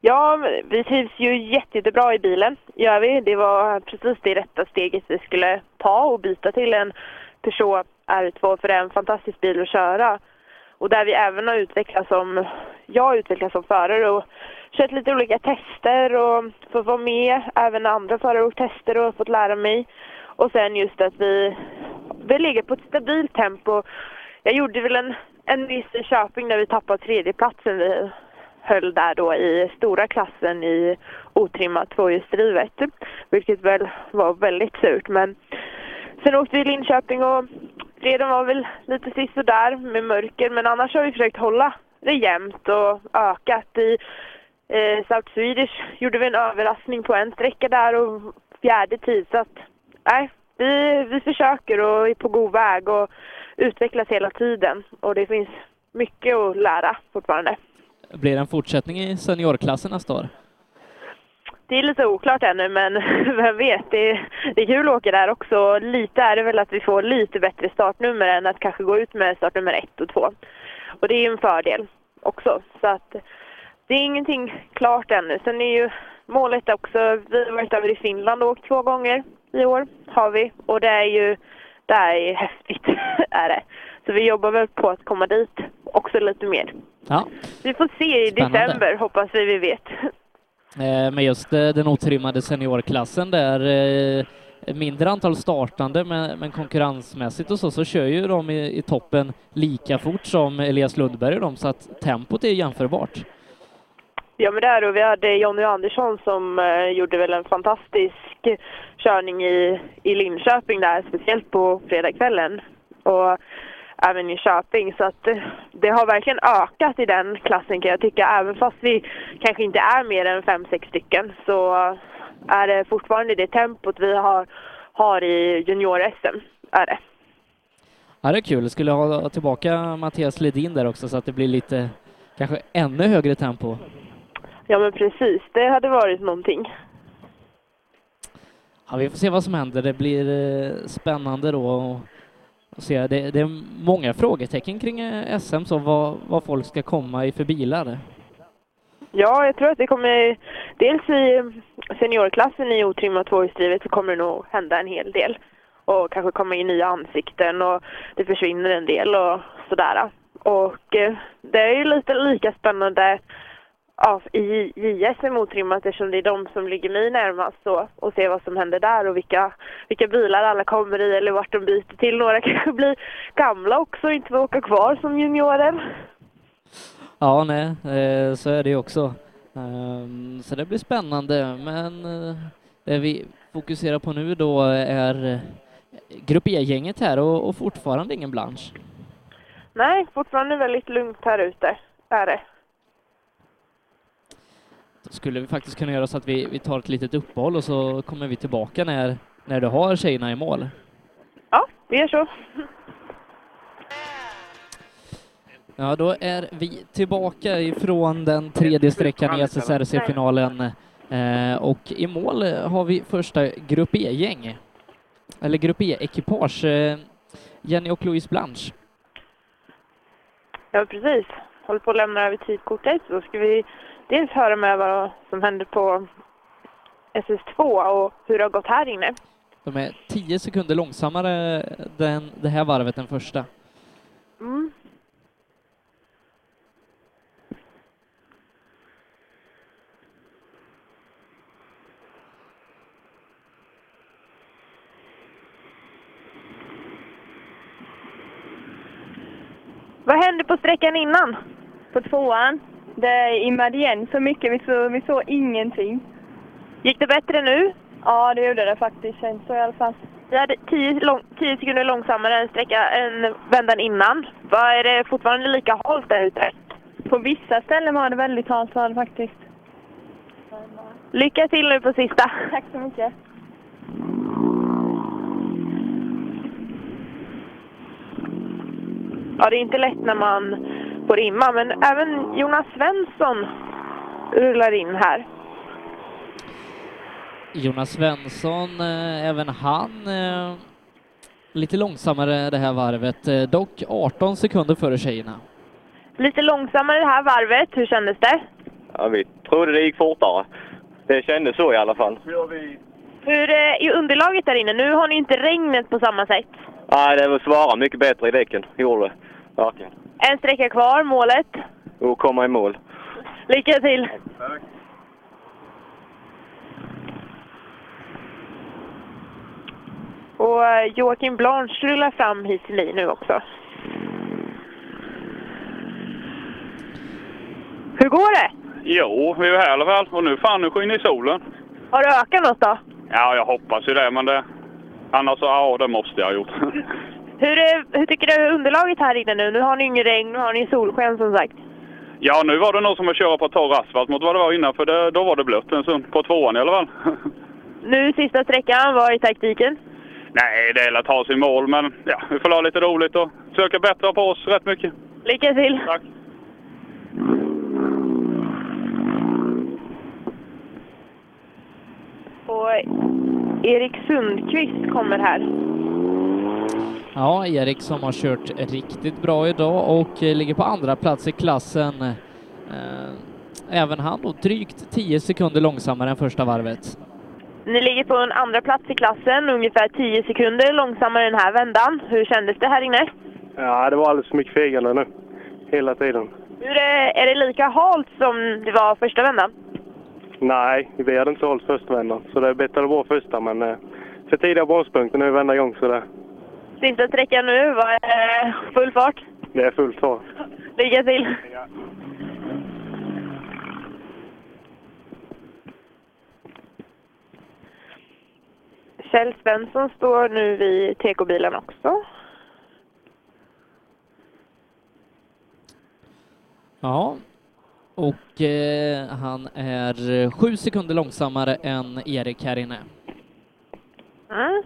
[SPEAKER 7] Ja, men vi trivs ju jätte- jättebra i bilen, gör vi. Det var precis det rätta steget vi skulle ta och byta till en Peugeot R2, för det är en fantastisk bil att köra. Och där vi även har utvecklats som, jag har utvecklats som förare och kört lite olika tester och fått vara med även när andra förare har gjort tester och fått lära mig. Och sen just att vi, vi ligger på ett stabilt tempo. Jag gjorde väl en, en miss i Köping där vi tappade tredjeplatsen vi höll där då i stora klassen i otrimmat tvåhjulsdrivet. Vilket väl var väldigt surt. Men sen åkte vi till Linköping och fredagen var väl lite sisådär med mörker. Men annars har vi försökt hålla det jämnt och ökat. I eh, South Swedish gjorde vi en överraskning på en sträcka där och fjärde tid. Så att, nej, vi, vi försöker och är på god väg och utvecklas hela tiden. Och det finns mycket att lära fortfarande.
[SPEAKER 1] Blir det en fortsättning i seniorklassen nästa år?
[SPEAKER 7] Det är lite oklart ännu, men vem vet? Det är, det är kul att åka där också. Lite är det väl att vi får lite bättre startnummer än att kanske gå ut med startnummer ett och två. Och det är ju en fördel också. Så att det är ingenting klart ännu. Sen är ju målet också, vi har varit över i Finland och åkt två gånger i år, har vi. Och det är ju, det här är häftigt, är det. Så vi jobbar väl på att komma dit också lite mer.
[SPEAKER 1] Ja.
[SPEAKER 7] Vi får se i
[SPEAKER 1] Spännande.
[SPEAKER 7] december, hoppas vi, vi vet.
[SPEAKER 1] Eh, Men just eh, den otrimmade seniorklassen där, eh, mindre antal startande men, men konkurrensmässigt och så, så kör ju de i, i toppen lika fort som Elias Lundberg och de, så att tempot är jämförbart.
[SPEAKER 7] Ja men det är det. Och Vi hade Jonny Andersson som eh, gjorde väl en fantastisk körning i, i Linköping där, speciellt på fredagskvällen. Och även i Köping. Så att eh, det har verkligen ökat i den klassen kan jag tycka. Även fast vi kanske inte är mer än fem sex stycken så är det fortfarande det tempot vi har, har i junior-SM. Är det.
[SPEAKER 1] Ja, det är kul. Skulle ha tillbaka Mattias Ledin där också så att det blir lite, kanske ännu högre tempo.
[SPEAKER 7] Ja men precis, det hade varit någonting.
[SPEAKER 1] Ja, vi får se vad som händer. Det blir eh, spännande då. Och, och se. Det, det är många frågetecken kring eh, SM, så vad, vad folk ska komma i för bilar.
[SPEAKER 7] Ja, jag tror att det kommer... Dels i seniorklassen i otrimmat tvåhjulsdrivet så kommer det nog hända en hel del. Och kanske komma in nya ansikten och det försvinner en del och sådär. Och eh, det är ju lite lika spännande ja, i JSM otrimmat eftersom det är de som ligger mig närmast så, och se vad som händer där och vilka, vilka bilar alla kommer i eller vart de byter till. Några kanske blir gamla också och inte får åka kvar som juniorer.
[SPEAKER 1] Ja, nej, eh, så är det ju också. Ehm, Så det blir spännande, men eh, det vi fokuserar på nu då är eh, Grupp E-gänget här och, och fortfarande ingen blansch.
[SPEAKER 7] Nej, fortfarande väldigt lugnt här ute. Är det.
[SPEAKER 1] Då skulle vi faktiskt kunna göra så att vi, vi tar ett litet uppehåll och så kommer vi tillbaka när, när du har tjejerna i mål.
[SPEAKER 7] Ja, vi gör så.
[SPEAKER 1] Ja, då är vi tillbaka ifrån den tredje sträckan i SSRC-finalen. Eh, och i mål eh, har vi första Grupp E-gäng, eller Grupp E-ekipage, eh, Jenny och Louise Blanche.
[SPEAKER 7] Ja, precis. Håller på att lämna över tidkortet. Då ska vi dels höra med vad som händer på SS2 och hur det har gått här inne.
[SPEAKER 1] De är 10 sekunder långsammare den, det här varvet än första.
[SPEAKER 7] Mm. Vad hände på sträckan innan?
[SPEAKER 15] På tvåan. Det immade igen så mycket, vi såg, vi såg ingenting.
[SPEAKER 7] Gick det bättre nu?
[SPEAKER 15] Ja, det gjorde det faktiskt, känns så i alla fall.
[SPEAKER 7] Vi hade 10 lång, 10 sekunder långsammare än, sträcka, än vändan innan. Vad är det fortfarande lika halt där ute?
[SPEAKER 15] På vissa ställen var det väldigt halt var det faktiskt.
[SPEAKER 7] Lycka till nu på sista!
[SPEAKER 15] Tack så mycket.
[SPEAKER 7] Ja, det är inte lätt när man får imma, men även Jonas Svensson rullar in här.
[SPEAKER 1] Jonas Svensson, eh, även han eh, lite långsammare det här varvet, eh, dock 18 sekunder före tjejerna.
[SPEAKER 7] Lite långsammare det här varvet, hur kändes det?
[SPEAKER 19] Ja, vi trodde det gick fortare. Det kändes så i alla fall.
[SPEAKER 7] Hur eh, är underlaget där inne? Nu har ni inte regnet på samma sätt.
[SPEAKER 19] Nej, det var svara mycket bättre i däcken. Gjorde det. Verkligen.
[SPEAKER 7] En sträcka kvar, målet.
[SPEAKER 19] Och komma i mål.
[SPEAKER 7] Lycka till! Och eh, Joakim Blanche rullar fram hit till mig nu också. Hur går det?
[SPEAKER 22] Jo, vi är här i alla fall. Och nu fan, nu skiner solen.
[SPEAKER 7] Har det ökat något då?
[SPEAKER 22] Ja, jag hoppas ju det, men det... Annars så, ja, det måste jag ha gjort.
[SPEAKER 7] Hur, är, hur tycker du underlaget här inne nu? Nu har ni ingen regn, nu har ni solsken som sagt.
[SPEAKER 22] ja, nu var det nog som att köra på torr asfalt mot vad det var innan, för det, då var det blött en stund. På tvåan i alla fall.
[SPEAKER 7] Nu sista sträckan, vad är taktiken?
[SPEAKER 22] Nej, det gäller att ta sig i mål, men ja, vi får ha lite roligt och försöka bättra på oss rätt mycket.
[SPEAKER 7] Lycka till!
[SPEAKER 22] Tack!
[SPEAKER 7] Och Erik Sundqvist kommer här.
[SPEAKER 1] Ja, Erik som har kört riktigt bra idag och eh, ligger på andra plats i klassen. Eh, Även han då drygt 10 sekunder långsammare än första varvet.
[SPEAKER 7] Ni ligger på en andra plats i klassen, ungefär 10 sekunder långsammare den här vändan. Hur kändes det här inne?
[SPEAKER 27] Ja, det var alldeles för mycket fegande nu. Hela tiden.
[SPEAKER 7] Hur är, är det lika halt som det var första vändan?
[SPEAKER 27] Nej, vi hade inte hållit första vändan, så det bettade bra första, men eh, för tidiga bromspunkter nu vända igång så det,
[SPEAKER 7] Sista sträckan nu var eh, full fart.
[SPEAKER 27] det är fullt fart.
[SPEAKER 7] Lycka till! Kjell Svensson står nu vid TK-bilen också.
[SPEAKER 1] Ja, och eh, han är eh, sju sekunder långsammare än Erik här inne.
[SPEAKER 7] Mm.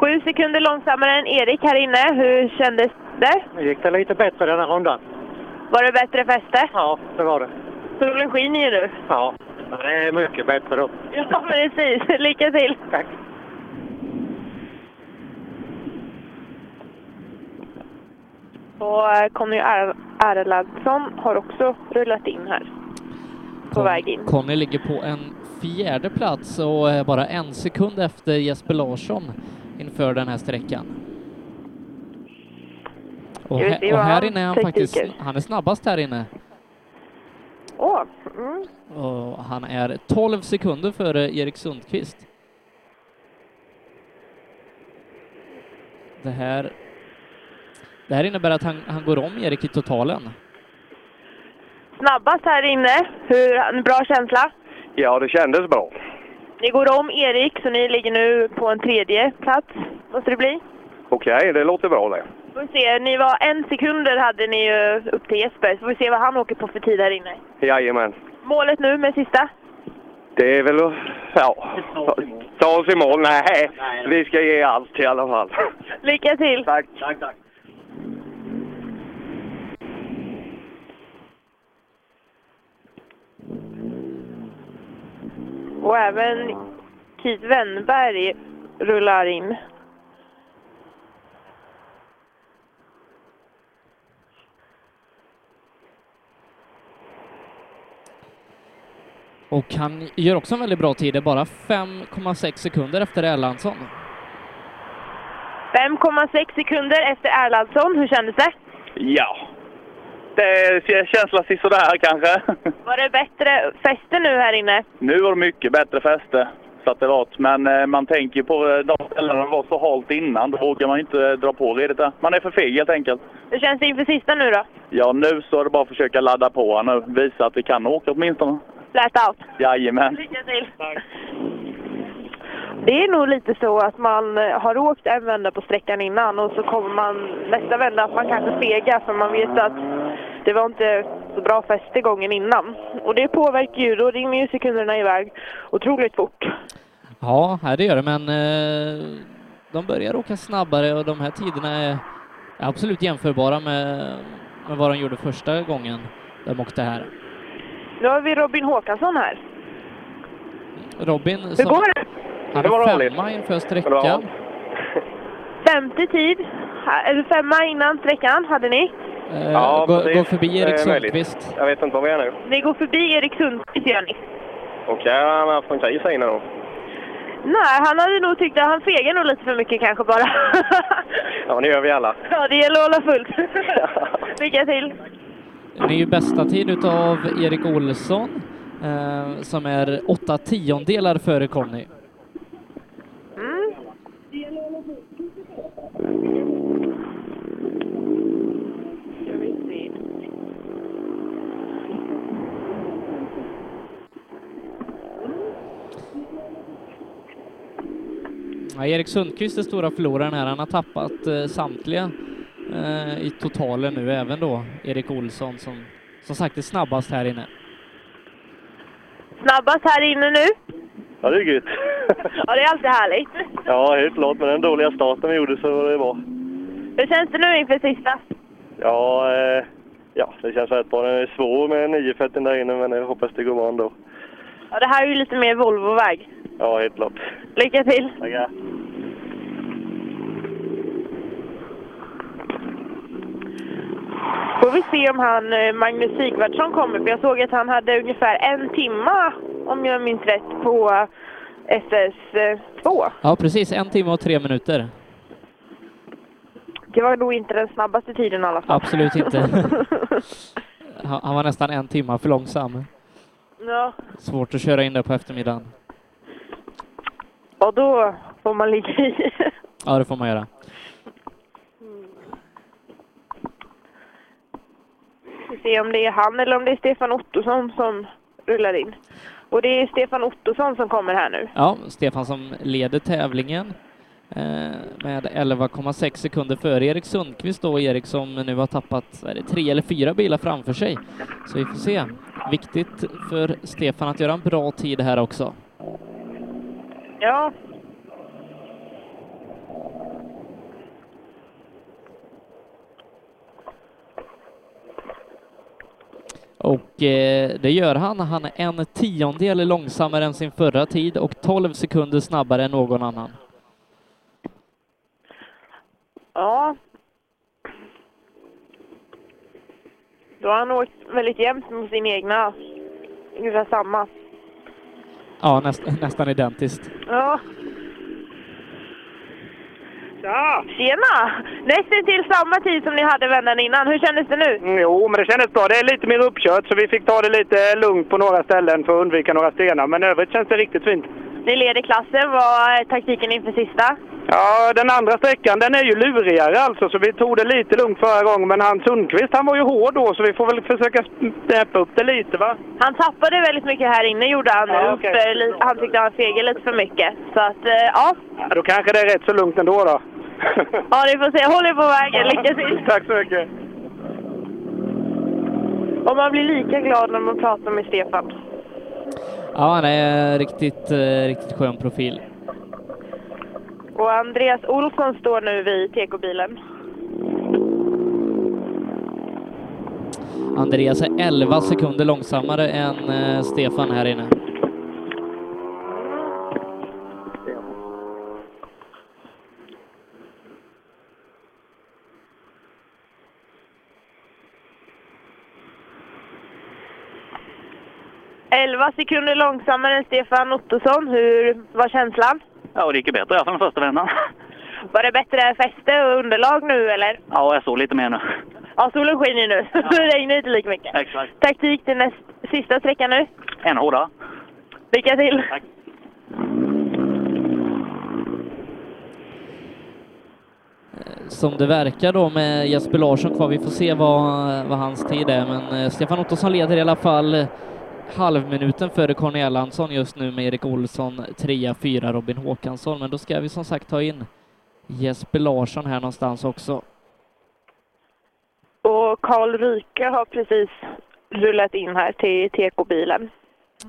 [SPEAKER 7] Sju sekunder långsammare än Erik här inne. Hur kändes det?
[SPEAKER 13] Nu gick det lite bättre den här rundan.
[SPEAKER 7] Var det bättre fäste?
[SPEAKER 13] Ja, det var det.
[SPEAKER 7] Solen skiner ju nu.
[SPEAKER 13] Ja, det är mycket bättre då.
[SPEAKER 7] Ja, precis. Lycka till!
[SPEAKER 13] Tack.
[SPEAKER 7] Och eh, Conny Ar- Erlandsson har också rullat in här. På väg in.
[SPEAKER 1] Conny ligger på en fjärde plats och är bara en sekund efter Jesper Larsson inför den här sträckan. Och,
[SPEAKER 7] Ska vi
[SPEAKER 1] här-
[SPEAKER 7] se
[SPEAKER 1] och
[SPEAKER 7] vad
[SPEAKER 1] här
[SPEAKER 7] han
[SPEAKER 1] inne är han
[SPEAKER 7] tekniker.
[SPEAKER 1] faktiskt, han är snabbast här inne.
[SPEAKER 7] Åh! Mm.
[SPEAKER 1] Och han är 12 sekunder före Erik Sundqvist. Det här, det här innebär att han, han går om Erik i totalen.
[SPEAKER 7] Snabbast här inne. Hur, en bra känsla.
[SPEAKER 19] Ja, det kändes bra.
[SPEAKER 7] Ni går om Erik, så ni ligger nu på en tredje plats. Måste det bli.
[SPEAKER 19] Okej, det låter bra det.
[SPEAKER 7] Får vi se, ni var en sekunder hade ni ju upp till Jesper, så får vi se vad han åker på för tid här inne.
[SPEAKER 19] Jajamän.
[SPEAKER 7] Målet nu med sista?
[SPEAKER 19] Det är väl att... Ja. Ta oss i mål. Nej, vi ska ge allt i alla fall.
[SPEAKER 7] Lycka till!
[SPEAKER 19] Tack!
[SPEAKER 13] Tack, tack.
[SPEAKER 7] Och även Keith Wennberg rullar in.
[SPEAKER 1] Och han gör också en väldigt bra tid, det är bara 5,6 sekunder efter Erlandsson.
[SPEAKER 7] 5,6 sekunder efter Erlandsson. Hur kändes det?
[SPEAKER 27] Ja. Det känslan sådär kanske.
[SPEAKER 7] Var det bättre fäste nu här inne?
[SPEAKER 27] Nu var det mycket bättre fäste, så att det var. Men eh, man tänker ju på eh, de ställena det var så halt innan. Då vågar man ju inte eh, dra på redigt där. Man är för feg helt enkelt.
[SPEAKER 7] Hur känns det inför sista nu då?
[SPEAKER 27] Ja, nu så är det bara att försöka ladda på här nu. Visa att vi kan åka åtminstone.
[SPEAKER 7] Flat out.
[SPEAKER 27] Jajamän.
[SPEAKER 7] Lycka till! Det är nog lite så att man eh, har åkt en vända på sträckan innan och så kommer man nästa vända att man kanske fegar för man vet att det var inte så bra fäste gången innan. Och det påverkar ju, då rinner ju sekunderna iväg otroligt fort.
[SPEAKER 1] Ja, här det gör det, men eh, de börjar åka snabbare och de här tiderna är absolut jämförbara med, med vad de gjorde första gången de åkte här.
[SPEAKER 7] Nu har vi Robin Håkansson här.
[SPEAKER 1] Robin,
[SPEAKER 7] Hur går det?
[SPEAKER 1] han
[SPEAKER 7] Det var
[SPEAKER 1] är
[SPEAKER 7] roligt.
[SPEAKER 1] femma inför sträckan.
[SPEAKER 7] Femte tid, ha- eller femma innan sträckan hade ni.
[SPEAKER 1] Eh, går,
[SPEAKER 19] precis.
[SPEAKER 1] går förbi
[SPEAKER 19] Det är
[SPEAKER 1] Erik
[SPEAKER 19] möjligt.
[SPEAKER 1] Sundqvist.
[SPEAKER 19] Jag vet inte var vi är nu.
[SPEAKER 7] Ni går förbi Erik Sundqvist gör ni.
[SPEAKER 19] Okej, han har haft en kris här inne då.
[SPEAKER 7] Nej, han hade nog tyckt att han fegar nog lite för mycket kanske bara.
[SPEAKER 19] Ja, det gör vi alla.
[SPEAKER 7] Ja, det gäller att hålla fullt. Lycka till!
[SPEAKER 1] Ny bästa tid utav Erik Olsson eh, som är åtta tiondelar före Conny.
[SPEAKER 7] Mm. Ska vi se.
[SPEAKER 1] Ja, Erik Sundqvist är stora förloraren här. Han har tappat eh, samtliga eh, i totalen nu, även då Erik Olsson som som sagt är snabbast här inne.
[SPEAKER 7] Snabbast här inne nu.
[SPEAKER 19] Ja, det är grymt.
[SPEAKER 7] Ja, det är alltid härligt.
[SPEAKER 19] Ja, helt klart. Med den dåliga starten vi gjorde så var det bra.
[SPEAKER 7] Hur känns det nu inför sista?
[SPEAKER 19] Ja, eh, ja det känns rätt bra. Den är svår med 940 där inne, men jag hoppas det går bra ändå.
[SPEAKER 7] Ja, det här är ju lite mer Volvo-väg.
[SPEAKER 19] Ja, helt klart.
[SPEAKER 7] Lycka till!
[SPEAKER 19] Tackar.
[SPEAKER 7] Får vi se om han eh, Magnus Sigvardsson kommer, för jag såg att han hade ungefär en timma, om jag minns rätt, på eh, SS2.
[SPEAKER 1] Ja, precis. En timme och tre minuter.
[SPEAKER 7] Det var nog inte den snabbaste tiden i alla fall.
[SPEAKER 1] Absolut inte. Han han var nästan en timme för långsam.
[SPEAKER 7] ja,
[SPEAKER 1] Svårt att köra in där på eftermiddagen.
[SPEAKER 7] och då får man ligga i.
[SPEAKER 1] Ja, det får man göra.
[SPEAKER 7] Vi får se om det är han eller om det är Stefan Ottosson som rullar in. Och det är Stefan Ottosson som kommer här nu.
[SPEAKER 1] Ja, Stefan som leder tävlingen eh, med 11,6 sekunder före Erik Sundqvist då, Erik som nu har tappat är det tre eller fyra bilar framför sig. Så vi får se. Viktigt för Stefan att göra en bra tid här också.
[SPEAKER 7] Ja.
[SPEAKER 1] Och eh, det gör han. Han är en tiondel långsammare än sin förra tid och 12 sekunder snabbare än någon annan.
[SPEAKER 7] Ja. Då har han åkt väldigt jämnt med sin egna. Ungefär samma.
[SPEAKER 1] Ja, näst, nästan identiskt.
[SPEAKER 7] Ja. Ja. Tjena! Nästan till samma tid som ni hade vändan innan. Hur kändes det nu?
[SPEAKER 3] Jo, men det kändes bra. Det är lite mer uppkört så vi fick ta det lite lugnt på några ställen för att undvika några stenar. Men i övrigt känns det riktigt fint.
[SPEAKER 7] Ni leder klassen. Vad är taktiken inför sista?
[SPEAKER 3] Ja, den andra sträckan den är ju lurigare alltså så vi tog det lite lugnt förra gången. Men han Sundqvist han var ju hård då så vi får väl försöka steppa upp det lite va?
[SPEAKER 7] Han tappade väldigt mycket här inne gjorde han nu.
[SPEAKER 3] Ja, okej.
[SPEAKER 7] För li- Han tyckte han fegade lite för mycket. Så att, eh, ja.
[SPEAKER 3] Ja, då kanske det är rätt så lugnt ändå då.
[SPEAKER 7] Ja, ni får se. Håll er på vägen. Lycka till!
[SPEAKER 3] Tack så mycket!
[SPEAKER 7] Och man blir lika glad när man pratar med Stefan.
[SPEAKER 1] Ja, han är riktigt, eh, riktigt skön profil.
[SPEAKER 7] Och Andreas Olsson står nu vid TK-bilen.
[SPEAKER 1] Andreas är 11 sekunder långsammare än eh, Stefan här inne.
[SPEAKER 7] Elva sekunder långsammare än Stefan Ottosson. Hur var känslan?
[SPEAKER 28] Ja, det gick ju bättre här från första vändan.
[SPEAKER 7] Var det bättre fäste och underlag nu eller?
[SPEAKER 28] Ja, jag såg lite mer nu.
[SPEAKER 7] Ja, solen skiner nu. så Det regnar inte lika mycket.
[SPEAKER 28] Exakt.
[SPEAKER 7] Taktik till näst, sista sträckan nu.
[SPEAKER 28] Än hårdare.
[SPEAKER 7] Lycka till! Tack.
[SPEAKER 1] Som det verkar då med Jesper Larsson kvar. Vi får se vad, vad hans tid är, men eh, Stefan Ottosson leder i alla fall eh, halvminuten före Conny Erlandsson just nu med Erik Olsson trea, fyra Robin Håkansson. Men då ska vi som sagt ta in Jesper Larsson här någonstans också.
[SPEAKER 7] Och Karl Ryke har precis rullat in här till TK-bilen.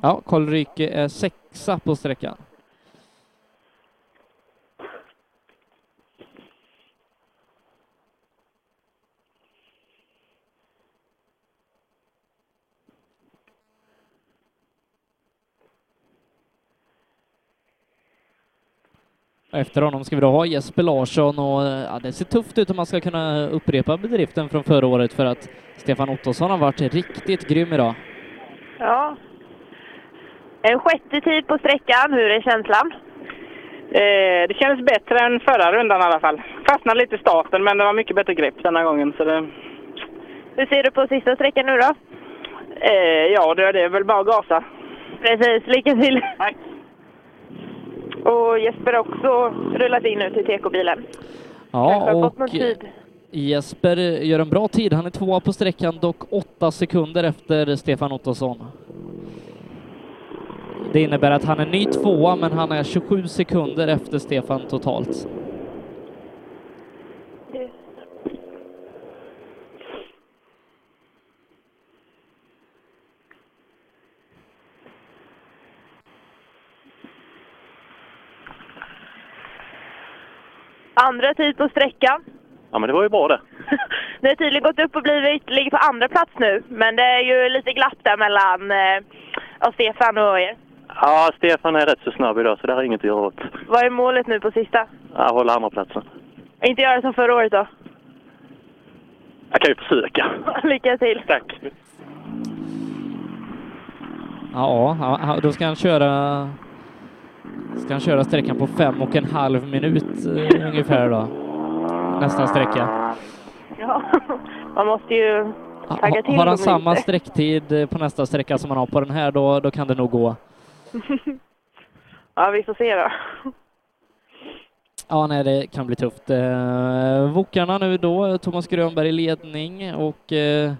[SPEAKER 1] Ja, Karl Ryke är sexa på sträckan. Och Efter honom ska vi då ha Jesper Larsson och eh, ja, det ser tufft ut om man ska kunna upprepa bedriften från förra året för att Stefan Ottosson har varit riktigt grym idag.
[SPEAKER 7] Ja. En sjätte tid på sträckan. Hur är känslan?
[SPEAKER 3] Eh, det kändes bättre än förra rundan i alla fall. Fastnade lite i starten, men det var mycket bättre grepp denna gången. Så det,
[SPEAKER 7] Hur ser du på sista sträckan nu då?
[SPEAKER 3] eh, ja, det det är väl bara att gasa.
[SPEAKER 7] Precis, lycka till! Tack. Och Jesper har också rullat in nu till TK-bilen.
[SPEAKER 1] Ja,
[SPEAKER 7] Har
[SPEAKER 1] och
[SPEAKER 7] fått någon typ tid.
[SPEAKER 1] Jesper gör en bra tid. Han är tvåa på sträckan, dock åtta sekunder efter Stefan Ottosson. Det innebär att han är ny tvåa, men han är 27 sekunder efter Stefan totalt.
[SPEAKER 7] Andra tid på sträckan.
[SPEAKER 19] Ja, men det var ju bra det.
[SPEAKER 7] Nu har tydligen gått upp och blivit, ligger på andra plats nu, men det är ju lite glapp där mellan eh, ja, Stefan och er.
[SPEAKER 19] Ja, Stefan är rätt så snabb idag så det har inget att göra åt.
[SPEAKER 7] Vad är målet nu på sista?
[SPEAKER 19] Jag håller andra platsen.
[SPEAKER 7] Inte göra som förra året då.
[SPEAKER 19] Jag kan ju försöka.
[SPEAKER 7] Lycka till!
[SPEAKER 19] Tack!
[SPEAKER 1] Ja, ja, ja, då ska han köra... Ska han köra sträckan på fem och en halv minut eh, ungefär då? Nästa sträcka.
[SPEAKER 7] Ja, man måste ju tagga till
[SPEAKER 1] Har
[SPEAKER 7] dem
[SPEAKER 1] han samma
[SPEAKER 7] lite.
[SPEAKER 1] sträcktid eh, på nästa sträcka som han har på den här, då, då kan det nog gå.
[SPEAKER 7] ja, vi får se då.
[SPEAKER 1] Ja, nej, det kan bli tufft. Eh, Wokarna nu då, Thomas Grönberg i ledning och eh,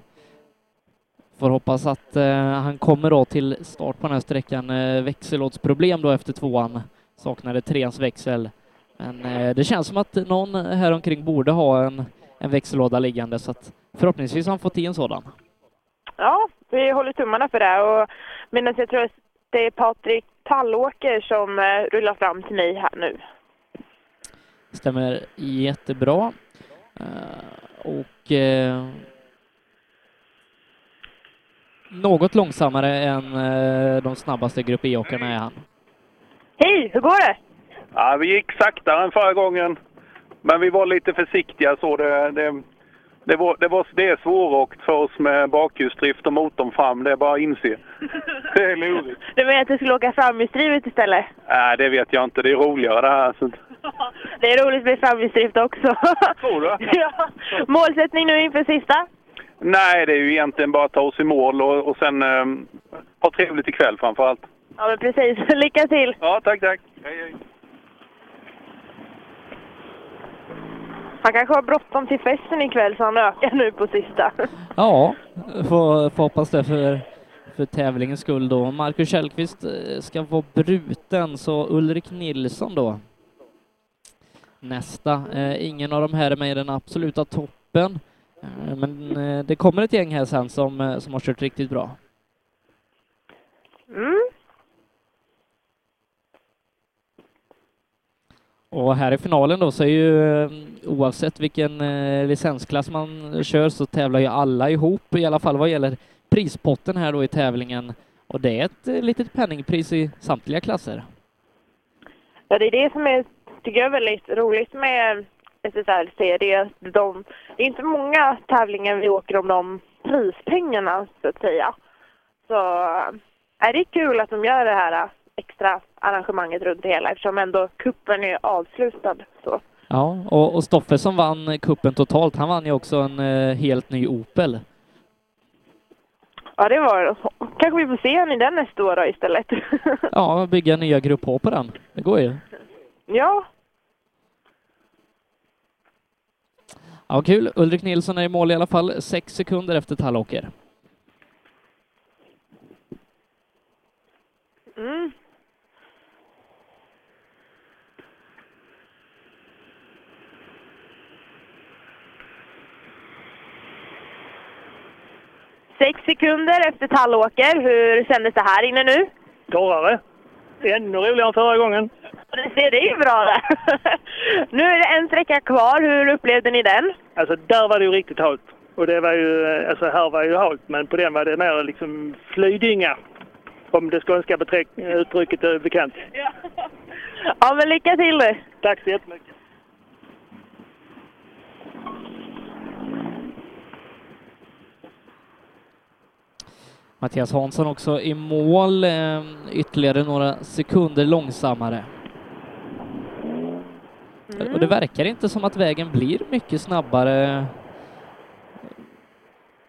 [SPEAKER 1] får hoppas att eh, han kommer då till start på den här sträckan. Eh, växellådsproblem då efter tvåan, saknade treans växel. Men eh, det känns som att någon här omkring borde ha en, en växellåda liggande så att förhoppningsvis har han fått i en sådan.
[SPEAKER 7] Ja, vi håller tummarna för det. Och medan jag tror att det är Patrik Tallåker som eh, rullar fram till mig här nu.
[SPEAKER 1] Stämmer jättebra. Eh, och eh, något långsammare än eh, de snabbaste Grupp E-åkarna är han.
[SPEAKER 7] Hej, hur går det?
[SPEAKER 22] Ja, vi gick saktare än förra gången, men vi var lite försiktiga. Så det, det, det, var, det, var, det är svåråkt för oss med bakhjulsdrift och motorn fram, det är bara att inse. Det är lurigt.
[SPEAKER 7] Du menar att du skulle åka framhjulsdrivet istället?
[SPEAKER 22] Nej, det vet jag inte. Det är roligare det här. Så...
[SPEAKER 7] Det är roligt med framhjulsdrift också.
[SPEAKER 22] Tror du?
[SPEAKER 7] ja. Målsättning nu inför sista?
[SPEAKER 22] Nej, det är ju egentligen bara att ta oss i mål och, och sen eh, ha trevligt ikväll framför allt.
[SPEAKER 7] Ja, men precis. Lycka till!
[SPEAKER 22] Ja, tack, tack.
[SPEAKER 7] Han kanske har bråttom till festen ikväll så han ökar nu på sista.
[SPEAKER 1] Ja, får, får hoppas det för, för tävlingens skull då. Marcus Källqvist eh, ska vara bruten, så Ulrik Nilsson då. Nästa. Eh, ingen av de här är med i den absoluta toppen. Eh, men eh, det kommer ett gäng här sen som, eh, som har kört riktigt bra.
[SPEAKER 7] Mm.
[SPEAKER 1] Och här i finalen då så är ju eh, oavsett vilken eh, licensklass man kör så tävlar ju alla ihop i alla fall vad gäller prispotten här då i tävlingen. Och det är ett eh, litet penningpris i samtliga klasser.
[SPEAKER 7] Ja, det är det som är, tycker jag är väldigt roligt med SSRC. Det är, att de, det är inte många tävlingar vi åker om de prispengarna, så att säga. Så är det är kul att de gör det här äh, extra arrangemanget runt det hela eftersom ändå kuppen är avslutad. Så.
[SPEAKER 1] Ja, och, och Stoffe som vann eh, kuppen totalt, han vann ju också en eh, helt ny Opel.
[SPEAKER 7] Ja, det var det. Kanske vi får se honom i den nästa år då, istället.
[SPEAKER 1] Ja, bygga nya Grupp H på den. Det går ju.
[SPEAKER 7] ja,
[SPEAKER 1] Ja, kul. Ulrik Nilsson är i mål i alla fall, sex sekunder efter Tallåker.
[SPEAKER 7] Mm. Sex sekunder efter Tallåker. Hur kändes det här inne nu?
[SPEAKER 4] Torrare. Ännu roligare än förra gången.
[SPEAKER 7] Det ser det är ju bra där. nu är det en sträcka kvar. Hur upplevde ni den?
[SPEAKER 4] Alltså där var det ju riktigt halt. Och det var ju, alltså här var ju halt, men på den var det mer liksom flydinga. Om det skånska beträck- uttrycket är bekant.
[SPEAKER 7] Ja, men lycka till du!
[SPEAKER 4] Tack så jättemycket.
[SPEAKER 1] Mattias Hansson också i mål, eh, ytterligare några sekunder långsammare. Och det verkar inte som att vägen blir mycket snabbare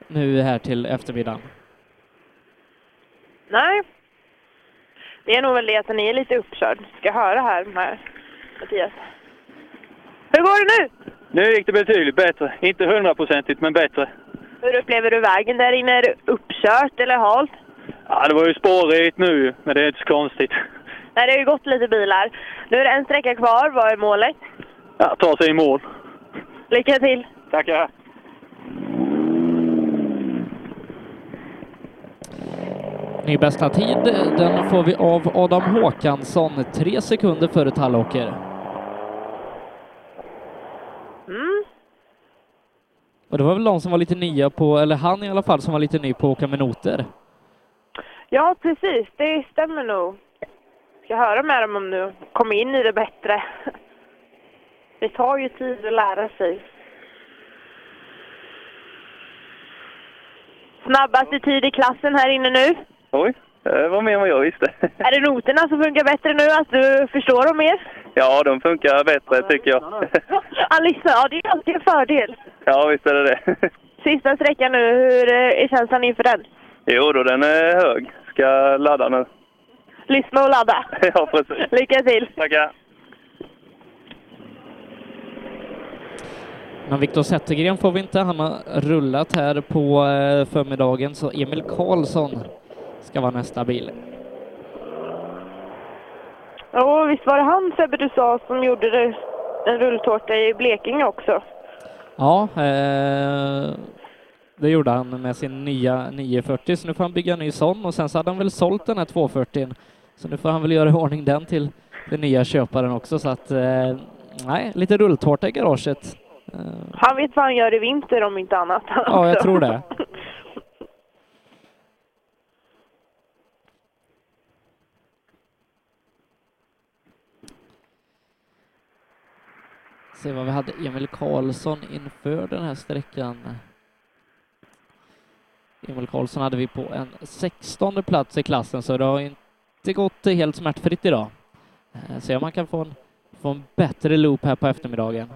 [SPEAKER 1] nu här till eftermiddagen.
[SPEAKER 7] Nej. Det är nog väl det att den är lite uppkörd. Ska höra här med Mattias. Hur går det nu?
[SPEAKER 30] Nu gick det betydligt bättre. Inte hundraprocentigt, men bättre.
[SPEAKER 7] Hur upplever du vägen där inne? Är det uppkört eller halt?
[SPEAKER 30] Ja, det var ju spårigt nu, men det är inte så konstigt.
[SPEAKER 7] Nej, det har ju gått lite bilar. Nu är det en sträcka kvar. Vad är målet?
[SPEAKER 30] Ja, ta sig i mål.
[SPEAKER 7] Lycka till!
[SPEAKER 30] Tackar.
[SPEAKER 1] Ny bästa tid, den får vi av Adam Håkansson, tre sekunder före Tallåker.
[SPEAKER 7] Mm.
[SPEAKER 1] Och det var väl de som var lite nya på, eller han i alla fall, som var lite ny på att åka med noter.
[SPEAKER 7] Ja, precis. Det stämmer nog. Ska höra med dem om du kommer in i det bättre. Det tar ju tid att lära sig. Snabbaste tid i klassen här inne nu.
[SPEAKER 30] Oj, det var mer än vad jag visste.
[SPEAKER 7] Är det noterna som funkar bättre nu? Att du förstår dem mer?
[SPEAKER 30] Ja, de funkar bättre tycker jag.
[SPEAKER 7] Han lyssnar. Ja, det är alltid en fördel.
[SPEAKER 30] Ja, visst är det det.
[SPEAKER 7] Sista sträckan nu, hur eh, är känslan inför den?
[SPEAKER 30] Jo då, den är hög. Ska ladda nu.
[SPEAKER 7] Lyssna och ladda.
[SPEAKER 30] Ja, precis.
[SPEAKER 7] Lycka till!
[SPEAKER 30] Tackar.
[SPEAKER 1] Men Viktor Zettergren får vi inte, han har rullat här på eh, förmiddagen, så Emil Karlsson ska vara nästa bil.
[SPEAKER 7] Ja, visst var det han Sebbe du sa som gjorde det, en rulltårta i Blekinge också?
[SPEAKER 1] Ja, eh, det gjorde han med sin nya 940, så nu får han bygga en ny sån och sen så hade han väl sålt den här 240 så nu får han väl göra i ordning den till den nya köparen också så att eh, nej, lite rulltårta i garaget. Eh,
[SPEAKER 7] Han vet vad han gör i vinter om inte annat.
[SPEAKER 1] ja, jag tror det. se vad vi hade Emil Karlsson inför den här sträckan. Emil Karlsson hade vi på en 16 plats i klassen, så det har inte gått helt smärtfritt idag. Eh, Se om man kan få en, få en bättre loop här på eftermiddagen.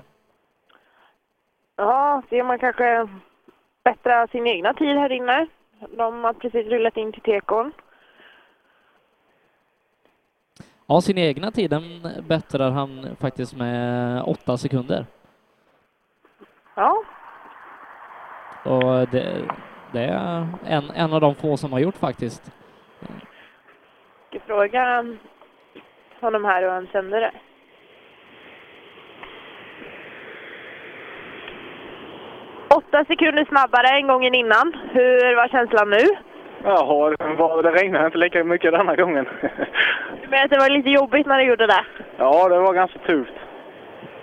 [SPEAKER 7] Ja, ser man kanske bättra sin egna tid här inne. De har precis rullat in till tekon.
[SPEAKER 1] Ja, sin egna tid, den bättrar han faktiskt med åtta sekunder.
[SPEAKER 7] Ja,
[SPEAKER 1] Och det, det är en, en av de få som har gjort faktiskt.
[SPEAKER 7] ska fråga honom här hur han kände det. Åtta sekunder snabbare än gången innan. Hur var känslan nu?
[SPEAKER 22] Jaha, det var- det regnade inte lika mycket denna gången.
[SPEAKER 7] Du menar att det var lite jobbigt när du gjorde det?
[SPEAKER 22] ja, det var ganska tufft.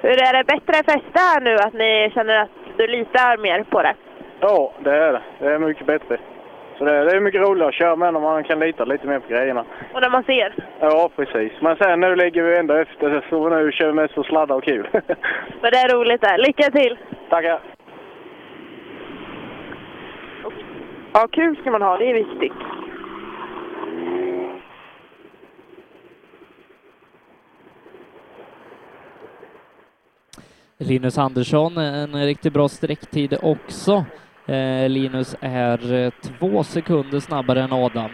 [SPEAKER 7] Hur är det bättre fäste här nu, att ni känner att du litar mer på det?
[SPEAKER 22] Ja, det är det. Det är mycket bättre. Så det, det är mycket roligare att köra med när man kan lita lite mer på grejerna.
[SPEAKER 7] Och när man ser?
[SPEAKER 22] Ja, precis. Men sen nu ligger vi ändå efter, så nu kör vi mest på sladdar och kul.
[SPEAKER 7] Men det är roligt det. Lycka till!
[SPEAKER 22] Tackar!
[SPEAKER 7] Ja, kul ska man ha. Det är viktigt.
[SPEAKER 1] Linus Andersson, en riktigt bra sträcktid också. Eh, Linus är eh, två sekunder snabbare än Adam.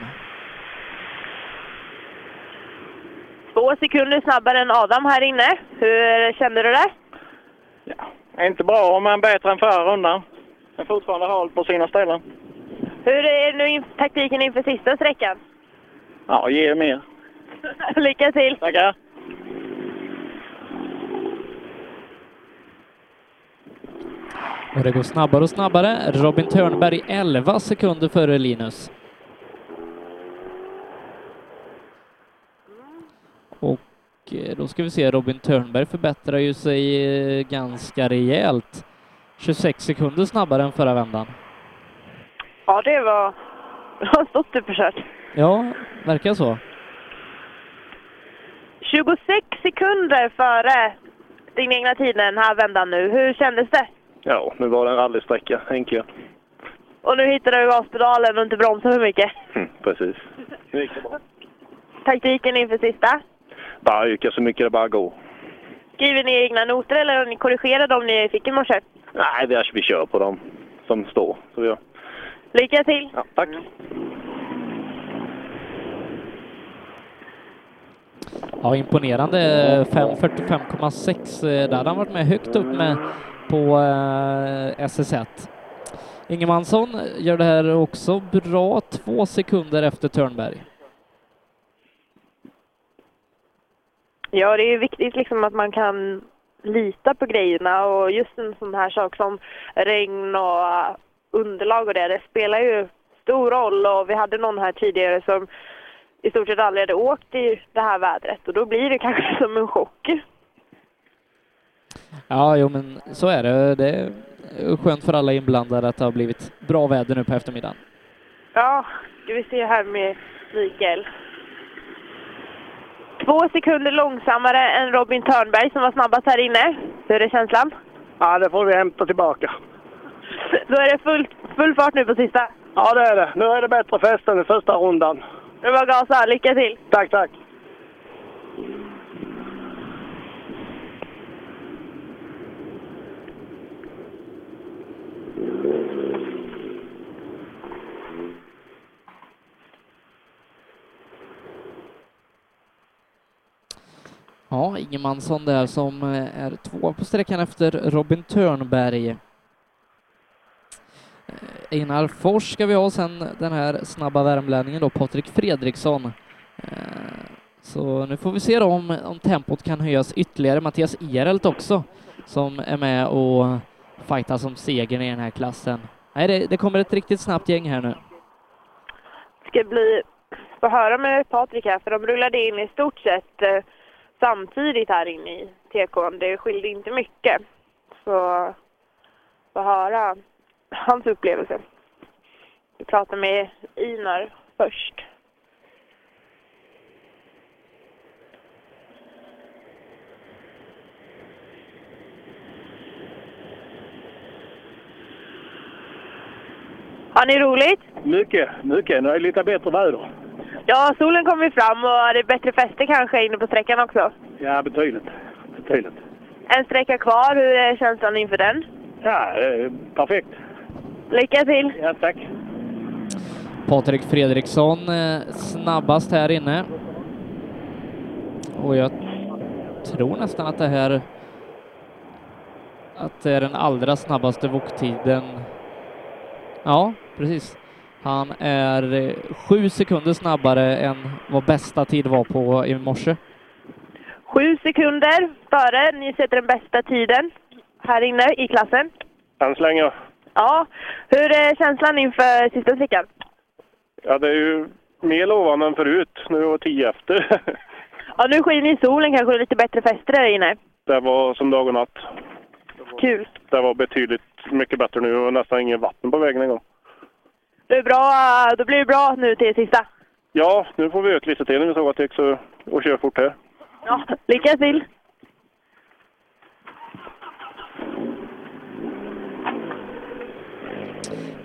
[SPEAKER 7] Två sekunder snabbare än Adam här inne. Hur kände du det?
[SPEAKER 26] Inte bra, men bättre än förra rundan. Men fortfarande halt på sina ställen.
[SPEAKER 7] Hur är nu in- taktiken inför sista sträckan?
[SPEAKER 26] Ja, ge mer.
[SPEAKER 7] Lycka till!
[SPEAKER 26] Tackar!
[SPEAKER 1] Och det går snabbare och snabbare. Robin Törnberg 11 sekunder före Linus. Och eh, då ska vi se, Robin Törnberg förbättrar ju sig eh, ganska rejält. 26 sekunder snabbare än förra vändan.
[SPEAKER 7] Ja, det var... Det har stått upp och kört.
[SPEAKER 1] Ja, verkar så.
[SPEAKER 7] 26 sekunder före din egna tid den här vändan nu. Hur kändes det?
[SPEAKER 22] Ja, nu var det en rallysträcka, enkel.
[SPEAKER 7] Och nu hittade du gaspedalen och inte bromsade för mycket.
[SPEAKER 4] Mm.
[SPEAKER 22] precis. Nu gick det bra.
[SPEAKER 7] Taktiken inför sista?
[SPEAKER 22] Bara öka så mycket det bara går.
[SPEAKER 7] Skriver ni egna noter eller har ni korrigerat dem ni fick i morse?
[SPEAKER 22] Nej, vi, vi kör på dem som står. Så vi gör.
[SPEAKER 7] Lycka till!
[SPEAKER 22] Ja, tack!
[SPEAKER 1] Ja, imponerande. 5.45,6. eh, Där hade han varit med högt upp med på eh, SS1. Ingemansson gör det här också bra, två sekunder efter Törnberg.
[SPEAKER 7] Ja, det är ju viktigt liksom att man kan lita på grejerna och just en sån här sak som regn och äh, underlag och det, det spelar ju stor roll och vi hade någon här tidigare som i stort sett aldrig hade åkt i det här vädret och då blir det kanske som en chock.
[SPEAKER 1] Ja, jo men så är det. Det är skönt för alla inblandade att det har blivit bra väder nu på eftermiddagen.
[SPEAKER 7] Ja, ska vi se här med Mikael. Två sekunder långsammare än Robin Törnberg som var snabbast här inne. Hur är känslan?
[SPEAKER 22] Ja, det får vi hämta tillbaka.
[SPEAKER 7] Då är det full, full fart nu på sista.
[SPEAKER 22] Ja, det är det. Nu är det bättre fest än i första rundan.
[SPEAKER 7] Nu bara gasa, lycka till!
[SPEAKER 22] Tack, tack!
[SPEAKER 1] Ja, Ingemansson där som eh, är två på sträckan efter Robin Törnberg. Eh, Einar Fors ska vi ha sen den här snabba värmlänningen då, Patrik Fredriksson. Eh, Så nu får vi se då om, om tempot kan höjas ytterligare. Mattias Ehrelt också som är med och fightar som segern i den här klassen. Nej, det, det kommer ett riktigt snabbt gäng här nu.
[SPEAKER 7] ska bli få höra med Patrik här, för de rullade in i stort sett eh, samtidigt här inne i tekon. Det skilde inte mycket. Så få höra hans upplevelse. Vi pratar med Inar först. Har ni roligt?
[SPEAKER 4] Mycket, mycket. Nu är det lite bättre väder.
[SPEAKER 7] Ja, solen kommer fram och det är bättre fäste kanske inne på sträckan också.
[SPEAKER 4] Ja, betydligt. Betydligt.
[SPEAKER 7] En sträcka kvar. Hur är känslan inför den?
[SPEAKER 4] Ja, eh, perfekt.
[SPEAKER 7] Lycka till!
[SPEAKER 4] Ja, tack.
[SPEAKER 1] Patrik Fredriksson eh, snabbast här inne. Och jag tror nästan att det här att det är den allra snabbaste voktiden. Ja, precis. Han är eh, sju sekunder snabbare än vad bästa tid var på i morse.
[SPEAKER 7] Sju sekunder före. Ni sätter den bästa tiden här inne i klassen.
[SPEAKER 22] Än så länge.
[SPEAKER 7] Ja. Hur är känslan inför sista slickan?
[SPEAKER 22] Ja, det är ju mer lovande än förut. Nu var tio efter.
[SPEAKER 7] Ja, nu skiner ju solen kanske det är lite bättre fäste där inne.
[SPEAKER 22] det var som dag och natt.
[SPEAKER 7] Kul.
[SPEAKER 22] Det var betydligt mycket bättre nu och nästan inget vatten på vägen en gång.
[SPEAKER 7] Det är bra. Då blir det bra nu till sista.
[SPEAKER 22] Ja, nu får vi öka lite till när vi såg att det gick så, och kör fort här.
[SPEAKER 7] Ja, lycka till!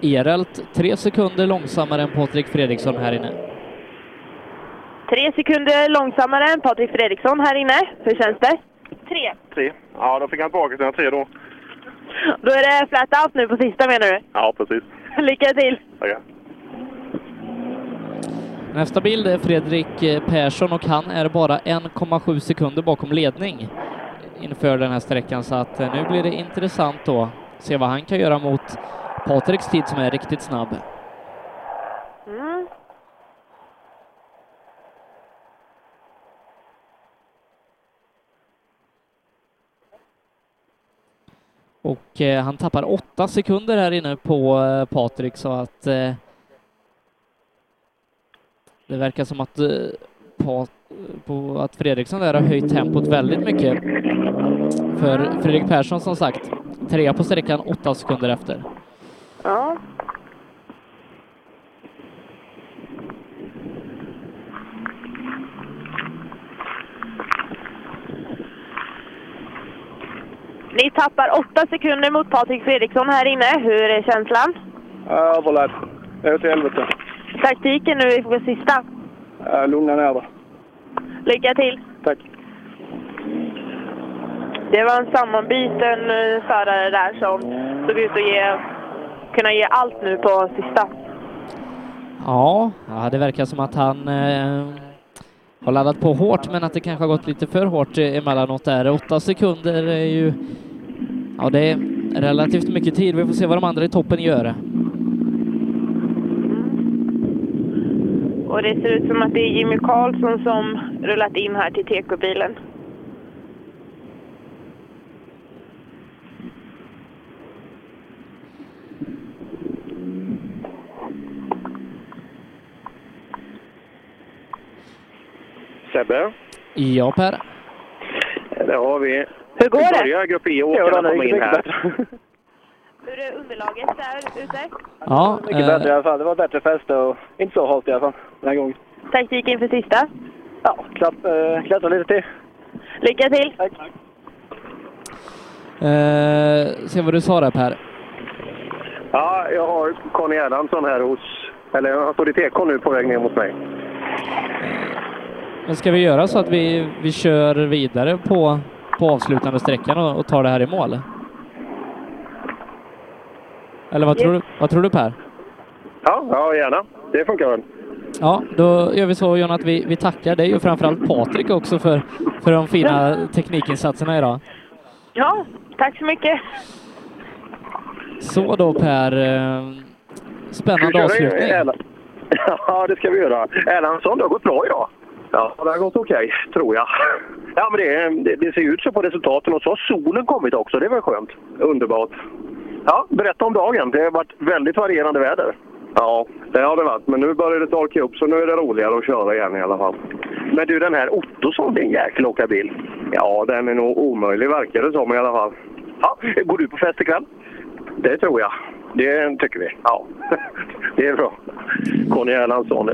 [SPEAKER 1] Erelt tre sekunder långsammare än Patrik Fredriksson här inne.
[SPEAKER 7] Tre sekunder långsammare än Patrik Fredriksson här inne. Hur känns det?
[SPEAKER 31] Tre.
[SPEAKER 22] Tre. Ja, då fick han tillbaka sina tre då.
[SPEAKER 7] Då är det flat out nu på sista menar du?
[SPEAKER 22] Ja, precis.
[SPEAKER 7] Lycka till!
[SPEAKER 22] Tackar.
[SPEAKER 1] Nästa bild är Fredrik eh, Persson och han är bara 1,7 sekunder bakom ledning inför den här sträckan så att eh, nu blir det intressant då se vad han kan göra mot Patriks tid som är riktigt snabb.
[SPEAKER 7] Mm.
[SPEAKER 1] Och eh, han tappar åtta sekunder här inne på eh, Patrik så att eh, det verkar som att, eh, Pat, på, att Fredriksson där har höjt tempot väldigt mycket. För Fredrik Persson som sagt, trea på sträckan, åtta sekunder efter.
[SPEAKER 7] Ja. Ni tappar åtta sekunder mot Patrik Fredriksson här inne. Hur är känslan?
[SPEAKER 22] Överladd. Det är åt helvete.
[SPEAKER 7] Taktiken nu inför sista.
[SPEAKER 22] Äh, lugna ner dig.
[SPEAKER 7] Lycka till!
[SPEAKER 22] Tack.
[SPEAKER 7] Det var en sammanbiten eh, förare där som såg ut att ge, kunna ge allt nu på sista.
[SPEAKER 1] Ja, ja det verkar som att han eh, har laddat på hårt men att det kanske har gått lite för hårt eh, emellanåt där. Åtta sekunder är ju... Ja, det är relativt mycket tid. Vi får se vad de andra i toppen gör.
[SPEAKER 7] Och det ser ut som att det är Jimmy Karlsson som rullat in här till TK-bilen.
[SPEAKER 2] Sebbe,
[SPEAKER 1] Ja, Per.
[SPEAKER 2] där har vi.
[SPEAKER 7] Hur går det?
[SPEAKER 2] Vi börjar grupp
[SPEAKER 1] Jo då,
[SPEAKER 2] E-åkarna
[SPEAKER 1] det
[SPEAKER 2] komma
[SPEAKER 1] gick
[SPEAKER 2] in här.
[SPEAKER 7] Hur är underlaget där ute?
[SPEAKER 1] Ja,
[SPEAKER 32] mycket
[SPEAKER 1] eh,
[SPEAKER 32] bättre i alla fall. Det var bättre fäste och inte så halt i alla fall den här gången.
[SPEAKER 7] Taktik inför sista.
[SPEAKER 32] Ja, klapp, eh, klättra lite till.
[SPEAKER 7] Lycka till!
[SPEAKER 1] Eh, se vad du sa där Per.
[SPEAKER 2] Ja, jag har Conny Erlandsson här hos... Eller han står i TK nu på väg ner mot mig.
[SPEAKER 1] Men ska vi göra så att vi, vi kör vidare på, på avslutande sträckan och, och tar det här i mål? Eller vad tror du, vad tror du Per?
[SPEAKER 2] Ja, ja gärna. Det funkar väl.
[SPEAKER 1] Ja, då gör vi så John att vi, vi tackar dig och framförallt Patrik också för, för de fina teknikinsatserna idag.
[SPEAKER 7] Ja, tack så mycket!
[SPEAKER 1] Så då Per, eh, spännande
[SPEAKER 2] Ska vi köra
[SPEAKER 1] avslutning.
[SPEAKER 2] Erla- Ja, det ska vi göra. Erlandsson, det har gått bra idag. Ja, det har gått okej, tror jag. Ja, men det, det, det ser ut så på resultaten och så har solen kommit också. Det var skönt. Underbart. Ja, berätta om dagen. Det har varit väldigt varierande väder. Ja, det har det varit. Men nu börjar det torka upp så nu är det roligare att köra igen i alla fall. Men du, den här Ottosson, din jäkel åka bil. Ja, den är nog omöjlig verkar det som i alla fall. Ja, går du på fest ikväll? Det tror jag. Det tycker vi. Ja, det är bra. Conny Erlandsson.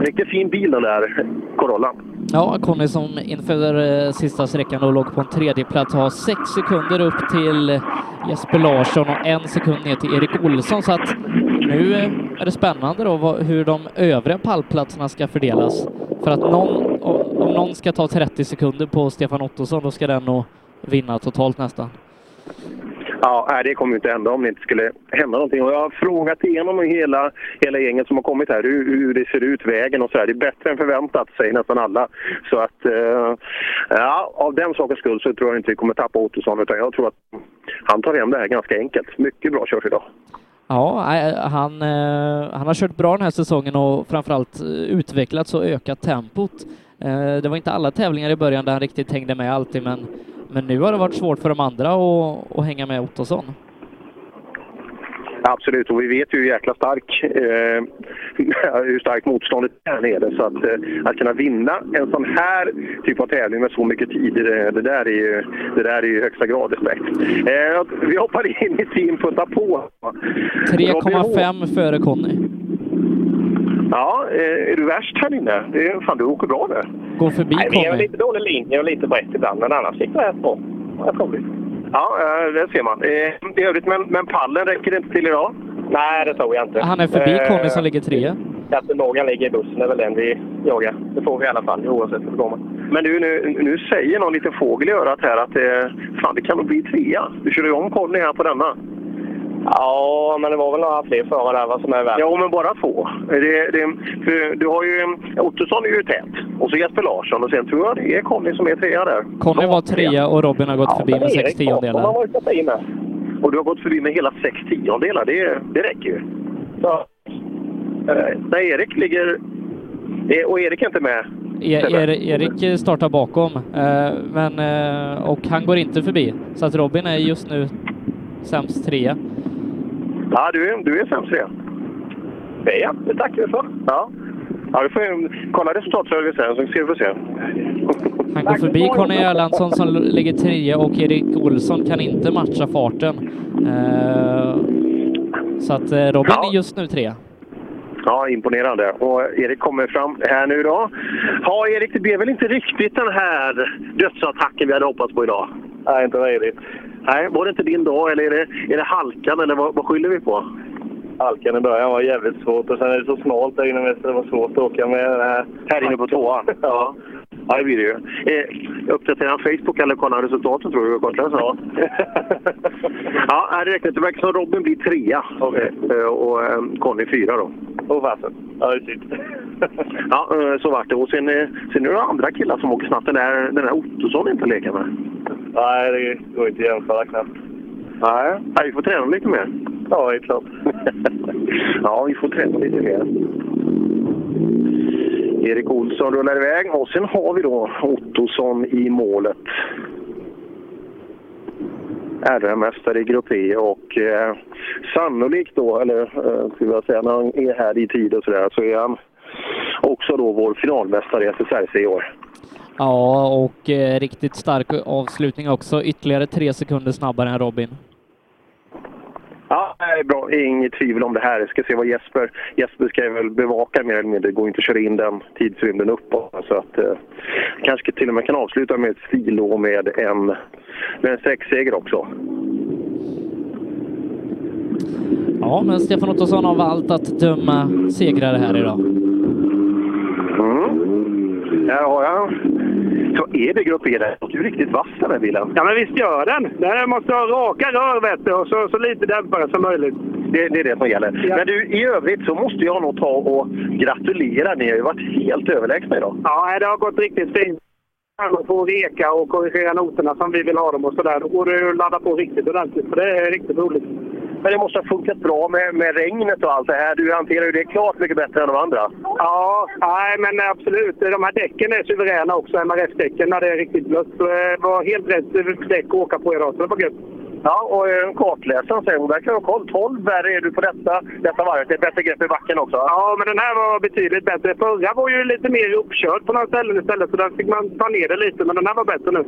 [SPEAKER 2] Riktigt fin bil den där Corollan.
[SPEAKER 1] Ja, Conny som inför eh, sista sträckan och låg på en tredje plats har sex eh, sekunder upp till Jesper Larsson och en sekund ner till Erik Olsson så att Nu eh, är det spännande då vad, hur de övriga pallplatserna ska fördelas. För att någon, o- om någon ska ta 30 sekunder på Stefan Ottosson, då ska den nog vinna totalt nästan.
[SPEAKER 2] Ja, nej, det kommer ju inte hända om det inte skulle hända någonting. Och jag har frågat igenom hela, hela gänget som har kommit här hur, hur det ser ut, vägen och så här. Det är bättre än förväntat, säger nästan alla. Så att, eh, ja, av den sakens skull så tror jag inte vi kommer tappa Ottosson, utan jag tror att han tar hem det här ganska enkelt. Mycket bra körs idag.
[SPEAKER 1] Ja, nej, han, eh, han har kört bra den här säsongen och framförallt eh, utvecklats och ökat tempot. Eh, Det var inte alla tävlingar i början där han riktigt hängde med alltid, men, men nu har det varit svårt för de andra att, att hänga med Ottosson.
[SPEAKER 2] Absolut, och vi vet ju hur jäkla stark, eh, hur starkt motståndet är här nere. Så att, eh, att kunna vinna en sån här typ av tävling med så mycket tid, det, det, där, är ju, det där är ju i högsta grad respekt. Eh, vi hoppar in i Team Putta på.
[SPEAKER 1] 3,5 före Conny.
[SPEAKER 2] Ja, eh, är du värst här inne? Det är, fan, du åker bra där.
[SPEAKER 1] Går förbi
[SPEAKER 4] Nej, vi har
[SPEAKER 1] Conny.
[SPEAKER 4] lite dålig linje och lite brett ibland, men annars gick det rätt bra. Rätt roligt.
[SPEAKER 2] Ja, eh, det ser man. Eh, I övrigt, men, men pallen räcker inte till idag?
[SPEAKER 4] Nej, det tror jag inte.
[SPEAKER 1] Han är förbi
[SPEAKER 4] Eh,
[SPEAKER 1] Conny som ligger trea.
[SPEAKER 4] Katten Morgan ligger i bussen, det är väl den vi jagar. Det får vi i alla fall, oavsett hur det går med.
[SPEAKER 2] Men du, nu, nu säger någon liten fågel i örat här att eh, fan, det kan nog bli trea. Du körde ju om Conny här på denna.
[SPEAKER 4] Ja, men det var väl några fler före där, vad som är värst.
[SPEAKER 2] Jo, men bara två. Eh, Det, det, för du har ju, Ottosson är ju tät, och så Jesper Larsson och sen tror jag det är Conny som är trea där.
[SPEAKER 1] Conny var trea och Robin har gått förbi med sex tiondelar.
[SPEAKER 2] Och du har gått förbi med hela sex tiondelar, det, det räcker ju.
[SPEAKER 4] Så.
[SPEAKER 2] Eh, nej, Erik ligger... eh, Och Erik är inte med.
[SPEAKER 1] E- er, Erik startar bakom, eh, men, eh, och han går inte förbi. Så att Robin är just nu sämst trea.
[SPEAKER 2] Ja, du, är- du är sämst trea. Det är jag. Det tackar vi för. Ja. Ja, du får ju kolla resultatservice sen så ska du få se.
[SPEAKER 1] Han går förbi Conny Erlandsson som l- ligger trea och Erik Olsson kan inte matcha farten. Eh, Så att eh, Robin är just nu trea.
[SPEAKER 2] Ja, imponerande. Och Erik kommer fram här nu då. Ja, Erik, det blev väl inte riktigt den här dödsattacken vi hade hoppats på idag? Nej, inte riktigt. Nej, var det inte din dag eller är det, är det halkan eller vad, vad skyller vi på?
[SPEAKER 5] Halkan i början var jävligt svårt och sen är det så smalt där inne med så det var svårt att åka med den här.
[SPEAKER 2] Här inne på tvåan? ja. Ja, det blir det ju. Eh, uppdaterar han Facebook eller kollar han resultaten tror du, kortläsaren? Ja. ja, nej, det räcker inte. Det verkar som Robin blir trea Eh, och eh, Conny fyra då.
[SPEAKER 5] Åh fasen. Ja, det är synd.
[SPEAKER 2] Ja, eh, så vart det. Och sen, eh, sen är det andra killar som åker snabbt. Den där, den där Ottosson är inte att leka med.
[SPEAKER 5] Nej, det går inte att jämföra knappt.
[SPEAKER 2] Nej. Nej, vi får träna lite mer. Ja, helt klart. ja, vi får träna lite mer. Erik Olsson rullar iväg och sen har vi då Ottosson i målet. RM-mästare i Grupp E och eh, sannolikt då, eller eh, skulle jag säga, när han är här i tid och sådär, så är han också då vår finalmästare i SSRC i år.
[SPEAKER 1] Ja, och eh, riktigt stark avslutning också. Ytterligare tre sekunder snabbare än Robin.
[SPEAKER 2] Ja, nej, bra. Inget tvivel om det här. Jag ska se vad Jesper... Jesper ska jag väl bevaka mer eller mindre. Det går inte att köra in den tidsrymden uppåt. Så att, eh, kanske till och med kan avsluta med ett silo och med en, med en sträckseger också.
[SPEAKER 1] Ja, men Stefan Ottosson har valt att döma segrare här idag.
[SPEAKER 2] Mm. Här har jag. Så är det grupp E där. Du är riktigt vass den här bilen.
[SPEAKER 20] Ja, men visst gör den. Den måste ha raka rör vet du, och så, så lite dämpare som möjligt.
[SPEAKER 2] Det, det är det som gäller. Men du, i övrigt så måste jag nog ta och gratulera. Ni har ju varit helt överlägsna idag.
[SPEAKER 20] Ja, det har gått riktigt fint. Man får reka och korrigera noterna som vi vill ha dem och sådär. Då går det ju att ladda på riktigt ordentligt, för det är riktigt roligt.
[SPEAKER 2] Men det måste ha funkat bra med, med regnet och allt det här. Du hanterar ju det klart mycket bättre än de andra.
[SPEAKER 20] Ja, nej men absolut. De här däcken är suveräna också, MRF-däcken, när det är riktigt blött. Så det var helt rätt däck att åka på idag, så det var gött.
[SPEAKER 2] Ja, och eh, kartläsaren säger hon verkar ha koll. 12 värre är du på detta, detta varvet. Det är bättre grepp i backen också.
[SPEAKER 20] Ja, men den här var betydligt bättre. Förra var ju lite mer uppkörd på några ställen istället, så där fick man ta ner det lite. Men den här var bättre nu.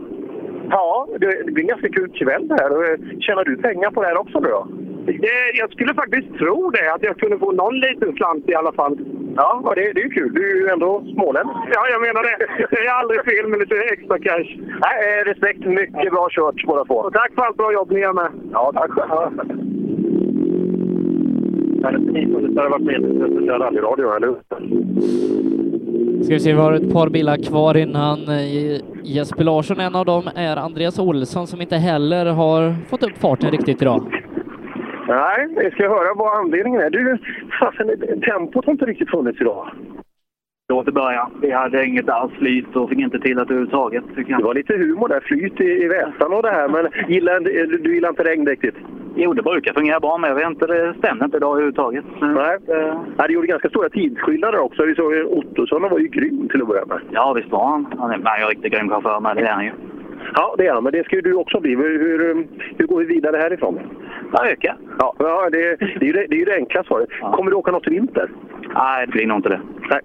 [SPEAKER 2] Ja, det, det blir en ganska kul kväll det här. Och, eh, Tjänar du pengar på det här också nu då?
[SPEAKER 20] Det, jag skulle faktiskt tro det, att jag kunde få någon liten slant i alla fall.
[SPEAKER 2] Ja, och det, det är ju kul. Du är ju ändå smålänning.
[SPEAKER 20] Ja, jag menar det. Det är aldrig fel med lite extra cash.
[SPEAKER 2] Nej, eh, respekt. Mycket bra kört båda två.
[SPEAKER 20] Och tack för allt bra jobb ni gör med.
[SPEAKER 2] Ja, tack själv. hade precis hade varit meningen att köra rallyradio, eller hur?
[SPEAKER 1] Ska vi se, vi har ett par bilar kvar innan eh, Jesper Larsson. En av dem är Andreas Olsson som inte heller har fått upp farten riktigt idag.
[SPEAKER 2] Nej, vi ska höra vad anledningen är. Du, fasen, tempot har inte riktigt funnits idag.
[SPEAKER 21] Då till början. Vi hade inget alls flyt och fick inte till det överhuvudtaget. Tycker jag.
[SPEAKER 2] Det var lite humor där, flyt i, i väsan och det här, men gillar, du, du gillar inte regn riktigt?
[SPEAKER 21] Jo, det brukar fungera bra, men jag vet inte, det stämde inte idag överhuvudtaget.
[SPEAKER 2] Nej. eh, Nej, det gjorde ganska stora tidsskillnader också. Vi såg ju Ottosson han var ju grym till att börja med.
[SPEAKER 21] Ja, visst var han. Han är, han är en riktigt grym chaufför med, det är han ju.
[SPEAKER 2] Ja, det är han, men det ska ju du också bli. Hur, hur, eh, hur går vi vidare härifrån?
[SPEAKER 21] Ja, öka.
[SPEAKER 2] Ja, ja det, det, är ju det, det är ju det enkla svaret. Kommer du åka något i vinter?
[SPEAKER 21] Nej, det blir nog inte det.
[SPEAKER 2] Nej.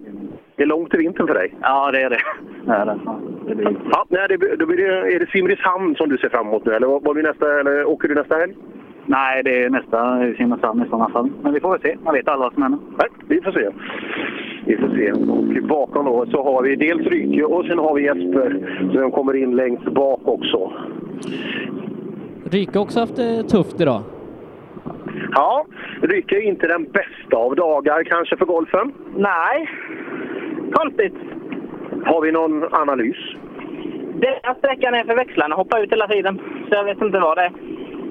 [SPEAKER 2] Det är långt till vintern för dig.
[SPEAKER 21] Ja, det är det. det, är det. det blir...
[SPEAKER 2] Ja, nej, det, då blir det, är det Simrishamn som du ser fram emot nu, eller, vad- vad blir nästa, eller åker du nästa helg?
[SPEAKER 21] Nej, det är nästa i Simrishamn i sådana fall. Men vi får väl se. Man vet aldrig vad som händer.
[SPEAKER 2] Nej, vi får se. Vi får se. Och bakom då så har vi dels Ryke och sen har vi Jesper som kommer in längst bak också.
[SPEAKER 1] Ryke har också haft det tufft idag.
[SPEAKER 2] Ja, Ryke är inte den bästa av dagar kanske för golfen.
[SPEAKER 26] Nej, konstigt.
[SPEAKER 2] Har vi någon analys?
[SPEAKER 26] Den här sträckan är för växlarna hoppar ut hela tiden. Så jag vet inte vad det är.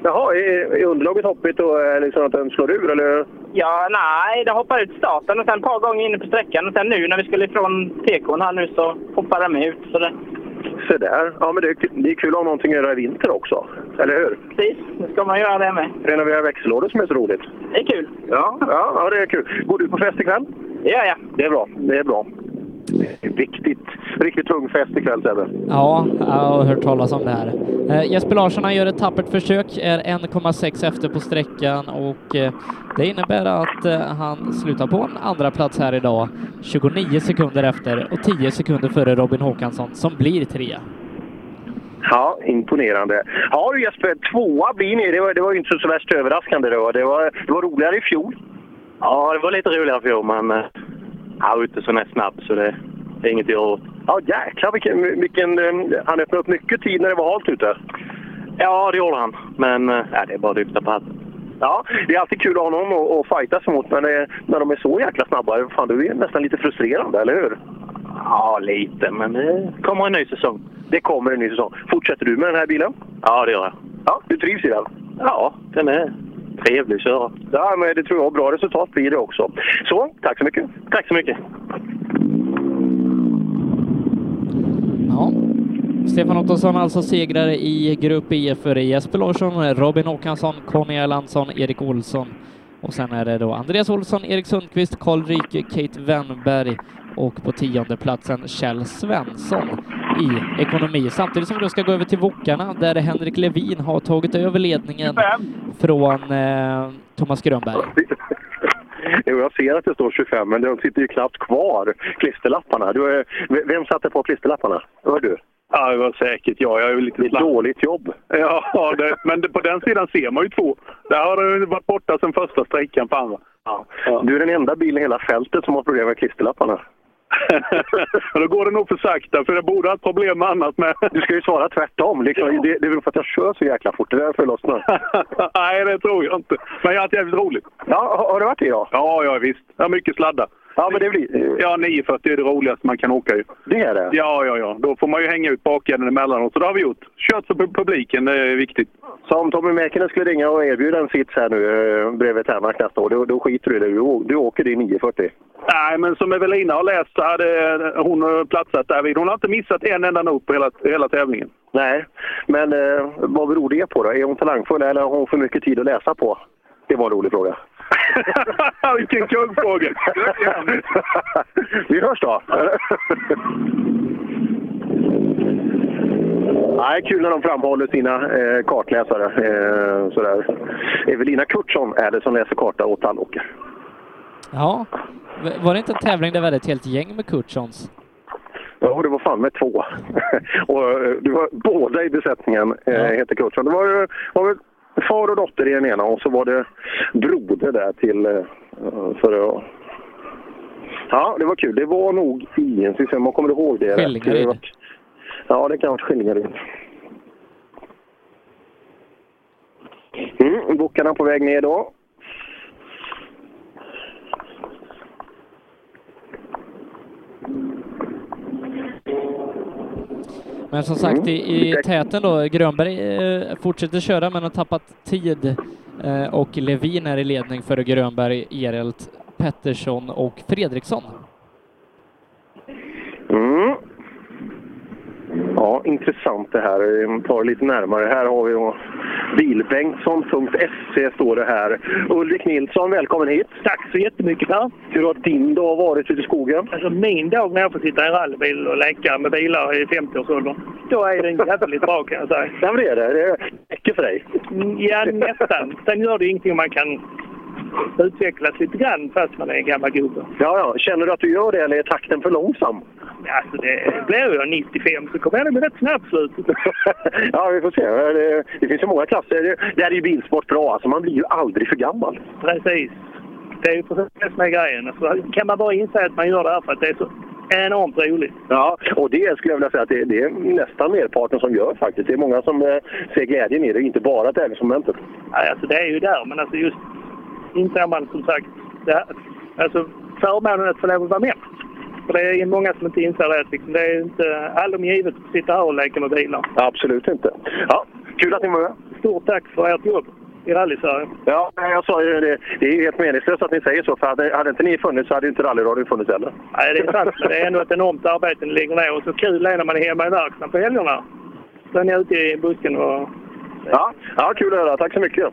[SPEAKER 2] Jaha, är, är underlaget hoppigt och är liksom att den slår ur eller?
[SPEAKER 26] Ja, nej, det hoppar ut starten och sen ett par gånger inne på sträckan. Och sen nu när vi skulle ifrån TK'n här nu så hoppar den med ut. Så det,
[SPEAKER 2] Så där. Ja, men det, är- det är kul att ha någonting att göra i vinter också. Eller hur?
[SPEAKER 26] precis, nu ska man göra det med.
[SPEAKER 2] Renovera växellådor som är så roligt.
[SPEAKER 26] Det är kul.
[SPEAKER 2] Ja, ja, ja, det är kul. Går du på fest ikväll?
[SPEAKER 26] Det gör jag.
[SPEAKER 2] Det är bra. Det är bra. Det är Riktigt, riktigt tung fest ikväll, Sebbe.
[SPEAKER 1] Ja, jag har hört talas om det här. Eh, Jesper Larsson han gör ett tappert försök, är 1,6 efter på sträckan och eh, det innebär att eh, han slutar på en andra plats här idag, 29 sekunder efter och 10 sekunder före Robin Håkansson som blir trea.
[SPEAKER 2] Ja, imponerande. Ja du Jesper, tvåa blir ni. Det var, det var ju inte så, så värst överraskande. Det var, det, var, det var roligare i fjol.
[SPEAKER 4] Ja, det var lite roligare i fjol, men eh, jag var inte så näst snabb så det, det är inget att göra åt.
[SPEAKER 2] Ja, jäklar vilken, vilken... eh, Han öppnade upp mycket tid när det var halt ute.
[SPEAKER 4] Ja, det gjorde han. Men eh, ja, det är bara att lyfta på hatten.
[SPEAKER 2] Ja, det är alltid kul att ha någon att, att fightas mot, men eh, när de är så jäkla snabba, fan det är nästan lite frustrerande, eller hur?
[SPEAKER 4] Ja, lite, men det kommer en ny säsong.
[SPEAKER 2] Det kommer en ny säsong. Fortsätter du med den här bilen?
[SPEAKER 4] Ja, det gör jag.
[SPEAKER 2] Ja, du trivs i den?
[SPEAKER 4] Ja, den är trevlig att köra.
[SPEAKER 2] Ja, men det tror jag. Bra resultat blir det också. Så, tack så mycket.
[SPEAKER 4] Tack så mycket.
[SPEAKER 1] Ja. Stefan Ottosson alltså segrare i Grupp E före Jesper Larsson, Robin Håkansson, Conny Erlandsson, Erik Olsson och sen är det då Andreas Olsson, Erik Sundqvist, Karl Ryke, Kate Wennberg och på tionde platsen Kjell Svensson i ekonomi. Samtidigt som vi då ska gå över till Wokarna där Henrik Levin har tagit över ledningen från eh, Thomas Grönberg.
[SPEAKER 2] Jo, jag ser att det står 25, men de sitter ju knappt kvar, klisterlapparna. Du, eh, v- vem satte på klisterlapparna? Det var du.
[SPEAKER 22] Ja, det var säkert jag. Jag är ju lite
[SPEAKER 2] Det är dåligt jobb.
[SPEAKER 22] Ja, det, men det, på den sidan ser man ju två. Där har det ju varit borta sedan första sträckan på andra.
[SPEAKER 2] Du är den enda bilen i hela fältet som har problem med klisterlapparna.
[SPEAKER 22] Men då går det nog för sakta, för det borde ha ett problem med annat med.
[SPEAKER 2] Du ska ju svara tvärtom. Liksom, det, det beror på att jag kör så jäkla fort. Det är därför jag lossnar.
[SPEAKER 22] Nej, det tror jag inte. Men jag har haft jävligt roligt.
[SPEAKER 2] Ja, har, du varit det idag?
[SPEAKER 22] Ja, ja visst. Jag har mycket sladdar.
[SPEAKER 2] Ja, men det blir...
[SPEAKER 22] Ja, 940 är det roligaste man kan åka ju.
[SPEAKER 2] Det är det?
[SPEAKER 22] Ja, ja, ja. Då får man ju hänga ut bakänden emellanåt. Så det har vi gjort. Kört för pu- publiken, det är viktigt.
[SPEAKER 2] Så om Tommy Mäkinen skulle ringa och erbjuda en sits här nu eh, bredvid Tärnack nästa år, då, då skiter du i det. Du, å- du åker din 940.
[SPEAKER 22] Nej, men som Evelina har läst så hade hon platsat där vid. Hon har inte missat en enda not på hela, hela tävlingen.
[SPEAKER 2] Nej, men eh, vad beror det på då? Är hon talangfull eller har hon för mycket tid att läsa på? Det var en rolig fråga.
[SPEAKER 22] Vilken kuggfråga!
[SPEAKER 2] Vi hörs då! Nej, kul när de framhåller sina eh, kartläsare. Eh, sådär. Evelina Kurtsson är det som läser karta åt Tallåker.
[SPEAKER 1] Ja, V- var det inte en tävling där vi hade ett helt gäng med Kurtssons?
[SPEAKER 2] Ja, det var fan med två. och eh, det var båda i besättningen, eh, heter coachen. Det var, eh, var väl far och dotter i den ena och så var det broder där till... eh, För att, ja, det var kul. Det var nog i en system. Man kommer ihåg det. rätt.
[SPEAKER 1] Skillingaryd.
[SPEAKER 2] Det var- Ja, det kan ha varit Skillingaryd. Mm, Bockarna på väg ner då.
[SPEAKER 1] Men som sagt, i, i täten då, Grönberg eh, fortsätter köra men har tappat tid eh, och Levin är i ledning före Grönberg, Erelt, Pettersson och Fredriksson.
[SPEAKER 2] Mm. Ja, intressant det här. Vi tar det lite närmare. Här har vi då bilbengtsson.se står det här. Ulrik Nilsson, välkommen hit.
[SPEAKER 4] Tack så jättemycket Per.
[SPEAKER 2] Hur har din dag varit ute i skogen?
[SPEAKER 4] Alltså min dag när jag får sitta i en rallybil och leka med bilar i 50-årsåldern, då är den jävligt bra kan jag säga.
[SPEAKER 2] Ja, men det är det. Det räcker för dig.
[SPEAKER 4] Mm, Ja, nästan. Sen gör det ingenting om man kan utvecklas lite grann fast man är en gammal gubbe.
[SPEAKER 2] Ja, ja. Känner du att du gör det eller är takten för långsam?
[SPEAKER 4] Alltså det blir jag 95 så kommer jag nog bli rätt snabb slutet.
[SPEAKER 2] ja, vi får se. Det, det finns ju många klasser. Det- Det här är ju bilsport bra. Alltså, man blir ju aldrig för gammal.
[SPEAKER 4] Precis. Det är ju precis det som är grejen. Alltså, kan man bara inse att man gör det här för att det är så enormt roligt.
[SPEAKER 2] Ja, och det skulle jag vilja säga att det, det är nästan merparten som gör faktiskt. Det är många som eh, ser glädjen i det, inte bara tävlingsmomentet.
[SPEAKER 4] Nej, alltså det är ju där, men alltså just inser man som sagt det här, alltså förmånen att få lov att vara med. För det är ju många som inte inser det. Liksom. Det är ju inte allom givet att sitta här och leka med bilar.
[SPEAKER 2] Absolut inte. Ja, kul att ni var med.
[SPEAKER 4] Stort tack för ert jobb i rally-Sverige.
[SPEAKER 2] Ja, jag sa ju det. Det är ju helt meningslöst att ni säger så, för hade, hade inte ni funnits så hade ju inte rallyradion funnits heller.
[SPEAKER 4] Nej, det är sant, men det är ändå ett enormt arbete ni lägger ner och så kul är när man är hemma i verkstaden på helgerna. Då är ni ute i busken och...
[SPEAKER 2] Ja, ja kul att höra. Tack så mycket.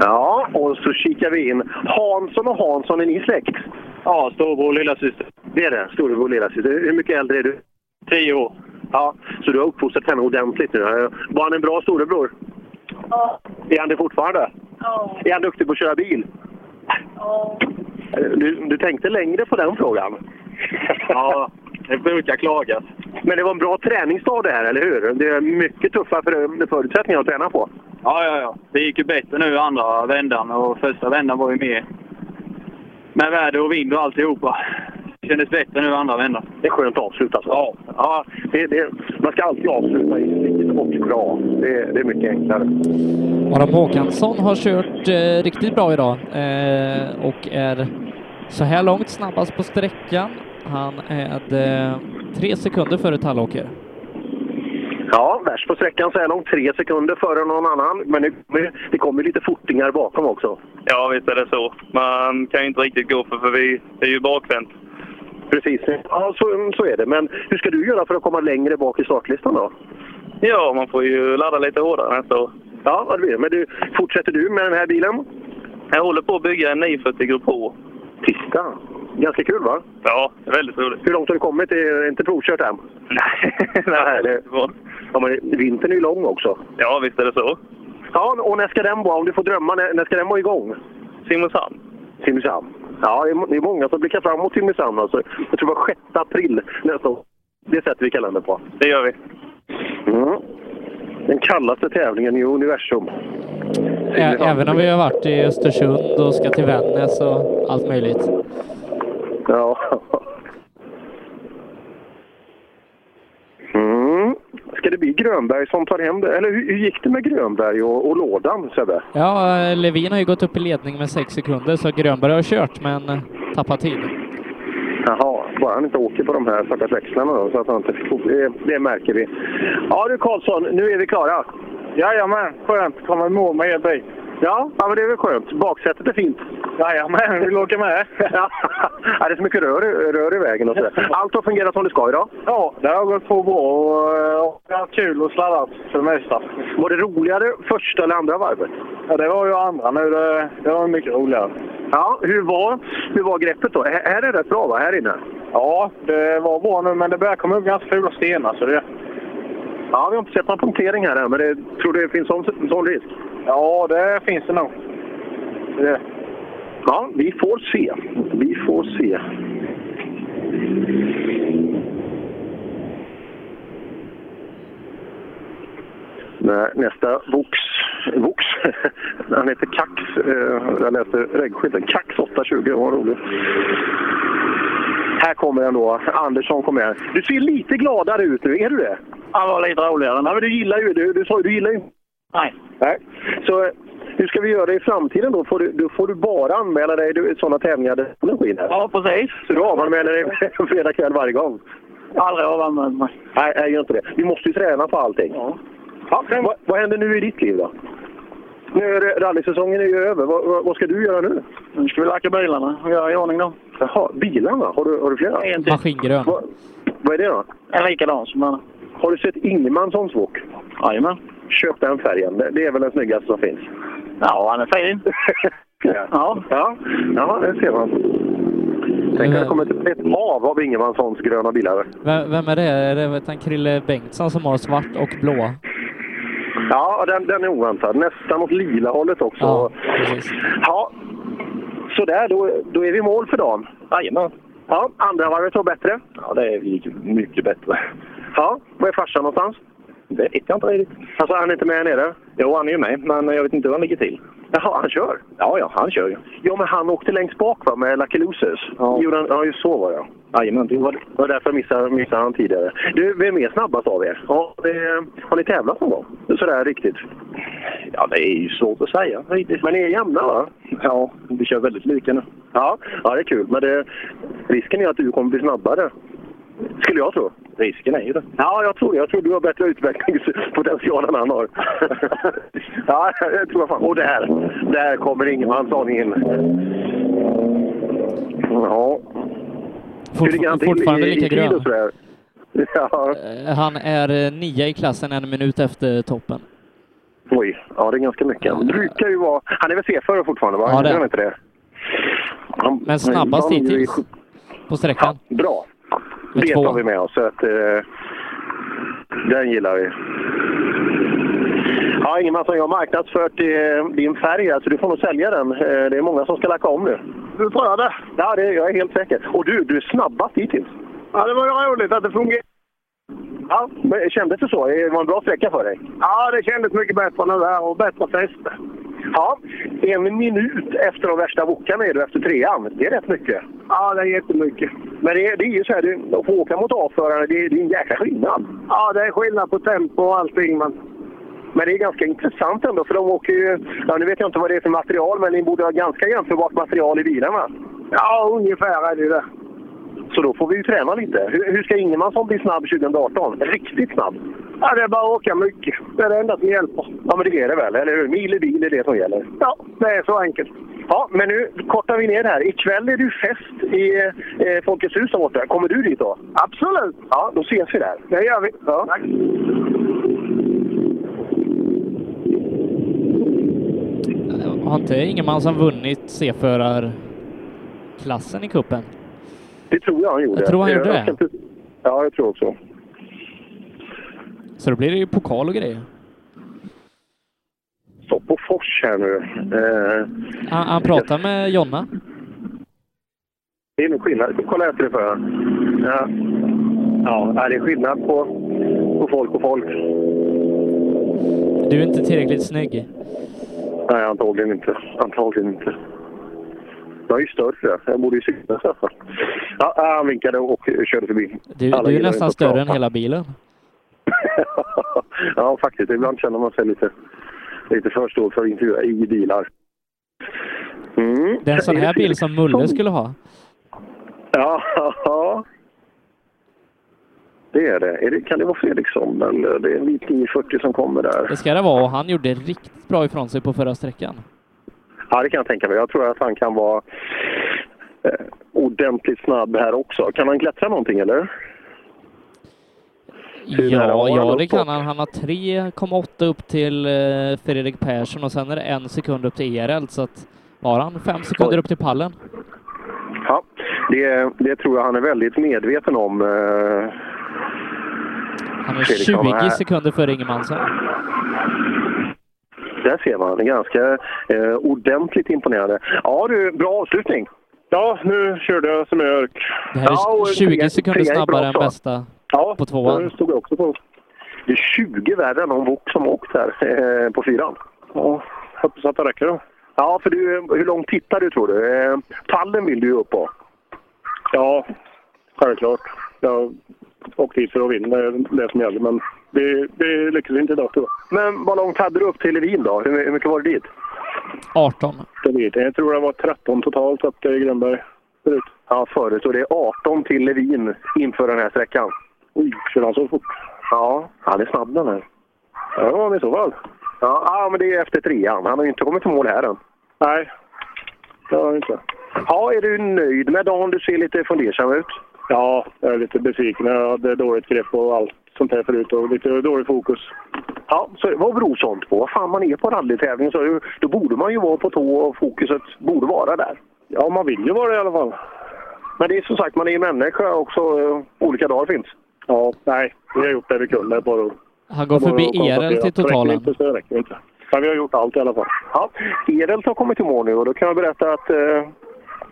[SPEAKER 2] Ja, och så kikar vi in. Hansson och Hansson, är ni släkt? Ja, storebror och lillasyster. Det är det, storebror och lillasyster. Hur mycket äldre är du? Tio år. Ja, så du har uppfostrat henne ordentligt nu. Var han en bra storebror?
[SPEAKER 33] Ja.
[SPEAKER 2] Är han det fortfarande?
[SPEAKER 33] Ja.
[SPEAKER 2] Är han duktig på att köra bil?
[SPEAKER 33] Ja.
[SPEAKER 2] Du, du tänkte längre på den frågan? Ja, det brukar klagas. Men det var en bra träningsdag det här, eller hur? Det är mycket tuffa för- förutsättningar att träna på.
[SPEAKER 34] Ja, ja, ja. Det gick ju bättre nu i andra vändan och första vändan var ju mer med väder och vind och alltihopa. Det kändes bättre nu i andra vändan.
[SPEAKER 2] Det är skönt att avsluta så. Ja. ja det, det, man ska alltid avsluta riktigt och bra. Det, det är mycket enklare.
[SPEAKER 1] Adam Håkansson har kört eh, riktigt bra idag eh, och är så här långt snabbast på sträckan. Han är eh, tre sekunder före Tallåker.
[SPEAKER 2] Ja, värst på sträckan så här långt. Tre sekunder före någon annan. Men det kommer, det kommer lite fortingar bakom också.
[SPEAKER 22] Ja, visst är det så. Man kan ju inte riktigt gå för, för vi är ju bakvänt.
[SPEAKER 2] Precis. Ja, så, så är det. Men hur ska du göra för att komma längre bak i startlistan då?
[SPEAKER 22] Ja, man får ju ladda lite hårdare nästa år.
[SPEAKER 2] Ja, vad det blir. Men du, fortsätter du med den här bilen?
[SPEAKER 22] Jag håller på att bygga en 940 Grupp H.
[SPEAKER 2] Titta! Ganska kul va?
[SPEAKER 22] Ja, det är väldigt roligt.
[SPEAKER 2] Hur långt har du kommit? Det är inte provkört än? Nej, det ja, men vintern är ju lång också.
[SPEAKER 22] Ja, visst är det så.
[SPEAKER 2] Ja, och när ska den vara? Om du får drömma, när, när ska den vara igång?
[SPEAKER 22] Simrishamn.
[SPEAKER 2] Simrishamn. Ja, det är, må- det är många som blickar fram mot Simrishamn alltså. Jag tror det var 6 april nästa år. Det sätter vi kalendern på.
[SPEAKER 22] Det gör vi.
[SPEAKER 2] Mm. Den kallaste tävlingen i universum.
[SPEAKER 1] Ä- även om vi har varit i Östersund och ska till Vännäs och allt möjligt.
[SPEAKER 2] Ja. Mm. Ska det bli Grönberg som tar hem det? Eller hur, hur gick det med Grönberg och, och lådan, Sebbe?
[SPEAKER 1] Ja, eh, Levin har ju gått upp i ledning med sex sekunder så Grönberg har kört men eh, tappat tid.
[SPEAKER 2] Jaha, bara han inte åker på de här stackars växlarna då, så att han inte fick, det, det märker vi. Ja du Karlsson, nu är vi klara. Jajamän, skönt. Komma i mål med er bil. Ja, ja, men det är väl skönt. Baksätet är fint. Jajamän, vill du åka med? ja, det är så mycket rör, i- rör i vägen och sådär. Allt har fungerat som det ska idag? Ja, det har gått på bra och jag har kul och sladdat för det mesta. Var det roligare första eller andra varvet? Ja, det var ju andra nu. Det, var mycket roligare. Ja, hur var, hur var greppet då? Här, här är det rätt bra va, här inne?
[SPEAKER 35] Ja, det var bra nu, men det börjar komma upp ganska fula stenar. Så det...
[SPEAKER 2] Ja, vi har inte sett någon punktering här än, men det, tror du det finns sån, sån risk? Ja, det finns det nog. Ja, vi får se. Vi får se. Nä, Nästa Vox. Vox? Han heter Kax. eh, Jag läste reggskylten. Kax 820. Vad roligt. Här kommer den då. Andersson kommer här. Du ser lite gladare ut nu. Är du det?
[SPEAKER 33] Han var lite roligare.
[SPEAKER 2] Ja, men du gillar ju... Du, du sa ju du gillar ju... Nej. Nej. Så eh, Hur ska vi göra i framtiden då? Får du, då får du bara anmäla dig till sådana tävlingar där solen skiner?
[SPEAKER 9] Ja, precis.
[SPEAKER 2] Så du avanmäler dig fredag kväll varje gång?
[SPEAKER 9] Aldrig avanmält mig.
[SPEAKER 2] Nej, jag gör inte det. Vi måste ju träna på allting. Ja. vad, vad händer nu i ditt liv då? Nu är det, rallysäsongen är ju över. Vad, vad, vad ska du göra nu?
[SPEAKER 9] Nu ska vi lacka bilarna och göra i ordning då.
[SPEAKER 2] Jaha, bilarna? Har du, har du flera?
[SPEAKER 9] En till.
[SPEAKER 1] Maskingrön.
[SPEAKER 2] Vad, vad är det då?
[SPEAKER 9] En likadan som den.
[SPEAKER 2] Har du sett Ingemanssons wok?
[SPEAKER 9] Jajamän.
[SPEAKER 2] Köp den färgen. Det- Det är väl den snyggaste som finns?
[SPEAKER 9] Ja, han är fin.
[SPEAKER 2] Ja. Ja, ja det ser man. Tänk att det kommer typ ett hav av Ingemanssons gröna bilar.
[SPEAKER 1] Vem, vem är det? Är det vet han, Krille Bengtsson som har svart och blå?
[SPEAKER 2] Ja, den, den är oväntad. Nästan åt lila hållet också.
[SPEAKER 1] Ja, precis.
[SPEAKER 2] Ja, sådär. Då, då är vi i mål för dagen. Jajamän. Ja, andra varvet var bättre.
[SPEAKER 10] Ja, det gick mycket bättre.
[SPEAKER 2] Ja, var är farsan någonstans?
[SPEAKER 10] Det vet jag inte riktigt.
[SPEAKER 2] Alltså, han är inte med nere?
[SPEAKER 10] Jo, han är ju med, men jag vet inte hur han ligger till.
[SPEAKER 2] Jaha, han kör?
[SPEAKER 10] Ja, ja, han kör ju.
[SPEAKER 2] Ja, men han åkte längst bak va, med Lucky Losers? Ja. Gjorde han, ja, just så var det.
[SPEAKER 10] Jajamän.
[SPEAKER 2] Det var, det var därför jag missade, missade han tidigare. Du, vem är snabbast av er? Ja, det, har ni tävlat någon gång? Sådär riktigt?
[SPEAKER 10] Ja, det är ju svårt att säga.
[SPEAKER 2] Men ni är jämna va?
[SPEAKER 10] Ja, vi kör väldigt lika nu.
[SPEAKER 2] Ja, ja det är kul. Men det, risken är att du kommer bli snabbare. Skulle jag tro.
[SPEAKER 10] Risken är ju det.
[SPEAKER 2] Ja, jag tror det. Jag tror du har bättre utvecklingspotential än han har. ja, det tror jag fan. Och där, där kommer Ingemansson in. Ja. Hur ligger han till
[SPEAKER 1] fortfarande
[SPEAKER 2] i,
[SPEAKER 1] lika
[SPEAKER 2] i tid
[SPEAKER 1] grön.
[SPEAKER 2] och sådär? Ja.
[SPEAKER 1] Han är eh, nia i klassen en minut efter toppen.
[SPEAKER 2] Oj, ja det är ganska mycket. Han brukar ju vara... Han är väl C-förare fortfarande va?
[SPEAKER 1] Ja, det är
[SPEAKER 2] Är han inte det? Han-
[SPEAKER 1] Men snabbast
[SPEAKER 2] han är ju i
[SPEAKER 1] hittills
[SPEAKER 2] sju-
[SPEAKER 1] på sträckan.
[SPEAKER 2] Bra.
[SPEAKER 1] Med
[SPEAKER 2] det
[SPEAKER 1] två.
[SPEAKER 2] tar vi med oss. Så att, eh, den gillar vi. Ja, Ingemarsson, jag har marknadsfört eh, din färg här, så du får nog sälja den. Eh, det är många som ska lacka om nu.
[SPEAKER 9] Du tror jag det?
[SPEAKER 2] Ja, det, jag är helt säker. Och du, du är snabbast hittills.
[SPEAKER 9] Ja, det var ju roligt att det fungerade.
[SPEAKER 2] Ja, men kändes det så? Det var en bra sträcka för dig?
[SPEAKER 9] Ja, det kändes mycket bättre nu här och bättre fäste.
[SPEAKER 2] Ja, en minut efter de värsta wokarna är du efter trean. Det är rätt mycket.
[SPEAKER 9] Ja, det är jättemycket.
[SPEAKER 2] Men det, är- det är ju så här, det, att få åka mot avförande, det, är- det är en jäkla skillnad.
[SPEAKER 9] Ja, det är skillnad på tempo och allting. Men...
[SPEAKER 2] Men det är ganska intressant ändå, för de åker ju... Ja, nu vet jag inte vad det är för material, men ni borde ha ganska jämförbart material i bilarna.
[SPEAKER 9] Ja, ungefär är det ju det.
[SPEAKER 2] Så då får vi ju träna lite. Hur, hur ska Ingemansson bli snabb 2018? Riktigt snabb?
[SPEAKER 9] Ja, det är bara att åka mycket. Det är det enda som hjälper.
[SPEAKER 2] Ja, men det är det väl, eller hur? Mil i bil är det som gäller.
[SPEAKER 9] Ja, det är så enkelt.
[SPEAKER 2] Ja, men nu kortar vi ner det här. Ikväll är det ju fest i eh, Folkets hus där borta. Kommer du dit då?
[SPEAKER 9] Absolut!
[SPEAKER 2] Ja, då ses vi där.
[SPEAKER 9] Det gör vi.
[SPEAKER 2] Ja.
[SPEAKER 9] Tack.
[SPEAKER 1] Har inte Ingemansson vunnit C-förarklassen i cupen?
[SPEAKER 2] Det tror jag han gjorde.
[SPEAKER 1] Jag tror han
[SPEAKER 2] Eh,
[SPEAKER 1] gjorde det.
[SPEAKER 2] ska inte- Ja, jag tror också.
[SPEAKER 1] Så då blir det ju pokal och grejer.
[SPEAKER 2] Så på Fors här nu. Eh,
[SPEAKER 1] Han, han pratar med Jonna.
[SPEAKER 2] Det är nog skillnad. Kolla efter det för jag. Ja. Ja, nej, det är skillnad på, på folk och folk.
[SPEAKER 1] Du är inte tillräckligt snygg.
[SPEAKER 2] Nej, antagligen inte. Antagligen inte. Jag är ju större. Jag borde ju synas i alla fall. Ja, han vinkade och körde förbi.
[SPEAKER 1] Du,
[SPEAKER 2] Alla
[SPEAKER 1] du är
[SPEAKER 2] gillar inte
[SPEAKER 1] nästan
[SPEAKER 2] att
[SPEAKER 1] större
[SPEAKER 2] prata.
[SPEAKER 1] än hela bilen.
[SPEAKER 2] ja, faktiskt. Ibland känner man sig lite, lite för stor för att intervjua i bilar. Mm.
[SPEAKER 1] Det är en sån här bil som Mulle skulle ha.
[SPEAKER 2] Ja, ja. det är det. Är det kan det vara Fredriksson? Eller det är en vit 940 som kommer där.
[SPEAKER 1] Det ska det vara och han gjorde riktigt bra ifrån sig på förra sträckan.
[SPEAKER 2] Ja, det kan jag tänka mig. Jag tror att han kan vara eh, ordentligt snabb här också. Kan han klättra någonting, eller? Hur nära var
[SPEAKER 1] Ja,
[SPEAKER 2] han
[SPEAKER 1] ja det
[SPEAKER 2] uppåt?
[SPEAKER 1] kan han. Han har 3,8 upp till eh, Fredrik Persson och sen är det en sekund upp till ERL så att har han fem sekunder upp till pallen?
[SPEAKER 2] Ja, det, det tror jag han är väldigt medveten om. eh,
[SPEAKER 1] Han är
[SPEAKER 2] Fredriksson här.
[SPEAKER 1] 20 sekunder före Ingemansson.
[SPEAKER 2] Där ser man. Det är Ganska eh, ordentligt imponerande. Ja, du, bra avslutning.
[SPEAKER 5] Ja, nu körde jag som en örk.
[SPEAKER 1] Det här är 20 sekunder snabbare än bästa
[SPEAKER 2] Ja,
[SPEAKER 1] på tvåan.
[SPEAKER 2] det stod jag också på. Det är 20 värre än någon bok som åkt här eh, på fyran.
[SPEAKER 5] Ja, hoppas att det räcker då.
[SPEAKER 2] Ja, för du, hur långt tittar du tror du? Eh, pallen vill du ju upp på.
[SPEAKER 5] Ja, självklart. Jag åkte hit för att vinna, det är det som gäller. Men det, det lyckades inte idag tyvärr.
[SPEAKER 2] Men vad långt hade du upp till Levin då? Hur, hur mycket var det dit?
[SPEAKER 1] 18.
[SPEAKER 2] Jag vet Jag tror det var 13 totalt att det är Grönberg förut. Ja, förut. Och det är 18 till Levin inför den här sträckan. Oj, kör han så fort? Ja, han är snabb den här. Ja, det var han i så fall. Ja, ja, men det är efter trean. Han har ju inte kommit till mål här än. Nej, det har han inte. Ja, är du nöjd med dagen? Du ser lite fundersam ut.
[SPEAKER 5] Ja, jag är lite besviken. Jag hade dåligt grepp och allt sånt här förut och lite dålig fokus.
[SPEAKER 2] Ja, så vad beror sånt på? Vad fan, man är på rallytävling så då borde man ju vara på tå och fokuset borde vara där. Ja, man vill ju vara det i alla fall. Men det är som sagt, man är ju människa också. eh, Olika dagar finns. Ja, nej, vi har gjort det vi kunde. Bara
[SPEAKER 1] Han går förbi Erel till totalen.
[SPEAKER 2] inte, så räcker inte. Men vi har gjort allt i alla fall. Ja, Erel har kommit i mål nu och då kan jag berätta att eh,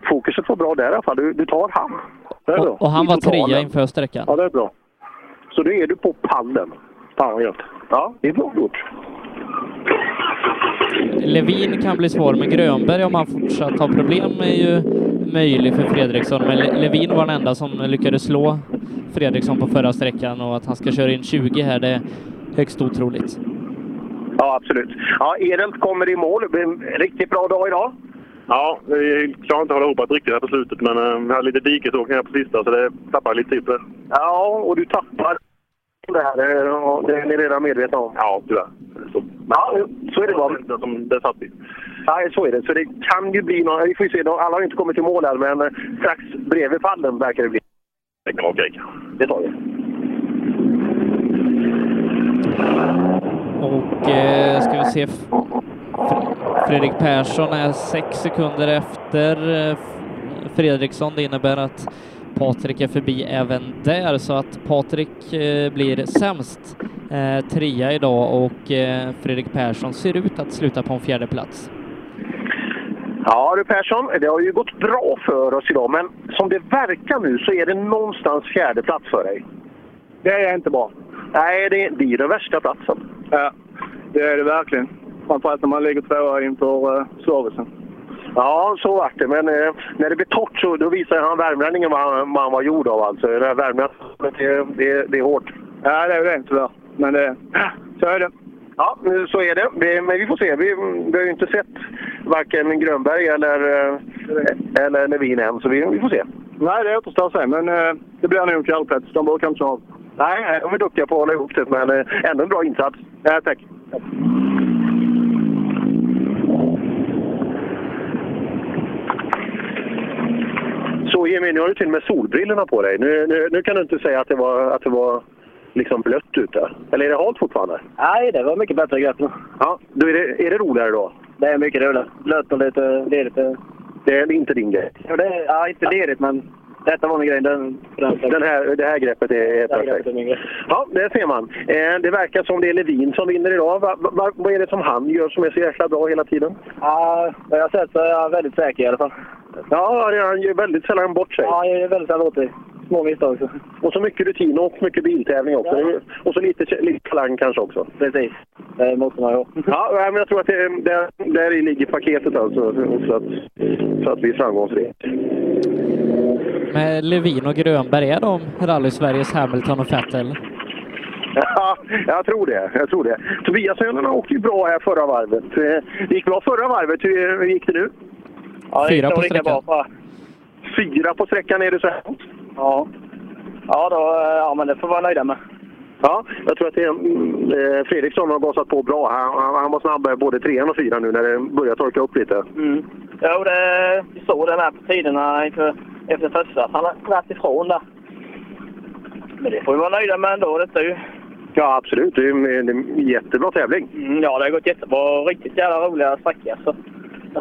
[SPEAKER 2] fokuset var bra där i alla fall. Du, du tar han. Det är bra.
[SPEAKER 1] Och, och han
[SPEAKER 2] I
[SPEAKER 1] var
[SPEAKER 2] totalen.
[SPEAKER 1] trea inför sträckan.
[SPEAKER 2] Ja, det är bra. Så då är du på pallen. Fan vad gött. Ja, det är bra gjort.
[SPEAKER 1] Levin kan bli svår, men Grönberg om han fortsatt har problem är ju möjlig för Fredriksson. Men Le- Levin var den enda som lyckades slå Fredriksson på förra sträckan och att han ska köra in 20 här, det är högst otroligt.
[SPEAKER 2] Ja, absolut. Ja, Erelt kommer i mål. Det blir en riktigt bra dag idag.
[SPEAKER 5] Ja, vi klarar inte att hålla ihop det riktigt här på slutet men eh, vi hade lite dikesåkning här på sista så det tappade lite tid på det.
[SPEAKER 2] Ja, och du tappar det här. eh, och Det är ni redan medvetna om. Ja, tyvärr. Så, ja, så är det bara. Som det satt i. Nej, så är det. Så det kan ju bli någon... Vi får ju se. De- Alla har ju inte kommit till mål än, men eh, strax bredvid pallen verkar det bli.
[SPEAKER 5] Det kan vara okej.
[SPEAKER 2] Det tar vi.
[SPEAKER 1] Och eh, ska vi se, F- Fre- Fredrik Persson är sex sekunder efter eh, F- Fredriksson. Det innebär att Patrik är förbi även där, så att Patrik eh, blir sämst eh, trea idag och eh, Fredrik Persson ser ut att sluta på en fjärde plats.
[SPEAKER 2] Ja du Persson, det har ju gått bra för oss idag, men som det verkar nu så är det någonstans fjärde plats för dig. Det är inte bra. Nej, det, det är den värsta platsen.
[SPEAKER 5] Ja, det är det verkligen. Framförallt när man ligger tvåa inför uh, servicen.
[SPEAKER 2] Ja, så vart det. Men eh, när det blir torrt så då visar han värmlänningen vad han, vad han var gjord av. Alltså. Den här värmlänningen, det, det, det är hårt.
[SPEAKER 5] Ja, det är det tyvärr. Men det, så är det.
[SPEAKER 2] Ja, nu så är det. Vi- Men vi får se. Vi, vi har ju inte sett varken Grönberg eller, eh, eller Levin än, så vi, vi får se.
[SPEAKER 5] Nej, det återstår att se, men eh, det blir nog en fjärdeplats. De brukar inte köra av.
[SPEAKER 2] Nej, nej, eh, de är duktiga på att hålla ihop det, men eh, ändå en bra insats. Ja, tack. Så Jimmy, nu har du till och med solbrillorna på dig. Nu, nu, nu kan du inte säga att det var, att det var liksom blött ute. Eller är det halt fortfarande?
[SPEAKER 13] Nej, det var mycket bättre grepp nu.
[SPEAKER 2] Ja, då är, det, är det roligare då?
[SPEAKER 13] Det är mycket roligt. Blött och lite ledigt. eh,
[SPEAKER 2] Det är inte din grej?
[SPEAKER 13] Ja, det är, ja inte ledigt, men detta var min grej. Den, den,
[SPEAKER 2] Den här, det här greppet är, är
[SPEAKER 13] Det här greppet
[SPEAKER 2] perfekt.
[SPEAKER 13] är min grej.
[SPEAKER 2] Ja, det ser man. Eh, det verkar som det är Levin som vinner idag. Va, va, vad är det som han gör som är så jäkla bra hela tiden?
[SPEAKER 13] Ja, vad jag har sett så är jag väldigt säker i alla fall.
[SPEAKER 2] Ja, det- han gör väldigt sällan bort sig.
[SPEAKER 13] Ja, jag är väldigt sällan åt det. Små misstag. Så.
[SPEAKER 2] Och så mycket rutin och mycket biltävling också.
[SPEAKER 13] Ja.
[SPEAKER 2] Och så lite, lite talang kanske också.
[SPEAKER 13] Precis. Det måste man ju ha.
[SPEAKER 2] Ja, nej, men jag tror att det, där, där i ligger paketet alltså. Så att, så att vi är framgångsrika.
[SPEAKER 1] Men Levin och Grönberg, är de Rally-Sveriges Hamilton och Vettel?
[SPEAKER 2] Ja, jag tror det. Jag tror det. Tobiasönerna åkte ju bra här förra varvet. Eh, Det gick bra förra varvet. Hur hur gick det nu?
[SPEAKER 1] det gick Fyra nog på lika sträckan.
[SPEAKER 2] Fyra på sträckan är det så här.
[SPEAKER 13] Ja. Ja, då, eh, ja, men det får vi vara nöjda med.
[SPEAKER 2] Ja, jag tror att det, är- mm, eh, Fredriksson har gasat på bra. Han, han, han var snabb eh, både trean och fyran nu när det börjar torka upp lite.
[SPEAKER 14] Mm. Jo, det vi såg den här på tiderna inför, efter första. Han har knappt ifrån där. Men det får vi vara nöjda med ändå. Detta är ju.
[SPEAKER 2] Ja, absolut. Det är en, en jättebra tävling.
[SPEAKER 14] Mm, ja, det har gått jättebra. Riktigt jävla roliga sträckor. Så.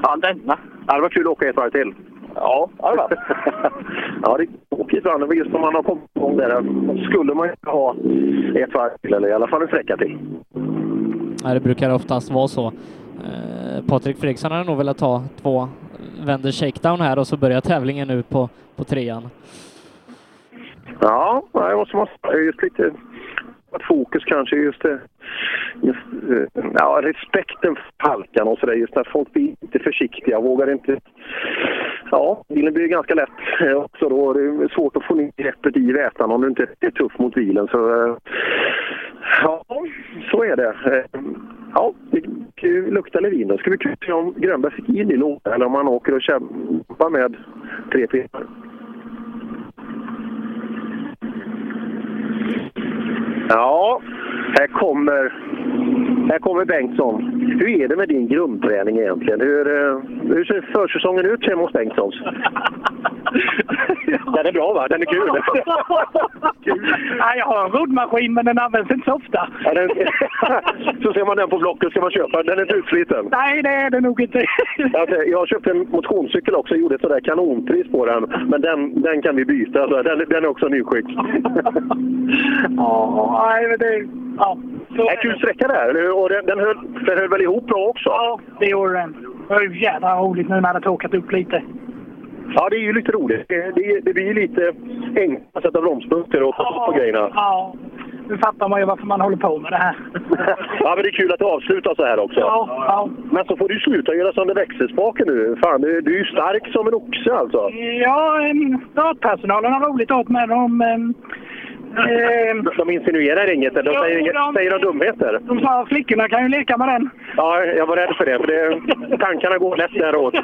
[SPEAKER 14] Fan, denna.
[SPEAKER 2] Ja, det var kul att åka ett varv till.
[SPEAKER 14] Ja, det har det varit.
[SPEAKER 2] ja, det är tråkigt ibland. Det var Just om man har kommit igång där eh, skulle man ju ha ett varv till eller i alla fall en sträcka till.
[SPEAKER 1] Ja, det brukar oftast vara så. Eh, Patrik Fredriksson hade nog velat ta två vänder shakedown här och så börjar tävlingen nu på, på trean.
[SPEAKER 2] Ja, jag måste man just lite att fokus kanske just, det- just eh, ja, respekten för halkan och sådär. Just när folk blir inte försiktiga, vågar inte. Ja, bilen blir ganska lätt eh, också då. Det är svårt att få ner greppet i vätan om du inte är tuff mot bilen. Så eh, ja, så är det. Eh, Ja, det gick ju lukta Levin då. Ska vi se om Grönberg fick in i lådan eller om han åker och kämpar med tre pinnar. Ja, här kommer, här kommer Bengtsson. Hur är det med din grundträning egentligen? Hur, eh, hur ser försäsongen ut hemma hos Bengtssons? Den är bra va? Den är kul.
[SPEAKER 9] Nej, jag har en roddmaskin, men den används inte så ofta.
[SPEAKER 2] Ja, den, så ser man den på Blocket ska man köpa den. Den är inte utsliten.
[SPEAKER 9] Nej, det är det nog inte.
[SPEAKER 2] Alltså, jag köpte en motionscykel också och gjorde ett sådär kanonpris på den. Men den, den kan vi byta. Så den, den är också nyskick.
[SPEAKER 9] Ja, nej, men det... Ja.
[SPEAKER 2] En kul sträcka där. eller hur? Och den, den, höll, den höll väl ihop bra också?
[SPEAKER 9] Ja, det gjorde den. Det var ju jädra roligt nu när det torkat upp lite.
[SPEAKER 2] Ja, det är ju lite roligt. Det, det, det blir ju lite enkelt att sätta bromspunkter och på grejerna.
[SPEAKER 9] Ja, nu fattar man ju varför man håller på med det här.
[SPEAKER 2] Ja, men det är kul att det avslutas så här också.
[SPEAKER 9] Ja, ja.
[SPEAKER 2] Men så får du sluta göra som det växelspaken nu. Fan, du, du är ju stark som en oxe alltså.
[SPEAKER 9] Ja, em, startpersonalen har roligt åt eh, med dem. em, em,
[SPEAKER 2] De insinuerar inget, eller de säger, inget, säger de dumheter.
[SPEAKER 9] De sa flickorna kan ju leka med den.
[SPEAKER 2] Ja, jag var rädd för det, för det, tankarna går lätt däråt.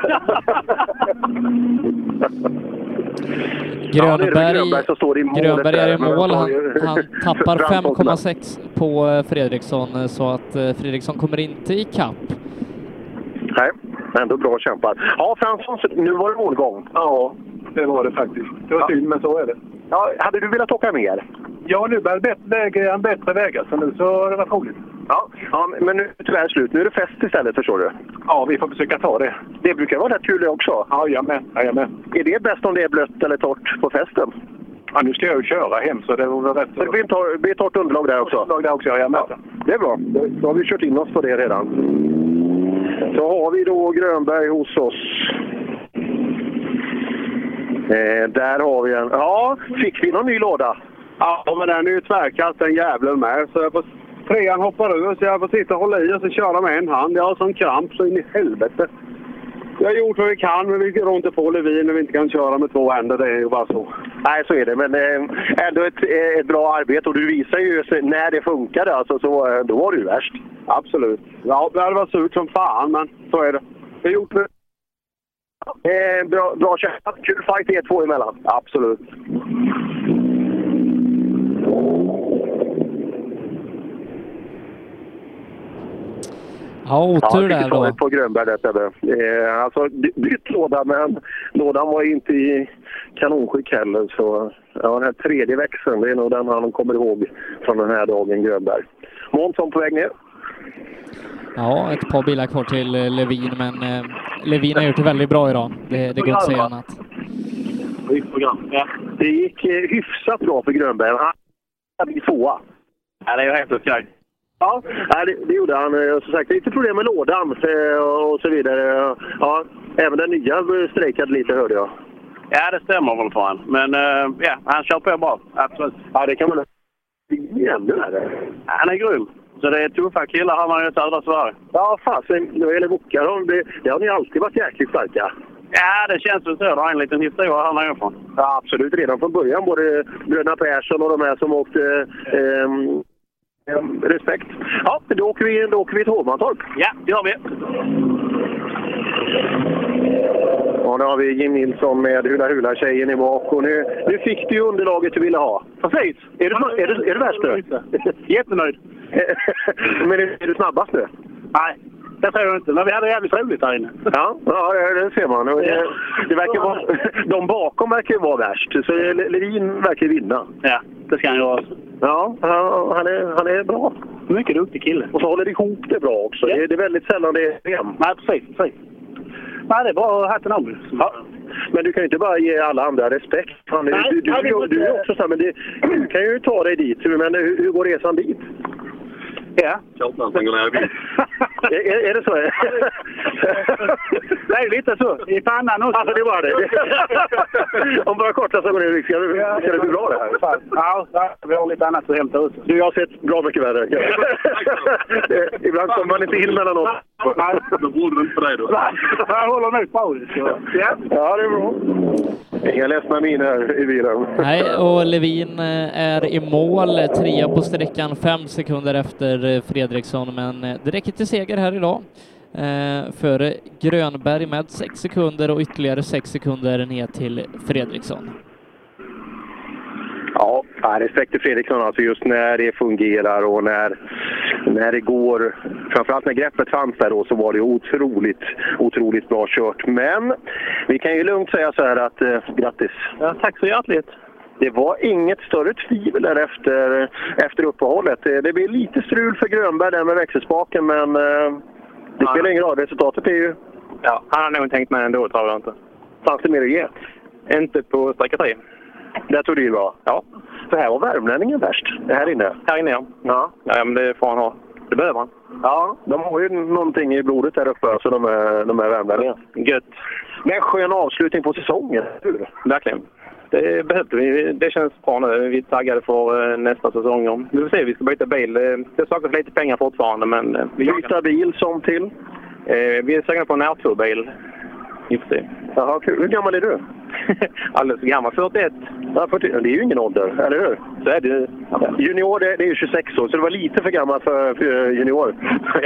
[SPEAKER 2] Ja, det är det
[SPEAKER 1] Grönberg,
[SPEAKER 2] Grönberg som står i målet
[SPEAKER 1] Grönberg är
[SPEAKER 2] där,
[SPEAKER 1] i
[SPEAKER 2] men
[SPEAKER 1] mål.
[SPEAKER 2] jag tar
[SPEAKER 1] Han,
[SPEAKER 2] ju-
[SPEAKER 1] han tappar
[SPEAKER 2] framför
[SPEAKER 1] 5,6 på eh, Fredriksson eh, så att eh, Fredriksson kommer inte ikapp.
[SPEAKER 2] Nej, men ändå bra kämpat. Ja, Fransson, nu var det målgång. Ja, det var det faktiskt. Det var synd, men så är det. Ja, hade du velat åka mer?
[SPEAKER 5] Ja, nu börjar bättre läge, en bättre vägar, så nu så har det varit roligt.
[SPEAKER 2] Ja, ja men nu är tyvärr slut. Nu är det fest istället, förstår du.
[SPEAKER 5] Ja, vi får försöka ta det.
[SPEAKER 2] Det brukar vara rätt kul det också.
[SPEAKER 5] Ja, jag med. Ja, jag med.
[SPEAKER 2] Är det bäst om det är blött eller torrt på festen?
[SPEAKER 5] Ja, nu ska jag ju köra hem, så det var väl rätt
[SPEAKER 2] Det blir, tor- det blir torrt underlag där också? Underlag där också, jag med. Ja, det är bra. Då har vi kört in oss på det redan. Så har vi då Grönberg hos oss. Eh, där har vi en. Ja, fick vi någon ny låda?
[SPEAKER 3] Ja, men den är ju tvärkast den jävlen med. Så jag får, trean hoppar ur så jag får sitta och hålla i och så köra med en hand. Jag har sån kramp så in i helvete. Vi har gjort vad vi kan, men vi rår inte på Levin när vi inte kan köra med två händer. Det är ju bara så.
[SPEAKER 2] Nej, så är det. Men eh, ändå ett, eh, ett bra arbete. Och du visar ju sig- när det funkade. Alltså, så, eh, då var du värst.
[SPEAKER 3] Absolut. Ja, det hade varit surt som fan, men så är det. Vi har gjort vad
[SPEAKER 2] Eh, bra bra kämpat. Kul fight er två emellan. Absolut.
[SPEAKER 1] Ja,
[SPEAKER 2] Ja,
[SPEAKER 1] otur
[SPEAKER 2] jag
[SPEAKER 1] där
[SPEAKER 2] fick
[SPEAKER 1] då.
[SPEAKER 2] taget på Grönberg där Sebbe. Eh, alltså, by- bytt låda, men lådan var ju inte i kanonskick heller. Så ja, den här tredje växeln, det är nog den han kommer ihåg från den här dagen, Grönberg. Månsson på väg ner.
[SPEAKER 1] Ja, ett par bilar kvar till eh, Levin, men eh, Levin har gjort det väldigt bra idag. Det, det går inte att säga annat.
[SPEAKER 2] Det gick eh, hyfsat bra för Grönberg. Han blev tvåa.
[SPEAKER 3] Ja, det är ju häftigt grej.
[SPEAKER 2] Ja, nej, det, det gjorde han. Eh, Som sagt, lite problem med lådan eh, och så vidare. Ja, även den nya strejkade lite, hörde jag.
[SPEAKER 3] Ja, det stämmer väl för han. Men eh, ja, han kör på bra. Absolut.
[SPEAKER 2] Ja, det kan man... Det är ännu värre.
[SPEAKER 3] Han är grym. Så det är tuffa killar har man ju i södra Sverige.
[SPEAKER 2] Ja, fasen. När det gäller bockar, de blir- det har ni alltid varit jäkligt starka.
[SPEAKER 3] Ja, det känns väl så. Det har en liten historia här nerifrån.
[SPEAKER 2] Ja, absolut. Redan från början, både Bröderna Persson och de här som åkte ehm, ehm, Respekt. Ja, då åker vi, då åker vi till Hovmantorp.
[SPEAKER 3] Ja, det gör vi.
[SPEAKER 2] Och nu har vi Jim Nilsson med Hula Hula-tjejen i bak. Och nu, nu fick du ju underlaget du ville ha. Precis! Är du, är du, är du värst nu? Jättenöjd! Men är, är du snabbast nu? Nej, det tror jag inte. Men vi hade jävligt roligt här inne. Ja, ja det, det ser man. Och Det, det verkar vara, de bakom verkar ju vara värst, så Le- Levin verkar vinna.
[SPEAKER 3] Ja, det ska han göra.
[SPEAKER 2] Ja, han- han är, han är bra. alltså. Mycket duktig kille. Och så håller det ihop det bra också. Det, det är väldigt sällan det är problem. Nej, precis. precis. Nej, det är bra. Hatten av. Ja. Men du kan ju inte bara ge alla andra respekt. Fan, du,
[SPEAKER 3] Nej,
[SPEAKER 2] du, du,
[SPEAKER 3] nej, det
[SPEAKER 2] du,
[SPEAKER 3] går
[SPEAKER 2] du är
[SPEAKER 3] inte.
[SPEAKER 2] också så här, men det, du kan ju ta dig dit. Men hur, hur går resan dit? Ja.
[SPEAKER 3] Klart man går ner i bil.
[SPEAKER 2] Är, är- är det så?
[SPEAKER 3] Det är lite så. I pannan också.
[SPEAKER 2] Alltså, det var det. Om bara korta så går det ska, det- ska det bli bra det här.
[SPEAKER 3] Ja, vi har lite annat att hämta ut.
[SPEAKER 2] Du, jag har sett bra mycket värre. Eh, Ibland kommer man inte in mellanåt.
[SPEAKER 3] Då borde det inte på dig då.
[SPEAKER 2] Jag håller med Paulus. Ja, det är bra. Inga ledsna miner i bilen.
[SPEAKER 1] Nej, och Levin eh, är i mål, eh, trea på sträckan, fem sekunder efter eh, Fredriksson, men eh, det räcker till seger här idag. Eh, Före Grönberg med sex sekunder och ytterligare sex sekunder ner till Fredriksson.
[SPEAKER 2] Ja, ja, respekt till Fredriksson alltså just när det fungerar och när, när det går. Framförallt när greppet fanns där då så var det otroligt, otroligt bra kört. Men vi kan ju lugnt säga så här att eh, grattis.
[SPEAKER 26] Ja, tack så hjärtligt.
[SPEAKER 2] Det var inget större tvivel där efter, efter uppehållet. Eh, Det blev lite strul för Grönberg där med växelspaken men eh, det
[SPEAKER 26] Ja.
[SPEAKER 2] spelar ingen roll. Resultatet är ju...
[SPEAKER 26] Ja, han har nog tänkt med ändå, tror jag inte.
[SPEAKER 2] Fanns det mer att ge?
[SPEAKER 26] Inte på sträcka tre.
[SPEAKER 2] Där tror du det var? Ja. För här var värmlänningen värst. Här inne?
[SPEAKER 26] Här inne, ja.
[SPEAKER 2] Ja.
[SPEAKER 26] ja men det får han ha. Det behöver han.
[SPEAKER 2] Ja, de har ju någonting i blodet där uppe, alltså de är, de är värmlänningarna.
[SPEAKER 26] Gött.
[SPEAKER 2] Men skön avslutning på säsongen, hur?
[SPEAKER 26] Verkligen. Det behövde vi. Det känns bra nu. Vi är taggade för eh, nästa säsong. om. Vi får se, vi ska byta bil. Eh, Det saknas lite pengar fortfarande, men... eh, Vi byta
[SPEAKER 2] bil som till?
[SPEAKER 26] Vi är sugna på en R2-bil. Vi får se.
[SPEAKER 2] Jaha, kul. Hur gammal är du?
[SPEAKER 26] Alldeles för gammal. 41.
[SPEAKER 2] Ja, 40, det är ju ingen ålder, eller hur?
[SPEAKER 26] Så är det
[SPEAKER 2] Junior det, det är ju 26 år, så det var lite för gammal för, för eh, junior.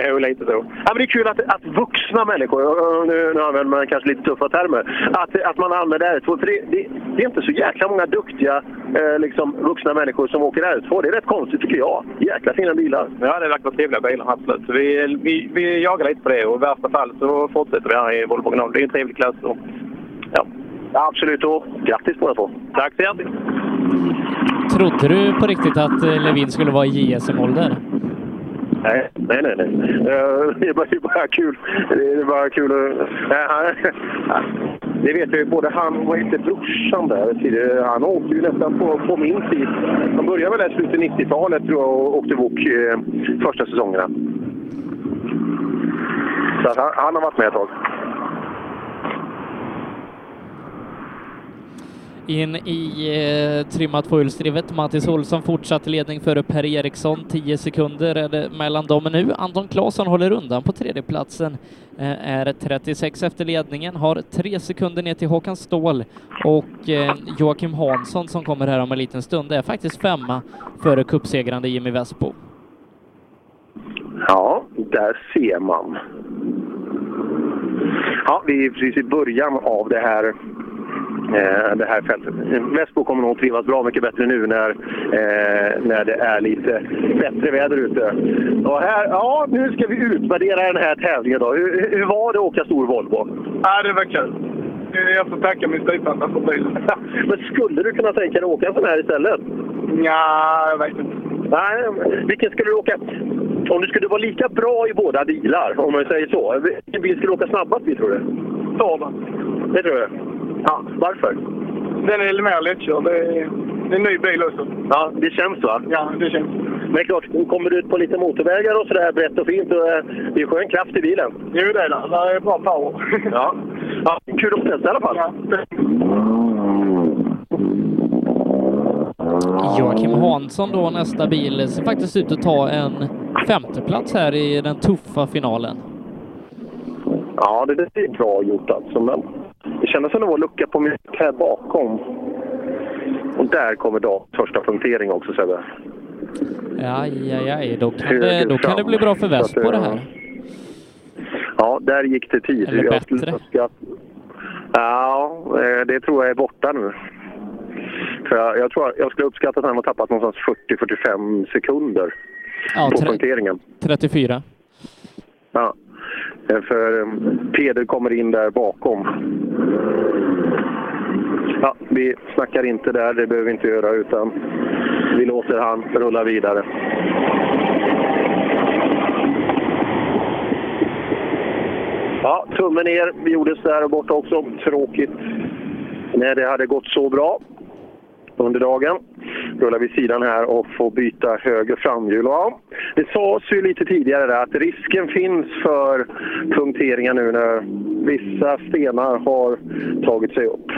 [SPEAKER 26] jo, lite så.
[SPEAKER 2] Ja, men det är kul att, att vuxna människor, eh, nu, nu använder man kanske lite tuffa termer, att, att man använder R2. För det, det, det är inte så jäkla många duktiga eh, liksom, vuxna människor som åker R2. Det är rätt konstigt tycker jag. Jäkla fina bilar.
[SPEAKER 26] Ja, det verkar vara trevliga bilar, absolut. Så Vi, vi, vi jagar lite på det och i värsta fall så fortsätter vi här i Volvo Granal. Det är en trevlig klass. Och, ja.
[SPEAKER 2] Absolut, och grattis båda två.
[SPEAKER 26] Tack så hjärtligt.
[SPEAKER 1] Trodde du på riktigt att eh, Levin skulle vara i JSM-ålder?
[SPEAKER 2] Nej, nej, nej. nej. Eh, Det är bara, det är bara kul. Det är bara kul att... Nej, han- Det vet jag ju, både han och inte brorsan där tidigare, han åkte ju nästan på, på min tid. De började väl i slutet av 90-talet tror jag och åkte Wok eh, första säsongerna. Så att han, han har varit med ett tag.
[SPEAKER 1] In i eh, trimma tvåhjulsdrivet. Mattis Olsson fortsatt ledning före Per Eriksson. 10 sekunder är det mellan dem nu. Anton Claesson håller undan på tredjeplatsen. Eh, är 36 efter ledningen, har 3 sekunder ner till Håkan Ståhl och eh, Joakim Hansson som kommer här om en liten stund är faktiskt femma före cupsegrande Jimmy Vespo.
[SPEAKER 2] Ja, där ser man. Ja, vi är precis i början av det här, eh, det här fältet. Västbo kommer nog trivas bra mycket bättre nu när, eh, när det är lite bättre väder ute. Och här, ja, nu ska vi utvärdera den här tävlingen. Då. Hur, hur var det att åka stor Volvo?
[SPEAKER 22] Ja, det var kul. Jag får tacka min styvfarsa för bilen.
[SPEAKER 2] Men skulle du kunna tänka dig att åka en sån här istället?
[SPEAKER 22] Ja, jag vet inte.
[SPEAKER 2] Nej, men vilken skulle du åka? Om du skulle vara lika bra i båda bilar, om man säger så. Vilken bil skulle du åka snabbast i, tror du?
[SPEAKER 22] Torben.
[SPEAKER 2] Det tror jag. Ja, varför?
[SPEAKER 22] Den är lite mer lättkörd. Det är det är en ny bil också.
[SPEAKER 2] Ja, det känns va?
[SPEAKER 22] Ja, det känns.
[SPEAKER 2] Men det är klart, kommer du ut på lite motorvägar och sådär brett och fint, och, eh, det är skön kraft i bilen.
[SPEAKER 22] Jo, det är det. Det är bra power.
[SPEAKER 2] Ja. ja kul att testa i alla fall.
[SPEAKER 1] Joakim Hansson då nästa bil ser faktiskt ut att ta en femteplats här i den tuffa finalen.
[SPEAKER 2] Ja, det, det är bra gjort alltså. Men det kändes som det var lucka på min här bakom. Och där kommer då första punktering också Sebbe.
[SPEAKER 1] Aj, aj, aj. Då kan, det, då kan det bli bra för Vespo det här.
[SPEAKER 2] Ja, där gick det tid.
[SPEAKER 1] Eller
[SPEAKER 2] Jag
[SPEAKER 1] bättre.
[SPEAKER 2] skulle önska att- Ja, eh, det tror jag är borta nu. För jag, jag, tror, jag skulle uppskatta att han har tappat någonstans 40-45 sekunder
[SPEAKER 1] Ja,
[SPEAKER 2] på
[SPEAKER 1] tre-
[SPEAKER 2] punkteringen.
[SPEAKER 1] 34.
[SPEAKER 2] Ja. Eh, För eh, Peder kommer in där bakom. Ja, vi snackar inte där, det behöver vi inte göra, utan vi låter han rulla vidare. Ja, tummen ner Vi gjordes där och borta också. Tråkigt när det hade gått så bra under dagen. Rullar vid sidan här och får byta höger framhjul. Ja, det sades ju lite tidigare där att risken finns för punkteringar nu när vissa stenar har tagit sig upp.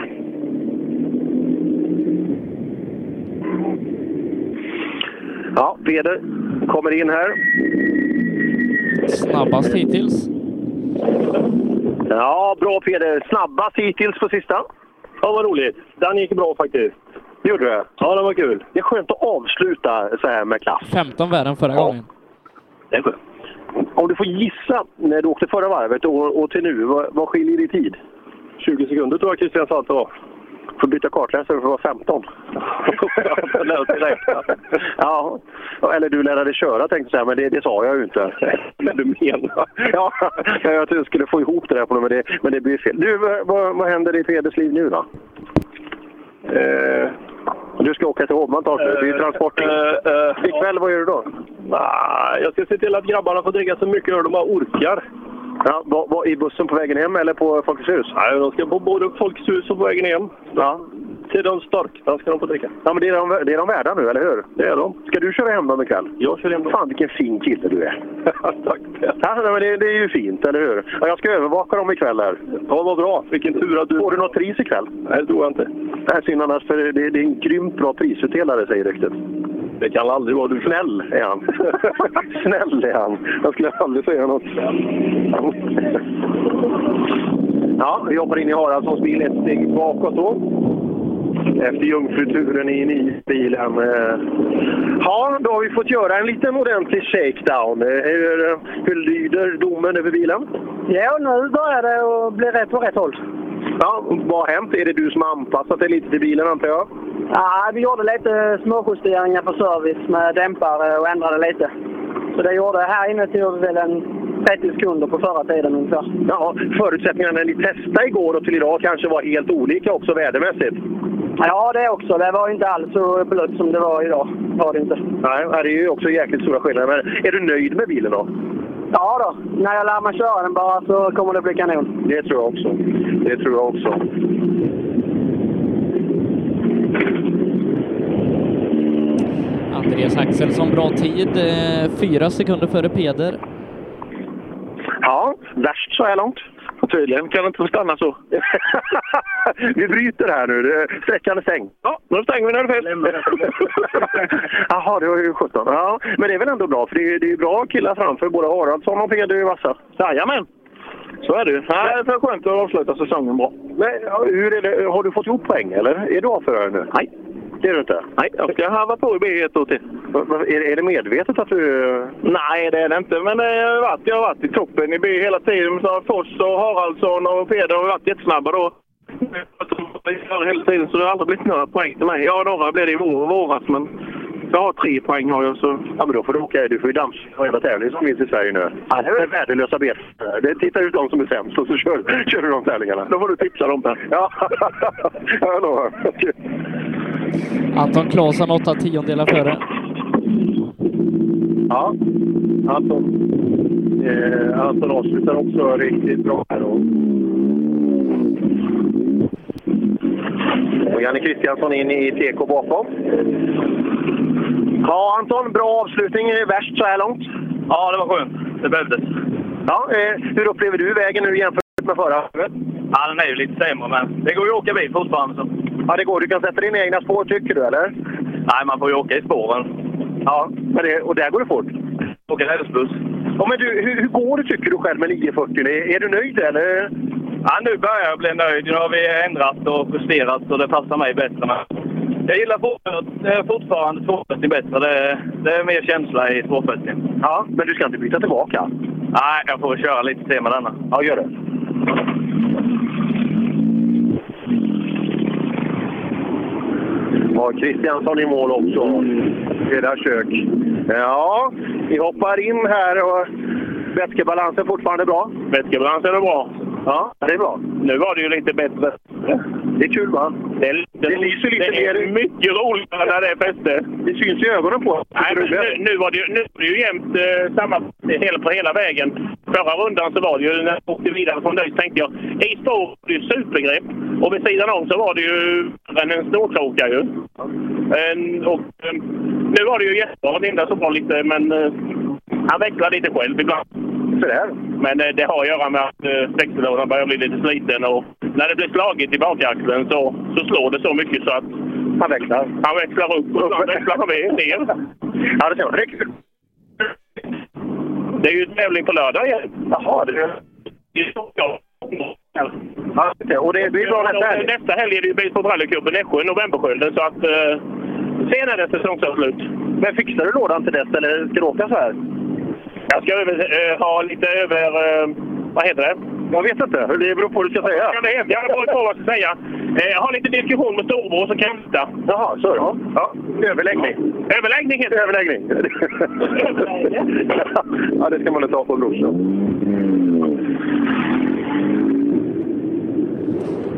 [SPEAKER 2] Ja, Peder kommer in här.
[SPEAKER 1] Snabbast hittills.
[SPEAKER 2] Ja, bra Peder. Snabbast hittills på sista.
[SPEAKER 7] Ja, vad roligt. Den gick bra faktiskt. Gjorde det? Ja, det var kul. Det är skönt att avsluta så här med klass.
[SPEAKER 1] 15 värre än förra gången.
[SPEAKER 7] Det är skönt.
[SPEAKER 2] Om du får gissa när du åkte förra varvet och, och till nu, vad, vad skiljer i tid?
[SPEAKER 7] 20 sekunder tror jag Christian sa att det var.
[SPEAKER 2] får byta kartläsare för att vara 15. ja, eller du lärde dig köra tänkte jag säga, men det, det sa jag ju inte. Men du menar? ja, jag trodde jag skulle få ihop det där på något, men det, men det blir fel. Du, vad- vad, vad händer i Peders liv nu då? Eh, Du ska åka till Hovmantorp nu, det är
[SPEAKER 7] Eh,
[SPEAKER 2] ju transport.
[SPEAKER 7] Ikväll, vad gör du då? eh, jag ska se till att grabbarna får dricka så mycket öl de bara orkar.
[SPEAKER 2] Ja, var, var, I bussen på vägen hem eller på Folkets hus?
[SPEAKER 7] Nej, de ska på både Folkets hus och på vägen hem.
[SPEAKER 2] Ja.
[SPEAKER 7] Till de starka ska de få dricka.
[SPEAKER 2] Ja, men det är, de, det är de värda nu, eller hur? Det är de. Ska du köra hem dem ikväll? Jag kör hem dem. Fan, vilken fin kille du är. Tack. Ja, nej, men det, det är ju fint, eller hur? Ja, jag ska övervaka dem ikväll här. Ja, vad bra. Vilken tur att du... Får du något pris ikväll? Nej, det tror jag inte. Nej, synd annars, för det, det är en grymt bra prisutdelare, säger ryktet. Det kan aldrig vara du. Snäll är han. Snäll är han. Jag skulle aldrig säga något. Ja, vi hoppar in i Haraldssons bil ett steg bakåt då. Efter jungfruturen i NIS-bilen. eh. Ja, då har vi fått göra en liten ordentlig shakedown. Eh, Hur, eh, hur lyder domen över bilen? Ja, nu börjar det att bli rätt på rätt håll. Ja, vad har hänt? Är det du som har anpassat dig lite till bilen, antar jag?
[SPEAKER 11] Ja, vi gjorde lite småjusteringar på service med dämpare och ändrade lite. Så det gjorde, här inne tog det väl en 30 sekunder på förra tiden ungefär.
[SPEAKER 2] Ja, förutsättningarna när ni testade igår och till idag kanske var helt olika också vädermässigt.
[SPEAKER 11] Ja, det också. Det var ju inte alls så blött som det var idag. Var det inte.
[SPEAKER 2] Nej, det är ju också jäkligt stora skillnader. Men är du nöjd med bilen då?
[SPEAKER 11] Ja då, när jag lär mig köra den bara så kommer det bli kanon.
[SPEAKER 2] Det tror jag också. Det tror jag också.
[SPEAKER 1] Andreas Axelsson, bra tid. eh, Fyra sekunder före Peder.
[SPEAKER 2] Ja, värst så här långt. Tydligen kan det inte stanna så. vi bryter här nu. Det- Sträckan är stängd. Ja, då stänger vi när det är fest. Jaha, det var ju 17. Ja, men det är väl ändå bra, för det är, det är ju bra killar framför. Både Haraldsson och Peder är ju vassa. Jajamän! Så är det ju. Nej, det är skönt att avsluta säsongen bra. Men ja, hur är det? Har du fått ihop poäng, eller? Är du avförare nu? Nej. Det är du inte? Nej, jag ska harva på i B ett år till. Är, det- är det medvetet att du...
[SPEAKER 19] Nej, det är det inte. Men eh, jag har varit, jag har varit i toppen i by hela tiden. Så Foss och Haraldsson och Peder har varit jättesnabba då. Jag kör hela tiden, så det har aldrig blivit några poäng till mig. Ja, några blev det i vår och våras, men jag har tre poäng har jag. Så...
[SPEAKER 2] Ja, men då får du åka. Du får ju dammsuga hela tävlingen som finns i Sverige nu. Ja, det är värdelösa bet. Det tittar ut de som är sämst och så kör, kör du de tävlingarna. Då får du tipsa dem där. Ja, jag lovar.
[SPEAKER 1] Anton Claesson åtta tiondelar före.
[SPEAKER 2] Ja, Anton, eh, Anton avslutar också riktigt bra här. Och, och Janne Kristiansson in i TK bakom. Ja, Anton, bra avslutning. Eh, Värst så här långt. Ja, det var skönt. Det behövdes. Ja, eh, hur upplever du vägen nu jämfört med förra?
[SPEAKER 29] Ja, den är ju lite sämre, men det går ju att åka bil fortfarande. Så.
[SPEAKER 2] Ja, det går. Du kan sätta dina egna spår, tycker du, eller?
[SPEAKER 29] Nej, man får ju åka i spåren.
[SPEAKER 2] Ja, men det, och där går det fort.
[SPEAKER 29] Åka rälsbuss.
[SPEAKER 2] Ja, men du, hur, hur går det, tycker du själv, med 940? Är, är du nöjd, eller?
[SPEAKER 29] Ja, nu börjar jag bli nöjd. Nu har vi ändrat och justerat så det passar mig bättre. Men jag gillar fort- eh, fortfarande 240 bättre. Det, det är mer känsla i 240.
[SPEAKER 2] Ja, men du ska inte byta tillbaka?
[SPEAKER 29] Nej, jag får köra lite till med denna.
[SPEAKER 2] Ja, gör det. Ja, Kristiansson i mål också. Hela kök. Ja, vi hoppar in här och vätskebalansen fortfarande bra? Vätskebalansen är bra. Ja, det är bra.
[SPEAKER 29] Nu var det ju lite bättre.
[SPEAKER 2] Det är kul, va?
[SPEAKER 29] Det, är lite,
[SPEAKER 2] det lyser lite
[SPEAKER 29] det är
[SPEAKER 2] mer.
[SPEAKER 29] mycket roligare när det är fäste.
[SPEAKER 2] Det syns i ögonen på
[SPEAKER 29] Nej, men nu, nu var det ju, nu var det ju jämnt eh, samma hela, på hela vägen. Förra rundan så var det ju, när jag åkte vidare från dig, så tänkte jag i spår var det ju supergrepp och vid sidan om så var det ju en, en snårkråka ju. En, och, eh, nu var det ju jättebra. Linda så bra lite, men eh, han växlar lite själv ibland.
[SPEAKER 2] Sådär.
[SPEAKER 29] Men eh, det har att göra med att eh, växellådan börjar bli lite sliten och när det blir slagit i bakaxeln så, så slår det så mycket så att
[SPEAKER 2] han växlar.
[SPEAKER 29] Han växlar upp och sen växlar han med- ner.
[SPEAKER 2] Ja, det ser jag. Det är kul.
[SPEAKER 29] Det är ju tävling på lördag igen. Jaha, det är...
[SPEAKER 2] Ja, just det. och det blir bra nästa helg.
[SPEAKER 29] Nästa helg är det ju Bilsport rallycupen Nässjö, Novemberskölden. Så att, eh, sen är det säsongsavslut. Men fixar du lådan till dess, eller ska du åka så här? Jag ska över, eh, ha lite över... eh, vad heter det? Jag vet inte. Det beror på vad du ska säga. Jag vet jag beror på vad jag ska säga. Eh, jag har lite diskussion med storebror, så kan jag vänta. Jaha, så ja. ja. Överläggning. Överläggning heter det. Överläggning.
[SPEAKER 2] ja, det ska man väl ta på brorsan.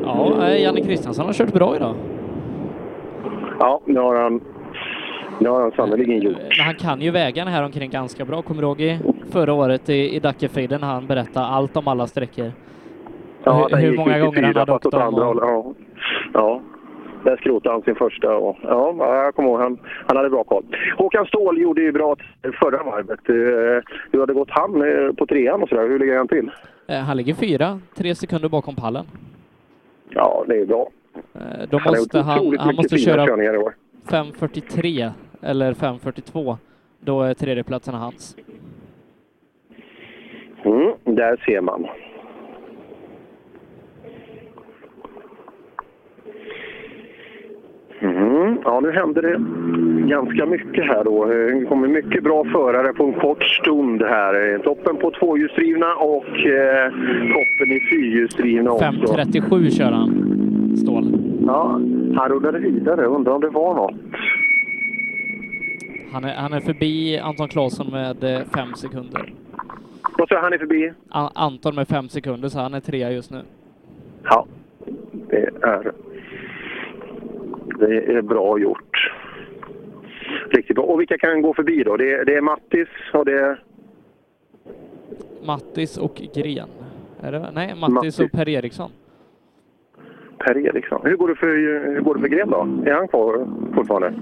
[SPEAKER 1] Ja, eh, Janne Kristiansson har kört bra idag.
[SPEAKER 2] Ja, nu har han, nu har han sannerligen gjort.
[SPEAKER 1] Men han kan ju vägarna här omkring ganska bra. Kommer du ihåg i förra året i, i Dackefejden när han berättade allt om alla sträckor?
[SPEAKER 2] Ja,
[SPEAKER 1] hur,
[SPEAKER 2] den
[SPEAKER 1] hur
[SPEAKER 2] gick
[SPEAKER 1] många
[SPEAKER 2] ut i
[SPEAKER 1] gånger han
[SPEAKER 2] fyra,
[SPEAKER 1] hade
[SPEAKER 2] fast
[SPEAKER 1] åkt
[SPEAKER 2] åt
[SPEAKER 1] dem?
[SPEAKER 2] andra
[SPEAKER 1] Och,
[SPEAKER 2] hållet, Ja. ja. Där skrotade han sin första. Och, ja, jag kommer ihåg. Han, han hade bra koll. Håkan Ståhl gjorde ju bra t- förra varvet. Eh, Hur hade gått han eh, på trean och sådär? Hur ligger han till?
[SPEAKER 1] eh, han ligger fyra, tre sekunder bakom pallen. Eh,
[SPEAKER 2] Ja, det är bra.
[SPEAKER 1] Då
[SPEAKER 2] Han har gjort
[SPEAKER 1] måste han,
[SPEAKER 2] otroligt
[SPEAKER 1] han
[SPEAKER 2] mycket
[SPEAKER 1] måste
[SPEAKER 2] fina
[SPEAKER 1] köra
[SPEAKER 2] körningar i år.
[SPEAKER 1] 5.43 eller 5.42. Då är tredjeplatsen hans.
[SPEAKER 2] Mm, där ser man. Mm, ja, nu händer det ganska mycket här då. Eh, Det kommer mycket bra förare på en kort stund här. Eh, Toppen på tvåhjulsdrivna och eh, toppen i fyrhjulsdrivna också.
[SPEAKER 1] 5.37 kör han, Ståhl.
[SPEAKER 2] Ja, han rullade vidare. Undrar om det var något.
[SPEAKER 1] Han är, han är förbi Anton Claesson med eh, fem sekunder.
[SPEAKER 2] Vad sa han är förbi?
[SPEAKER 1] A- Anton med fem sekunder, så han är trea just nu.
[SPEAKER 2] Ja, det är, det är bra gjort. Riktigt bra. Och vilka kan gå förbi då? Det är, det är Mattis och det är...
[SPEAKER 1] Mattis och Gren. Är det, nej, Mattis,
[SPEAKER 2] Mattis.
[SPEAKER 1] och Per Eriksson.
[SPEAKER 2] Per Eriksson. Hur går det för, hur går det för Gren då? Är han kvar fortfarande?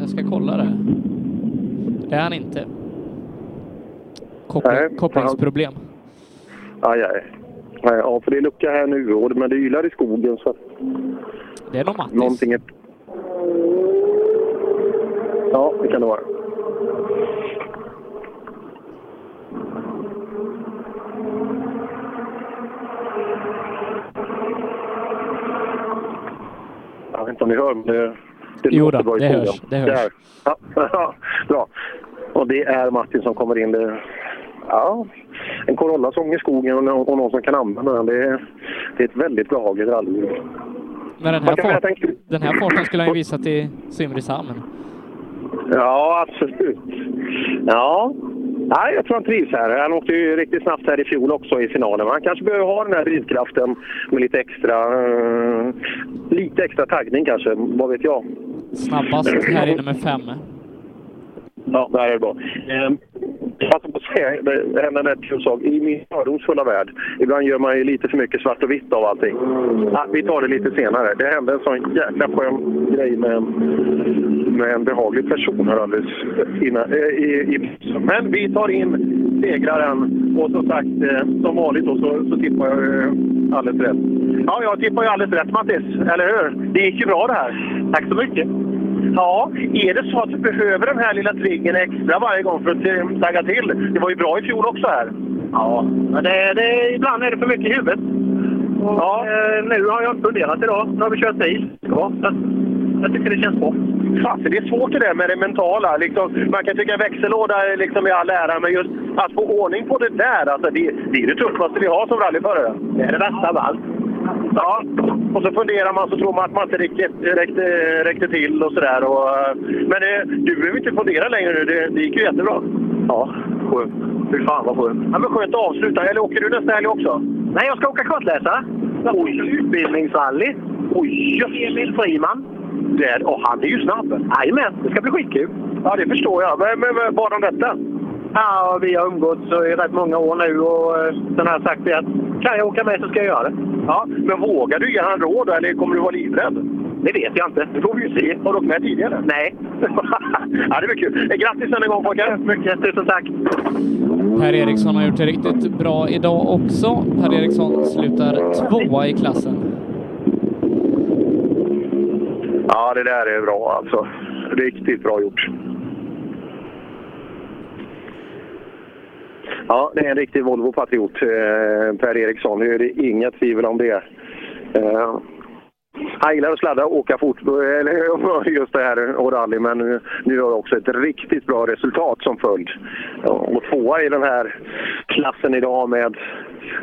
[SPEAKER 1] Jag ska kolla det. Det är han inte. Koppling,
[SPEAKER 2] Nej,
[SPEAKER 1] kopplingsproblem.
[SPEAKER 2] Aj, aj. Nej, Ja, för det är lucka här nu, och- men det ylar i skogen så att
[SPEAKER 1] Det är nog Mattis.
[SPEAKER 2] någonting är... Ja, det kan det vara. Jag vet inte om ni hör, men det, det
[SPEAKER 1] Jo
[SPEAKER 2] låter
[SPEAKER 1] då,
[SPEAKER 2] bra i
[SPEAKER 1] det
[SPEAKER 2] skogen.
[SPEAKER 1] hörs, det hörs.
[SPEAKER 2] Där. Ja, bra. Och det är Martin som kommer in. Det, ja, en Corolla-sång i skogen och någon, och någon som kan använda den. Det, är- det är ett väldigt behagligt rally.
[SPEAKER 1] Men den här, fart, den här farten skulle han ju visa till Simrishamn.
[SPEAKER 2] Ja, absolut. Ja. Nej, jag tror han trivs här. Han åkte ju riktigt snabbt här i fjol också i finalen. Men Han kanske behöver ha den här drivkraften med lite extra, eh, lite extra taggning kanske. Vad vet jag?
[SPEAKER 1] Snabbast här inne med fem.
[SPEAKER 2] Ja, det här är bra. Eh, Jag passar på att säga det hände en rätt sak. I min fördomsfulla värld, ibland gör man ju lite för mycket svart och vitt av allting. Ja, vi tar det lite senare. Det hände en sån jäkla skön grej med en, med en behaglig person här alldeles innan. eh, I, i, men vi tar in segraren och som sagt, eh, som vanligt då, så, så tippar jag eh, alldeles rätt. Ja, jag tippar ju alldeles rätt Mattis, eller hur? Det gick ju bra det här. Tack så mycket.
[SPEAKER 7] Ja, är det så att du behöver den här lilla triggen extra varje gång för att eh, tagga till? Det var ju bra i fjol också här.
[SPEAKER 29] Ja, men det, det, ibland är det för mycket i huvudet. Och, eh, nu har jag inte funderat idag. Nu har vi kört bil. Ja, så att jag tycker det känns bra.
[SPEAKER 2] Fast det är svårt det där med det mentala. Liksom, man kan tycka växellåda är liksom i all ära, men just att få ordning på det där, alltså, det, det är det tuffaste vi har som rallyförare. Det är det värsta av allt. Ja, och så funderar man så tror man att man inte riktigt räckte, räckte till och sådär. Och, eh, Men eh, du behöver inte fundera längre nu, det, det gick ju jättebra. Ja, skönt. Fy fan vad skönt. Ja, men skönt att avsluta. Eller åker du nästa helg också? Nej, jag ska åka kartläsare. Oj, utbildningsrally. Oj, Emil Friman. Det, och han är ju snabb. Jajamän, det ska bli skitkul. Ja, det förstår jag. Men, men, men vad om detta?
[SPEAKER 7] Ja, vi har umgåtts i rätt många år nu och eh, sen har jag sagt det att kan jag åka med så ska jag göra det.
[SPEAKER 2] Ja, men vågar du ge han råd eller kommer du vara livrädd? Det vet jag inte. Det får vi ju se. Har du åkt med tidigare? Nej. ja, det blir kul. Eh, Grattis än en gång pojkar! Mycket, tusen tack!
[SPEAKER 1] Per Eriksson har gjort det riktigt bra idag också. Per Eriksson slutar tvåa i klassen.
[SPEAKER 2] Ja, det där är bra alltså. Riktigt bra gjort. Ja, det är en riktig Volvo-patriot, eh, Per Eriksson. Det är det inga tvivel om det. Eh, han gillar att sladda och åka fort, eh, eller just det här och rally, men nu- nu har det också ett riktigt bra resultat som följd. Ja, Och tvåa i den här klassen idag med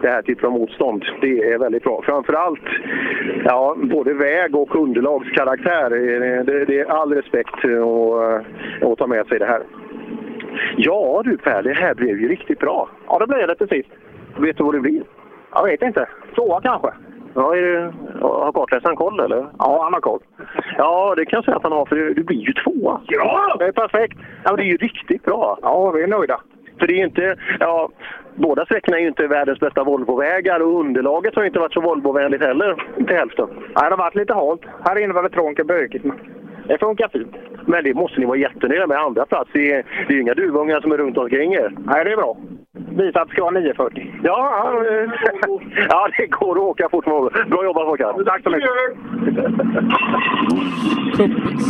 [SPEAKER 2] det här typen av motstånd, det är väldigt bra. Framförallt ja, både väg och underlagskaraktär, eh, det, det är all respekt eh, att, att ta med sig det här. Ja du Per, det här blev ju riktigt bra. Ja, det blev det till sist. Vet du vad det blir? Jag vet inte. Tvåa kanske? Ja, är det, har kartläsaren koll eller? Ja, han har koll. Ja, det kan jag säga att han har för du, du blir ju tvåa. Ja! Det är perfekt. Ja, men det är ju riktigt bra. Ja, vi är nöjda. För det är ju inte, ja, båda sträckorna är ju inte världens bästa Volvovägar och underlaget har ju inte varit så Volvovänligt heller till hälften.
[SPEAKER 12] Nej, det har varit lite halt. Här inne var det trångt och bökigt. Men
[SPEAKER 2] Det funkar fint. Men det måste ni vara jättenöjda med. Andra plats, det är, det är ju inga duvungar som är runt omkring er. Nej, det är bra. Visa att det ska vara 940. Ja, ja, eh, ja, det går att åka fort med Volvo. Bra jobbat Håkan. Tack så mycket.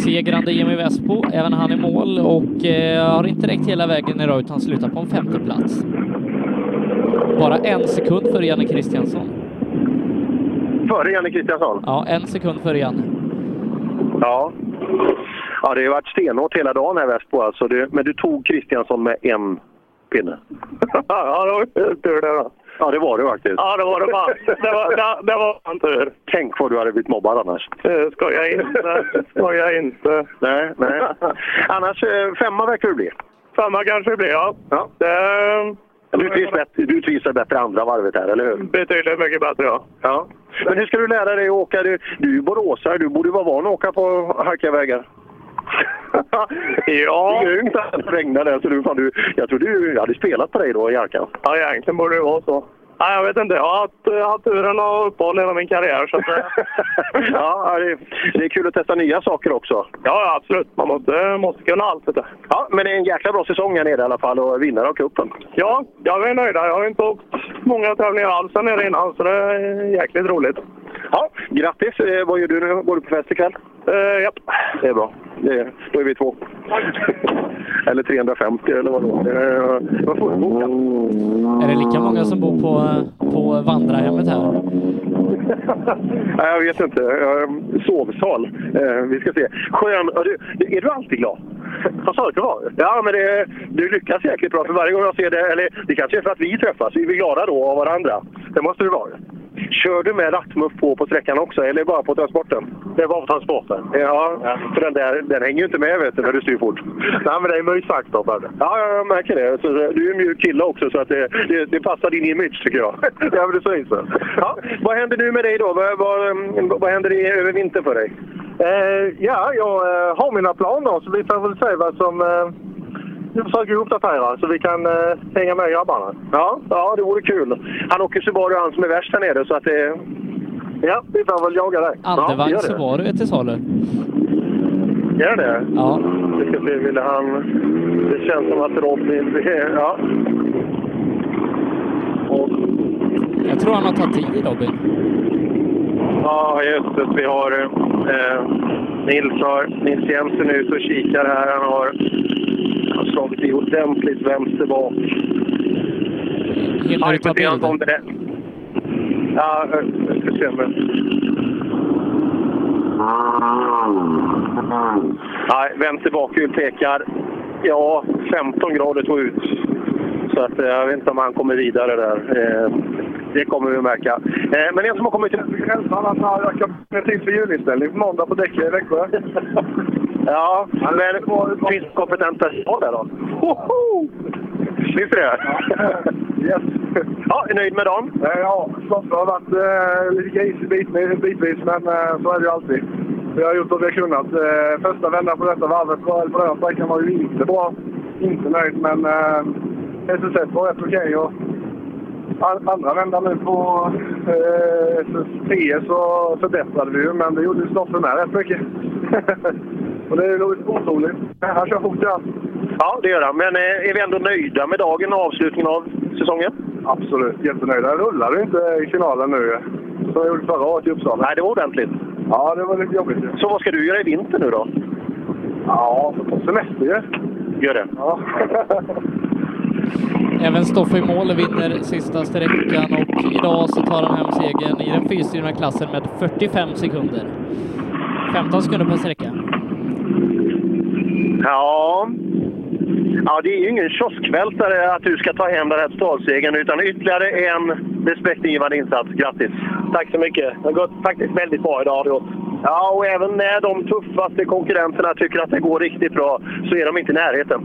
[SPEAKER 1] Segrande Jimmy Vespo, även han i mål och eh, har inte räckt hela vägen idag utan slutar på en femte plats. Bara en sekund före Janne Kristiansson.
[SPEAKER 2] Före Janne Kristiansson?
[SPEAKER 1] Ja, en sekund före Janne.
[SPEAKER 2] Ja. ja, det har varit stenhårt hela dagen här Västbo alltså. Det, men du tog Kristiansson med en pinne. ja, det var tur det då. Ja, det var det faktiskt.
[SPEAKER 19] Ja, det var det fan. Det var, det, det var fan tur.
[SPEAKER 2] Tänk vad du hade blivit mobbad annars.
[SPEAKER 19] Eh, Skoja inte. Skoja inte.
[SPEAKER 2] Nej, nej. Annars eh, femma verkar du bli.
[SPEAKER 19] Samma kanske det blir, ja.
[SPEAKER 2] ja. Du trivs, bättre, du trivs väl bättre andra varvet här, eller hur?
[SPEAKER 19] Betydligt mycket bättre, ja.
[SPEAKER 2] Ja. Men hur ska du lära dig att åka? Du, du är ju boråsare, du borde vara van att åka på halkiga vägar. ja. Det är grymt att det regnade. Så du, fan, du, jag tror du hade spelat på dig då i Jarkan.
[SPEAKER 19] Ja, egentligen borde det vara så. Nej, jag vet inte. Jag har haft, eh, haft turen och uppehåll hela min karriär. Så att, eh,
[SPEAKER 2] ja, det, det är kul att testa nya saker också.
[SPEAKER 19] ja, absolut. Man måste, måste kunna allt. Vet du.
[SPEAKER 2] Ja, men det är en jäkla bra säsong här nere i alla fall och vinnare av cupen.
[SPEAKER 19] Ja, jag är nöjd. Jag har inte åkt många tävlingar alls här nere innan, så det är jäkligt roligt.
[SPEAKER 2] Ja, grattis! Eh, Vad gör du nu? Går du på fest ikväll?
[SPEAKER 19] Uh, japp.
[SPEAKER 2] Det är bra. Det är, då är vi två. eller 350 eller vad det var. Eh, Vad fullbokat.
[SPEAKER 1] Är det lika många som bor på, eh, på vandrarhemmet här?
[SPEAKER 2] Nej, jag vet inte. Eh, Sovsal. Eh, Vi ska se. Skön... ja, Du, är du alltid glad? Vad sa du att du var? Ja, men det, du lyckas jäkligt bra. För varje gång jag ser det, eller det kanske är för att vi träffas, vi blir glada då av varandra. Det måste du vara. Kör du med rattmuff på på sträckan också, eller bara på transporten? Det är bara på transporten. Ja, för den där den hänger ju inte med vet du, när du styr fort. Nej, men det är mysfaktor på det. Ja, ja, jag märker det. Så, så, du är en mjuk kille också, så att det, det, det passar din image tycker jag. ja, men det syns väl. Ja, vad händer nu med dig då? Vad, vad, ehm, vad händer i, över vintern för dig?
[SPEAKER 15] ja, jag eh, har mina planer så vi får väl se vad som... Eh, jag försöker uppdatera så vi kan eh, hänga med grabbarna.
[SPEAKER 2] Ja, ja, det vore kul. Han åker Subaru, han som är värst här nere, så att eh, det... Ja, vi får väl jaga dig.
[SPEAKER 1] Andevagn Subaru är till salu.
[SPEAKER 2] Gör det?
[SPEAKER 1] Ja.
[SPEAKER 2] Vi ska se, ville han... Det känns som att Robin... Ja.
[SPEAKER 1] Jag tror han har tagit tid Robin.
[SPEAKER 2] Ja, just det. Vi har eh, Nils, har, Nils Jensen är ute och kikar här. Han har, han har slagit i ordentligt vänster bak.
[SPEAKER 1] Hinner du ta
[SPEAKER 2] bild? Ja, eh, vi ska se. Men... Nej, vänster bakhjul pekar ja, 15 grader tog ut. Så att, eh, jag vet inte om han kommer vidare där. Eh, det kommer vi märka. Eh, men en som har kommit... Jag kan till för julinställning på måndag på Däcke i Växjö. ja, men finns det kompetent personal där då? Hoho! Finns det det? yes. Ja, är nöjd med dem?
[SPEAKER 15] Ja, klart det har varit eh, lite grisigt bit, bitvis, men eh, så är det ju alltid. Vi har gjort vad vi har kunnat. Eh, första vändan på detta varvet, var- eller på den här sträckan, var ju inte bra. Inte nöjd, men eh, SSS var rätt okej. och an- andra vändan nu på eh, SS10 så förbättrade vi ju, men det gjorde ju Stoffen med rätt mycket. och det är ju otroligt. Han kör fort, ja.
[SPEAKER 2] Ja, det gör han. Men eh, är vi ändå nöjda med dagen och avslutningen av säsongen?
[SPEAKER 15] Absolut, jättenöjda. Jag rullade inte i finalen nu som jag gjorde förra året i Uppsala.
[SPEAKER 2] Nej, det var ordentligt.
[SPEAKER 15] Ja, det var lite jobbigt.
[SPEAKER 2] Så vad ska du göra i vinter nu då?
[SPEAKER 15] Ja, semester ju.
[SPEAKER 2] Gör det?
[SPEAKER 15] Ja.
[SPEAKER 1] Även Stoffe i mål vinner sista sträckan och idag så tar han hem segern i den fyrstyrna klassen med 45 sekunder. 15 sekunder per sträcka.
[SPEAKER 7] Ja. ja, det är ju ingen kioskvältare att du ska ta hem den här totalsegern utan ytterligare en respektingivande insats. Grattis! Tack så mycket. Det har gått faktiskt väldigt bra idag. har det gått. Ja, och även när de tuffaste konkurrenterna tycker att det går riktigt bra så är de inte i närheten.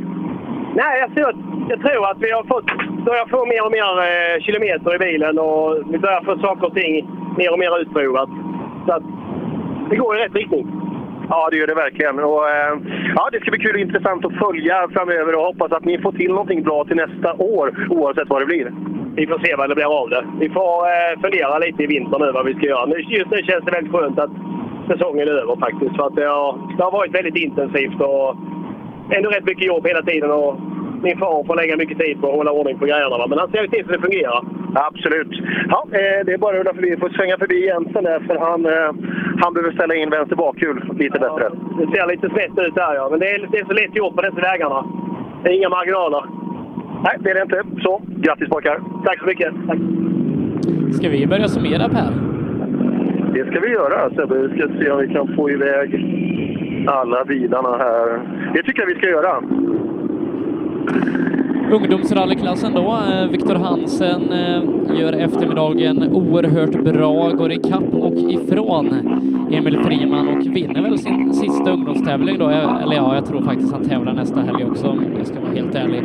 [SPEAKER 8] Nej, jag tror, jag tror att vi har fått, börjar få mer och mer eh, kilometer i bilen och vi börjar få saker och ting mer och mer utprovat. Så att det går i rätt riktning.
[SPEAKER 7] Ja, det gör det verkligen. Och, eh, ja, det ska bli kul och intressant att följa framöver och hoppas att ni får till någonting bra till nästa år, oavsett vad det blir.
[SPEAKER 8] Vi får se vad det blir av det. Vi får eh, fundera lite i vinter nu vad vi ska göra. Nu, just nu känns det väldigt skönt att säsongen är över faktiskt. För att det, har, det har varit väldigt intensivt och ändå rätt mycket jobb hela tiden. Och min far får lägga mycket tid på att hålla ordning på grejerna. va. Men han ser ju till så det fungerar.
[SPEAKER 7] Absolut. Ja, eh, det är bara att rulla förbi. Vi får svänga förbi Jensen där, för han, eh, han behöver ställa in vänster bakhjul lite bättre.
[SPEAKER 8] Det ser lite snett ut där ja, men det är, det är så lätt gjort på dessa vägarna. Det är inga marginaler.
[SPEAKER 7] Nej, det är det inte. Så, grattis pojkar!
[SPEAKER 8] Tack så mycket! Tack.
[SPEAKER 1] Ska vi börja summera Per?
[SPEAKER 2] Det ska vi göra Sebbe. Vi ska se om vi kan få iväg alla bilarna här.
[SPEAKER 7] Det tycker jag vi ska göra.
[SPEAKER 1] Ungdomsrallyklassen då. Eh, Viktor Hansen eh, gör eftermiddagen oerhört bra, går ikapp och ifrån Emil Friman och vinner väl sin sista ungdomstävling då. Eh, Eller ja, jag tror faktiskt han tävlar nästa helg också om jag ska vara helt ärlig.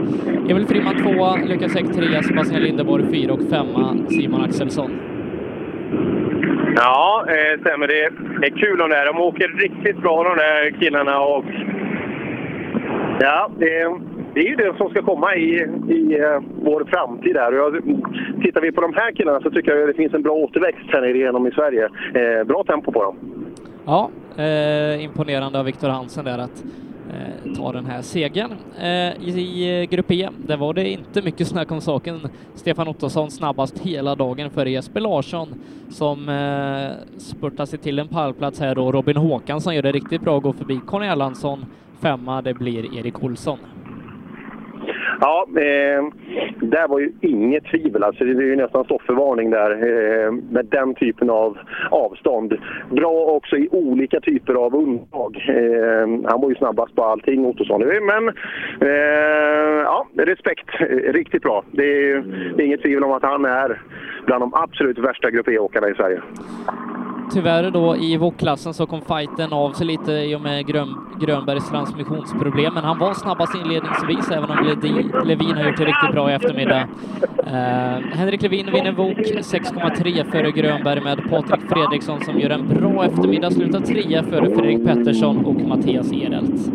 [SPEAKER 1] Emil Friman tvåa, Lukas Ek trea, Sebastian Lindeborg fyra och femma Simon Axelsson.
[SPEAKER 19] Ja, eh, stämmer. Det är kul de där. De åker riktigt bra de där killarna. Och...
[SPEAKER 2] Ja,
[SPEAKER 7] det, det är ju det som ska komma i, i eh, vår framtid. Här. Och jag, tittar vi på de här killarna så tycker jag att det finns en bra återväxt här nere igenom i Sverige. Eh, bra tempo på dem.
[SPEAKER 1] Ja, eh, imponerande av Viktor Hansen där att eh, ta den här segern. Eh, i, I grupp E, där var det inte mycket snack om saken. Stefan Ottosson snabbast hela dagen före Jesper Larsson som eh, spurtar sig till en pallplats här då. Robin Håkansson gör det riktigt bra och går förbi Conny Erlandsson. Femma, det blir Erik Olsson.
[SPEAKER 2] Ja, eh, där var ju inget tvivel. Alltså, det är ju nästan stoppförvarning där eh, med den typen av avstånd. Bra också i olika typer av undantag. Eh, han var ju snabbast på allting, Ottosson. Men eh, ja, respekt. Eh, Riktigt bra. Det är, ju- det är inget tvivel om att han är bland de absolut värsta Grupp E-åkarna i Sverige.
[SPEAKER 1] Tyvärr då i VOK-klassen så kom fighten av sig lite i och med Grön, Grönbergs transmissionsproblem, men han var snabbast inledningsvis, även om Ledi, Levin har gjort det riktigt bra i eftermiddag. Eh, Henrik Levin vinner VOK 6,3 före Grönberg med Patrik Fredriksson som gör en bra eftermiddag, slutar trea före Fredrik Pettersson och Mattias Ehrelt.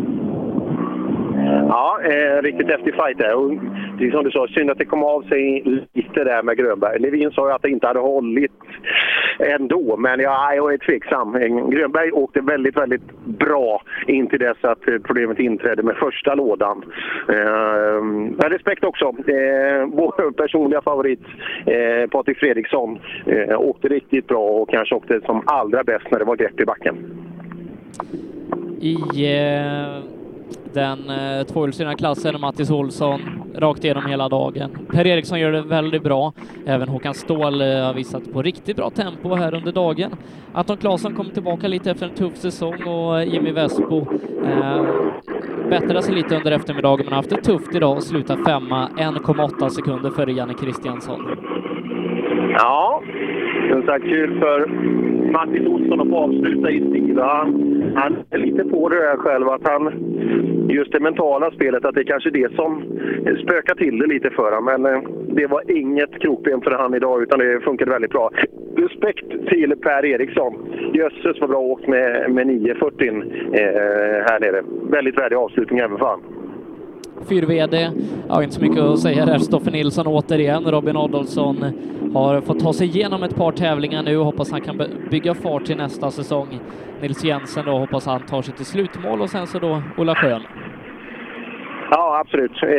[SPEAKER 2] Ja, eh, riktigt häftig fight där. Och det är som du sa, synd att det kom av sig lite där med Grönberg. Levin sa ju att det inte hade hållit ändå, men jag, jag är tveksam. Grönberg åkte väldigt, väldigt bra in till dess att eh, problemet inträdde med första lådan. Eh, men respekt också. Eh, vår personliga favorit eh, Patrik Fredriksson eh, åkte riktigt bra och kanske åkte som allra bäst när det var grepp i backen.
[SPEAKER 1] I eh, den eh, tvåhjulsdrivna klassen, Mattis Olsson, rakt igenom hela dagen. Per Eriksson gör det väldigt bra. Även Håkan Ståhl eh, har visat på riktigt bra tempo här under dagen. Anton Claesson kom tillbaka lite efter en tuff säsong och eh, Jimmy Vespo eh, bättrade sig lite under eftermiddagen men har haft det tufft idag och slutar femma, 1,8 sekunder före Janne Kristiansson.
[SPEAKER 2] Ja, som sagt kul för Martin Olsson att få avsluta i stil. Han, han är lite på det där själv att han, just det mentala spelet, att det är kanske det som spökar till det lite för honom. Men eh, det var inget krokben för han idag utan det funkade väldigt bra. Respekt till Per Eriksson. Jösses vad bra åkt med, med 940 eh, här nere. Väldigt värdig avslutning även för han.
[SPEAKER 1] Fyr-VD, ja inte så mycket att säga där. Stoffe Nilsson återigen. Robin Adolfsson har fått ta sig igenom ett par tävlingar nu. Hoppas han kan be- bygga fart till nästa säsong. Nils Jensen då hoppas han tar sig till slutmål och sen så då Ola Schön.
[SPEAKER 2] Ja, absolut. Eh,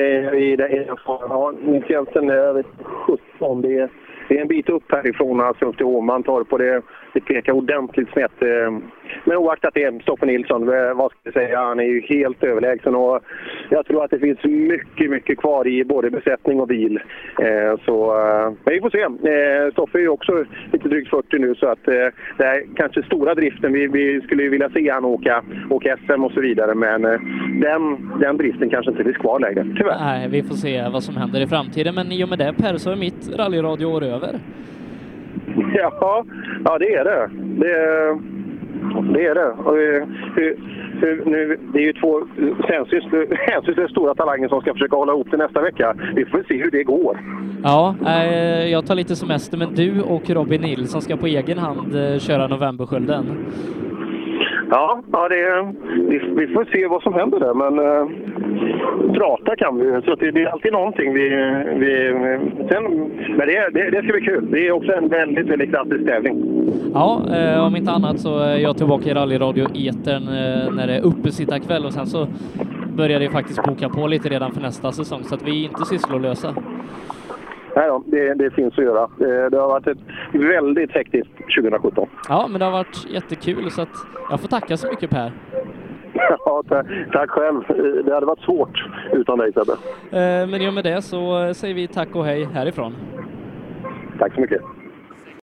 [SPEAKER 2] I den i den faran. Ja, Nils Jensen är över 17. Det är, det är en bit upp härifrån, alltså upp till Åmantorp. Och det, Det pekar ordentligt snett. eh. Men oaktat det, Stoffe Nilsson, eh, vad ska jag säga? Han är ju helt överlägsen och jag tror att det finns mycket, mycket kvar i både besättning och bil. Eh, Så, eh, men vi får se. Eh, Stoffe är ju också lite drygt 40 nu så att eh, det här kanske stora driften, vi, vi skulle ju vilja se han åka, åka SM och så vidare men eh, den, den driften kanske inte finns kvar längre, tyvärr.
[SPEAKER 1] Nej, vi får se vad som händer i framtiden, men i och med det Per så är mitt rallyradioår över.
[SPEAKER 2] Ja, ja det är det. Det, är- det är det. Och, eh, hur, hur, nu, det är ju två eh, hänsynslöst hänsynslöst stora talanger som ska försöka hålla ihop det nästa vecka. Vi får se hur det går.
[SPEAKER 1] Ja, eh, jag tar lite semester, men du och Robin Nilsson ska på egen hand eh, köra Novemberskölden.
[SPEAKER 2] Ja, ja det, är- vi, vi får se vad som händer där. Men eh, prata kan vi ju, så att det, det är alltid någonting. Vi, vi, sen, men det, det, det ska bli kul. Det är också en väldigt, väldigt klassisk tävling.
[SPEAKER 1] Ja, eh, om inte annat så är jag tillbaka i rallyradio-etern eh, när det är uppesittarkväll och sen så börjar det faktiskt boka på lite redan för nästa säsong så att vi är inte sysslolösa.
[SPEAKER 2] Nej då, det, det finns att göra. Eh, Det har varit ett väldigt hektiskt 2017.
[SPEAKER 1] Ja, men det har varit jättekul så att jag får tacka så mycket Per.
[SPEAKER 2] Ja, ta- tack själv. Eh, Det hade varit svårt utan dig Sebbe.
[SPEAKER 1] Eh, men i och med det så eh, säger vi tack och hej härifrån.
[SPEAKER 2] Tack så mycket.